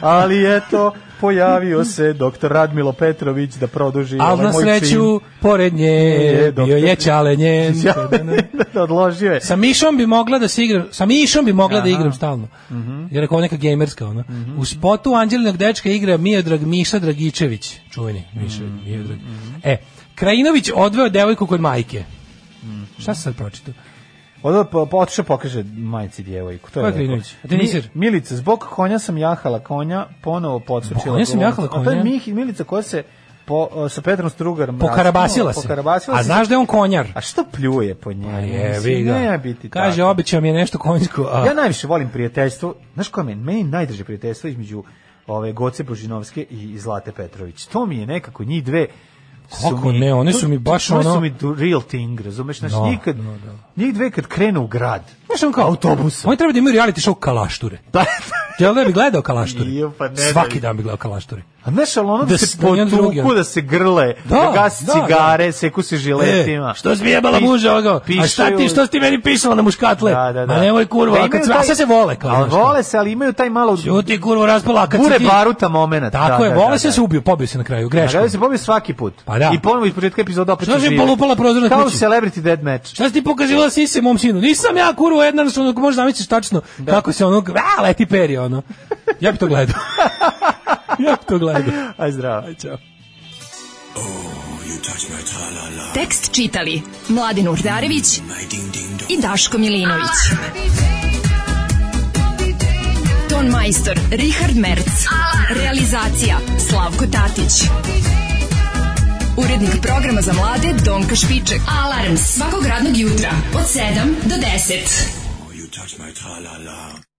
Speaker 7: Ali eto, pojavio se doktor Radmilo Petrović da produži
Speaker 6: Al
Speaker 7: ovaj
Speaker 6: na
Speaker 7: moj čin.
Speaker 6: sreću, pored nje,
Speaker 7: Je,
Speaker 6: bio je
Speaker 7: doktor.
Speaker 6: čale njen.
Speaker 7: Odložio Da je.
Speaker 6: Sa Mišom bi mogla da se igram, sa Mišom bi mogla da
Speaker 7: Aha.
Speaker 6: igram stalno. Je rekao neka gamerska ona. U spotu Anđelinog dečka igra Miodrag Miša Dragičević, čuveni Miša Miodrag. E, Krajinović odveo devojku kod majke. Šta se sad pročitao?
Speaker 7: Onda po, po, otišao pokaže majci djevojku.
Speaker 6: Ko
Speaker 7: To je
Speaker 6: je
Speaker 7: rekao.
Speaker 6: Klinović? A tenisir?
Speaker 7: Mi- Milica, zbog konja sam jahala konja, ponovo podsučila.
Speaker 6: Konja sam
Speaker 7: govornicu.
Speaker 6: jahala
Speaker 7: A to je
Speaker 6: konja?
Speaker 7: Mihi- Milica koja se po, o, sa Petrom Strugarom
Speaker 6: Pokarabasila
Speaker 7: raskinula,
Speaker 6: se.
Speaker 7: Pokarabasila
Speaker 6: A
Speaker 7: se.
Speaker 6: znaš da je on konjar?
Speaker 7: A što pljuje po njemu?
Speaker 6: Jevi ga.
Speaker 7: Ne, ja biti
Speaker 6: Kaže,
Speaker 7: tako.
Speaker 6: obećao mi je nešto konjsko. A...
Speaker 7: Ja najviše volim prijateljstvo. Znaš koje meni? Meni je najdraže prijateljstvo između ove Goce Božinovske i Zlate Petrović. To mi je nekako njih dve su
Speaker 6: Kako
Speaker 7: mi-
Speaker 6: ne, one
Speaker 7: to-
Speaker 6: su mi baš
Speaker 7: to- To
Speaker 6: ono-
Speaker 7: su mi du- real thing, razumeš? Znaš,
Speaker 6: No,
Speaker 7: nikad,
Speaker 6: no, da.
Speaker 7: njih dve kad krenu u grad,
Speaker 6: Znaš on kao?
Speaker 7: Autobusom.
Speaker 6: Oni treba da imaju reality show kalašture.
Speaker 7: Da.
Speaker 6: Jel da bi gledao kalašture?
Speaker 7: Nije, pa ne
Speaker 6: Svaki
Speaker 7: bi.
Speaker 6: dan bi gledao kalašture.
Speaker 7: A znaš, ali ono da,
Speaker 6: Da
Speaker 7: se
Speaker 6: se- da jedan drugi,
Speaker 7: potuku,
Speaker 6: ono.
Speaker 7: da se grle, da,
Speaker 6: Da,
Speaker 7: gase
Speaker 6: da,
Speaker 7: cigare, seku se žiletima.
Speaker 6: E, što si mi jebala muža ovoga? A šta ti, što si ti meni pisala na muškatle?
Speaker 7: Da, da, da.
Speaker 6: Ma nemoj kurvo, a kad sve, a sve se vole. Kao,
Speaker 7: ali
Speaker 6: znaš, kao.
Speaker 7: vole se, ali imaju taj malo...
Speaker 6: Ćuti kurvo raspala, a kad
Speaker 7: Bure
Speaker 6: se ti...
Speaker 7: baruta moment.
Speaker 6: Tako je,
Speaker 7: da, da,
Speaker 6: vole
Speaker 7: da,
Speaker 6: se,
Speaker 7: da.
Speaker 6: se ubio, pobio se na kraju, greška.
Speaker 7: Greška. se pobije svaki put.
Speaker 6: Pa da.
Speaker 7: I ponovo iz početka epizoda opet
Speaker 6: Što si polupala prozor na
Speaker 7: Kao
Speaker 6: kući?
Speaker 7: celebrity dead match.
Speaker 6: Šta si ti pokazivala sise mom sinu? Nisam ja kurvo jedna, što ono, možda zamisliš tačno kako se ono, a, leti perje, ono. Ja bi to gledao. ja bi to gledao.
Speaker 7: Aj zdravo.
Speaker 6: Ćao.
Speaker 11: Tekst čitali Mladin Urdarević i Daško Milinović. Ton majstor Richard Merc. Realizacija Slavko Tatić. Urednik programa za mlade Donka Špiček. Alarms svakog radnog jutra od 7 do 10.